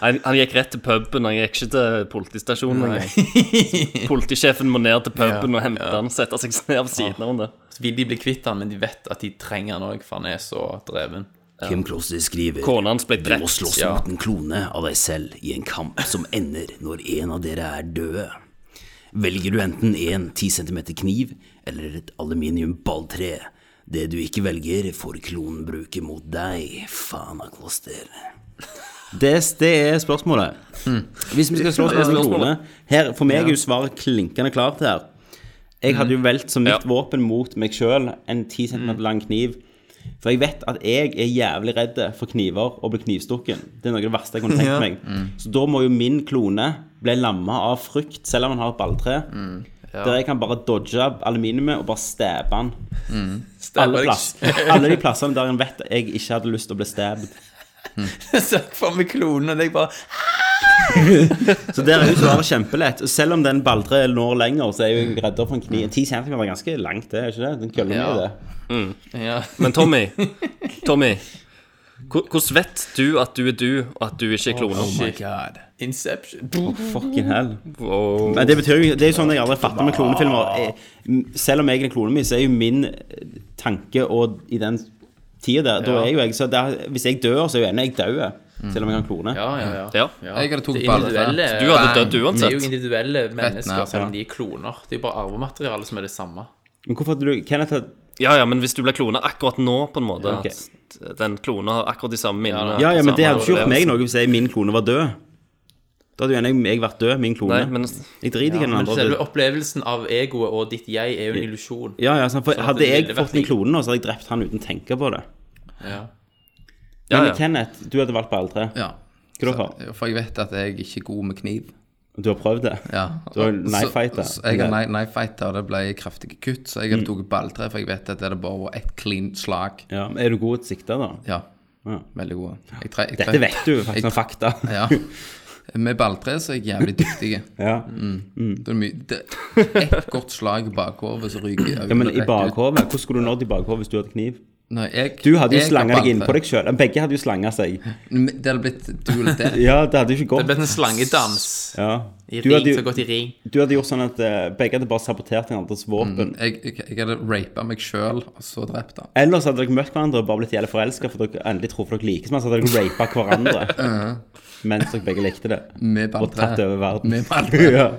[SPEAKER 2] Han, han gikk rett til puben, han gikk ikke til politistasjonen engang. <laughs> Politisjefen må ned til puben og hente han, sette seg ned ved siden av han der.
[SPEAKER 7] Så vil de bli kvitt han, men de vet at de trenger han òg, for han er så dreven. <laughs>
[SPEAKER 8] Kim Kloster skriver
[SPEAKER 2] Kona hans ble
[SPEAKER 8] Du må
[SPEAKER 2] drept.
[SPEAKER 8] slåss
[SPEAKER 7] ja.
[SPEAKER 8] mot en klone av deg selv i en kamp som ender når en av dere er døde. Velger du enten en 10 cm kniv eller et aluminium balltre. Det du ikke velger, får klonen bruke mot deg. Faen av kloster. Hmm.
[SPEAKER 3] Det, det er spørsmålet. Hvis vi skal slå oss med klone her, For meg er jo svaret klinkende klart her. Jeg hadde jo valgt som mitt våpen mot meg sjøl en 10 cm lang kniv. For jeg vet at jeg er jævlig redd for kniver og blir knivstukken. Det er noe av det verste jeg kunne tenkt meg. Så da må jo min klone bli lamma av frykt, selv om han har et balltre. Der jeg kan bare dodge aluminiumet og bare stabbe han. Mm. Alle, plass, alle de plassene der han vet jeg ikke hadde lyst til å bli stabbed.
[SPEAKER 7] Se for meg klonen, og jeg bare
[SPEAKER 3] Så der er jo svaret kjempelett. Og Selv om den balltreet når lenger, så er jeg jo reddere for en kniv. 10 cm er ganske langt, det, er ikke det? Den køller mye,
[SPEAKER 7] Ja.
[SPEAKER 3] det.
[SPEAKER 7] Ja.
[SPEAKER 2] Men <laughs> Tommy, Tommy hvor- hvordan vet du at du er du, og at du ikke er klone?
[SPEAKER 7] Shit. Inception.
[SPEAKER 3] Fucking hell.
[SPEAKER 2] Wow.
[SPEAKER 3] Men det betyr jo Det er jo sånn jeg aldri fatter med klonefilmer. Jeg- m- Selv om jeg er klonen min, så er jo min eh, tanke og i den tida der Da er jo jeg Så der, hvis jeg dør, så er jo ennå jeg død. Selv om jeg kan klone.
[SPEAKER 7] Ja, ja, ja.
[SPEAKER 2] Ja.
[SPEAKER 14] Jeg hadde tok
[SPEAKER 7] Det
[SPEAKER 14] baller.
[SPEAKER 7] individuelle
[SPEAKER 2] Du hadde dødd
[SPEAKER 7] Det er
[SPEAKER 2] uansett.
[SPEAKER 7] jo individuelle mennesker,
[SPEAKER 14] ned,
[SPEAKER 7] selv om de er kloner. Det er jo bare arvemateriale som er det samme.
[SPEAKER 3] Men hvorfor hadde du Kenneth hadde
[SPEAKER 2] Ja, ja, men hvis du blir klona akkurat nå, på en måte
[SPEAKER 3] Ok.
[SPEAKER 2] at Den klona har akkurat de samme minnene.
[SPEAKER 3] Ja, ja, men det hadde ikke
[SPEAKER 2] samme
[SPEAKER 3] gjort meg noe hvis jeg, min klone var død. Da hadde jo ennå jeg vært død, min klone.
[SPEAKER 2] Nei, men
[SPEAKER 3] jeg driter ikke i den
[SPEAKER 7] Men
[SPEAKER 3] andre.
[SPEAKER 7] selve opplevelsen av egoet og ditt jeg er jo en illusjon.
[SPEAKER 3] Ja, ja, sant, for
[SPEAKER 7] at
[SPEAKER 3] Hadde
[SPEAKER 7] det
[SPEAKER 3] jeg
[SPEAKER 7] ville vært
[SPEAKER 3] fått en
[SPEAKER 7] i-
[SPEAKER 3] klone nå, så hadde jeg drept han uten å tenke på det.
[SPEAKER 7] Ja.
[SPEAKER 2] Ja,
[SPEAKER 3] Men
[SPEAKER 2] ja.
[SPEAKER 3] Kenneth, du hadde valgt balltre.
[SPEAKER 14] Ja.
[SPEAKER 3] Hva da for?
[SPEAKER 14] For jeg vet at jeg ikke er god med kniv.
[SPEAKER 3] Du har prøvd det?
[SPEAKER 14] Ja.
[SPEAKER 3] Du har
[SPEAKER 14] Så-
[SPEAKER 3] knife-fighta.
[SPEAKER 14] så Jeg har knife-fighta, og det ble kraftige kutt. Så jeg hadde tatt balltre, for jeg vet at det hadde bare vært ett clean slag.
[SPEAKER 3] Ja, men er du god til å sikte, da?
[SPEAKER 14] Ja.
[SPEAKER 3] Ja.
[SPEAKER 14] Veldig gode. Jeg tre, jeg tre,
[SPEAKER 3] Dette vet du jo faktisk som
[SPEAKER 14] Jeg-
[SPEAKER 3] fakta.
[SPEAKER 14] Ja. Med balltre så er jeg jævlig dyktig.
[SPEAKER 3] <laughs> Ja.
[SPEAKER 14] Det er mye- det- Ett godt slag i bakhodet, så ryker jeg.
[SPEAKER 3] ja, Men i
[SPEAKER 14] rett ut.
[SPEAKER 3] bakhovet, hvordan skulle du nådd i bakhovet hvis du hadde kniv?
[SPEAKER 14] Nei, jeg-
[SPEAKER 3] Du hadde jo
[SPEAKER 14] jeg har
[SPEAKER 3] slanga deg innpå
[SPEAKER 14] balltre.
[SPEAKER 3] deg sjøl. Begge hadde jo slanga seg.
[SPEAKER 14] Men Det hadde blitt duel death.
[SPEAKER 3] Ja, det hadde jo ikke
[SPEAKER 7] Det ble
[SPEAKER 3] gått.
[SPEAKER 7] en slangedans.
[SPEAKER 3] Ja.
[SPEAKER 7] I
[SPEAKER 3] Du
[SPEAKER 7] ring,
[SPEAKER 3] hadde,
[SPEAKER 7] så
[SPEAKER 3] jo,
[SPEAKER 7] gått i ring.
[SPEAKER 3] du hadde gjort sånn at eh, begge hadde bare sabotert den
[SPEAKER 14] Mm.
[SPEAKER 3] andres våpen.
[SPEAKER 14] Jeg, jeg, jeg hadde rapa meg sjøl, og så drept han.
[SPEAKER 3] Ellers hadde dere møtt hverandre og bare blitt jævlig forelska, for dere endelig truffet dere like, så hadde dere rapa
[SPEAKER 14] <laughs>
[SPEAKER 3] hverandre mens dere begge likte det.
[SPEAKER 14] Med
[SPEAKER 3] Og
[SPEAKER 14] balltre.
[SPEAKER 3] tatt over verden. <laughs>
[SPEAKER 14] Med balltre
[SPEAKER 3] ja.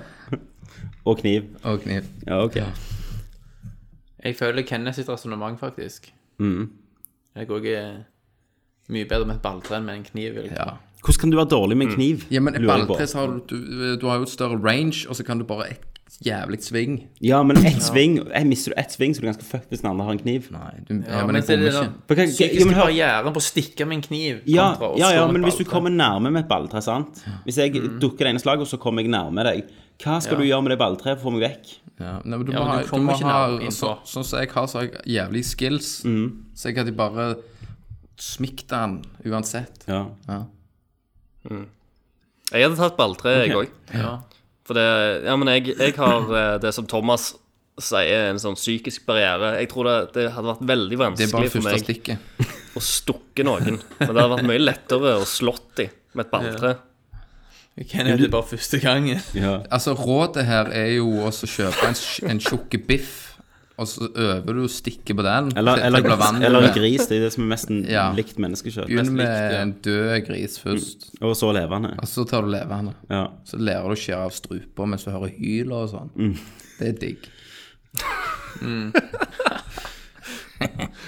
[SPEAKER 3] Og kniv.
[SPEAKER 14] og kniv.
[SPEAKER 3] Ja, ok.
[SPEAKER 7] Jeg føler Kenneth sitt resonnement, faktisk.
[SPEAKER 3] Mm.
[SPEAKER 7] Jeg òg er mye bedre med et balltre enn med en kniv. vil jeg
[SPEAKER 14] Ja.
[SPEAKER 3] Hvordan kan du være dårlig med en kniv?
[SPEAKER 14] Mm. ja, men et
[SPEAKER 3] lurer jeg på.
[SPEAKER 14] balltre så har du, du Du har jo et større range, og så kan du bare et jævlig sving.
[SPEAKER 3] Ja, men ett sving jeg Mister du ett sving, så er du ganske fucked hvis den andre har en kniv.
[SPEAKER 14] Nei, du, ja,
[SPEAKER 7] Ja,
[SPEAKER 14] men jeg
[SPEAKER 7] så er
[SPEAKER 14] bommer
[SPEAKER 3] For
[SPEAKER 7] det den
[SPEAKER 14] ikke.
[SPEAKER 3] hva- ja,
[SPEAKER 7] Psykiske
[SPEAKER 3] men hør-
[SPEAKER 7] barrieren på å stikke med en kniv
[SPEAKER 3] Ja,
[SPEAKER 7] kontra å
[SPEAKER 3] ja,
[SPEAKER 7] slå
[SPEAKER 3] ja,
[SPEAKER 7] med
[SPEAKER 3] men hvis du
[SPEAKER 7] balltre.
[SPEAKER 3] kommer nærme med et balltre, sant Hvis jeg
[SPEAKER 14] Mm.
[SPEAKER 3] dukker det ene slaget, og så kommer jeg nærme deg, hva skal du gjøre med det balltreet for å få meg vekk?
[SPEAKER 14] Ja, nei, men du,
[SPEAKER 7] Ja,
[SPEAKER 14] må
[SPEAKER 7] men du
[SPEAKER 14] ha, du
[SPEAKER 7] kommer
[SPEAKER 14] må
[SPEAKER 7] ikke
[SPEAKER 14] ha
[SPEAKER 7] nærmere Mm. inn
[SPEAKER 14] så,
[SPEAKER 7] på-
[SPEAKER 14] Sånn som jeg har, så har jeg jævlig skills. Så jeg hadde bare smikt han uansett.
[SPEAKER 3] Ja.
[SPEAKER 2] Jeg hadde tatt balltre, jeg òg.
[SPEAKER 7] Ja.
[SPEAKER 2] For det Ja, men jeg, jeg har eh, det som Thomas sier, en sånn psykisk barriere. Jeg tror det, det hadde vært veldig
[SPEAKER 14] Det er bare
[SPEAKER 2] vanskelig for
[SPEAKER 14] første
[SPEAKER 2] meg
[SPEAKER 14] stikket.
[SPEAKER 2] å stukke noen. Men det hadde vært mye lettere å slått dem med et balltre.
[SPEAKER 7] Hvem er det bare
[SPEAKER 3] <laughs>
[SPEAKER 7] første gangen?
[SPEAKER 3] Ja.
[SPEAKER 14] Altså, rådet her er jo også å kjøpe en, sj- en tjukk biff, og så øver du og stikker på den.
[SPEAKER 3] Eller,
[SPEAKER 14] til-
[SPEAKER 3] eller,
[SPEAKER 14] til det blir vann
[SPEAKER 3] eller
[SPEAKER 14] i
[SPEAKER 3] en
[SPEAKER 14] det.
[SPEAKER 3] gris. Det er det som er mest
[SPEAKER 14] Ja.
[SPEAKER 3] likt menneskekjøtt.
[SPEAKER 14] Begynn med en død gris først,
[SPEAKER 7] Mm.
[SPEAKER 3] Og så levende.
[SPEAKER 14] og så tar du levende.
[SPEAKER 3] Ja.
[SPEAKER 14] Så lærer du å skjære av struper mens du hører hyl og sånn.
[SPEAKER 7] Mm.
[SPEAKER 14] Det er digg.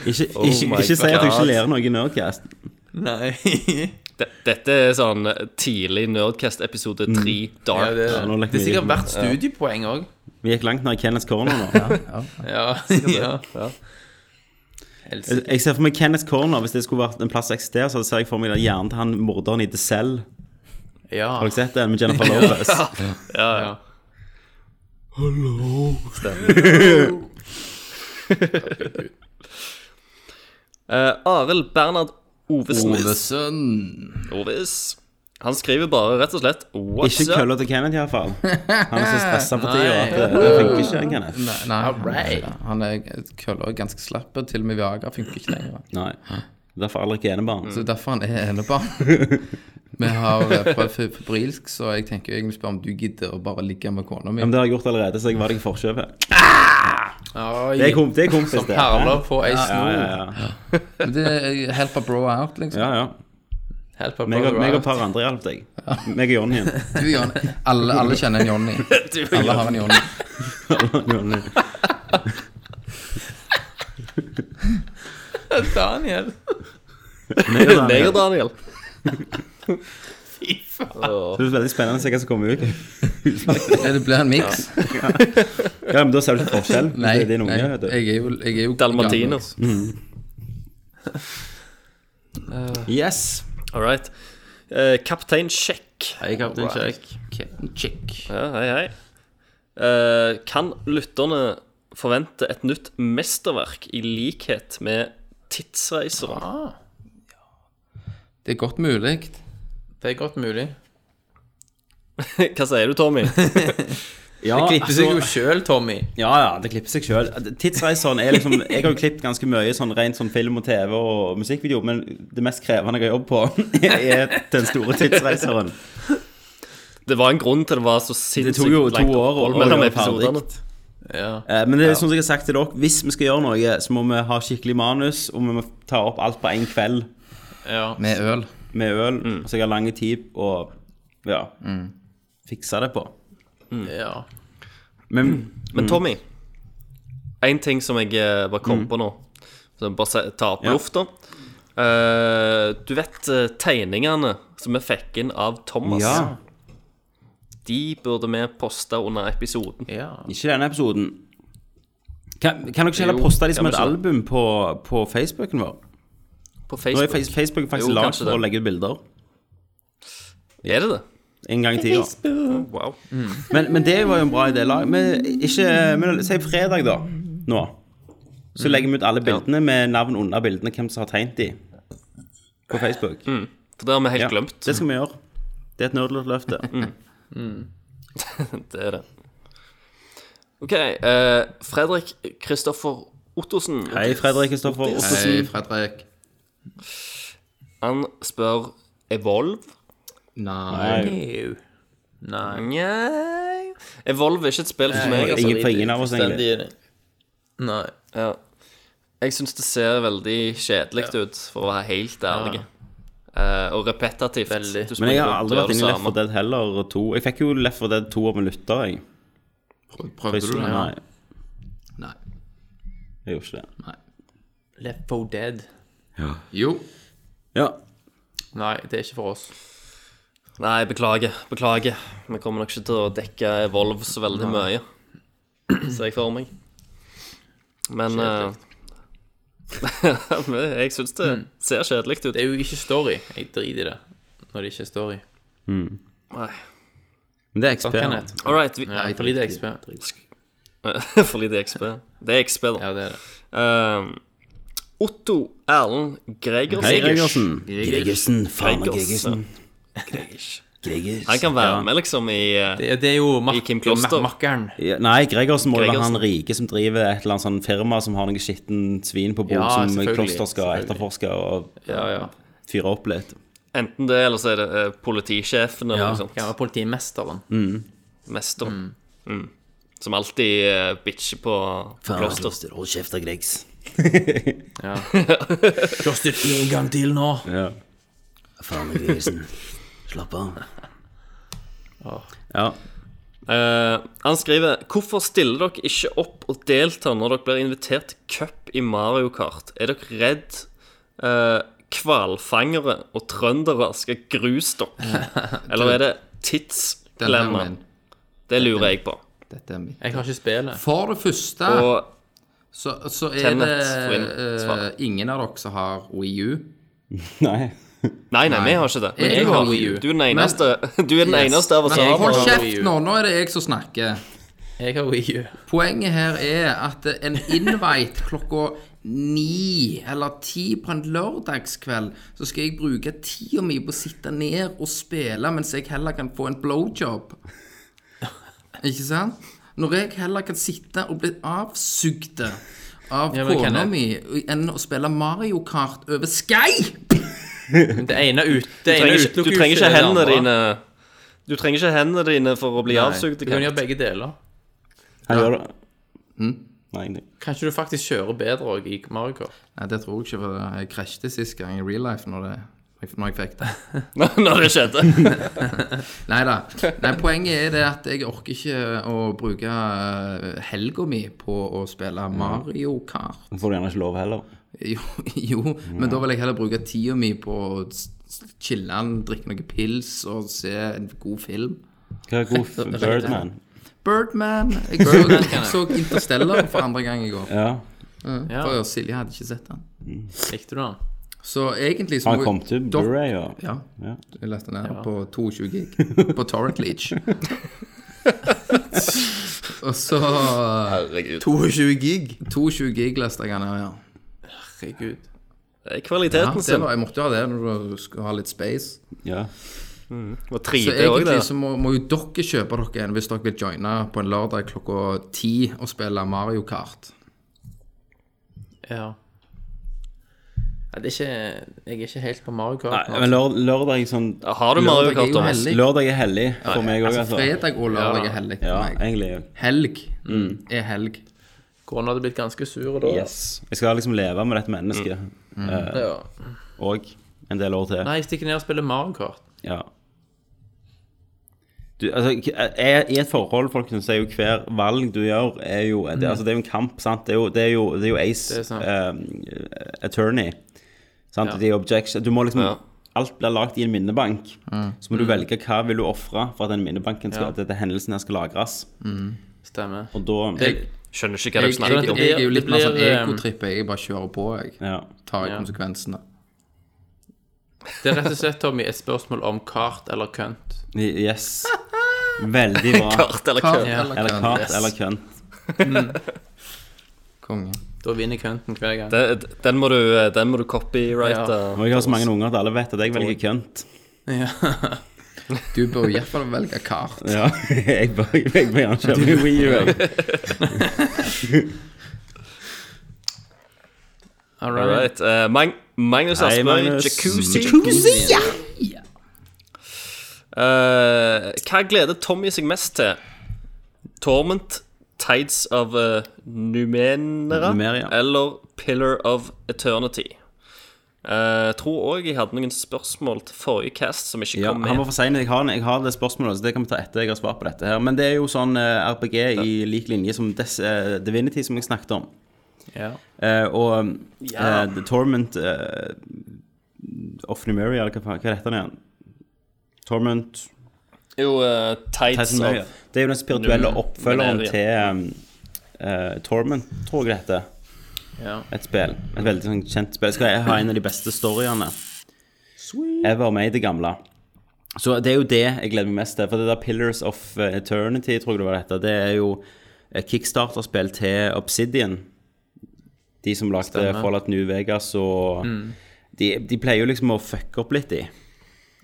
[SPEAKER 3] Ikke,
[SPEAKER 14] Oh
[SPEAKER 3] ikke, ikke si at du ikke
[SPEAKER 2] God.
[SPEAKER 3] lærer noe i Nerdcast.
[SPEAKER 7] Nei.
[SPEAKER 2] De- Dette er sånn tidlig Nerdcast episode 3
[SPEAKER 7] Ja,
[SPEAKER 2] dark.
[SPEAKER 7] det,
[SPEAKER 3] Ja, nå legger
[SPEAKER 7] det er
[SPEAKER 3] vi
[SPEAKER 7] sikkert
[SPEAKER 3] inn.
[SPEAKER 7] hvert studiepoeng òg.
[SPEAKER 3] Vi gikk langt ned i Kenneth Corner nå.
[SPEAKER 7] Ja. <laughs> ja.
[SPEAKER 3] Jeg jeg ser for meg Kenneth Corner Hvis det skulle vært en plass som eksisterer, så ser jeg for meg den hjernen til han morderen i The Cell.
[SPEAKER 7] ja.
[SPEAKER 3] Har dere sett den med <laughs> Jennifer Lopez?
[SPEAKER 7] ja.
[SPEAKER 2] Eh, Arild Bernhard Ovesen.
[SPEAKER 14] Ovesen.
[SPEAKER 2] Oves. Han skriver bare rett og slett What's
[SPEAKER 3] Ikke
[SPEAKER 2] up?
[SPEAKER 3] kølla til Kenneth, iallfall. Han er så stressa
[SPEAKER 8] <laughs>
[SPEAKER 3] for tida at det, det funker ikke. den Kenneth
[SPEAKER 14] Nei, nei han, han er køller og ganske slapp. Til og med Viagra funker ikke lenger.
[SPEAKER 3] Nei. Derfor aldri ikke
[SPEAKER 8] Mm.
[SPEAKER 3] enebarn.
[SPEAKER 14] Så derfor han er
[SPEAKER 3] <laughs>
[SPEAKER 14] enebarn. Vi har eh, prøvd fe- febrilsk, så jeg tenker jeg vil spørre om du gidder å bare ligge med kona mi.
[SPEAKER 3] Men det har jeg gjort allerede, så jeg var deg i forkjøpet.
[SPEAKER 7] Oi.
[SPEAKER 3] Det er, kom, det er kompis,
[SPEAKER 7] Som
[SPEAKER 3] det.
[SPEAKER 7] perler på ei
[SPEAKER 3] Ja,
[SPEAKER 7] snor.
[SPEAKER 3] ja, ja.
[SPEAKER 14] Men det er help a bro out, liksom.
[SPEAKER 3] ja, ja.
[SPEAKER 7] Help a
[SPEAKER 3] Meg og,
[SPEAKER 7] brother
[SPEAKER 3] meg og
[SPEAKER 7] out.
[SPEAKER 3] et par andre hjalp deg. Meg og Jonny.
[SPEAKER 14] Du, Jon, alle, alle kjenner en
[SPEAKER 3] <laughs>
[SPEAKER 14] Jonny. Alle har en Jonny.
[SPEAKER 3] Jonny.
[SPEAKER 7] <laughs> Daniel.
[SPEAKER 3] <laughs> Meg og Daniel. <laughs>
[SPEAKER 2] Neger-Daniel.
[SPEAKER 3] Så Det er veldig spennende å se hva som kommer ut.
[SPEAKER 14] Ja, Det blir en miks.
[SPEAKER 3] Ja, men Da ser du ikke forskjell.
[SPEAKER 14] Nei,
[SPEAKER 3] det er din
[SPEAKER 14] nei,
[SPEAKER 3] unge, vet du.
[SPEAKER 14] jeg er jo, jeg er jo
[SPEAKER 2] Dalmatiner.
[SPEAKER 14] gammel.
[SPEAKER 15] Yes!
[SPEAKER 2] All right. Eh, Kaptein Sjekk.
[SPEAKER 15] Hei, kaptein Kjekk.
[SPEAKER 2] Ja, hei, hei. Eh, kan lytterne forvente et nytt mesterverk i likhet med Tidsreiser?
[SPEAKER 14] Det er godt mulig.
[SPEAKER 7] Det er godt mulig.
[SPEAKER 2] <laughs> Hva sier du, Tommy?
[SPEAKER 3] Ja, altså-
[SPEAKER 7] Klipper seg jo sjøl, Tommy.
[SPEAKER 3] ja, ja, det klipper seg sjøl. Tidsreiseren er liksom Jeg har jo klippet ganske mye sånn rent sånn film og TV og musikkvideo, men det mest krevende jeg har jobbet på, <laughs> er den store tidsreiseren.
[SPEAKER 2] Det var en grunn til det var så
[SPEAKER 3] Det tok jo
[SPEAKER 2] sinnssykt
[SPEAKER 3] to år å
[SPEAKER 2] opphold
[SPEAKER 3] å
[SPEAKER 2] mellom
[SPEAKER 3] gjøre
[SPEAKER 2] episodene.
[SPEAKER 3] ferdig. Eh, Men det er som jeg har sagt til dere, hvis vi skal gjøre noe, så må vi ha skikkelig manus, og vi må ta opp alt på én kveld
[SPEAKER 7] Ja.
[SPEAKER 14] Med øl.
[SPEAKER 3] med øl,
[SPEAKER 2] Mm.
[SPEAKER 3] så jeg har lang tid å ja, fikse det på.
[SPEAKER 7] ja.
[SPEAKER 3] Men Mm.
[SPEAKER 2] Men Tommy, en ting som jeg eh, bare kom på nå Som jeg bare se- tar
[SPEAKER 3] Mm.
[SPEAKER 2] på
[SPEAKER 3] Ja.
[SPEAKER 2] lufta Eh, Du vet eh, tegningene som vi fikk inn av
[SPEAKER 3] <clears throat>
[SPEAKER 2] Thomas
[SPEAKER 3] Ja.
[SPEAKER 2] De burde vi poste under episoden
[SPEAKER 7] ja.
[SPEAKER 3] ikke denne episoden. Kan, kan dere ikke heller poste de som
[SPEAKER 2] kan
[SPEAKER 3] et
[SPEAKER 2] vi ikke det?
[SPEAKER 3] album på, på Facebooken vår?
[SPEAKER 2] på
[SPEAKER 3] Nå er
[SPEAKER 2] Facebook
[SPEAKER 3] Face- Facebook faktisk
[SPEAKER 2] Jo,
[SPEAKER 3] lagd
[SPEAKER 2] kanskje
[SPEAKER 3] for
[SPEAKER 2] det.
[SPEAKER 3] å legge ut bilder.
[SPEAKER 2] Er det det?
[SPEAKER 3] En gang i tida.
[SPEAKER 2] Wow
[SPEAKER 3] Men, men det var jo en bra idé. La- Men ikke men Si fredag, da. Nå.
[SPEAKER 2] Mm.
[SPEAKER 3] Så legger vi ut alle bildene med navn under bildene, hvem som har tegnet de, på Facebook.
[SPEAKER 2] For det har vi helt
[SPEAKER 3] Ja,
[SPEAKER 2] Mm, glemt <laughs> Mm.
[SPEAKER 3] Det skal vi gjøre. Det er et nerdlåtløfte.
[SPEAKER 2] Det er det Ok, eh, Fredrik Kristoffer Ottosen
[SPEAKER 3] Hei, Fredrik Kristoffer
[SPEAKER 14] Hei,
[SPEAKER 3] Ottesen.
[SPEAKER 14] Fredrik.
[SPEAKER 2] Han spør Evolve
[SPEAKER 14] Nei.
[SPEAKER 3] Nei,
[SPEAKER 7] Nei.
[SPEAKER 2] Nei Evolve er ikke et spill for meg altså.
[SPEAKER 3] ingen, for ingen av oss, egentlig.
[SPEAKER 7] Nei.
[SPEAKER 2] Ja. Jeg syns det ser veldig kjedelig ut, for å være helt ærlig. Eh, og repetitivt.
[SPEAKER 7] Veldig.
[SPEAKER 2] Du
[SPEAKER 3] Men jeg
[SPEAKER 2] springer
[SPEAKER 3] har
[SPEAKER 2] rundt
[SPEAKER 3] aldri
[SPEAKER 2] og gjør
[SPEAKER 3] vært
[SPEAKER 2] det
[SPEAKER 3] inne i Left
[SPEAKER 2] samme.
[SPEAKER 3] 4 Dead heller 2. Jeg fikk jo Left 4 Dead 2 av en lytter, jeg.
[SPEAKER 14] Prøvde du det?
[SPEAKER 3] Nei,
[SPEAKER 14] Nei.
[SPEAKER 3] jeg gjorde ikke det.
[SPEAKER 7] Left 4 Dead.
[SPEAKER 14] Jo.
[SPEAKER 3] Ja,
[SPEAKER 7] Nei, det er ikke for oss.
[SPEAKER 2] Nei, beklager. Beklager. Vi kommer nok ikke til å dekke Evolve så veldig mye, ser jeg for meg. Men eh, <laughs> men Jeg syns det ser kjedelig ut.
[SPEAKER 7] Det er jo ikke story. Jeg driter i det når det ikke er story.
[SPEAKER 2] Nei.
[SPEAKER 3] men det er XP.
[SPEAKER 7] Kan jeg?
[SPEAKER 2] All right. Vi,
[SPEAKER 7] Nei, for lite XP.
[SPEAKER 2] <laughs> for lite XP. Det er XP, da.
[SPEAKER 7] Ja, det er det.
[SPEAKER 2] Eh, Otto Erlend Gregersen.
[SPEAKER 3] Hei, Gregersen.
[SPEAKER 8] Gregersen, faen meg
[SPEAKER 2] Gregers.
[SPEAKER 8] Gregersen.
[SPEAKER 2] Gregers.
[SPEAKER 16] Gregers.
[SPEAKER 2] Han kan være med, liksom, i eh,
[SPEAKER 7] Det, det er jo mak
[SPEAKER 2] I Kim Kloster.
[SPEAKER 7] mak- makkeren.
[SPEAKER 3] Ja, Nei, Gregersen må jo være han
[SPEAKER 2] Gregersen.
[SPEAKER 3] rike som driver et eller annet sånn firma som har noe skitten svin på bord
[SPEAKER 7] Ja,
[SPEAKER 3] som
[SPEAKER 7] selvfølgelig,
[SPEAKER 3] Kloster skal
[SPEAKER 7] selvfølgelig.
[SPEAKER 3] etterforske og
[SPEAKER 7] Ja, ja.
[SPEAKER 3] fyre opp litt.
[SPEAKER 2] enten det, eller så er det eh, politisjefen eller noe sånt.
[SPEAKER 7] Kan være politimesteren.
[SPEAKER 2] Mester. Mm. Som alltid eh, bitcher på
[SPEAKER 16] Faen,
[SPEAKER 2] Kloster.
[SPEAKER 16] Kloster. Hold kjeft da, Gregs.
[SPEAKER 7] Kloster en gang til nå!
[SPEAKER 3] Ja.
[SPEAKER 16] Faen, Gregersen. Slapp av.
[SPEAKER 3] ja.
[SPEAKER 2] Eh, han skriver Hvorfor stiller dere ikke opp og deltar når dere blir invitert til cup i Mario Kart? Er dere redd eh, hvalfangere og trøndere skal gruse dere?
[SPEAKER 9] <laughs>
[SPEAKER 2] Eller er det
[SPEAKER 9] Den er
[SPEAKER 2] tidsklemmer?
[SPEAKER 9] min.
[SPEAKER 2] Det lurer jeg på.
[SPEAKER 9] Dette er min.
[SPEAKER 7] Jeg har ikke spillet.
[SPEAKER 9] For det første
[SPEAKER 2] Og
[SPEAKER 9] så, så er
[SPEAKER 2] Tenet får
[SPEAKER 9] det
[SPEAKER 2] inn
[SPEAKER 9] eh,
[SPEAKER 2] svar.
[SPEAKER 9] ingen av dere som har Wii U.
[SPEAKER 3] Nei.
[SPEAKER 2] Nei, nei, vi har ikke det. Men
[SPEAKER 9] Jeg
[SPEAKER 2] jeg
[SPEAKER 9] har
[SPEAKER 2] har
[SPEAKER 9] Wii U.
[SPEAKER 2] Du er den eneste, du er den
[SPEAKER 9] Yes.
[SPEAKER 2] eneste av oss som
[SPEAKER 7] Men jeg
[SPEAKER 2] har
[SPEAKER 9] Hold
[SPEAKER 2] det.
[SPEAKER 7] har
[SPEAKER 9] kjeft
[SPEAKER 7] Wii U.
[SPEAKER 9] nå! Nå er det jeg som snakker.
[SPEAKER 7] Jeg har Wii U.
[SPEAKER 9] Poenget her er at en invite klokka ni eller ti på en lørdagskveld, så skal jeg bruke tida mi på å sitte ned og spille mens jeg heller kan få en blowjob. Ikke sant? Når jeg heller kan sitte og bli avsugd av
[SPEAKER 7] Ja, men
[SPEAKER 9] kona
[SPEAKER 7] Kenneth.
[SPEAKER 9] mi enn å spille Mario Kart over Skype!
[SPEAKER 7] Men det ene ut... Det
[SPEAKER 2] Du
[SPEAKER 7] ene
[SPEAKER 2] trenger ikke,
[SPEAKER 7] utelukker
[SPEAKER 2] du
[SPEAKER 7] jo
[SPEAKER 2] trenger ikke
[SPEAKER 7] det
[SPEAKER 2] hendene
[SPEAKER 7] andre.
[SPEAKER 2] dine Du trenger ikke hendene dine for å bli avsugd.
[SPEAKER 7] Du kan gjøre begge deler.
[SPEAKER 3] Han gjør det. Nei, ingenting.
[SPEAKER 7] Kanskje du faktisk kjører bedre òg i Mario Kart.
[SPEAKER 9] Nei, det tror jeg ikke, for jeg krasjte sist gang i real life når, det, når jeg fikk det.
[SPEAKER 2] <laughs> Når det skjedde.
[SPEAKER 9] Neida. Nei da. Poenget er det at jeg orker ikke å bruke eh, helga mi på å spille Mario Kart. <laughs>
[SPEAKER 3] Får du gjerne ikke lov heller.
[SPEAKER 9] Jo, jo men da vil jeg heller bruke tida mi på å s- s- chille, drikke noen pils og se en god film.
[SPEAKER 3] Hva er god f- Birdman?
[SPEAKER 9] Birdman.
[SPEAKER 3] <laughs>
[SPEAKER 9] Jeg så, jeg så Interstellar for andre gang i går.
[SPEAKER 3] Ja.
[SPEAKER 9] For Silje hadde ikke sett den.
[SPEAKER 7] Likte du den?
[SPEAKER 9] Så egentlig så
[SPEAKER 3] Han
[SPEAKER 9] må-
[SPEAKER 3] kom til
[SPEAKER 9] Dok-
[SPEAKER 3] Blu-ray og
[SPEAKER 9] Ja.
[SPEAKER 3] Ja.
[SPEAKER 9] Jeg leste den her på 22 gig på Torrent Leach. og så
[SPEAKER 7] 22 gig.
[SPEAKER 9] 22 gig leste jeg den her, ja.
[SPEAKER 7] Herregud.
[SPEAKER 2] Det er
[SPEAKER 9] ja
[SPEAKER 2] kvaliteten
[SPEAKER 9] det
[SPEAKER 2] sin.
[SPEAKER 9] var, jeg måtte jo ha det når du skal ha litt space.
[SPEAKER 3] ja.
[SPEAKER 2] Og
[SPEAKER 9] Så
[SPEAKER 2] 3D òg, det.
[SPEAKER 9] egentlig så må, må jo dere kjøpe dere en hvis dere vil joine på en lørdag klokka ti og spille Mario Kart.
[SPEAKER 7] Ja. Nei, det er ikke Jeg er ikke helt på Mario Kart.
[SPEAKER 3] Nei, men lør, lørdag sånn
[SPEAKER 2] Har du Mario
[SPEAKER 9] Lørdag er
[SPEAKER 2] Kart,
[SPEAKER 9] jo
[SPEAKER 2] Thomas?
[SPEAKER 9] hellig.
[SPEAKER 3] Lørdag er hellig for meg òg,
[SPEAKER 9] Altså
[SPEAKER 3] altså.
[SPEAKER 9] fredag og lørdag er hellig for
[SPEAKER 3] Ja,
[SPEAKER 9] meg.
[SPEAKER 3] egentlig.
[SPEAKER 9] Helg er helg.
[SPEAKER 7] Kona hadde blitt ganske sur da.
[SPEAKER 3] Yes. Jeg skal liksom leve med dette mennesket.
[SPEAKER 7] Ja.
[SPEAKER 3] Og en del år til.
[SPEAKER 7] Nei, jeg stikker ned og spiller Mario Kart.
[SPEAKER 3] Ja. Du, altså, er, I et forhold, folkens, så er jo hver valg du gjør, er jo det, altså, det er jo en kamp, sant? Det er jo, det er jo, det er jo
[SPEAKER 7] Mm. Det er
[SPEAKER 3] Ace
[SPEAKER 7] sant.
[SPEAKER 3] eh, Attorney. Sant?
[SPEAKER 7] Ja.
[SPEAKER 3] Det er objection. Du må liksom
[SPEAKER 2] Ja.
[SPEAKER 3] Alt blir lagd i en minnebank. Så må du velge hva vil du ofre for at den minnebanken skal,
[SPEAKER 7] Mm. Ja.
[SPEAKER 3] at dette hendelsen her skal lagres.
[SPEAKER 7] Stemmer.
[SPEAKER 3] Og da
[SPEAKER 9] Jeg,
[SPEAKER 2] Skjønner ikke hva
[SPEAKER 9] jeg,
[SPEAKER 2] du
[SPEAKER 9] jeg,
[SPEAKER 2] snakker om.
[SPEAKER 9] jeg er jo litt
[SPEAKER 7] Det
[SPEAKER 9] mer
[SPEAKER 7] blir,
[SPEAKER 9] sånn
[SPEAKER 7] ehm,
[SPEAKER 9] egotripp. Jeg bare kjører på, jeg.
[SPEAKER 3] ja.
[SPEAKER 9] Tar
[SPEAKER 7] Ja.
[SPEAKER 9] konsekvensene.
[SPEAKER 7] Det er rett og slett, Tommy, et spørsmål om kart eller kønt.
[SPEAKER 3] Yes. Veldig <laughs> bra.
[SPEAKER 2] Kart eller
[SPEAKER 9] Kart
[SPEAKER 2] kø.
[SPEAKER 9] eller
[SPEAKER 3] Eller
[SPEAKER 9] kønt.
[SPEAKER 3] kart eller kønt.
[SPEAKER 9] Konge.
[SPEAKER 7] Da vinner kønten hver gang.
[SPEAKER 2] Den, den må du, eh, den må du copyrighte.
[SPEAKER 3] Og jeg har så mange unger at alle vet at jeg velger kønt.
[SPEAKER 9] Du bør i hvert fall velge kart.
[SPEAKER 3] Ja, <laughs> jeg bør, jeg bør
[SPEAKER 7] <laughs>
[SPEAKER 3] gjerne kjøre med Wii U. jeg.
[SPEAKER 7] All
[SPEAKER 2] All right.
[SPEAKER 7] right.
[SPEAKER 2] Eh, Mag Magnus
[SPEAKER 3] Hei,
[SPEAKER 2] Asbjørn,
[SPEAKER 3] Magnus.
[SPEAKER 2] jacuzzi.
[SPEAKER 3] Jacuzzi,
[SPEAKER 2] Eh, hva gleder Tommy seg mest til? Torment, Tides of eh, Numenera
[SPEAKER 3] Numeria.
[SPEAKER 2] eller Pillar of Eternity? Eh, tror òg jeg hadde noen spørsmål til forrige cast som ikke
[SPEAKER 3] Ja,
[SPEAKER 2] kom
[SPEAKER 3] han var
[SPEAKER 2] med.
[SPEAKER 3] for sein. Jeg, har den- jeg har det spørsmålet, så det kan vi ta etter jeg har svart på dette. her Men det er jo sånn eh, RPG i lik linje som Des, eh, Divinity, som jeg snakket om.
[SPEAKER 7] Ja.
[SPEAKER 3] Eh, og eh, The Torment eh, of Numeria, eller hva, faen- hva heter den igjen? Torment
[SPEAKER 2] Jo, eh, Tides
[SPEAKER 3] Tyson Murray.
[SPEAKER 2] of
[SPEAKER 3] Det er jo den spirituelle oppfølgeren
[SPEAKER 2] Numeria.
[SPEAKER 3] til eh, eh, Torment, tror jeg det heter.
[SPEAKER 7] Ja.
[SPEAKER 3] Et spill. Et veldig sånn, kjent spill. Skal jeg ha en av de beste storyene ever med i det gamle. Så det er jo det jeg gleder meg mest til. For det der Pillars of eh, Eternity, tror jeg det var dette, det er jo et kickstarterspill til Obsidian. De som lagde Fallout New Vegas og de, de pleier jo liksom å fucke opp litt, de.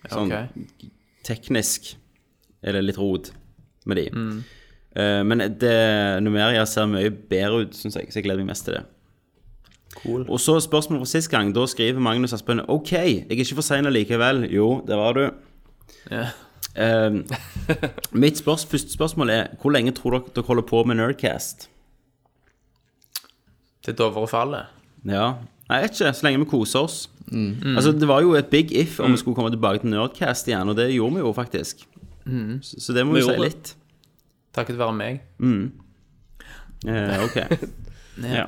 [SPEAKER 3] Sånn
[SPEAKER 7] ok.
[SPEAKER 3] teknisk er det litt rot med de. Eh, men det, Numeria ser mye bedre ut, syns jeg, så jeg gleder meg mest til det. Og så spørsmålet fra sist gang. Da skriver Magnus Aspen OK, jeg er ikke for sein likevel. Jo, det var du. Eh, mitt spørs, første spørsmål er hvor lenge tror dere dere holder på med Nerdcast?
[SPEAKER 7] Til Dovre faller.
[SPEAKER 3] Ja. Nei, jeg vet ikke. Så lenge vi koser oss. Altså, det var jo et big if om vi skulle komme tilbake til Nerdcast igjen, og det gjorde vi jo faktisk. Så, så det må vi jo si
[SPEAKER 14] gjorde det.
[SPEAKER 3] litt.
[SPEAKER 7] Takket være meg.
[SPEAKER 3] Eh,
[SPEAKER 7] <laughs>
[SPEAKER 3] ok. ja.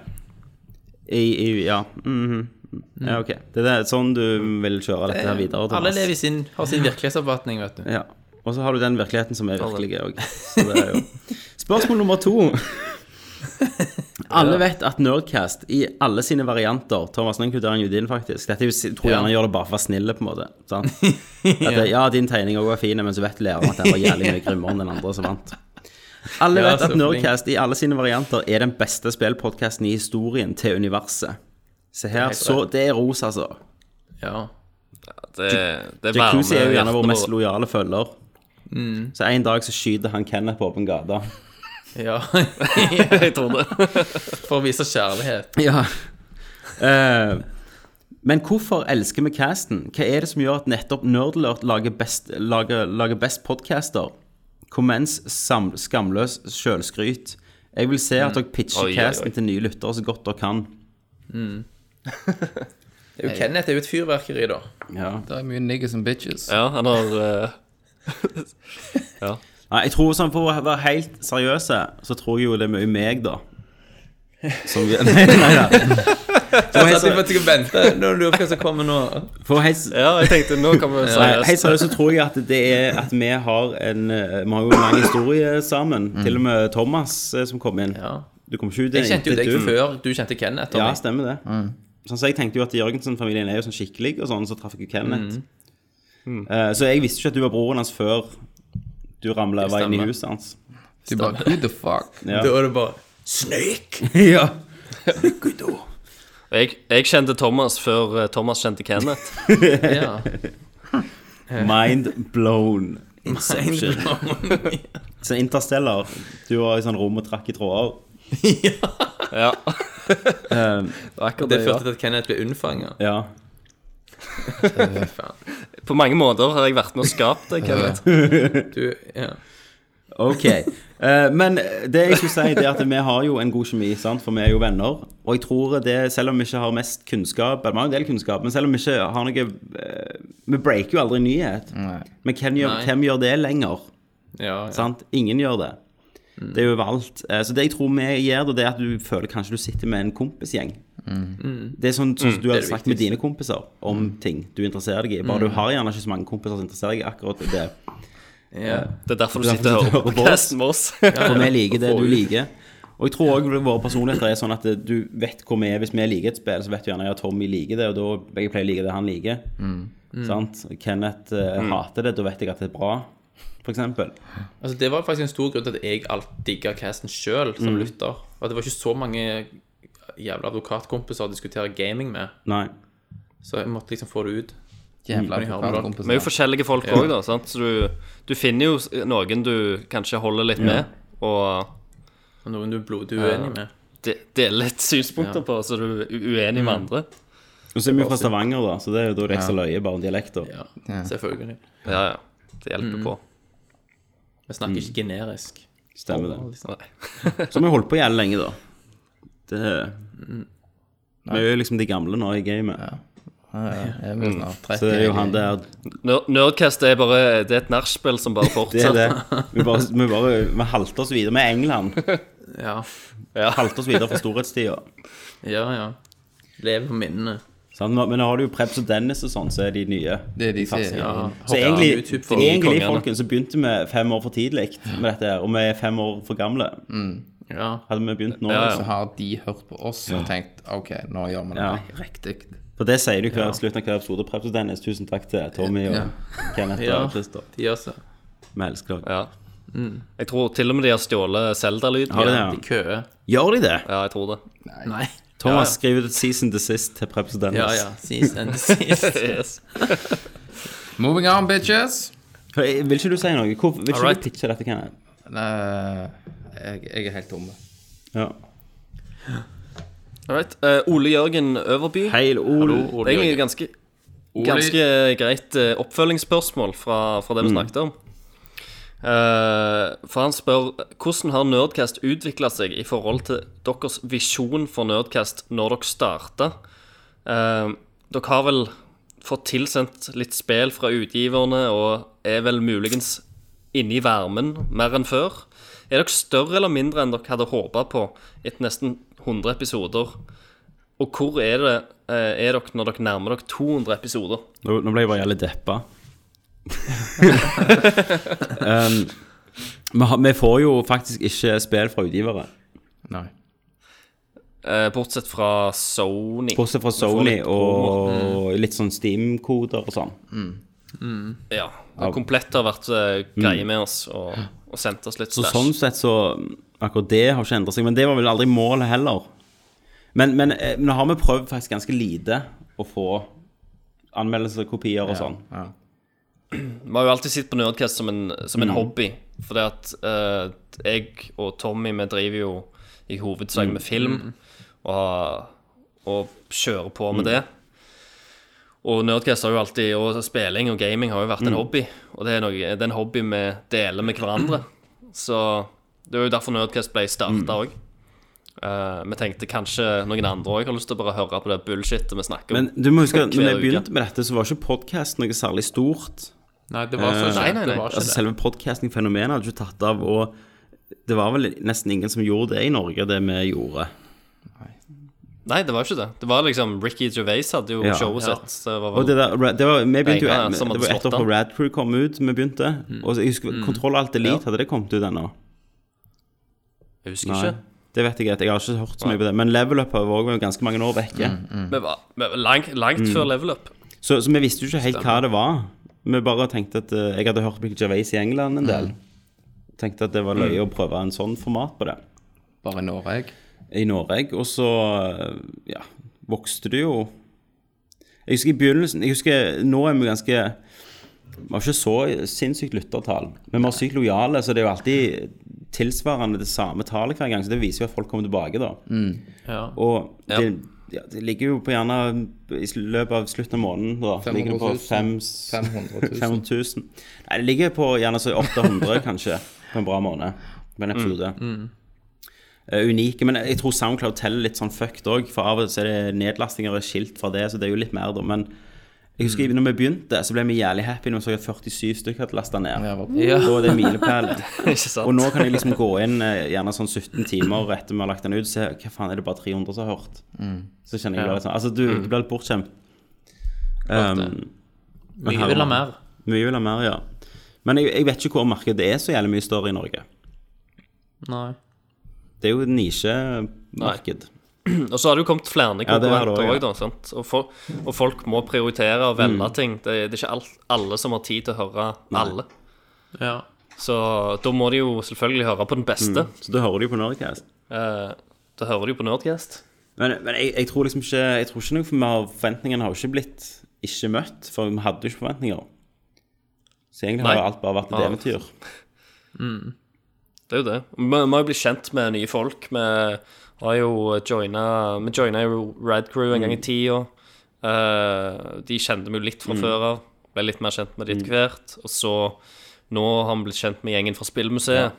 [SPEAKER 3] I, i, ja. mhm. ja. Ok. Det er sånn du vil kjøre dette her videre,
[SPEAKER 7] Mm. Eh, Alle
[SPEAKER 3] Thomas.
[SPEAKER 7] lever i sin, har sin virkelighetsoppfatning, vet du.
[SPEAKER 3] Ja. Og så har du den virkeligheten som er virkelig òg. Så det er jo <laughs> Spørsmål nummer to. Alle vet at Nerdcast i alle sine varianter Thomas, nå inkluderer han jo din, faktisk. Dette er jo, jeg tror jeg han gjør det bare for å være snill, på en måte. <laughs> Sant? At det, ja, din tegning òg var fin, men så vet læreren at den var jævlig mye grimmere enn den andre som vant. Alle
[SPEAKER 7] Ja,
[SPEAKER 3] vet
[SPEAKER 7] så
[SPEAKER 3] at Nerdcast i alle sine varianter er den beste spillpodkasten i historien til universet. Se her. Så det er ros, altså.
[SPEAKER 7] Ja.
[SPEAKER 14] Det, eh, det
[SPEAKER 3] Jacuzzi er jo gjerne vår
[SPEAKER 14] hjertene
[SPEAKER 3] mest lojale følger.
[SPEAKER 14] Mm.
[SPEAKER 3] Så en dag så skyter han Kenneth på åpen
[SPEAKER 14] <laughs>
[SPEAKER 3] gate.
[SPEAKER 7] ja.
[SPEAKER 14] Jeg tror det.
[SPEAKER 7] <laughs> For å vise kjærlighet.
[SPEAKER 3] Ja. Eh, men hvorfor elsker vi casten? Hva er det som gjør at nettopp Nerdlert lager best, lager, lager best podcaster? Kommens sam, skamløs selvskryt. Jeg vil se at dere pitcher
[SPEAKER 14] Mm. Oi, oi, oi.
[SPEAKER 3] casten til nye lyttere så godt dere kan.
[SPEAKER 7] Det er jo Kenneth er jo et fyrverkeri, da.
[SPEAKER 3] Ja.
[SPEAKER 9] Det er mye niggas and bitches.
[SPEAKER 14] Ja, han har eh,
[SPEAKER 3] Nei, jeg tror sånn For å være helt seriøse, så tror jeg jo det er mye meg,
[SPEAKER 14] <laughs>
[SPEAKER 3] da. Som, <laughs> nei, nei, da. For å være
[SPEAKER 7] Så
[SPEAKER 3] helt-
[SPEAKER 7] jeg skal vente når du lurer på hva som kommer nå.
[SPEAKER 3] For å være helt
[SPEAKER 14] Ja, jeg tenkte nå kan vi
[SPEAKER 3] Nei, Helt
[SPEAKER 14] seriøst.
[SPEAKER 3] seriøst så tror jeg at det er at vi har en eh, Vi har jo en lang historie sammen. Til og med Thomas eh, som kom inn.
[SPEAKER 7] Mm. Ja.
[SPEAKER 3] Du kom ikke ut
[SPEAKER 7] Jeg kjente jo deg
[SPEAKER 3] du.
[SPEAKER 7] før du kjente Kenneth.
[SPEAKER 3] Ja,
[SPEAKER 7] Tommy.
[SPEAKER 3] stemmer det.
[SPEAKER 7] Mm.
[SPEAKER 3] Sånn, så jeg tenkte jo at Jørgensen-familien er jo sånn skikkelig, og sånn, så traff jeg jo Kenneth.
[SPEAKER 7] Mm.
[SPEAKER 3] Eh, så jeg visste ikke at du var broren hans før du ramla over inn i
[SPEAKER 7] stemmer.
[SPEAKER 3] huset hans.
[SPEAKER 9] Du bare Who the fuck?
[SPEAKER 3] Ja.
[SPEAKER 7] Da er det bare
[SPEAKER 3] <laughs> ja.
[SPEAKER 14] Jeg, jeg kjente Thomas før eh, Thomas kjente Kenneth.
[SPEAKER 3] <laughs>
[SPEAKER 7] Ja.
[SPEAKER 3] Mind blown. Inception. så Interstellar, du var i sånn rom og trakk i tråder.
[SPEAKER 14] Ja,
[SPEAKER 7] Og det førte til at Kenneth ble unnfanga.
[SPEAKER 3] Ja.
[SPEAKER 14] På mange måter har jeg vært med og skapt det, Kenneth.
[SPEAKER 7] Du, ja.
[SPEAKER 3] Ok. Eh, men det jeg skulle si, det er at vi har jo en god kjemi, sant? for vi er jo venner. Og jeg tror det, selv om vi ikke har mest kunnskap Eller vi har en del kunnskap, men selv om vi ikke har noe eh, Vi breaker jo aldri nyhet. Men hvem gjør,
[SPEAKER 7] Nei.
[SPEAKER 3] hvem gjør det lenger?
[SPEAKER 7] Ja, ja.
[SPEAKER 3] Sant? Ingen gjør det. Det er jo overalt. Eh, Så det jeg tror vi gjør, da, det er at du føler kanskje du sitter med en kompisgjeng. Det Mm. er sånn sånn som du har snakket med dine kompiser om ting du interesserer deg i. Bare du har gjerne ikke så mange kompiser som interesserer deg i akkurat det.
[SPEAKER 7] ja.
[SPEAKER 14] Det er derfor du
[SPEAKER 3] Det er
[SPEAKER 14] sitter
[SPEAKER 3] derfor
[SPEAKER 14] og
[SPEAKER 3] du
[SPEAKER 14] hører på
[SPEAKER 3] hører på oss.
[SPEAKER 14] casten vår. <laughs>
[SPEAKER 3] For vi liker det du liker. Og jeg tror òg våre personligheter er sånn at du vet hvor vi er. Hvis vi liker et spill, så vet du gjerne at Tommy liker det, og da jeg pleier å like det han liker. Sant? Kenneth eh, hater det, da vet jeg at det er bra, for eksempel.
[SPEAKER 7] Altså, det var faktisk en stor grunn til at jeg alltid digga casten sjøl
[SPEAKER 3] Mm.
[SPEAKER 7] som lytter. Og det var ikke så mange jævla advokatkompiser å diskutere gaming med,
[SPEAKER 3] Nei.
[SPEAKER 7] så jeg måtte liksom få det ut.
[SPEAKER 9] Jævla
[SPEAKER 7] Mm.
[SPEAKER 9] advokatkompiser.
[SPEAKER 14] Vi er jo forskjellige folk òg, da. Sant? Så du, du finner jo s- noen du kanskje holder litt med, og
[SPEAKER 7] Og Noen du er blodig uenig med.
[SPEAKER 14] de, deler litt synspunkter på, så du er u- uenig
[SPEAKER 3] Mm.
[SPEAKER 14] med andre.
[SPEAKER 3] Og så er vi jo fra Stavanger, da, så det er jo da det er ekstra løye, bare om dialekter.
[SPEAKER 7] Ja, selvfølgelig.
[SPEAKER 14] Ja, ja. Det hjelper
[SPEAKER 3] Mm.
[SPEAKER 14] på.
[SPEAKER 7] Vi snakker ikke generisk.
[SPEAKER 3] Stemmer det.
[SPEAKER 7] Liksom.
[SPEAKER 3] Så har vi holdt på jævlig lenge, da. Det Vi er jo liksom de gamle nå i gamet. Mm.
[SPEAKER 9] Jeg er jo snart
[SPEAKER 3] Så
[SPEAKER 9] 30.
[SPEAKER 3] det er jo han der
[SPEAKER 14] Ner- Nerdcast er bare Det er et nachspiel som bare
[SPEAKER 3] <laughs> Det er
[SPEAKER 14] fortsetter.
[SPEAKER 3] det. Vi bare, vi bare vi halter oss videre med England.
[SPEAKER 7] Ja,
[SPEAKER 3] Halter oss videre fra storhetstida.
[SPEAKER 7] ja. ja. Lever på minnene.
[SPEAKER 3] Sant? Sånn, Men nå har du jo Prebz og Dennis og sånn, så er de nye.
[SPEAKER 9] Det er de som
[SPEAKER 3] Fast-
[SPEAKER 9] er
[SPEAKER 7] Ja.
[SPEAKER 3] Så
[SPEAKER 7] Hopper av
[SPEAKER 3] egentlig,
[SPEAKER 7] YouTube for
[SPEAKER 3] egentlig
[SPEAKER 7] kongene.
[SPEAKER 3] folkens, så begynte vi fem år for tidlig med dette her, og vi er fem år for gamle.
[SPEAKER 7] Ja.
[SPEAKER 3] Hadde vi begynt nå, altså.
[SPEAKER 14] Ja, ja.
[SPEAKER 9] Så har de hørt på oss og tenkt OK, nå gjør vi det
[SPEAKER 3] Ja.
[SPEAKER 9] riktig.
[SPEAKER 3] For det sier du hver slutten av hver episode. Prebz og Dennis, tusen takk til Tommy og
[SPEAKER 9] Ja.
[SPEAKER 3] Kenneth
[SPEAKER 7] Ja.
[SPEAKER 3] og Christer.
[SPEAKER 7] De gjør så.
[SPEAKER 3] Vi elsker dere.
[SPEAKER 14] Ja. Jeg tror til og med de har stjålet Zelda-lyden.
[SPEAKER 3] Har de
[SPEAKER 14] ja.
[SPEAKER 3] det?
[SPEAKER 7] De køer.
[SPEAKER 3] Gjør de det?
[SPEAKER 14] ja, jeg tror det.
[SPEAKER 7] Nei.
[SPEAKER 3] Thomas skriver et season desist til Prebz og Dennis.
[SPEAKER 9] <laughs>
[SPEAKER 7] Ja, ja. Sist and sist.
[SPEAKER 14] Yes.
[SPEAKER 9] Moving on, bitches.
[SPEAKER 3] For jeg, vil ikke du si noe? Hvor, vil ikke
[SPEAKER 2] Alright.
[SPEAKER 3] du pitche dette, Kenneth?
[SPEAKER 9] Nei, jeg, jeg er helt tom.
[SPEAKER 3] Ja.
[SPEAKER 2] Alright. Eh, Ole Jørgen Øverby.
[SPEAKER 3] Hei, Ole.
[SPEAKER 2] Det er egentlig ganske, ganske greit eh, oppfølgingsspørsmål fra, fra det vi snakket om. Eh, for han spør hvordan har Nerdcast utvikla seg i forhold til deres visjon for Nerdcast når dere starta? dere har vel fått tilsendt litt spill fra utgiverne og er vel muligens inne i varmen mer enn før? Er dere større eller mindre enn dere hadde håpa på etter nesten 100 episoder? Og hvor er, det, eh, er dere når dere nærmer dere 200 episoder?
[SPEAKER 3] Nå, nå ble jeg bare jævlig deppa. um, vi, har, vi får jo faktisk ikke spill fra utgivere.
[SPEAKER 9] Nei.
[SPEAKER 2] Eh, bortsett fra Sony.
[SPEAKER 3] Bortsett fra Sony og litt sånn Steam-koder og sånn.
[SPEAKER 2] Ja. Og Komplett har vært eh, greie med oss og, og sendt oss
[SPEAKER 3] Mm.
[SPEAKER 2] litt
[SPEAKER 3] Så
[SPEAKER 2] stæsj.
[SPEAKER 3] sånn sett så Akkurat det har ikke endret seg, men det var vel aldri målet heller. Men, men, eh, nå har vi prøvd faktisk ganske lite å få anmeldelser, kopier og sånn.
[SPEAKER 2] Vi har jo alltid sett på Nerdcast som en, som
[SPEAKER 3] Mm.
[SPEAKER 2] en hobby. Fordi at eh, jeg og Tommy vi driver jo i hovedsak
[SPEAKER 3] Mm.
[SPEAKER 2] med film og, har- og kjører på med
[SPEAKER 3] Mm.
[SPEAKER 2] det. Og Nerdcast har jo alltid, og spilling og gaming har jo vært
[SPEAKER 3] Mm.
[SPEAKER 2] en hobby. Og det er, noe, det er en hobby vi deler med hverandre. <clears throat> Så det er jo derfor Nerdcast ble starta
[SPEAKER 3] Mm.
[SPEAKER 2] òg. vi tenkte kanskje noen andre òg har lyst til å bare høre på det bullshitet vi snakker om.
[SPEAKER 3] Men du må huske at når
[SPEAKER 2] Hver
[SPEAKER 3] vi
[SPEAKER 2] uke.
[SPEAKER 3] begynte med dette, så var ikke podkast noe særlig stort.
[SPEAKER 7] Nei, det var så
[SPEAKER 3] Eh,
[SPEAKER 7] ikke,
[SPEAKER 2] nei, nei, nei.
[SPEAKER 7] det. Var ikke
[SPEAKER 3] Altså Selve podcasting-fenomenet hadde ikke tatt av, og det var vel nesten ingen som gjorde det i Norge, det vi gjorde.
[SPEAKER 2] Nei, det var jo ikke det. Det var liksom Ricky Gervais hadde jo
[SPEAKER 3] Ja.
[SPEAKER 2] showet sitt. så det var-
[SPEAKER 3] Og det, der, det var, vi begynte jo,
[SPEAKER 2] Nei, ja, som
[SPEAKER 3] det
[SPEAKER 2] hadde
[SPEAKER 3] var
[SPEAKER 2] slått
[SPEAKER 3] etter at
[SPEAKER 2] an. Mm.
[SPEAKER 3] Rad Crew kom ut, vi begynte. Og jeg husker, Kontroll Alt Elite, hadde det kommet ut ennå?
[SPEAKER 2] Jeg husker ikke.
[SPEAKER 3] Det vet jeg ikke, jeg har ikke hørt så mye på det. Men Level Up var også ganske mange år vekke.
[SPEAKER 2] Vi var, vi var langt, langt
[SPEAKER 3] Mm.
[SPEAKER 2] før level up.
[SPEAKER 3] Så, så vi visste jo ikke helt hva det var. Vi bare tenkte at eh, Jeg hadde hørt Mick Gervais i England en del. Tenkte at det var løye å prøve en sånn format på det
[SPEAKER 9] Mm. Bare i Norge.
[SPEAKER 3] i Norge. Og så eh, ja, vokste det jo Jeg husker i begynnelsen jeg husker Nå er vi ganske Vi har ikke så sinnssykt lyttertall, men vi er sykt lojale, så det er jo alltid tilsvarende det samme tallet hver gang. Så det viser jo at folk kommer tilbake, da.
[SPEAKER 7] Ja.
[SPEAKER 3] Og det, ja, det ligger jo på gjerne i sl- løpet av slutten av måneden da, ligger det på
[SPEAKER 9] 500
[SPEAKER 3] fem-
[SPEAKER 9] 500
[SPEAKER 3] <laughs>
[SPEAKER 9] 000.
[SPEAKER 3] 500 000. Nei, det ligger på gjerne så 800 kanskje, på en bra måned, på en episode.
[SPEAKER 7] Mm.
[SPEAKER 3] Eh, unike, men jeg tror SoundCloud teller litt sånn fucked òg, for av og til så er det nedlastinger og skilt fra det, så det er jo litt mer, da. Men jeg husker når vi begynte, så ble vi jævlig happy når vi så at 47 stykker hadde lasta ned.
[SPEAKER 9] Jeg var på.
[SPEAKER 3] Da er det milepælen.
[SPEAKER 2] Ikke sant?
[SPEAKER 3] Og nå kan jeg liksom gå inn eh, gjerne sånn 17 timer etter vi har lagt den ut, se hva faen er det bare 300 som har hørt. Så kjenner jeg bare litt sånn Altså, du, du blir litt bortskjemt. Um, men
[SPEAKER 7] Mye
[SPEAKER 3] her-
[SPEAKER 7] vil ha mer.
[SPEAKER 3] Mye vil ha mer, ja. Men jeg, jeg vet ikke hvor markedet er så jævlig mye større i Norge.
[SPEAKER 7] Nei.
[SPEAKER 3] Det er jo et nisjemarked.
[SPEAKER 2] Og så har det jo kommet flere
[SPEAKER 3] Ja, det har det også, Mm. ja.
[SPEAKER 2] konkurrenter òg, da. Sant? Og, fol- og folk må prioritere og velge ting. Det, det er ikke alt, alle som har tid til å høre alle.
[SPEAKER 7] Ja.
[SPEAKER 2] Så da må de jo selvfølgelig høre på den beste.
[SPEAKER 3] Så da hører du jo på altså. Nerdcast.
[SPEAKER 2] Eh, da hører de jo på Nerdcast.
[SPEAKER 3] Men, men jeg, jeg tror liksom ikke Jeg tror ikke noe, for vi har, forventningene har jo ikke blitt ikke møtt, for vi hadde jo ikke forventninger. Så egentlig har
[SPEAKER 2] Nei.
[SPEAKER 3] jo alt bare vært et
[SPEAKER 2] Ja.
[SPEAKER 3] eventyr.
[SPEAKER 2] Det er jo det. Vi vi må jo bli kjent med nye folk. Vi har jo joina Vi joina jo Rad Crew en gang i tida. Eh, de kjente vi jo litt fra før av. Ble litt mer kjent med de etter hvert. Og så nå har vi blitt kjent med gjengen fra Spillmuseet.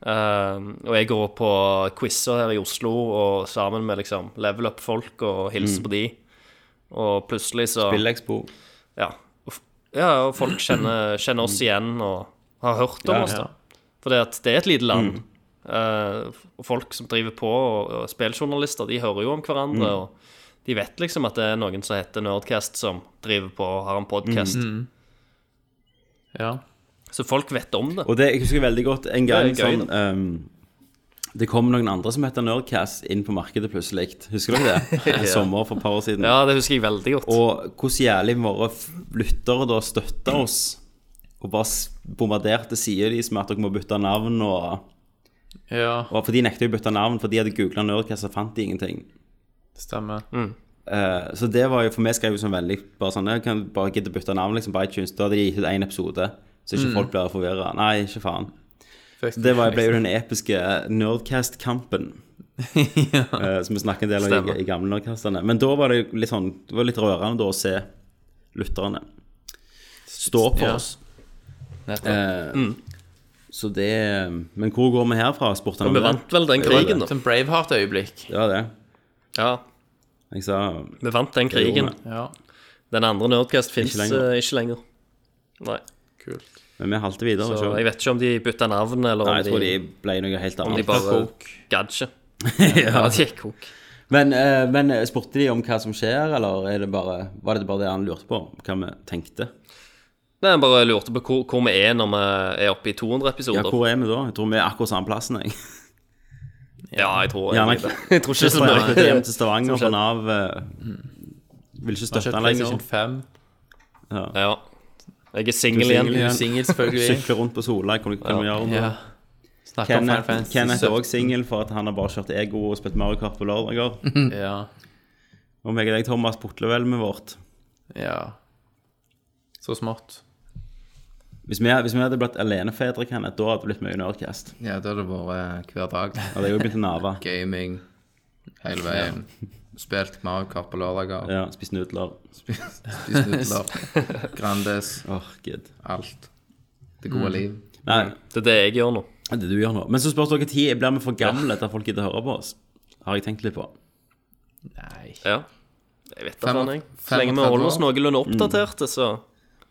[SPEAKER 2] Eh, og jeg går på quizer her i Oslo og sammen med liksom level up-folk og hilser på de. Og plutselig så
[SPEAKER 3] Billekspo.
[SPEAKER 2] ja, og f- ja, og folk kjenner, kjenner oss igjen og har hørt om oss. da fordi at det er et lite land.
[SPEAKER 3] Mm.
[SPEAKER 2] Eh, og folk som driver på, og, og spilljournalister, de hører jo om hverandre.
[SPEAKER 3] Mm.
[SPEAKER 2] Og de vet liksom at det er noen som heter Nerdcast, som driver på og har en podkast.
[SPEAKER 3] Mm.
[SPEAKER 7] Ja.
[SPEAKER 2] Så folk vet om det.
[SPEAKER 3] Og det, jeg husker veldig godt en gang
[SPEAKER 2] Det er gøy,
[SPEAKER 3] sånn ehm, Det kom noen andre som heter Nerdcast inn på markedet plutselig. Husker dere det?
[SPEAKER 2] <laughs>
[SPEAKER 3] En sommer for et par år siden.
[SPEAKER 2] Ja, det husker jeg veldig godt.
[SPEAKER 3] Og hvordan jævlig våre f- lyttere da støtta oss. Og bare s- bombarderte sida deres med at dere må bytte navn. Og,
[SPEAKER 7] ja.
[SPEAKER 3] og For de nekta jo å bytte navn, for de hadde googla Nerdcast og fant de ingenting.
[SPEAKER 7] Stemmer.
[SPEAKER 3] Eh, så det var jo for meg skrev jo sånn veldig bare sånn Jeg kan bare gidde bytte navn liksom, på iTunes. Da hadde de gitt ut én episode. Så
[SPEAKER 2] Mm.
[SPEAKER 3] ikke folk blir forvirra. Nei, ikke faen.
[SPEAKER 7] Fuck.
[SPEAKER 3] Det var, ble jo den episke
[SPEAKER 2] <laughs>
[SPEAKER 3] Nerdcast-kampen. eh, Som vi snakker en del om i, i gamle Nerdcastene. Men da var det jo litt sånn Det var litt rørende da å se lytterne stå på
[SPEAKER 7] Ja.
[SPEAKER 3] oss.
[SPEAKER 7] Nettopp.
[SPEAKER 3] Eh, Så det Men hvor går vi herfra? spurte han.
[SPEAKER 2] Vi
[SPEAKER 3] om det.
[SPEAKER 2] vant vel den krigen, da.
[SPEAKER 7] Som Braveheart-øyeblikk.
[SPEAKER 3] Det var det.
[SPEAKER 2] Ja,
[SPEAKER 3] Jeg sa
[SPEAKER 2] vi vant den krigen.
[SPEAKER 7] Ja.
[SPEAKER 2] Den andre Nerdcast fins
[SPEAKER 3] lenger.
[SPEAKER 2] ikke lenger. Nei.
[SPEAKER 3] Men vi halte videre.
[SPEAKER 2] Så
[SPEAKER 3] ikke?
[SPEAKER 2] jeg vet ikke om de bytta navn, eller
[SPEAKER 3] Nei,
[SPEAKER 2] om
[SPEAKER 3] jeg tror de
[SPEAKER 2] de,
[SPEAKER 3] ble noe helt
[SPEAKER 2] om de
[SPEAKER 3] annet.
[SPEAKER 2] bare
[SPEAKER 3] <laughs>
[SPEAKER 2] gadd ikke. ja, de gikk hok.
[SPEAKER 3] Men, eh, men spurte de om hva som skjer, eller er det bare, var det bare det han lurte på? Hva vi tenkte?
[SPEAKER 2] Nei, jeg bare lurte på hvor, hvor vi er når vi er oppe i 200
[SPEAKER 3] Ja,
[SPEAKER 2] episoder.
[SPEAKER 3] hvor er vi da? Jeg tror vi er akkurat samme plassen. Jeg,
[SPEAKER 2] Ja, jeg tror
[SPEAKER 3] Gjerne
[SPEAKER 2] egentlig det. Jeg tror ikke det er
[SPEAKER 3] <laughs>
[SPEAKER 2] så
[SPEAKER 3] jeg
[SPEAKER 2] mye.
[SPEAKER 3] flyttet hjem til Stavanger fra Nav. eh,
[SPEAKER 2] Mm.
[SPEAKER 3] Vil ikke støtte han lenger.
[SPEAKER 2] liksom
[SPEAKER 7] PlayStation 5.
[SPEAKER 2] Ja. Jeg er singel igjen.
[SPEAKER 7] Du er singel, selvfølgelig.
[SPEAKER 3] Sykle rundt på Sola, hva kan vi gjøre? nå?
[SPEAKER 7] ja. Snakker om Final
[SPEAKER 3] Kenneth,
[SPEAKER 7] Fantasy
[SPEAKER 3] Kenneth er
[SPEAKER 7] 17.
[SPEAKER 3] også singel for at han har bare kjørt ego og spilt Mario Kart på
[SPEAKER 2] <laughs>
[SPEAKER 3] lørdager.
[SPEAKER 7] Ja.
[SPEAKER 3] Og meg og deg, Thomas, putler vel med vårt.
[SPEAKER 7] ja. Så smart.
[SPEAKER 3] Hvis vi, hvis vi hadde blitt alenefedre, Kenneth, da hadde det blitt mye Nerdcast.
[SPEAKER 14] Ja, da har det vært hver dag.
[SPEAKER 3] Hadde jeg jo begynt å
[SPEAKER 2] <laughs>
[SPEAKER 3] nave.
[SPEAKER 14] Gaming hele veien. Spilt Mario Kart på lørdager.
[SPEAKER 3] Ja, spist nudler.
[SPEAKER 14] Spist nudler. Grandis.
[SPEAKER 3] Åh, gud.
[SPEAKER 14] Alt. Det gode liv.
[SPEAKER 3] Nei,
[SPEAKER 2] Det er det jeg gjør nå.
[SPEAKER 3] det er det du gjør nå. Men så spørs dere tid. Blir vi for gamle til at folk gidder å høre på oss? Har jeg tenkt litt på.
[SPEAKER 2] Ja. Jeg vet da
[SPEAKER 14] Fem-
[SPEAKER 2] faen, jeg. Så lenge vi
[SPEAKER 14] 35
[SPEAKER 2] holder oss
[SPEAKER 14] år.
[SPEAKER 2] noenlunde
[SPEAKER 3] Mm.
[SPEAKER 2] oppdaterte, så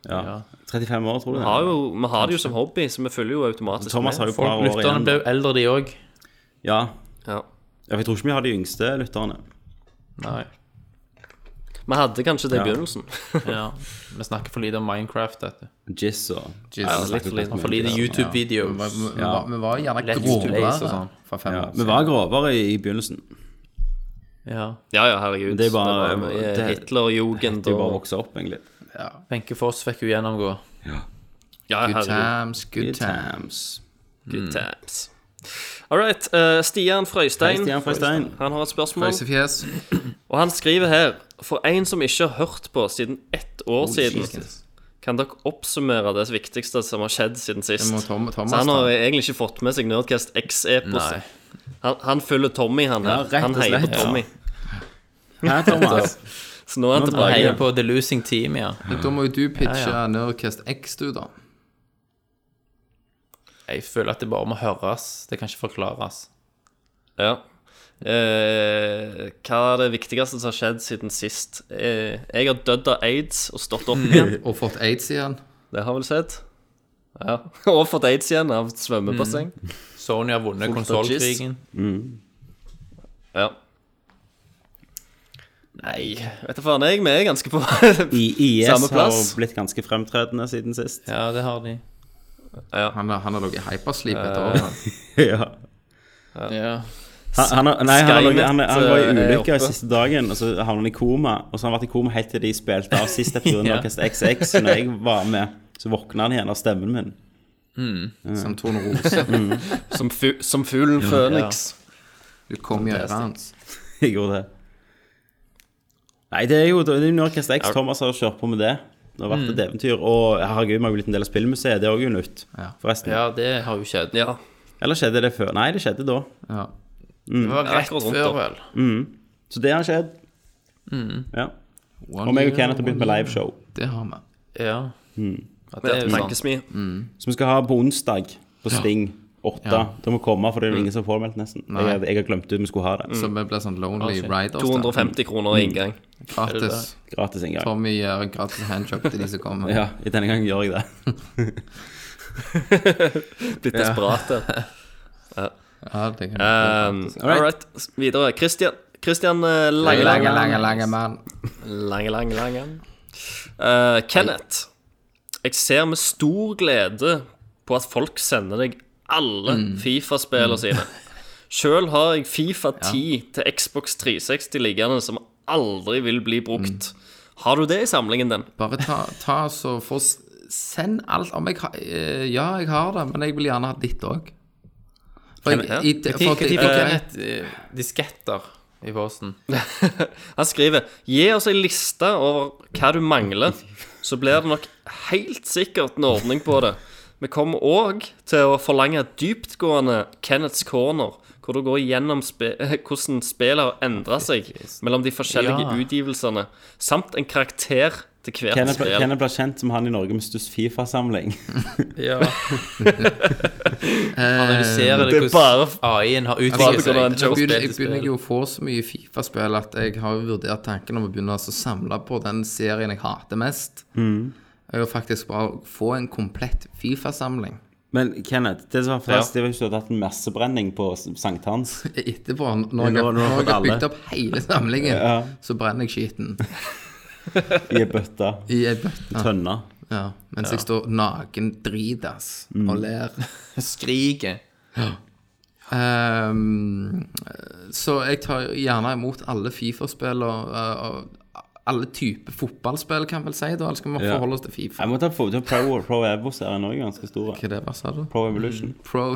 [SPEAKER 3] Ja. 35 år, tror du det?
[SPEAKER 2] har jo, vi har det jo som hobby, så vi følger jo automatisk
[SPEAKER 3] Thomas har
[SPEAKER 2] med.
[SPEAKER 3] jo et par år
[SPEAKER 7] Lytterne
[SPEAKER 3] igjen.
[SPEAKER 7] ble jo eldre, de òg.
[SPEAKER 3] Ja.
[SPEAKER 2] Ja.
[SPEAKER 3] ja, for jeg tror ikke vi har de yngste lytterne.
[SPEAKER 7] Nei.
[SPEAKER 2] Vi hadde kanskje det i
[SPEAKER 3] Ja.
[SPEAKER 2] begynnelsen.
[SPEAKER 7] Ja. Vi snakker for lite om Minecraft, vet du.
[SPEAKER 3] Jizz og
[SPEAKER 14] Jesus.
[SPEAKER 2] litt for lite.
[SPEAKER 7] For lite
[SPEAKER 14] Vi var-
[SPEAKER 7] YouTube-videoer.
[SPEAKER 14] vi var- vi var gjerne
[SPEAKER 7] Let's
[SPEAKER 14] grovere
[SPEAKER 7] Plays og sånn.
[SPEAKER 14] for fem
[SPEAKER 3] Ja,
[SPEAKER 14] år
[SPEAKER 3] Vi
[SPEAKER 14] siden.
[SPEAKER 3] var grovere i begynnelsen.
[SPEAKER 7] Ja.
[SPEAKER 2] Ja, ja, herregud.
[SPEAKER 3] Det er bare-
[SPEAKER 2] det var mye
[SPEAKER 3] det-
[SPEAKER 2] Hitlerjugend
[SPEAKER 3] Det er jo bare å
[SPEAKER 2] og
[SPEAKER 3] vokse opp, egentlig.
[SPEAKER 7] Wenche Foss fikk jo gjennomgå.
[SPEAKER 2] Ja,
[SPEAKER 14] Good
[SPEAKER 2] herregud.
[SPEAKER 14] times, good times.
[SPEAKER 2] Good times. All right. eh,
[SPEAKER 3] Hei,
[SPEAKER 2] Stian Frøystein.
[SPEAKER 3] Stian Frøystein.
[SPEAKER 2] Han har et spørsmål.
[SPEAKER 14] Pøysefjes.
[SPEAKER 2] Og han skriver her For en som ikke har hørt på siden ett år
[SPEAKER 14] Oh,
[SPEAKER 2] siden, kan dere oppsummere det viktigste som har skjedd siden sist?
[SPEAKER 14] Det må Tom- Thomas
[SPEAKER 2] Så han har
[SPEAKER 14] ta.
[SPEAKER 2] egentlig ikke fått med seg Nerdcast X-eposet. Han, han følger Tommy, han
[SPEAKER 3] Ja,
[SPEAKER 2] her.
[SPEAKER 3] rett
[SPEAKER 2] han
[SPEAKER 3] og
[SPEAKER 2] heier på
[SPEAKER 3] slett.
[SPEAKER 2] Tommy.
[SPEAKER 3] Hei, Thomas.
[SPEAKER 2] <laughs> Så nå er han tilbake.
[SPEAKER 7] Heier på The Losing Team, ja.
[SPEAKER 14] Men Da må jo du pitche Nerdcast X, du, da.
[SPEAKER 7] Jeg føler at det bare må høres. Det kan ikke forklares.
[SPEAKER 2] Ja. Eh, hva er det viktigste som har skjedd siden sist? Eh, jeg har dødd av aids og stått
[SPEAKER 14] <laughs>
[SPEAKER 2] opp igjen.
[SPEAKER 14] Og fått aids igjen.
[SPEAKER 2] Det har vel skjedd. Ja. <laughs> Og fått aids igjen av et svømmebasseng.
[SPEAKER 7] Sony har vunnet
[SPEAKER 2] Fullt av
[SPEAKER 7] konsollkrigen.
[SPEAKER 2] Ja. Nei, vet du faen, jeg vi er ganske på <laughs> Ja.
[SPEAKER 3] I IS
[SPEAKER 2] Samme
[SPEAKER 3] har
[SPEAKER 2] plass.
[SPEAKER 3] blitt ganske fremtredende siden sist. <laughs>
[SPEAKER 7] Ja, det har de.
[SPEAKER 14] Han har, han har ligget i hypersleep et
[SPEAKER 3] Eh,
[SPEAKER 14] år. han.
[SPEAKER 3] Ja.
[SPEAKER 7] Ja.
[SPEAKER 3] Han, han, har- nei, han, har ligget- han, han var i
[SPEAKER 2] Skynet, eh,
[SPEAKER 3] ulykke
[SPEAKER 2] er oppe.
[SPEAKER 3] siste dagen, og så havnet han i koma. Og så har han vært i koma helt til de spilte av
[SPEAKER 8] <laughs>
[SPEAKER 3] siste episode
[SPEAKER 7] Ja.
[SPEAKER 3] av Orkest XX. Så når jeg var med, så våkna han igjen av stemmen min.
[SPEAKER 8] <laughs>
[SPEAKER 14] Som Tone Rose.
[SPEAKER 2] Som, fu som fuglen Føniks.
[SPEAKER 14] Du kom i øret hans.
[SPEAKER 3] Jeg gjorde det. Nei, det er jo det er jo Orkest X. Thomas har kjørt på med det. Det har vært
[SPEAKER 8] Mm.
[SPEAKER 3] et eventyr. Og herregud, vi har jo blitt en del av spillmuseet. Det er òg jo nytt, forresten.
[SPEAKER 7] ja, det har jo skjedd.
[SPEAKER 2] Ja.
[SPEAKER 3] Eller skjedde det før? Nei, det skjedde da.
[SPEAKER 14] Ja.
[SPEAKER 7] Det var rett
[SPEAKER 2] akkurat rundt
[SPEAKER 7] før,
[SPEAKER 2] da.
[SPEAKER 7] vel.
[SPEAKER 3] Så det har skjedd. Ja.
[SPEAKER 14] One
[SPEAKER 3] Og meg og
[SPEAKER 14] year,
[SPEAKER 3] Kenneth har begynt med
[SPEAKER 14] one year.
[SPEAKER 3] liveshow.
[SPEAKER 14] Det har vi.
[SPEAKER 7] Ja. Ja,
[SPEAKER 2] Ja,
[SPEAKER 7] det er sånn jo sant.
[SPEAKER 2] Tankesmi.
[SPEAKER 3] Som vi skal ha på onsdag på Sting 8. Da må vi komme, for det er jo ingen som har påmeldt, nesten. Jeg, jeg har glemt ut vi skulle ha det.
[SPEAKER 14] Så vi blir sånn Lonely
[SPEAKER 7] shit.
[SPEAKER 14] Riders. da.
[SPEAKER 2] 250 kroner i inngang.
[SPEAKER 14] Gratis.
[SPEAKER 3] Gratis en gang.
[SPEAKER 14] Tommy gjør gratis handjob til de som kommer.
[SPEAKER 3] Ja, i denne gangen gjør jeg det. <laughs>
[SPEAKER 2] Blitt desperat der. <laughs>
[SPEAKER 14] Ja, det kan
[SPEAKER 2] Um, all right. Videre. Christian. Christian eh,
[SPEAKER 14] Lange, lange,
[SPEAKER 2] Langeland.
[SPEAKER 14] lange, lange mann.
[SPEAKER 2] Lange, lange, lange. Eh, Kenneth, jeg ser med stor glede på at folk sender deg alle Fifa-spillene sine. Sjøl har jeg Fifa 10 til Xbox 360 liggende som aldri vil bli brukt. Har du det i samlingen din?
[SPEAKER 14] Bare ta, ta så få s- Send alt om jeg har eh, Ja, jeg har det, men jeg vil gjerne ha ditt òg. For jeg, i, for
[SPEAKER 7] Når
[SPEAKER 14] det-
[SPEAKER 7] fikk dere
[SPEAKER 14] eh,
[SPEAKER 7] et eh, disketter i posten?
[SPEAKER 2] Han skriver Gi oss ei liste over hva du mangler, så blir det nok helt sikkert en ordning på det. Vi kommer òg til å forlange dyptgående Kenneths corner, hvor du går gjennom spe <laughs> hvordan spillet har endra seg mellom de forskjellige
[SPEAKER 7] Ja.
[SPEAKER 2] utgivelsene, samt en karakter til hvert
[SPEAKER 8] Kenneth ble,
[SPEAKER 2] spill.
[SPEAKER 8] Kenneth ble kjent som han i Norge med størst
[SPEAKER 3] <laughs>
[SPEAKER 8] Fifa-samling.
[SPEAKER 7] <laughs> Ja. Eh, Analyserer det
[SPEAKER 2] Det er bare-
[SPEAKER 7] hvordan AI-en har
[SPEAKER 2] Bare
[SPEAKER 7] utviklet
[SPEAKER 2] på grunn av en
[SPEAKER 7] seg.
[SPEAKER 9] Altså, Jeg
[SPEAKER 2] joke.
[SPEAKER 9] begynner,
[SPEAKER 7] spill
[SPEAKER 9] jeg
[SPEAKER 7] til
[SPEAKER 9] begynner
[SPEAKER 7] spill.
[SPEAKER 9] jo å få så mye Fifa-spill at jeg har jo vurdert tanken om å begynne altså å samle på den serien jeg hater mest.
[SPEAKER 8] Mm.
[SPEAKER 9] Og faktisk bare få en komplett Fifa-samling <laughs>
[SPEAKER 8] Men Kenneth, det som var frest, det var jo ikke at du hadde hatt en massebrenning på sankthans.
[SPEAKER 9] etterpå. Når jeg,
[SPEAKER 8] Nå- nå
[SPEAKER 9] når
[SPEAKER 8] har
[SPEAKER 9] jeg har
[SPEAKER 8] alle.
[SPEAKER 9] bygd opp hele samlingen, så brenner jeg skitten
[SPEAKER 8] I ei bøtte.
[SPEAKER 3] <laughs>
[SPEAKER 9] i ei bøtte.
[SPEAKER 8] Tønne.
[SPEAKER 9] Ja, mens jeg står naken dritas
[SPEAKER 8] Mm.
[SPEAKER 9] og ler.
[SPEAKER 7] Skriker.
[SPEAKER 9] Ehm, så jeg tar gjerne imot alle Fifa-spill og, og alle typer fotballspill, kan jeg vel si. da, eller skal vi
[SPEAKER 8] Ja.
[SPEAKER 9] forholde oss til Fifa?
[SPEAKER 8] Jeg må ta få til Pro, Pro Evo-serien òg, ganske stor.
[SPEAKER 9] Hva er det, hva sa du?
[SPEAKER 8] Pro Evolution.
[SPEAKER 9] Pro,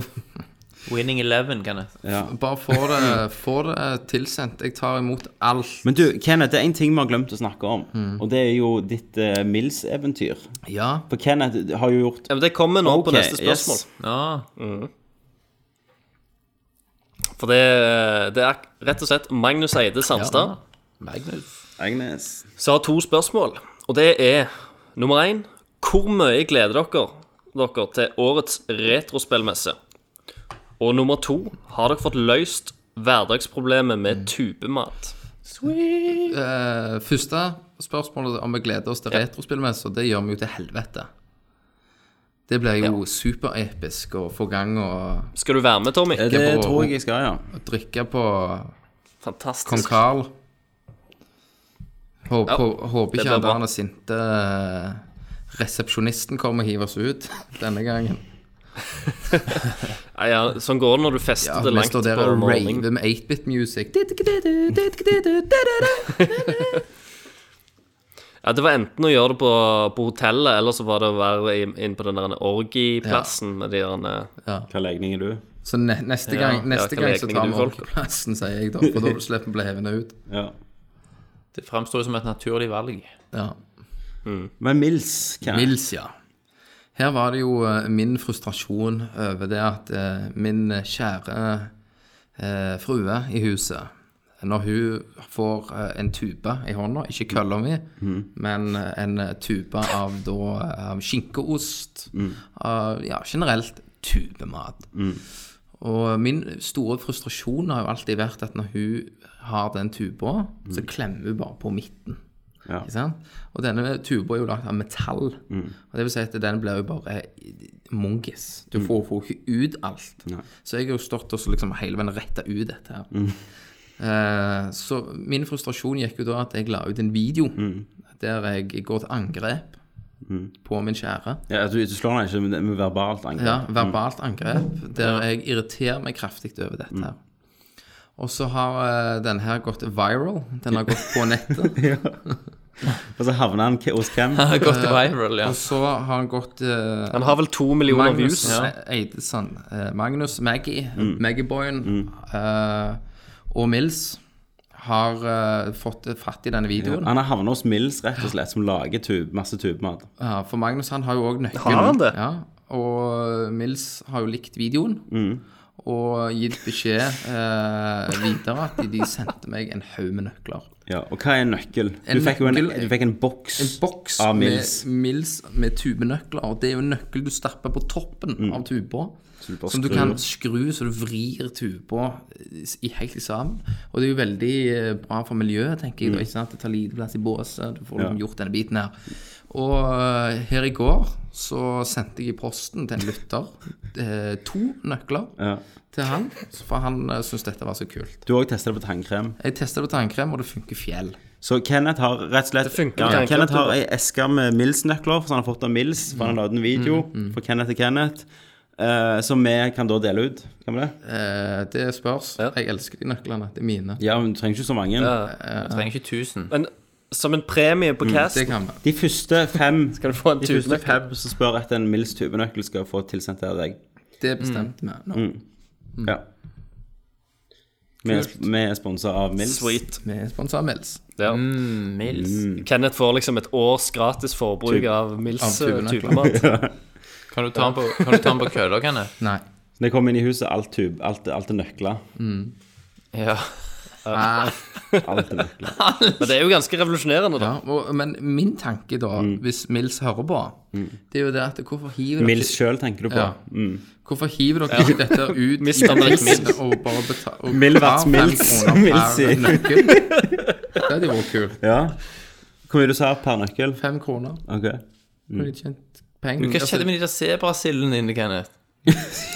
[SPEAKER 7] Winning Eleven, kan jeg.
[SPEAKER 8] Ja.
[SPEAKER 9] bare få det, få det tilsendt. Jeg tar imot alt.
[SPEAKER 8] Men du, Kenneth, det er én ting vi har glemt å snakke om.
[SPEAKER 9] Mm.
[SPEAKER 8] Og det er jo ditt eh, Mills-eventyr.
[SPEAKER 9] Ja.
[SPEAKER 8] For Kenneth har jo gjort
[SPEAKER 2] Ja, men det kommer nå på
[SPEAKER 8] Ok,
[SPEAKER 2] neste spørsmål. Mm.
[SPEAKER 8] yes.
[SPEAKER 7] Ja.
[SPEAKER 2] For det, det er rett og slett Magnus Eide Sandstad
[SPEAKER 7] Magnus.
[SPEAKER 8] Agnes.
[SPEAKER 2] som har to spørsmål. Og det er nummer én Hvor mye gleder dere dere til årets retrospillmesse? Og nummer to Har dere fått løst hverdagsproblemet
[SPEAKER 9] Mm.
[SPEAKER 2] med tubemat?
[SPEAKER 9] Eh, første spørsmålet om vi gleder oss til retrospillmesser, det gjør vi jo til helvete. Det blir jo superepisk å få gang og
[SPEAKER 2] Skal du være med, Tommy?
[SPEAKER 8] Det
[SPEAKER 9] Ikke på-
[SPEAKER 8] tror jeg jeg skal, ja.
[SPEAKER 9] drikke på kong
[SPEAKER 2] Fantastisk.
[SPEAKER 9] Carl. Håper,
[SPEAKER 2] Ja,
[SPEAKER 9] håper
[SPEAKER 2] det
[SPEAKER 9] ikke han
[SPEAKER 2] blir bra.
[SPEAKER 9] der den sinte
[SPEAKER 14] eh,
[SPEAKER 9] resepsjonisten kommer og hiver oss ut denne gangen.
[SPEAKER 2] Nei, ja, sånn går det når du fester
[SPEAKER 9] Ja,
[SPEAKER 2] det
[SPEAKER 9] vi
[SPEAKER 2] langt
[SPEAKER 9] står der
[SPEAKER 2] på
[SPEAKER 9] og
[SPEAKER 2] morgenen.
[SPEAKER 9] raver med 8-bit-music.
[SPEAKER 2] Ja, det var enten å gjøre det på, på hotellet, eller så var det å være i- inn på den der orgieplassen med de der
[SPEAKER 8] Hva legning er du?
[SPEAKER 9] Så ne neste gang, neste
[SPEAKER 2] hva
[SPEAKER 9] gang så
[SPEAKER 2] legning
[SPEAKER 9] tar
[SPEAKER 2] du
[SPEAKER 9] vi
[SPEAKER 2] folk?
[SPEAKER 9] orkeplassen, sier jeg da. For da slipper vi å bli hevende ut.
[SPEAKER 8] Ja.
[SPEAKER 7] Det fremstår jo som et naturlig <laughs> valg.
[SPEAKER 9] Ja.
[SPEAKER 8] Men Mills, Kenneth.
[SPEAKER 9] Mils, ja. Her var det jo eh, min frustrasjon over det at eh, min kjære eh, frue i huset når hun får eh, en tube i hånda, ikke kølla mi, men eh, en tube av da eh, skinkeost av, Ja, generelt tubemat. Og min store frustrasjon har jo alltid vært at når hun har den tuba, så klemmer hun bare på midten. Ikke sant? Og denne tuba er jo lagd av metall. Og det vil si at den blir jo bare mongis. Du får får jo ikke ut alt. Så jeg har jo stått og så liksom hele veien retta ut dette her. Eh, så min frustrasjon gikk jo da at jeg la ut en video der jeg går til angrep på min kjære.
[SPEAKER 8] Ja, du, du slår deg ikke med, med verbalt angrep.
[SPEAKER 9] Ja, verbalt angrep, der jeg irriterer meg kraftig over dette her. Og så har eh, den her gått viral. Den har gått på nettet.
[SPEAKER 8] Og så havner han ke- hos hvem?
[SPEAKER 7] Det har gått viral, ja.
[SPEAKER 9] Og så har han gått eh,
[SPEAKER 2] Han har vel to millioner
[SPEAKER 9] Magnus
[SPEAKER 2] views.
[SPEAKER 9] ja. Eidesen, eh, Magnus, Maggie, Maggieboyen eh, og Mills har eh, fått fatt i denne videoen.
[SPEAKER 8] Han har havnet hos Mills, rett og slett, som lager tube, masse tubemat.
[SPEAKER 9] Ja, for Magnus han har jo òg nøkkelen.
[SPEAKER 2] Har han det?
[SPEAKER 9] Ja, og Mills har jo likt videoen. Og gitt beskjed eh, videre at de, de sendte meg en haug med nøkler.
[SPEAKER 8] Ja, og hva er en nøkkel?
[SPEAKER 9] En
[SPEAKER 8] du fikk jo en,
[SPEAKER 9] nøkkel-
[SPEAKER 8] du fikk en boks
[SPEAKER 9] En boks
[SPEAKER 8] av
[SPEAKER 9] med,
[SPEAKER 8] Ah, Mills.
[SPEAKER 9] Mills med tubenøkler. Og det er jo en nøkkel du stapper på toppen av tuba.
[SPEAKER 8] Mm. bare
[SPEAKER 9] Som du
[SPEAKER 8] skrur.
[SPEAKER 9] kan skru så du vrir tuba i- i- helt sammen. Og det er jo veldig eh, bra for miljøet, tenker
[SPEAKER 8] Mm.
[SPEAKER 9] jeg. da, Ikke sant? Det tar lite plass i båset. Du får liksom gjort denne biten her. Og eh, her i går så sendte jeg i posten til en lytter <laughs> eh, to nøkler til han. For han eh, syntes dette var så kult.
[SPEAKER 8] Du har òg testa det på tannkrem.
[SPEAKER 9] Jeg testa det på tannkrem, og det funker fjell.
[SPEAKER 8] Så Kenneth har rett og slett
[SPEAKER 2] funker
[SPEAKER 8] ja,
[SPEAKER 2] med tannkrem,
[SPEAKER 8] Kenneth har
[SPEAKER 2] tror
[SPEAKER 8] ei eske med Mills-nøkler, for han har fått av Mills, for han har laget en video
[SPEAKER 2] Mm,
[SPEAKER 8] fra Kenneth til Kenneth, eh, som vi kan da dele ut. Kan vi det?
[SPEAKER 9] Eh, det spørs. Jeg elsker de nøklene. Det er mine.
[SPEAKER 8] Ja, men du trenger ikke så mange.
[SPEAKER 7] Jeg trenger ikke 1000.
[SPEAKER 2] Men som en premie på cast
[SPEAKER 9] Mm, Det kan vi.
[SPEAKER 8] De første fem
[SPEAKER 2] <laughs> skal du få en
[SPEAKER 8] De første
[SPEAKER 2] tusenøkkel.
[SPEAKER 8] fem som spør etter en Mills tubenøkkel, skal
[SPEAKER 2] Mm.
[SPEAKER 8] få tilsendt av deg.
[SPEAKER 9] Det bestemte vi nå.
[SPEAKER 8] Ja. Vi er, vi er sponsa av Mills.
[SPEAKER 2] Sweet.
[SPEAKER 14] Vi er sponsa av Mills.
[SPEAKER 2] Ja.
[SPEAKER 7] Mils.
[SPEAKER 2] Kenneth får liksom et års gratis forbruk av Mills eh,
[SPEAKER 14] Av tubene.
[SPEAKER 2] tubemat.
[SPEAKER 8] <laughs>
[SPEAKER 7] Kan du ta den på, kan du ta den på kølla, Kenneth?
[SPEAKER 14] Nei.
[SPEAKER 8] Når jeg kom inn i huset, alt, tub, alt, alt er nøkler.
[SPEAKER 7] Ja.
[SPEAKER 8] Alt er nøkler.
[SPEAKER 2] Men det er jo ganske revolusjonerende, da.
[SPEAKER 14] Ja, og, men min tanke, da,
[SPEAKER 8] Mm.
[SPEAKER 14] hvis Mills hører på, det er jo det at hvorfor hiver dere
[SPEAKER 8] Mills sjøl tenker du på.
[SPEAKER 14] Ja. Hvorfor hiver dere ikke
[SPEAKER 8] <laughs>
[SPEAKER 14] dette ut i
[SPEAKER 2] Mr. Mills.
[SPEAKER 14] prisen og bare betaler
[SPEAKER 8] Milverts Mills. Mills i-
[SPEAKER 14] nøkkel? Det hadde jo vært kult.
[SPEAKER 8] Ja. Hvor mye du sa per nøkkel?
[SPEAKER 14] Fem kroner.
[SPEAKER 8] Ok.
[SPEAKER 14] Kunne de tjent penger?
[SPEAKER 7] Hva skjedde med de der sebrasildene dine, Kenneth?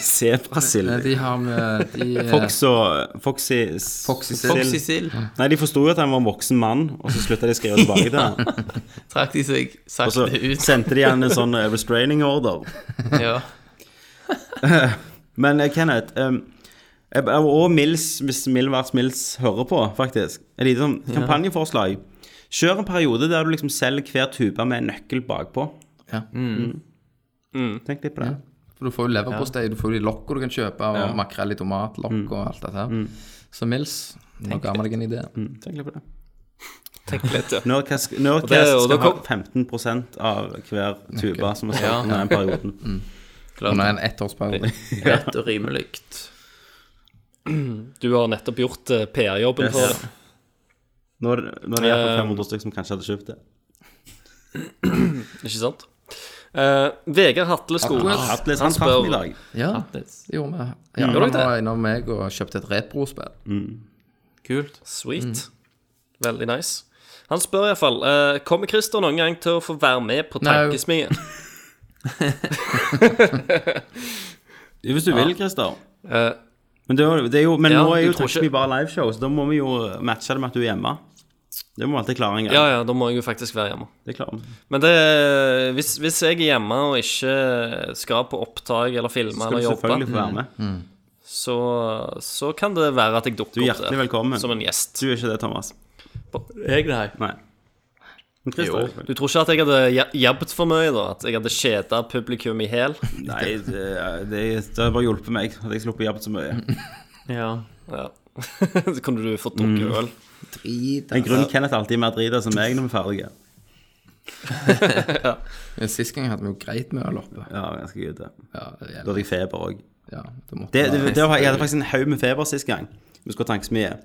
[SPEAKER 8] Sebrasild.
[SPEAKER 14] Nei, De har med de, eh,
[SPEAKER 8] Fox og Foxy
[SPEAKER 14] Foxy Sild.
[SPEAKER 8] Sild.
[SPEAKER 7] Foxy sild.
[SPEAKER 8] Nei, de forsto jo at han var en voksen mann, og så slutta de å skrive tilbake <laughs> til han.
[SPEAKER 7] Trakk de seg
[SPEAKER 8] Og så
[SPEAKER 7] sakte ut?
[SPEAKER 8] sendte de han en sånn eh, restraining order.
[SPEAKER 7] Ja.
[SPEAKER 8] Men eh, Kenneth em, eh, Og Mills, hvis Milvarts Mills hører på, faktisk. Et lite sånn kampanjeforslag. Kjør en periode der du liksom selger hver tube med en nøkkel bakpå.
[SPEAKER 14] Ja.
[SPEAKER 2] Mm.
[SPEAKER 8] Tenk litt på det.
[SPEAKER 14] For du får jo leverpostei, du får jo de lokka du kan kjøpe, og makrell i tomat, lokk
[SPEAKER 8] Mm.
[SPEAKER 14] og alt dette her. Så Mills, nå ga meg deg en idé.
[SPEAKER 8] Tenk litt på det.
[SPEAKER 2] Tenk litt, ja.
[SPEAKER 8] Nerdcast,
[SPEAKER 2] det-
[SPEAKER 8] Nerdcast
[SPEAKER 2] og
[SPEAKER 8] skal
[SPEAKER 2] da
[SPEAKER 8] ha
[SPEAKER 2] kom-
[SPEAKER 8] 15 av hver tube som er solgt under den perioden.
[SPEAKER 14] Under en ettårsperiode.
[SPEAKER 7] Rett og rimelig.
[SPEAKER 2] Du har nettopp gjort eh, PR-jobben
[SPEAKER 8] Yes.
[SPEAKER 2] for det.
[SPEAKER 8] Nå er det nå er det i hvert fall
[SPEAKER 2] Ehm.
[SPEAKER 8] 500 stykker som kanskje hadde kjøpt det.
[SPEAKER 2] Ikke sant? Eh, Vegard Hatle Skole
[SPEAKER 8] Hatt litt
[SPEAKER 2] han
[SPEAKER 8] sånn
[SPEAKER 2] spør-
[SPEAKER 8] i dag.
[SPEAKER 14] Ja, det gjorde vi. Ja,
[SPEAKER 2] Gjorde dere
[SPEAKER 14] han
[SPEAKER 2] det?
[SPEAKER 14] var innom meg og kjøpte et retrospill.
[SPEAKER 7] Kult.
[SPEAKER 2] Sweet.
[SPEAKER 8] Mm.
[SPEAKER 2] Veldig nice. Han spør iallfall uh, Kommer Christer noen gang til å få være med på
[SPEAKER 14] Nei.
[SPEAKER 2] Tankesmien?
[SPEAKER 8] Hvis du vil, Christer.
[SPEAKER 2] Eh,
[SPEAKER 8] Men, det er jo, det er jo, men
[SPEAKER 2] Ja,
[SPEAKER 8] nå er
[SPEAKER 2] du
[SPEAKER 8] jo
[SPEAKER 2] tror
[SPEAKER 8] Touch
[SPEAKER 2] ikke-
[SPEAKER 8] Me Bare liveshow, så da må vi jo matche det med at du er hjemme. Det må vi alltid klare en gang.
[SPEAKER 2] ja, ja, da må jeg jo faktisk være hjemme.
[SPEAKER 8] Det klarer vi.
[SPEAKER 2] Men det, hvis, hvis jeg er hjemme og ikke skal på opptak eller filme
[SPEAKER 8] Skal Mm.
[SPEAKER 2] eller
[SPEAKER 8] du selvfølgelig
[SPEAKER 2] jobbe,
[SPEAKER 8] få være med.
[SPEAKER 2] så, så kan det være at jeg dukker
[SPEAKER 8] Du er hjertelig
[SPEAKER 2] opp
[SPEAKER 8] velkommen.
[SPEAKER 2] der som en gjest.
[SPEAKER 8] Du er ikke det, Thomas.
[SPEAKER 7] Jeg, nei.
[SPEAKER 8] Nei. Men Christer, er selvfølgelig.
[SPEAKER 2] Du tror ikke at jeg hadde ja- jabbet for mye, da? At jeg hadde kjeda publikum i hæl?
[SPEAKER 8] Nei, det, det, det har bare hjulpet meg at jeg sluppet å jobbe så <laughs> mye.
[SPEAKER 7] Ja.
[SPEAKER 2] Ja. <laughs> Så kunne du fått drukket øl.
[SPEAKER 14] Drit,
[SPEAKER 8] En
[SPEAKER 14] altså.
[SPEAKER 8] grunn Kenneth alltid er mer drita som meg når vi er
[SPEAKER 14] <laughs>
[SPEAKER 8] ferdige.
[SPEAKER 14] Men Sist gang hadde vi jo greit med øl oppe.
[SPEAKER 8] Ja, ganske gud, det.
[SPEAKER 14] Ja, det
[SPEAKER 8] Da
[SPEAKER 14] gjelder.
[SPEAKER 8] hadde jeg feber òg.
[SPEAKER 14] Ja, det måtte
[SPEAKER 8] det,
[SPEAKER 14] være-
[SPEAKER 8] det, det var, jeg hadde faktisk en haug med feber sist gang. Vi skulle ha tankesmie.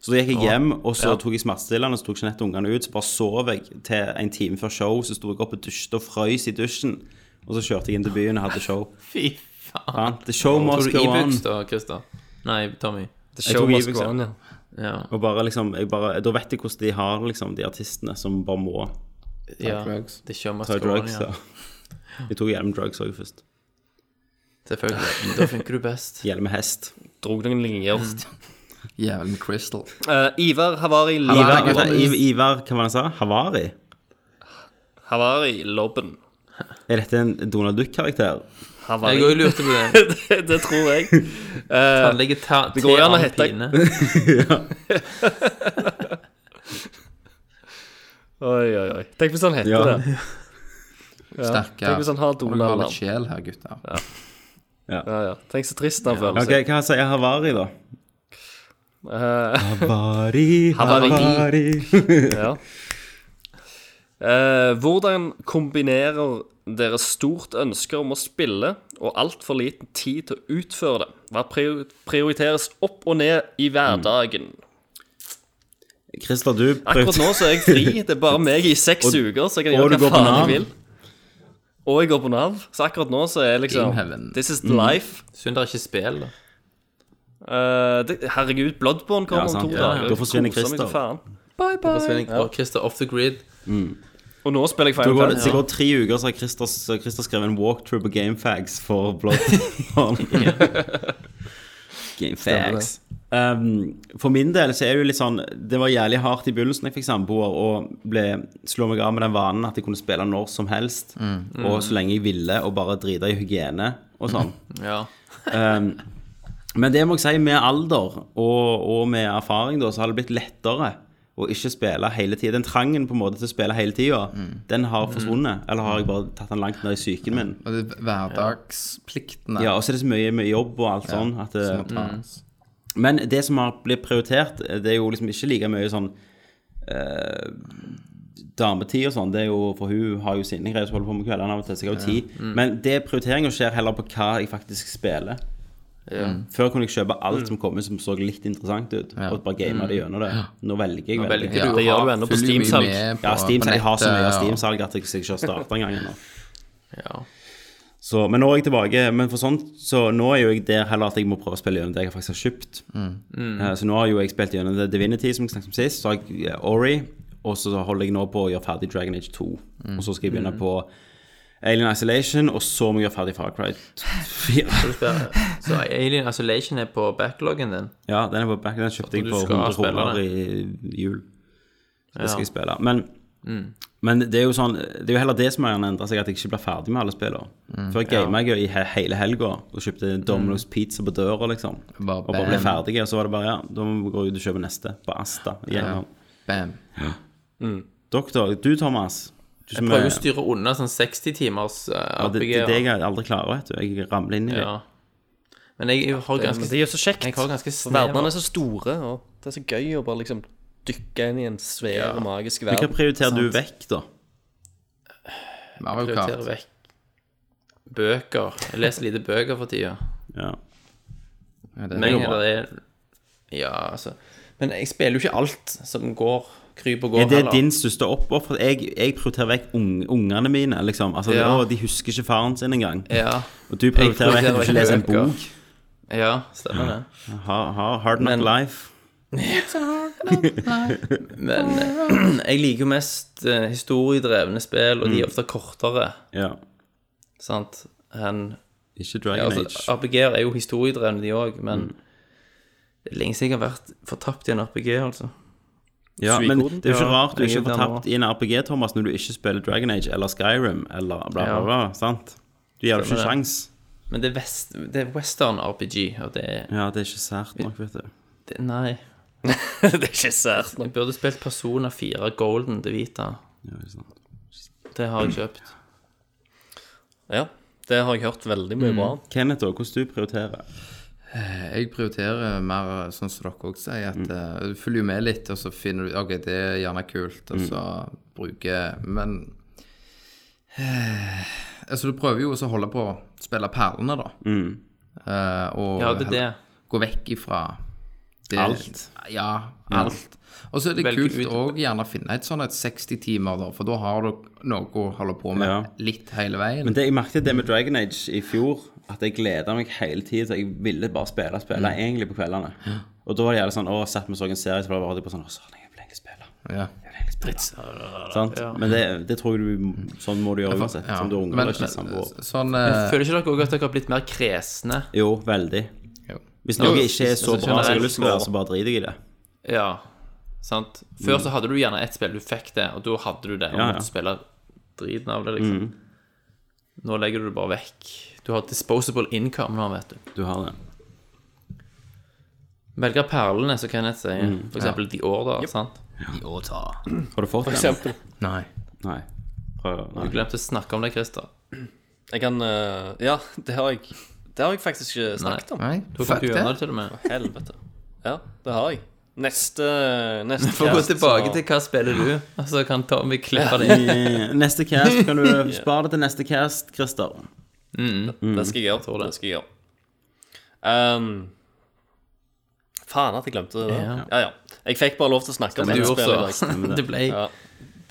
[SPEAKER 8] Så da gikk jeg hjem, og så tok jeg smertestillende, så tok Jeanette ungene ut. Så bare sov jeg til en time før show, så sto jeg opp og dusjte og frøys i dusjen. Og så kjørte jeg inn til byen og hadde show.
[SPEAKER 7] Fy faen.
[SPEAKER 8] Ja, The show
[SPEAKER 7] Tror
[SPEAKER 8] must
[SPEAKER 7] du
[SPEAKER 8] go on.
[SPEAKER 7] Ibux, da, Christer? Nei, Tommy.
[SPEAKER 8] Jeg tok Ibux, ja.
[SPEAKER 7] Ja.
[SPEAKER 8] Og bare liksom, jeg bare, da vet jeg hvordan de har det, liksom, de artistene som bare må
[SPEAKER 7] ja.
[SPEAKER 14] drugs.
[SPEAKER 7] Det kjører
[SPEAKER 8] ta drugs.
[SPEAKER 7] maskorene, ja.
[SPEAKER 8] Ja. Jeg tok hjelm drugs òg først. <laughs>
[SPEAKER 7] Selvfølgelig. Da funker du best.
[SPEAKER 8] Hjelm med hest.
[SPEAKER 2] Drog noen linjer.
[SPEAKER 14] Jævlig med Crystal.
[SPEAKER 2] Eh, Ivar Havari
[SPEAKER 8] Ivar,
[SPEAKER 2] Lobben.
[SPEAKER 8] vent da, Iv- Ivar hva var det han sa? Havari?
[SPEAKER 2] Havari Lobben.
[SPEAKER 8] Er dette en Donald Duck-karakter?
[SPEAKER 2] Havari.
[SPEAKER 7] Jeg òg lurte på det.
[SPEAKER 2] <laughs> det, det tror jeg. Eh,
[SPEAKER 7] Han ligger ta,
[SPEAKER 2] Det går jo an å hete- oi, oi, oi. Tenk hvis han heter
[SPEAKER 8] Ja.
[SPEAKER 2] det.
[SPEAKER 14] Sterkere.
[SPEAKER 2] Tenk hvis han har
[SPEAKER 14] Må dere ha litt
[SPEAKER 2] Donald-navn.
[SPEAKER 14] sjel her, gutter.
[SPEAKER 2] Ja, ja. Tenk så trist han føler
[SPEAKER 8] Ok,
[SPEAKER 2] seg.
[SPEAKER 8] Hva sier Havari, da?
[SPEAKER 2] Eh, <laughs>
[SPEAKER 8] Havari,
[SPEAKER 2] Havari.
[SPEAKER 8] Havari.
[SPEAKER 2] ja. Eh, hvordan kombinerer dere stort ønske om å spille og altfor liten tid til å utføre det? Hva prior- prioriteres opp og ned i hverdagen?
[SPEAKER 8] Christer, du
[SPEAKER 2] Akkurat nå så er jeg fri. Det er bare meg i seks
[SPEAKER 8] Og-
[SPEAKER 2] uker, så jeg kan gjøre
[SPEAKER 8] og du
[SPEAKER 2] hva
[SPEAKER 8] går på
[SPEAKER 2] faen jeg
[SPEAKER 8] Nav.
[SPEAKER 2] vil. Og jeg går på Nav. Så akkurat nå så er jeg
[SPEAKER 14] In
[SPEAKER 2] liksom
[SPEAKER 14] heaven.
[SPEAKER 2] This is
[SPEAKER 8] Mm.
[SPEAKER 2] the life.
[SPEAKER 7] Synd det er ikke spill, da.
[SPEAKER 2] Eh, det, herregud, Bloodborne
[SPEAKER 8] Ja,
[SPEAKER 2] kommer om to
[SPEAKER 8] sant. Ja,
[SPEAKER 2] dager.
[SPEAKER 8] ja.
[SPEAKER 2] Jeg
[SPEAKER 8] Da forsvinner
[SPEAKER 2] koser meg til
[SPEAKER 8] Christer.
[SPEAKER 2] faen.
[SPEAKER 7] Da forsvinner jeg- Og Christer off the grid.
[SPEAKER 2] Og nå spiller jeg
[SPEAKER 8] Da
[SPEAKER 2] Final
[SPEAKER 8] går det,
[SPEAKER 2] Fantasy.
[SPEAKER 8] det går tre uker, så har Christer, så Christer skrevet en walkthrough på Gamefags for Bloodborne. Gamefags. Um, for min del så er det jo litt sånn Det var jævlig hardt i begynnelsen da jeg fikk samboer, og ble, slo meg av med den vanen at jeg kunne spille når som helst, og så lenge jeg ville, og bare drite i hygiene og sånn.
[SPEAKER 7] Ja.
[SPEAKER 8] Um, men det må jeg si, med alder og, og med erfaring, da, så har det blitt lettere å ikke spille hele tida. Den trangen på en måte til å spille hele tida, den har forsvunnet. Eller har jeg bare tatt den langt ned i psyken min?
[SPEAKER 14] Og det er hverdagspliktene
[SPEAKER 8] Ja, og så er det så mye med jobb og alt sånn at det,
[SPEAKER 14] som må tas.
[SPEAKER 8] Men det som har blitt prioritert, det er jo liksom ikke like mye sånn eh, dametid og sånn. Det er jo, for hun har jo sine greier som holder på med kveldene av og til, så jeg har jo tid. Men det prioriteringa skjer heller på hva jeg faktisk spiller. Mm. Før kunne jeg kjøpe alt som kom ut som så litt interessant ut, og bare game det gjennom det. Nå velger jeg veldig.
[SPEAKER 7] velger du.
[SPEAKER 2] Det gjør du ennå på Steam-salg.
[SPEAKER 8] Ja, Steam, jeg har så mye av Steam-salg at jeg ikke har starta engang ennå.
[SPEAKER 7] Ja.
[SPEAKER 8] Så, men nå er jeg tilbake. Men for sånt, så nå er jo jeg der heller at jeg må prøve å spille gjennom det jeg faktisk har kjøpt. Eh, Så nå har jo jeg spilt gjennom The Divinity, som jeg snakket om sist. Så har jeg eh, Ori, og så holder jeg nå på å gjøre ferdig Dragon Age 2. Og så skal jeg begynne på Alien Isolation, og så må jeg gjøre ferdig Far Cry 4.
[SPEAKER 7] Så Alien Isolation er på backloggen din.
[SPEAKER 8] Ja, den, er på back, den kjøpte jeg
[SPEAKER 7] du
[SPEAKER 8] for
[SPEAKER 7] skal
[SPEAKER 8] 100
[SPEAKER 7] spille
[SPEAKER 8] kroner i jul. Det skal jeg spille. Men,
[SPEAKER 7] Mm.
[SPEAKER 8] men det er jo sånn Det er jo heller det som har endra seg, at jeg ikke blir ferdig med alle spillene.
[SPEAKER 7] Mm.
[SPEAKER 8] Før gama jeg jo i he hele helga og kjøpte Domino's Pizza på døra, liksom.
[SPEAKER 9] Bare
[SPEAKER 8] og bare ble
[SPEAKER 9] bam.
[SPEAKER 8] ferdig, og så var det bare ja, da må vi gå ut og kjøpe neste på Asta. Ja.
[SPEAKER 9] Bam.
[SPEAKER 8] Doktor, du Thomas du som
[SPEAKER 7] Prøver
[SPEAKER 8] er-
[SPEAKER 7] å styre unna sånn 60-timers
[SPEAKER 8] ja, det,
[SPEAKER 7] RPG.
[SPEAKER 8] det er det jeg aldri klarer, vet du. Jeg ramler inn i det.
[SPEAKER 7] ja. Men jeg har
[SPEAKER 2] Men
[SPEAKER 7] ganske
[SPEAKER 2] det er jo så kjekt.
[SPEAKER 7] Jeg har ganske
[SPEAKER 2] Verdenene
[SPEAKER 7] snever
[SPEAKER 2] er så store, og det er så gøy å bare liksom dykke inn i en svær, magisk
[SPEAKER 8] Men hva
[SPEAKER 2] verden. <laughs>
[SPEAKER 8] prioriterer du vekk, da?
[SPEAKER 9] Mario Kart.
[SPEAKER 7] prioriterer vekk bøker. Jeg leser lite bøker for tida.
[SPEAKER 8] Ja.
[SPEAKER 9] Ja, det er
[SPEAKER 7] Men
[SPEAKER 9] bra.
[SPEAKER 7] det er Ja, altså Men jeg spiller jo ikke alt som går, kryper og går,
[SPEAKER 8] Er det
[SPEAKER 7] heller.
[SPEAKER 8] din største oppoffer? Jeg, jeg prioriterer vekk ung, ungene mine, liksom. Altså,
[SPEAKER 7] Ja.
[SPEAKER 8] å, de husker ikke faren sin engang.
[SPEAKER 7] Ja,
[SPEAKER 8] Og du prioriterer vekk at du ikke leser en
[SPEAKER 7] bøker.
[SPEAKER 8] bok.
[SPEAKER 7] ja stemmer det.
[SPEAKER 8] Ha, ha, hard knock
[SPEAKER 7] Men-
[SPEAKER 8] life.
[SPEAKER 7] Men eh, jeg liker jo mest eh, historiedrevne spill, og de er ofte kortere,
[SPEAKER 8] Ja.
[SPEAKER 7] sant, enn
[SPEAKER 8] Ikke Dragon
[SPEAKER 7] Ja, altså,
[SPEAKER 8] Age.
[SPEAKER 7] RPG-er er jo historiedrevne, de òg, men det er lenge siden jeg har vært fortapt i en RPG, altså.
[SPEAKER 8] Ja, men det er jo ikke
[SPEAKER 7] Ja,
[SPEAKER 8] rart du ikke
[SPEAKER 7] jeg
[SPEAKER 8] er
[SPEAKER 7] er der
[SPEAKER 8] fortapt i en RPG, Thomas, når du ikke spiller Dragon Age eller Skyrim eller bla, bla,
[SPEAKER 7] Ja.
[SPEAKER 8] bla. Sant? Du gir jo ikke en
[SPEAKER 7] Stemmer det.
[SPEAKER 8] sjans.
[SPEAKER 7] Men det er, vest, det er western RPG, og det er
[SPEAKER 8] Ja, det er ikke sært nok, vet du.
[SPEAKER 7] det, Nei.
[SPEAKER 2] Det er ikke sært.
[SPEAKER 7] Jeg burde spilt Persona 4 Golden De Vita.
[SPEAKER 8] Ja, ikke sant.
[SPEAKER 7] Det har jeg kjøpt.
[SPEAKER 2] Ja, det har jeg hørt veldig mye bra om.
[SPEAKER 8] Kenneth, da, hvordan du prioriterer?
[SPEAKER 9] Jeg prioriterer mer sånn som dere også sier, at eh, du følger jo med litt, og så finner du OK, det er gjerne kult, og så bruker Men eh, Altså, du prøver jo også å holde på å spille perlene, da. Eh, og
[SPEAKER 7] Ja, det er det.
[SPEAKER 9] gå vekk ifra det-
[SPEAKER 8] Alt.
[SPEAKER 9] Ja, alt. Og så er det
[SPEAKER 7] Velge ut-
[SPEAKER 9] kult òg gjerne å finne et sånn et 60-timer, da, for da har du noe å holde på med
[SPEAKER 8] Ja.
[SPEAKER 9] litt hele veien.
[SPEAKER 8] Men det, jeg merket det med Dragon Age i fjor, at jeg gleda meg hele tiden så jeg ville bare spille spille, egentlig på kveldene. Og da var det gjerne sånn Å, satt vi og så en serie, så var det bare på sånn Å, søren, jeg vil egentlig spille.
[SPEAKER 9] ja.
[SPEAKER 8] Sant? Men det, det tror jeg du Sånn må du gjøre uansett.
[SPEAKER 9] Ja.
[SPEAKER 8] Som du er ung
[SPEAKER 9] Men-
[SPEAKER 8] eller ikke samboer.
[SPEAKER 9] Sånn eh,
[SPEAKER 7] Mm. Føler ikke dere også at dere har blitt mer kresne?
[SPEAKER 8] Jo, veldig.
[SPEAKER 9] Jo.
[SPEAKER 8] Hvis noe ikke er så
[SPEAKER 7] altså,
[SPEAKER 8] bra som jeg har
[SPEAKER 7] generelt
[SPEAKER 8] lyst til å gjøre, så bare driter jeg i det.
[SPEAKER 7] Ja. Sant? Før så hadde du gjerne ett spill, du fikk det, og da hadde du det. Og
[SPEAKER 8] Ja, ja.
[SPEAKER 7] måtte spille driten av det, liksom. Nå legger du det bare vekk. Du har disposable income nå, vet du.
[SPEAKER 8] Du har det.
[SPEAKER 7] Velge perlene, som Kenneth sier. For eksempel The Order. sant?
[SPEAKER 8] Har du fått
[SPEAKER 2] For
[SPEAKER 8] den?
[SPEAKER 2] eksempel.
[SPEAKER 9] Nei.
[SPEAKER 8] Nei. Prøv,
[SPEAKER 7] Du
[SPEAKER 8] nei.
[SPEAKER 7] glemte å snakke om det, Christer.
[SPEAKER 2] Jeg kan eh, Ja, det har jeg Det har jeg faktisk ikke snakket om.
[SPEAKER 9] Nei.
[SPEAKER 7] Du
[SPEAKER 9] Fuck
[SPEAKER 7] kom til å
[SPEAKER 9] det.
[SPEAKER 7] gjøre det til og med.
[SPEAKER 2] Helvete. Ja, det har jeg. Neste <laughs> Neste
[SPEAKER 7] Få gå
[SPEAKER 2] cast så-
[SPEAKER 7] tilbake til hva spiller du, og så kan Tommy klippe det inn.
[SPEAKER 8] <laughs> Eh, Neste cast kan du spare det til neste cast, Christer.
[SPEAKER 2] Det skal jeg gjøre. Det skal jeg gjøre. Ehm, faen at jeg glemte det. Ja. ja, ja. Jeg fikk bare lov til å snakke om
[SPEAKER 7] Du
[SPEAKER 2] det spillet i
[SPEAKER 7] også.
[SPEAKER 2] dag.
[SPEAKER 7] <laughs> Det ble
[SPEAKER 2] Ja.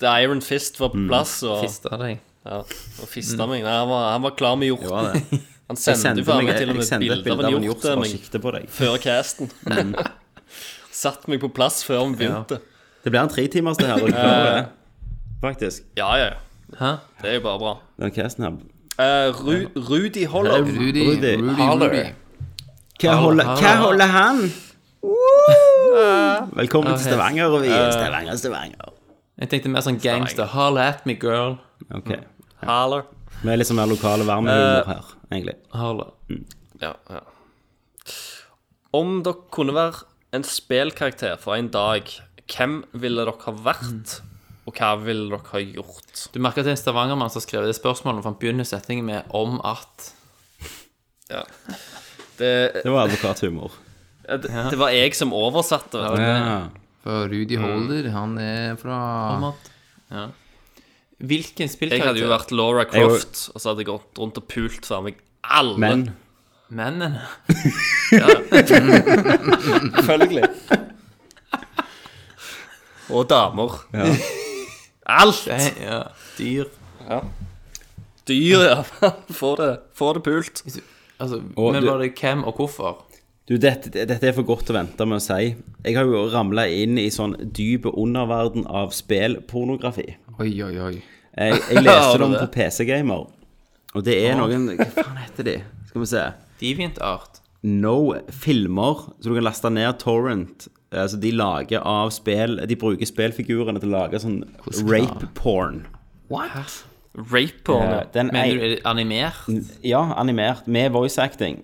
[SPEAKER 2] The Iron Mm. Fist var på plass og,
[SPEAKER 7] fista deg.
[SPEAKER 2] ja, og fista meg. Nei, han, var, han var klar med hjort.
[SPEAKER 8] Ja, det.
[SPEAKER 2] Han
[SPEAKER 8] Jeg
[SPEAKER 2] sendte
[SPEAKER 8] sendte,
[SPEAKER 2] jo faen
[SPEAKER 8] meg,
[SPEAKER 2] meg til og
[SPEAKER 8] jeg
[SPEAKER 2] med
[SPEAKER 8] sendte et
[SPEAKER 2] bilde av en hjort
[SPEAKER 8] som
[SPEAKER 2] til
[SPEAKER 8] bare
[SPEAKER 2] meg
[SPEAKER 8] sikter på deg.
[SPEAKER 2] før casten. <laughs> Satt meg på plass før han begynte.
[SPEAKER 8] Det blir en tretimers, det her. dere klarer det. Faktisk.
[SPEAKER 2] Ja, ja, ja.
[SPEAKER 7] Hæ?
[SPEAKER 2] Det er jo bare bra.
[SPEAKER 8] Den casten her.
[SPEAKER 2] Eh, Ru Rudi Holler.
[SPEAKER 9] Rudy,
[SPEAKER 8] Rudy.
[SPEAKER 9] Rudy,
[SPEAKER 2] Haller.
[SPEAKER 9] Rudy.
[SPEAKER 8] Hva holder, hva
[SPEAKER 7] hallo.
[SPEAKER 8] holder han? Velkommen til Stavanger, Revy. Stavanger, Stavanger.
[SPEAKER 7] Jeg tenkte mer sånn gangster. Holla at me, girl.
[SPEAKER 8] Ok.
[SPEAKER 2] Haller.
[SPEAKER 8] Mm. Vi er liksom mer lokale varmehumor her, egentlig.
[SPEAKER 7] Holla.
[SPEAKER 2] Ja, ja. Om dere kunne være en spillkarakter for en dag, hvem ville dere ha vært? Og hva ville dere ha gjort?
[SPEAKER 7] Du merker at det er en stavangermann som har skrevet det spørsmålet, for han begynner setningen med 'om at'.
[SPEAKER 2] Det,
[SPEAKER 8] Det var advokathumor.
[SPEAKER 2] Ja, Det, det var jeg som oversatte. vet du.
[SPEAKER 8] Ja.
[SPEAKER 9] For Rudi Holder, han er fra
[SPEAKER 7] Ja. Hvilken
[SPEAKER 2] Jeg hadde jo
[SPEAKER 7] spillkarakter?
[SPEAKER 2] vært Laura Croft, og så hadde jeg gått rundt og pult for meg alle.
[SPEAKER 8] Men
[SPEAKER 7] Mennene?
[SPEAKER 8] Selvfølgelig.
[SPEAKER 2] Og damer. Alt!
[SPEAKER 7] Nei, Ja. Dyr?
[SPEAKER 2] Dyr, ja. <laughs> Få det, få det pult.
[SPEAKER 7] Altså,
[SPEAKER 8] Og
[SPEAKER 7] men
[SPEAKER 8] du-
[SPEAKER 7] var det hvem og hvorfor?
[SPEAKER 8] Du, dette, dette er for godt å vente med å si. Jeg har jo ramla inn i sånn dyp underverden av spillpornografi.
[SPEAKER 9] eh, Oi, oi, oi.
[SPEAKER 8] Jeg, <laughs> jeg leste det om på PC Gamer, og det er noen Hva faen heter de? Skal vi se.
[SPEAKER 7] Deviantart?
[SPEAKER 8] No filmer, så du kan laste ned torrent. Altså, de lager av spill De bruker spillfigurene til å lage sånn rape porn.
[SPEAKER 7] What?
[SPEAKER 2] Rape porno.
[SPEAKER 8] Eh, Den
[SPEAKER 7] Mener du
[SPEAKER 8] er, Mm.
[SPEAKER 7] er det animert?
[SPEAKER 8] ja, animert, med voice acting.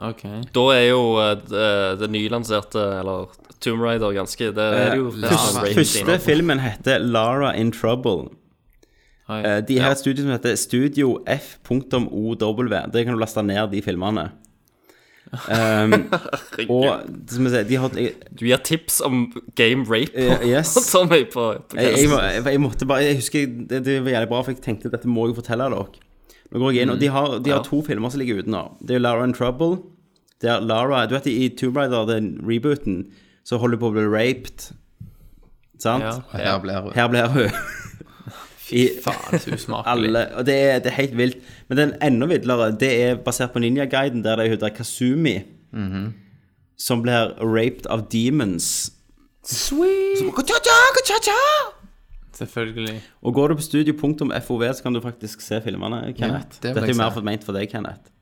[SPEAKER 7] OK.
[SPEAKER 2] Da er jo eh, det, det nylanserte, eller Tomb Raider, ganske Det er jo det er sånn rape
[SPEAKER 8] Eh, Første
[SPEAKER 2] scene.
[SPEAKER 8] filmen heter Lara in Trouble.
[SPEAKER 7] Oi.
[SPEAKER 8] Eh, De har et studio som heter Studio F.ow. Det kan du laste ned de filmene. Um, og som jeg sier, de har
[SPEAKER 2] Du gir tips om game rape <laughs>
[SPEAKER 8] Eh, yes.
[SPEAKER 2] på Tommy på, på
[SPEAKER 8] jeg, jeg, må- jeg, jeg måtte bare Jeg husker det, det var jævlig bra, for jeg tenkte dette må jeg fortelle dere. Nå går jeg inn, og De har, de har to filmer som ligger ute nå. Det er Lara in Trouble. Der Lara Du vet i Tomb Raider, den rebooten, så holder hun på å bli raped. Sant?
[SPEAKER 7] Ja.
[SPEAKER 9] Og her blir hun.
[SPEAKER 8] Her blir hun
[SPEAKER 7] <laughs> Fy faen, så usmakelig.
[SPEAKER 8] alle Og det er, det er helt vilt. Men den enda villere, det er basert på Ninja-guiden, der det er hun der Kasumi
[SPEAKER 7] Mhm.
[SPEAKER 8] som blir raped av demons.
[SPEAKER 7] Selvfølgelig.
[SPEAKER 8] Og går du på studio.fov, så kan du faktisk se filmene, Kenneth.
[SPEAKER 9] det vil
[SPEAKER 8] Dette er
[SPEAKER 9] jeg
[SPEAKER 8] jo mer
[SPEAKER 9] si.
[SPEAKER 8] for ment for deg, Kenneth.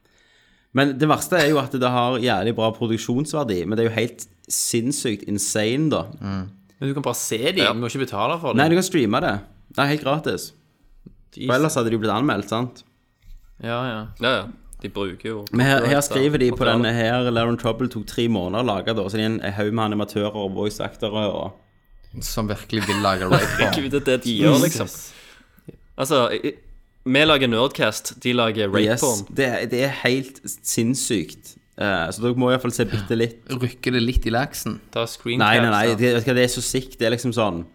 [SPEAKER 8] Men det verste er jo at det har jævlig bra produksjonsverdi, men det er jo helt sinnssykt insane, da.
[SPEAKER 9] Mm.
[SPEAKER 7] Men du kan bare se dem, du må ikke betale for dem.
[SPEAKER 8] Nei, du kan streame det. Det er helt gratis. For ellers hadde de blitt anmeldt, sant?
[SPEAKER 7] Ja, ja.
[SPEAKER 2] Ja, ja. De bruker jo
[SPEAKER 8] Men her, her
[SPEAKER 2] copyright,
[SPEAKER 8] skriver de
[SPEAKER 2] da.
[SPEAKER 8] på denne her Laron Trouble tok tre måneder å lage, da. Så det er en en haug med animatører og voice actorer og
[SPEAKER 9] Som virkelig vil lage rape porn.
[SPEAKER 2] Gud, det er det de gjør, liksom. Altså, i- i- vi lager Nerdcast, de lager rape
[SPEAKER 8] Yes.
[SPEAKER 2] porn.
[SPEAKER 8] Det, er- det er helt sinnssykt. Eh, så dere må iallfall se bitte litt
[SPEAKER 9] Rykker det litt i laksen.
[SPEAKER 7] Ta screencap.
[SPEAKER 8] Nei, nei, nei,
[SPEAKER 7] da.
[SPEAKER 8] det, vet du hva, det er så sick. Det er liksom sånn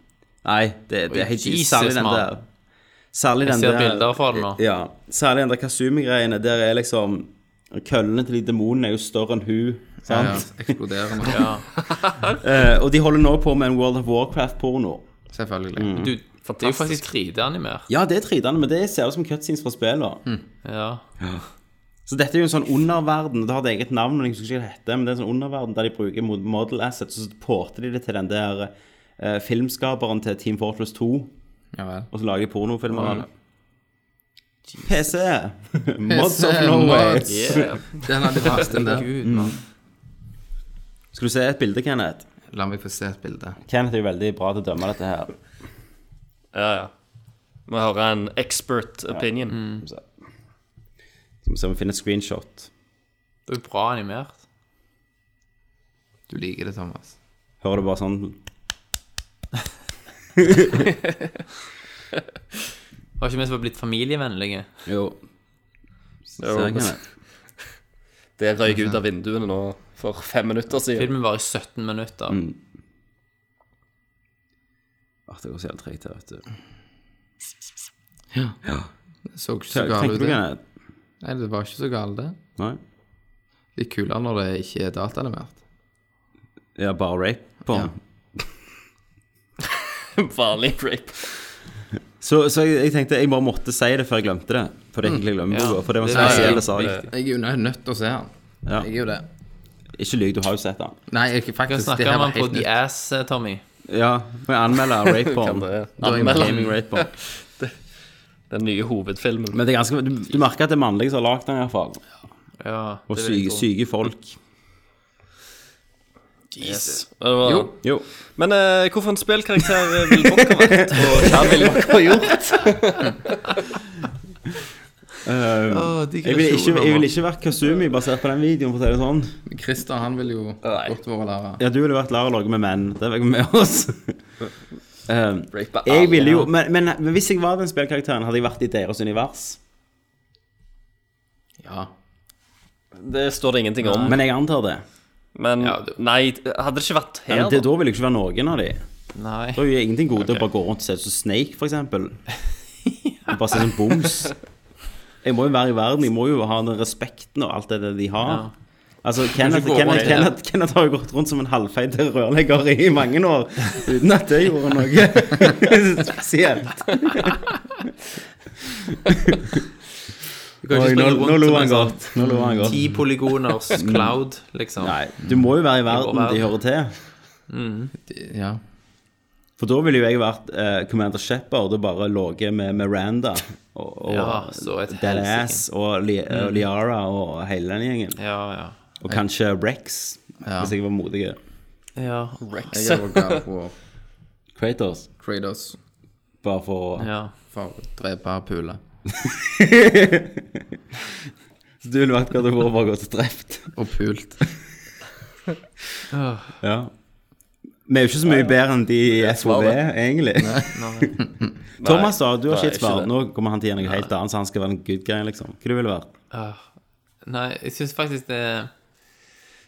[SPEAKER 8] Nei, det, det er helt
[SPEAKER 7] Jesus,
[SPEAKER 8] Særlig den
[SPEAKER 7] mann.
[SPEAKER 8] der Særlig
[SPEAKER 7] Jeg
[SPEAKER 8] den
[SPEAKER 7] ser
[SPEAKER 8] der
[SPEAKER 7] bilder fra det nå.
[SPEAKER 8] Ja. Særlig den der Kasumi-greiene. Der er liksom Køllene til de demonene er jo større enn hun. Sant?
[SPEAKER 9] Ja, eksploderende. Ja.
[SPEAKER 8] Eh, og de holder nå på med en World of Warcraft-porno.
[SPEAKER 9] Selvfølgelig.
[SPEAKER 7] Du, det er jo faktisk 3D-animert.
[SPEAKER 8] Ja, det er tridende, men det ser ut som cutscenes fra spillet.
[SPEAKER 7] Ja.
[SPEAKER 8] Mm. Så dette er jo en sånn underverden. Det har et eget navn, men jeg husker ikke hva det heter. Men det er en sånn underverden der de bruker mod- model assets, og så porter de det til den der eh, filmskaperen til Team Fortress 2.
[SPEAKER 9] Ja vel.
[SPEAKER 8] Og så lager de pornofilmer av det. PC! Mods
[SPEAKER 9] PC,
[SPEAKER 8] of Norway.
[SPEAKER 9] mods. Eh, Den hadde vært den der.
[SPEAKER 7] Gud, mann.
[SPEAKER 8] Skal du se et bilde, Kenneth?
[SPEAKER 9] La meg få se et bilde.
[SPEAKER 8] Kenneth er jo veldig bra til å dømme dette her.
[SPEAKER 2] Ja, ja. Vi hører en expert opinion.
[SPEAKER 8] Mm. Så må vi se om vi finner et screenshot.
[SPEAKER 7] Det er jo bra animert.
[SPEAKER 9] Du liker det, Thomas.
[SPEAKER 8] Hører du bare sånn
[SPEAKER 7] Har ikke vi som har blitt familievennlige?
[SPEAKER 8] Jo. Se, Kenneth.
[SPEAKER 2] Det røyk ut av vinduene nå for fem minutter siden.
[SPEAKER 7] Filmen var i 17 minutter.
[SPEAKER 8] Mm. Åh, Det går så jævlig tregt her, vet du.
[SPEAKER 9] Det så ikke så gal
[SPEAKER 8] Tenker
[SPEAKER 9] ut.
[SPEAKER 8] du,
[SPEAKER 9] det.
[SPEAKER 8] Kenneth?
[SPEAKER 9] Nei, det var ikke så galt, det.
[SPEAKER 8] Nei?
[SPEAKER 9] Litt kulere når det ikke er dataanimert.
[SPEAKER 8] Ja, bare rape på
[SPEAKER 9] Ja.
[SPEAKER 8] den.
[SPEAKER 2] <laughs> Vanlig rape.
[SPEAKER 8] Så, så jeg, jeg tenkte jeg bare måtte si det før jeg glemte det. For det er egentlig glemmeboka. For Mm. det var en spesiell sak.
[SPEAKER 9] Jeg er jo nø- nødt til å se han.
[SPEAKER 8] Ja.
[SPEAKER 9] Jeg er jo det.
[SPEAKER 8] Ikke lyv, du har jo sett den.
[SPEAKER 9] Nei, jeg,
[SPEAKER 7] Hva
[SPEAKER 9] faktisk, det
[SPEAKER 7] snakker
[SPEAKER 9] her
[SPEAKER 7] man
[SPEAKER 9] var
[SPEAKER 7] på
[SPEAKER 9] helt
[SPEAKER 7] The
[SPEAKER 9] nytt.
[SPEAKER 7] Ass, eh, Tommy?
[SPEAKER 8] Ja, må jeg anmelde rape porn.
[SPEAKER 2] Anmeld
[SPEAKER 8] Gaming rape porn.
[SPEAKER 2] den nye hovedfilmen.
[SPEAKER 8] Men det er ganske, du, du merker at det er mannlige som har lagd den, iallfall.
[SPEAKER 7] Ja,
[SPEAKER 8] Og
[SPEAKER 7] det vil jeg
[SPEAKER 8] syke,
[SPEAKER 7] tro.
[SPEAKER 8] syke folk.
[SPEAKER 2] Yes. Det var-
[SPEAKER 9] Jo.
[SPEAKER 8] Jo.
[SPEAKER 2] Men eh, hvorfor en spillkarakter eh, ville <laughs> dere vært, og hva ville dere gjort?
[SPEAKER 7] Åh,
[SPEAKER 8] Ehm, Jeg ville ikke,
[SPEAKER 7] digresjoner,
[SPEAKER 8] jeg vil
[SPEAKER 7] mann.
[SPEAKER 8] ikke vært Kasumi basert på den videoen, for å si det sånn.
[SPEAKER 9] Christer, han vil jo godt være lærer.
[SPEAKER 8] Ja, du ville vært Lara Logge med menn. Det var jeg med <laughs> oss. Um,
[SPEAKER 2] Rape
[SPEAKER 8] jeg ville jo men, men men hvis jeg var den spillkarakteren, hadde jeg vært i deres univers.
[SPEAKER 9] Ja.
[SPEAKER 2] Det står det ingenting om.
[SPEAKER 8] Men jeg antar det.
[SPEAKER 2] Men
[SPEAKER 7] Ja, det-
[SPEAKER 2] nei, hadde det ikke vært her,
[SPEAKER 8] Ja, men det,
[SPEAKER 2] da?
[SPEAKER 8] da vil det ikke være noen av de.
[SPEAKER 7] Nei.
[SPEAKER 8] Da er jo ingenting gode til å bare gå rundt og se ut som Snake, for
[SPEAKER 7] <laughs>
[SPEAKER 8] eksempel. Og Bare se som boms. Jeg må jo være i verden, jeg må jo ha den respekten og alt det der de har. Altså, Kenneth,
[SPEAKER 7] gå
[SPEAKER 8] Kenneth,
[SPEAKER 7] rundt-
[SPEAKER 8] Kenneth, Kenneth har jo gått rundt som en halvfeit rørlegger i mange år, uten at det gjorde noe <laughs> spesielt.
[SPEAKER 7] Du kan
[SPEAKER 8] Oi,
[SPEAKER 7] ikke
[SPEAKER 8] nå,
[SPEAKER 7] springe
[SPEAKER 8] nå
[SPEAKER 7] rundt
[SPEAKER 8] lo
[SPEAKER 7] som en
[SPEAKER 8] han
[SPEAKER 7] sånn
[SPEAKER 8] godt. Nå lo han godt. Mm.
[SPEAKER 7] ti
[SPEAKER 8] <laughs>
[SPEAKER 7] polygoners cloud, liksom.
[SPEAKER 8] Nei, du må jo være i verden
[SPEAKER 7] være-
[SPEAKER 8] de hører til.
[SPEAKER 9] <laughs>
[SPEAKER 14] Ja.
[SPEAKER 8] For da ville jo jeg vært eh, Commander Shepherd og bare ligget med Miranda og, og
[SPEAKER 7] Ja, så et
[SPEAKER 8] Badass og, Li og Liara og hele den gjengen.
[SPEAKER 7] Ja, ja.
[SPEAKER 8] Og kanskje Rex, hvis jeg var modig.
[SPEAKER 7] Ja, Rex.
[SPEAKER 14] Jeg er jo glad for
[SPEAKER 8] Kratos,
[SPEAKER 14] Kratos
[SPEAKER 8] bare for å
[SPEAKER 7] Ja.
[SPEAKER 14] for å drepe Pula.
[SPEAKER 8] Så Du ville vært glad for å bare gå til drept.
[SPEAKER 14] Og pult.
[SPEAKER 8] Ja. Vi er jo ikke så mye bedre enn de i SOV, egentlig. <laughs> Thomas, da, du
[SPEAKER 2] Nei,
[SPEAKER 8] har ikke et
[SPEAKER 2] ikke
[SPEAKER 8] svar.
[SPEAKER 2] det.
[SPEAKER 8] Nå kommer han til å gjøre noe helt annet, så han skal være en good guy, liksom. Hva du ville vært?
[SPEAKER 7] Ah. Nei, jeg syns faktisk det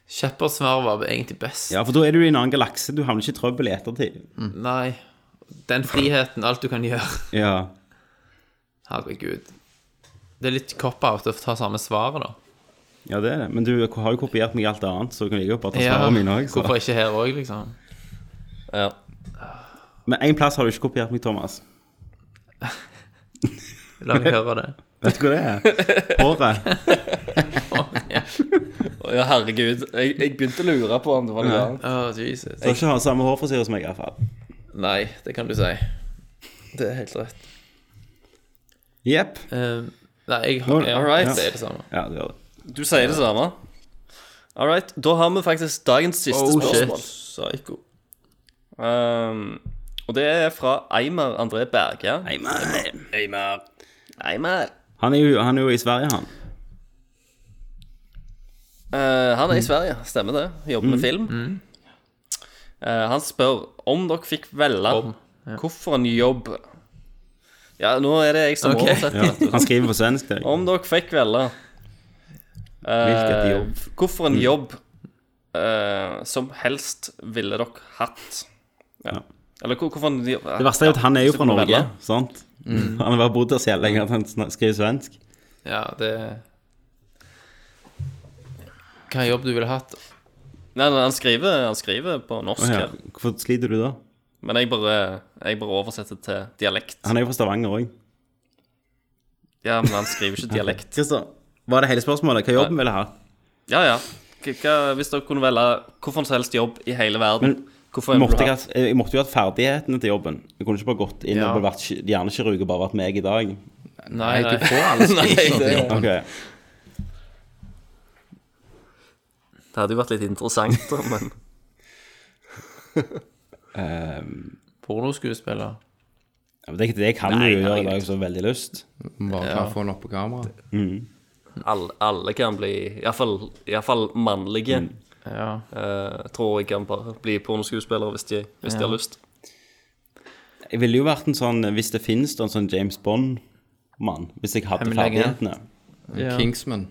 [SPEAKER 7] Shepherds svar var egentlig best.
[SPEAKER 8] Ja, for da er du i en annen galakse. Du havner ikke i trøbbel i ettertid.
[SPEAKER 7] Nei. Den friheten, alt du kan gjøre.
[SPEAKER 8] Ja.
[SPEAKER 7] Herregud. Det er litt cop-out å ta samme svaret, da.
[SPEAKER 8] Ja, det er det. Men du har jo kopiert meg i alt annet, så du kan like godt bare ta
[SPEAKER 7] Ja,
[SPEAKER 8] svarene mine òg.
[SPEAKER 7] Hvorfor ikke her òg, liksom?
[SPEAKER 2] Ja.
[SPEAKER 8] Men én plass har du ikke kopiert meg, Thomas.
[SPEAKER 7] La meg høre <laughs> det.
[SPEAKER 8] Vet du hva det er? Håret.
[SPEAKER 2] Å, ja, herregud. Jeg, jeg begynte å lure på om det var noe annet.
[SPEAKER 7] Oh, Jesus.
[SPEAKER 8] Du har ikke ha samme hårfrisyre som meg, iallfall.
[SPEAKER 7] Nei, det kan du si. Det er helt rett.
[SPEAKER 8] Jepp.
[SPEAKER 7] Eh, nei, jeg
[SPEAKER 8] Nå-
[SPEAKER 7] ja,
[SPEAKER 2] all right.
[SPEAKER 7] Det er det samme.
[SPEAKER 8] Ja, du gjør det.
[SPEAKER 2] Du sier det samme. All right. Da har vi faktisk dagens siste
[SPEAKER 7] Oh,
[SPEAKER 2] spørsmål.
[SPEAKER 7] shit.
[SPEAKER 2] Psycho. Um, og det er fra Eimer André Berge. Eimer. Eimer.
[SPEAKER 8] Han er, jo, han er jo i Sverige, han.
[SPEAKER 2] Eh, han
[SPEAKER 8] Mm.
[SPEAKER 2] er i Sverige, stemmer det. Jobber med film. Eh, han spør om dere fikk velge hvorfor en jobb Ja, nå er det jeg som
[SPEAKER 7] Ok.
[SPEAKER 2] oversetter. vet du.
[SPEAKER 8] Han skriver på svensk. Det.
[SPEAKER 2] Om dere fikk velge
[SPEAKER 8] Hvilket
[SPEAKER 2] eh,
[SPEAKER 8] jobb? Mm.
[SPEAKER 2] Hvorfor en jobb eh, som helst ville dere hatt? Ja.
[SPEAKER 8] Ja.
[SPEAKER 2] Eller hvor- hvorfor en jobb
[SPEAKER 8] det verste er jo at han er jo
[SPEAKER 2] så
[SPEAKER 8] fra
[SPEAKER 2] kan du
[SPEAKER 8] Norge.
[SPEAKER 2] velge.
[SPEAKER 8] sant?
[SPEAKER 7] Mm.
[SPEAKER 8] Han har bare bodd der så jævlig lenge at han snak- skriver svensk.
[SPEAKER 7] Ja, det Hva jobb du ville hatt?
[SPEAKER 2] Nei, nei, han skriver, han skriver på norsk
[SPEAKER 8] Å, ja.
[SPEAKER 2] her,
[SPEAKER 8] Hvorfor sliter du da?
[SPEAKER 2] men jeg bare, jeg bare oversetter til dialekt.
[SPEAKER 8] Han er jo fra Stavanger òg.
[SPEAKER 2] Ja, men han skriver
[SPEAKER 8] <laughs>
[SPEAKER 2] ikke dialekt.
[SPEAKER 8] Christer, var det hele spørsmålet? Hva jobben ville ha?
[SPEAKER 2] Ja, ja. K- Hva, hvis dere kunne velge hvorfor som helst jobb i hele verden, hvorfor en
[SPEAKER 8] Måtte
[SPEAKER 2] bra-
[SPEAKER 8] jeg, hatt- jeg måtte jo hatt ferdighetene til jobben. Jeg kunne ikke bare gått inn
[SPEAKER 7] Ja.
[SPEAKER 8] og bare vært ki- hjernekirurg og bare vært meg i dag.
[SPEAKER 7] Nei,
[SPEAKER 14] Du
[SPEAKER 7] nei.
[SPEAKER 14] får alle skills.
[SPEAKER 8] Ok,
[SPEAKER 2] Det hadde jo vært litt interessant, da, men
[SPEAKER 7] <laughs> Pornoskuespiller.
[SPEAKER 8] ja, men det, det kan du jo gjøre i dag hvis du har veldig lyst.
[SPEAKER 14] Bare klare å få den opp på kamera.
[SPEAKER 2] alle, alle kan bli Iallfall fall mannlige.
[SPEAKER 8] Mm.
[SPEAKER 7] Ja.
[SPEAKER 2] eh, tror jeg kan bare bli pornoskuespillere hvis de, hvis de har lyst.
[SPEAKER 8] Jeg ville jo vært en sånn, hvis det finnes da, en sånn James Bond-mann, hvis jeg hadde
[SPEAKER 7] Hemmelig agent.
[SPEAKER 8] ferdighetene.
[SPEAKER 7] ja.
[SPEAKER 14] Kingsman.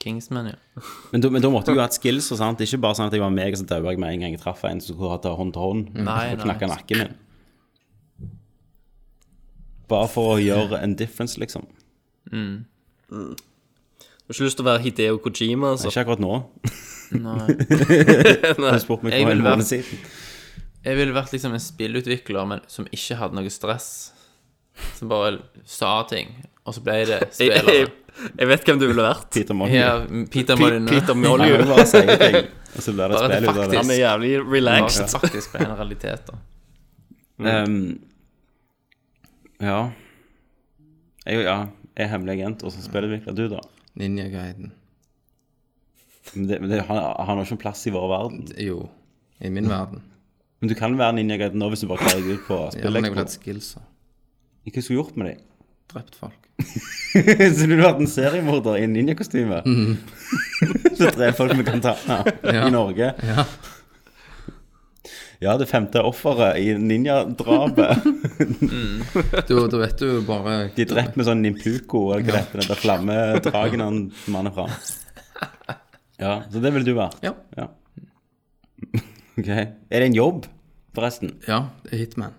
[SPEAKER 7] Kingsman, ja.
[SPEAKER 8] Men da, men da måtte jeg jo hatt skills og sånt. Ikke bare sånn at jeg var meg og så døde jeg med en gang jeg traff en som kunne ha ta hånd til hånd.
[SPEAKER 7] Nei,
[SPEAKER 8] og
[SPEAKER 7] nei.
[SPEAKER 8] knakka nakken min. Bare for å gjøre en difference, liksom.
[SPEAKER 2] Du har ikke lyst til å være Hideo Kojima, altså.
[SPEAKER 8] Ikke akkurat nå. <laughs>
[SPEAKER 7] Nei.
[SPEAKER 8] Du spurte meg for
[SPEAKER 7] Jeg
[SPEAKER 8] en
[SPEAKER 7] ville vært-
[SPEAKER 8] måned siden.
[SPEAKER 7] Jeg ville vært liksom en spillutvikler men som ikke hadde noe stress. Som bare sa ting, og så ble det
[SPEAKER 2] <laughs> Jeg,
[SPEAKER 7] spillere.
[SPEAKER 2] jeg, jeg vet hvem du ville vært.
[SPEAKER 8] Peter Molly.
[SPEAKER 7] Ja, Peter Molyneux.
[SPEAKER 2] Peter
[SPEAKER 7] <laughs>
[SPEAKER 8] Han
[SPEAKER 2] Molly.
[SPEAKER 8] vil bare si ting, og så blir det
[SPEAKER 7] Bare at det
[SPEAKER 8] spill ut av det.
[SPEAKER 2] Han er jævlig
[SPEAKER 7] var
[SPEAKER 2] relaxed.
[SPEAKER 7] faktisk ble en realitet, da.
[SPEAKER 8] Ehm, ja. Jeg, ja. Jeg er hemmelig agent, og så spillutvikler du, da.
[SPEAKER 14] Ninja Guiden.
[SPEAKER 8] Men det, men det, han, han har ikke en plass i vår verden.
[SPEAKER 14] Jo. I min verden.
[SPEAKER 8] Men du kan være Ninja Gaiden nå hvis du bare klarer deg ut på
[SPEAKER 14] Ja, men jeg ville hatt
[SPEAKER 8] spilleksport.
[SPEAKER 14] skills. og
[SPEAKER 8] Hva skulle du gjort med dem?
[SPEAKER 14] Drept folk.
[SPEAKER 8] <laughs> Så du ville vært en seriemorder i en ninjakostyme?
[SPEAKER 14] Mm.
[SPEAKER 8] <laughs> så drev folk med kantana i Norge. Ja. det femte offeret i ninjadrapet.
[SPEAKER 14] Du, da vet du bare
[SPEAKER 8] De er drept med sånn nimpuko, eller hva det heter, den der flammedragen han manner fram. Ja, Så det ville du vært?
[SPEAKER 9] Ja.
[SPEAKER 8] <laughs> Ok. Er det en jobb, forresten?
[SPEAKER 9] Ja, det er Hitman.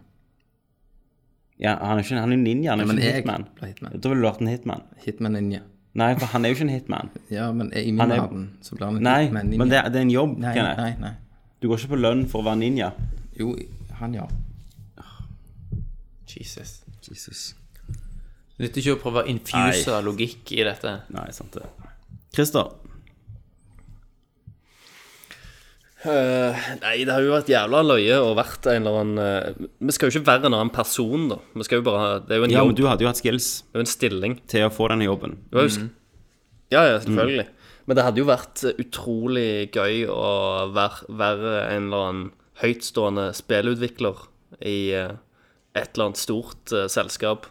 [SPEAKER 8] Ja, han er jo ikke han er jo ninja, han er jo
[SPEAKER 9] Men
[SPEAKER 8] ikke en
[SPEAKER 9] jeg
[SPEAKER 8] hitman.
[SPEAKER 9] ble Hitman.
[SPEAKER 8] Da ville du vært en hitman.
[SPEAKER 9] Hitman Ninja.
[SPEAKER 8] Nei, for han er jo ikke en hitman.
[SPEAKER 9] Ja, men i min
[SPEAKER 8] Han er-
[SPEAKER 9] verden så blir han en
[SPEAKER 8] Nei,
[SPEAKER 9] Hitman Ninja.
[SPEAKER 8] men det, er- det er en jobb,
[SPEAKER 9] Nei,
[SPEAKER 8] Kenneth.
[SPEAKER 9] nei, nei.
[SPEAKER 8] Du går ikke på lønn for å være ninja.
[SPEAKER 9] Jo, han, ja. Jesus.
[SPEAKER 7] Nytter ikke å prøve å infuse logikk i dette.
[SPEAKER 8] Nei, sant det. Christer,
[SPEAKER 2] Eh, Nei, det har jo vært jævla løye og vært en eller annen eh, Vi skal jo ikke være en annen person, da. Vi skal jo bare ha Det er jo en
[SPEAKER 8] ja, men
[SPEAKER 2] jobb,
[SPEAKER 8] du hadde jo hatt skills
[SPEAKER 2] det er jo en stilling.
[SPEAKER 8] til å få denne jobben.
[SPEAKER 2] Det var jo sk- Ja, ja, selvfølgelig. Mm. Men det hadde jo vært eh, utrolig gøy å være, være en eller annen høytstående spillutvikler i eh, et eller annet stort eh, selskap.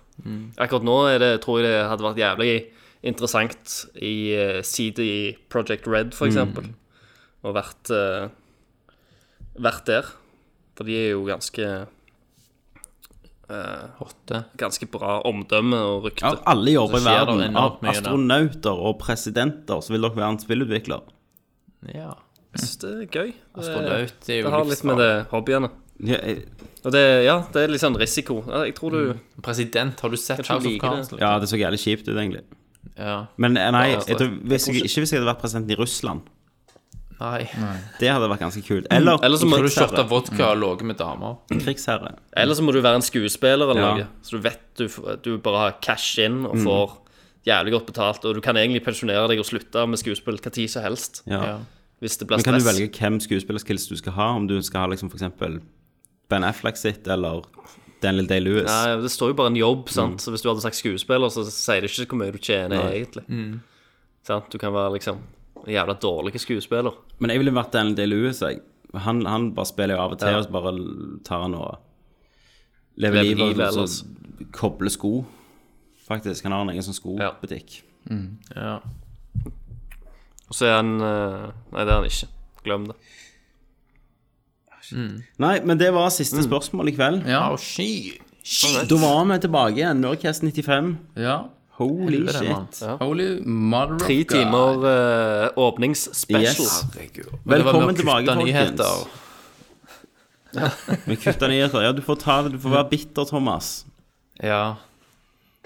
[SPEAKER 2] Akkurat nå er det, tror jeg det hadde vært jævlig interessant i eh, CD Project Red, for eksempel. Og vært, eh, vært der. For de er jo ganske
[SPEAKER 7] Hotte.
[SPEAKER 2] Ganske bra omdømme og rykte.
[SPEAKER 8] Av Altså, alle jobber i
[SPEAKER 7] Så skjer det
[SPEAKER 8] verden,
[SPEAKER 7] enormt
[SPEAKER 8] av
[SPEAKER 7] mye der.
[SPEAKER 8] astronauter og presidenter, så vil dere være en spillutvikler.
[SPEAKER 7] Ja.
[SPEAKER 2] Jeg synes det er gøy. Altså, Det-
[SPEAKER 7] Astronaut er jo
[SPEAKER 2] Det har litt med det hobbyene.
[SPEAKER 8] Ja, jeg-
[SPEAKER 2] Og det, ja, det er litt sånn risiko. Ja, Jeg tror du
[SPEAKER 8] Mm.
[SPEAKER 7] President, har du sett
[SPEAKER 2] Kanskje
[SPEAKER 7] House of
[SPEAKER 2] liker det.
[SPEAKER 7] Cards?
[SPEAKER 8] ja, det så jævlig kjipt ut, egentlig.
[SPEAKER 7] Ja.
[SPEAKER 8] Men eh, nei,
[SPEAKER 2] altså,
[SPEAKER 8] jeg
[SPEAKER 7] Ja,
[SPEAKER 8] tror, hvis jeg, ikke hvis jeg hadde vært president i Russland.
[SPEAKER 7] Nei.
[SPEAKER 8] Det hadde vært ganske kult. Eller,
[SPEAKER 2] Mm, Eller så må-
[SPEAKER 7] Har du kjørt av vodka og ligget med damer?
[SPEAKER 8] krigsherre.
[SPEAKER 2] Eller så må du være en skuespiller eller
[SPEAKER 8] Ja. Mm.
[SPEAKER 2] noe. Så du vet du, f- du bare har cash in og får jævlig godt betalt. Og du kan egentlig pensjonere deg og slutte med skuespill hva tid som helst.
[SPEAKER 8] Ja.
[SPEAKER 7] Ja.
[SPEAKER 2] Hvis det blir
[SPEAKER 8] Men kan du
[SPEAKER 2] stress.
[SPEAKER 8] velge hvem skuespillerskills du skal ha? Om du skal ha liksom f.eks. Ben Affleck sitt, eller Daniel Day-Lewis?
[SPEAKER 2] Nei, det står jo bare en jobb,
[SPEAKER 8] Mm.
[SPEAKER 2] sant. Så hvis du hadde sagt skuespiller, så sier det ikke hvor mye du tjener egentlig.
[SPEAKER 8] Mm.
[SPEAKER 2] Sant? Du kan være liksom en jævla dårlig skuespiller.
[SPEAKER 8] Men jeg ville vært Daniel Day-Lewis, jeg. Han, han bare spiller jo av og til,
[SPEAKER 2] Ja.
[SPEAKER 8] og så bare tar han og lever
[SPEAKER 2] Lever
[SPEAKER 8] livet altså.
[SPEAKER 2] livet
[SPEAKER 8] og
[SPEAKER 2] ellers.
[SPEAKER 8] så kobler sko. Faktisk. Han har en egen sånn skobutikk.
[SPEAKER 7] Ja.
[SPEAKER 2] Og så er han eh, Nei, det er han ikke. Glem det.
[SPEAKER 8] Nei, men det var siste
[SPEAKER 9] Mm.
[SPEAKER 8] spørsmål i kveld.
[SPEAKER 9] Ja.
[SPEAKER 7] Å, sky.
[SPEAKER 8] Da var vi tilbake igjen. Nordcast 95.
[SPEAKER 9] ja.
[SPEAKER 8] Holy
[SPEAKER 7] Helvete, mann.
[SPEAKER 8] shit.
[SPEAKER 9] Holy mother of
[SPEAKER 2] Tre
[SPEAKER 9] God.
[SPEAKER 2] timer eh, åpningsspecial.
[SPEAKER 8] Yes.
[SPEAKER 9] Herregud.
[SPEAKER 8] Velkommen
[SPEAKER 7] Det var
[SPEAKER 8] tilbake,
[SPEAKER 7] med å kutte
[SPEAKER 8] folkens.
[SPEAKER 7] nyheter.
[SPEAKER 8] Vi kutta nyheter. Ja, du får ta det. Du får være bitter, Thomas.
[SPEAKER 7] Ja.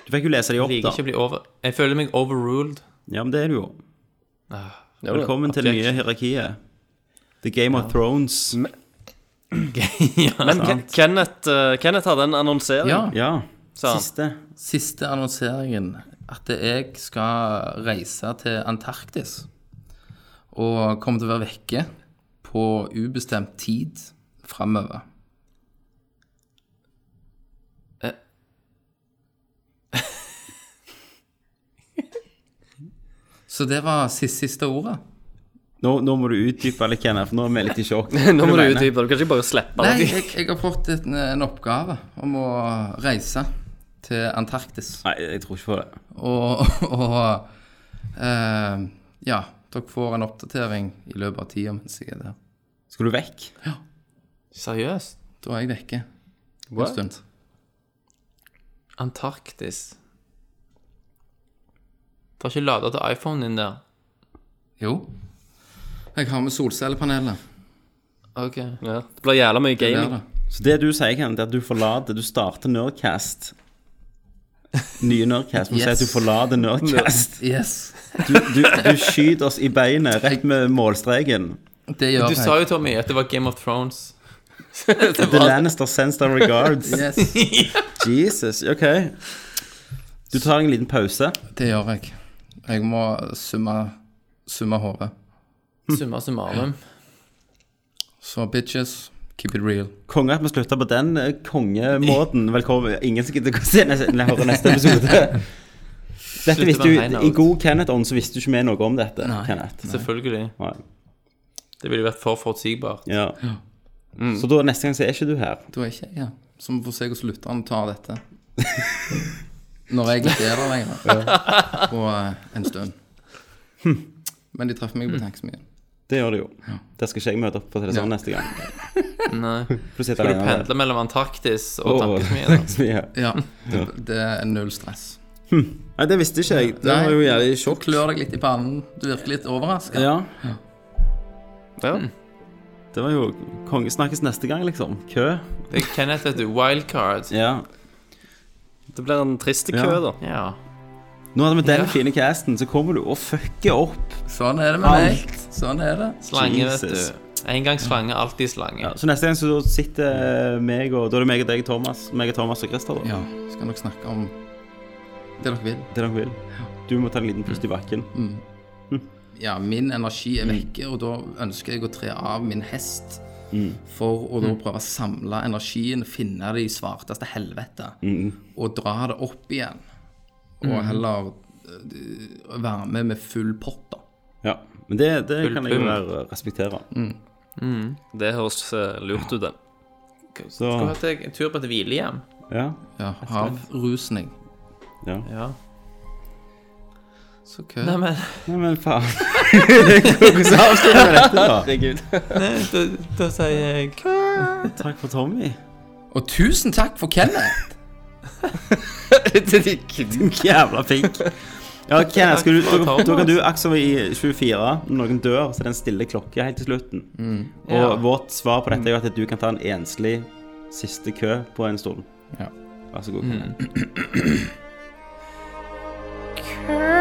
[SPEAKER 8] Du fikk jo lese de opp,
[SPEAKER 7] Liker
[SPEAKER 8] da.
[SPEAKER 7] ikke å bli over... Jeg føler meg overruled. Ah.
[SPEAKER 8] Ja, men det er du jo. Velkommen til det <laughs> nye hierarkiet. The Game of Thrones.
[SPEAKER 7] ja.
[SPEAKER 2] Men Ke- Kenneth, eh, Kenneth hadde en annonsering,
[SPEAKER 9] Ja.
[SPEAKER 8] Ja.
[SPEAKER 2] sa han.
[SPEAKER 8] Siste.
[SPEAKER 9] Siste annonseringen at jeg skal reise til Antarktis og kommer til å være vekke på ubestemt tid framover. Eh. <laughs> Så det var siste, siste ordet.
[SPEAKER 8] Nå, nå må du utdype litt, Kenneth. Nå er vi litt i
[SPEAKER 2] <laughs>
[SPEAKER 8] sjokk.
[SPEAKER 2] Nå må du
[SPEAKER 9] mener?
[SPEAKER 2] utdype. Du kan ikke bare slippe
[SPEAKER 9] Nei,
[SPEAKER 2] det.
[SPEAKER 9] jeg, jeg har fått en, en oppgave om å reise til Antarktis.
[SPEAKER 8] Nei, jeg tror ikke på det.
[SPEAKER 9] Og, <laughs> og eh, ja, dere får en oppdatering i løpet av tida mens jeg er der.
[SPEAKER 8] Skal du vekk?
[SPEAKER 7] Seriøst?
[SPEAKER 9] Da er jeg vekke en stund.
[SPEAKER 7] Antarktis. Du har ikke lada til iPhonen din der?
[SPEAKER 9] Jo. Jeg har med solcellepanelet.
[SPEAKER 7] OK.
[SPEAKER 2] Ja, det blir jævla mye
[SPEAKER 9] Det
[SPEAKER 2] gaming.
[SPEAKER 9] er det.
[SPEAKER 8] Så det du sier, Kenneth, er at du forlater Du starter Nerdcast. Nye Nerdcast. Må si at du
[SPEAKER 9] Yes.
[SPEAKER 8] forlater
[SPEAKER 9] <laughs>
[SPEAKER 8] Nerdcast.
[SPEAKER 9] Yes.
[SPEAKER 8] Du, du, du skyter oss i beinet rett med målstreken.
[SPEAKER 9] Det gjør
[SPEAKER 7] Du sa
[SPEAKER 9] jeg.
[SPEAKER 7] jo, Tommy, at det var Game of Thrones.
[SPEAKER 8] The Lannister sends their
[SPEAKER 9] <laughs>
[SPEAKER 8] regards.
[SPEAKER 9] Yes,
[SPEAKER 8] Jesus. OK. Du tar en liten pause.
[SPEAKER 9] det gjør jeg. Jeg må summe, summe hodet.
[SPEAKER 7] Summa summarum.
[SPEAKER 9] Så bitches, keep it real.
[SPEAKER 8] Konge at vi slutter på den eh, kongemåten. Velkommen. Ingen som gidder å se neste, eller høre neste episode. Dette
[SPEAKER 7] Slutter
[SPEAKER 8] visste jo,
[SPEAKER 7] med en high
[SPEAKER 8] I
[SPEAKER 7] note.
[SPEAKER 8] god Kenneth-ånd så visste du ikke vi noe om dette. Kenneth.
[SPEAKER 7] Selvfølgelig.
[SPEAKER 8] Nei.
[SPEAKER 7] Det ville vært for forutsigbart.
[SPEAKER 8] Ja. Så da neste gang så er ikke du her.
[SPEAKER 9] Da er ikke jeg her. Så vi får se hvordan lytterne tar dette. Når jeg ikke er der lenger. På eh, en stund. Men de traff meg på tanksmien.
[SPEAKER 8] Det gjør du jo. Der skal ikke jeg møte opp på
[SPEAKER 3] sånn,
[SPEAKER 8] telefon neste gang.
[SPEAKER 7] Nei.
[SPEAKER 8] For du sitter
[SPEAKER 7] Skal du
[SPEAKER 8] alene der.
[SPEAKER 7] pendle mellom Antarktis og
[SPEAKER 8] Åh,
[SPEAKER 7] tankesmien?
[SPEAKER 8] så mye.
[SPEAKER 9] Ja. Det, det er null stress.
[SPEAKER 3] Nei, det visste ikke jeg. Det var jo jævlig sjokk.
[SPEAKER 9] Klør deg litt i pannen. Du virker litt overraska.
[SPEAKER 3] Ja.
[SPEAKER 14] Ja.
[SPEAKER 3] Det var jo kongesnakkes neste gang, liksom. Kø.
[SPEAKER 7] Det er Kenneth heter Wildcard.
[SPEAKER 3] Ja.
[SPEAKER 14] Det blir en trist kø,
[SPEAKER 3] Ja.
[SPEAKER 14] da.
[SPEAKER 7] Ja.
[SPEAKER 3] Nå hadde vi den
[SPEAKER 7] Ja.
[SPEAKER 3] fine casten, så kommer du og fucker opp.
[SPEAKER 9] Sånn er det med meg. Sånn er det.
[SPEAKER 7] Slange, vet
[SPEAKER 3] Jesus.
[SPEAKER 7] du. En gang slange, alltid slange.
[SPEAKER 3] Ja, så neste gang så sitter eh, meg og Da er det meg og deg, Thomas. Meg og Thomas og Christer, da.
[SPEAKER 9] Ja, skal nok snakke om det dere vil.
[SPEAKER 3] Det dere vil. Du må ta en liten pust i bakken.
[SPEAKER 9] Ja, min energi er vekke, og da ønsker jeg å tre av min hest for å da prøve å samle energien, finne det i svarteste helvete, og dra det opp igjen. Og heller eh, være med med full pott, da.
[SPEAKER 3] Ja. Men det, det
[SPEAKER 7] Full
[SPEAKER 3] kan jeg jo
[SPEAKER 7] pung.
[SPEAKER 3] være- respektere.
[SPEAKER 14] Det høres eh, lurt ut, det.
[SPEAKER 3] Så
[SPEAKER 7] Skulle hatt deg en tur på et hvilehjem.
[SPEAKER 3] ja.
[SPEAKER 9] Ja, Avrusning.
[SPEAKER 3] ja.
[SPEAKER 7] Ja.
[SPEAKER 9] Så kø.
[SPEAKER 7] Nei, men
[SPEAKER 3] Nei, men faen. Hvordan avslutter vi dette, da?
[SPEAKER 7] da, da sier jeg
[SPEAKER 3] Takk for Tommy.
[SPEAKER 9] Og tusen takk for Kenneth!
[SPEAKER 3] <laughs> Din jævla pikk. Ja, Kenneth, skal du, da, da kan du akse i 24. Når noen dør, så er det en stille klokke helt til slutten. Og
[SPEAKER 7] Ja.
[SPEAKER 3] vårt svar på dette er jo at du kan ta en enslig siste kø på en stund.
[SPEAKER 9] Ja.
[SPEAKER 3] Vær så god. Kenneth.
[SPEAKER 6] Kø.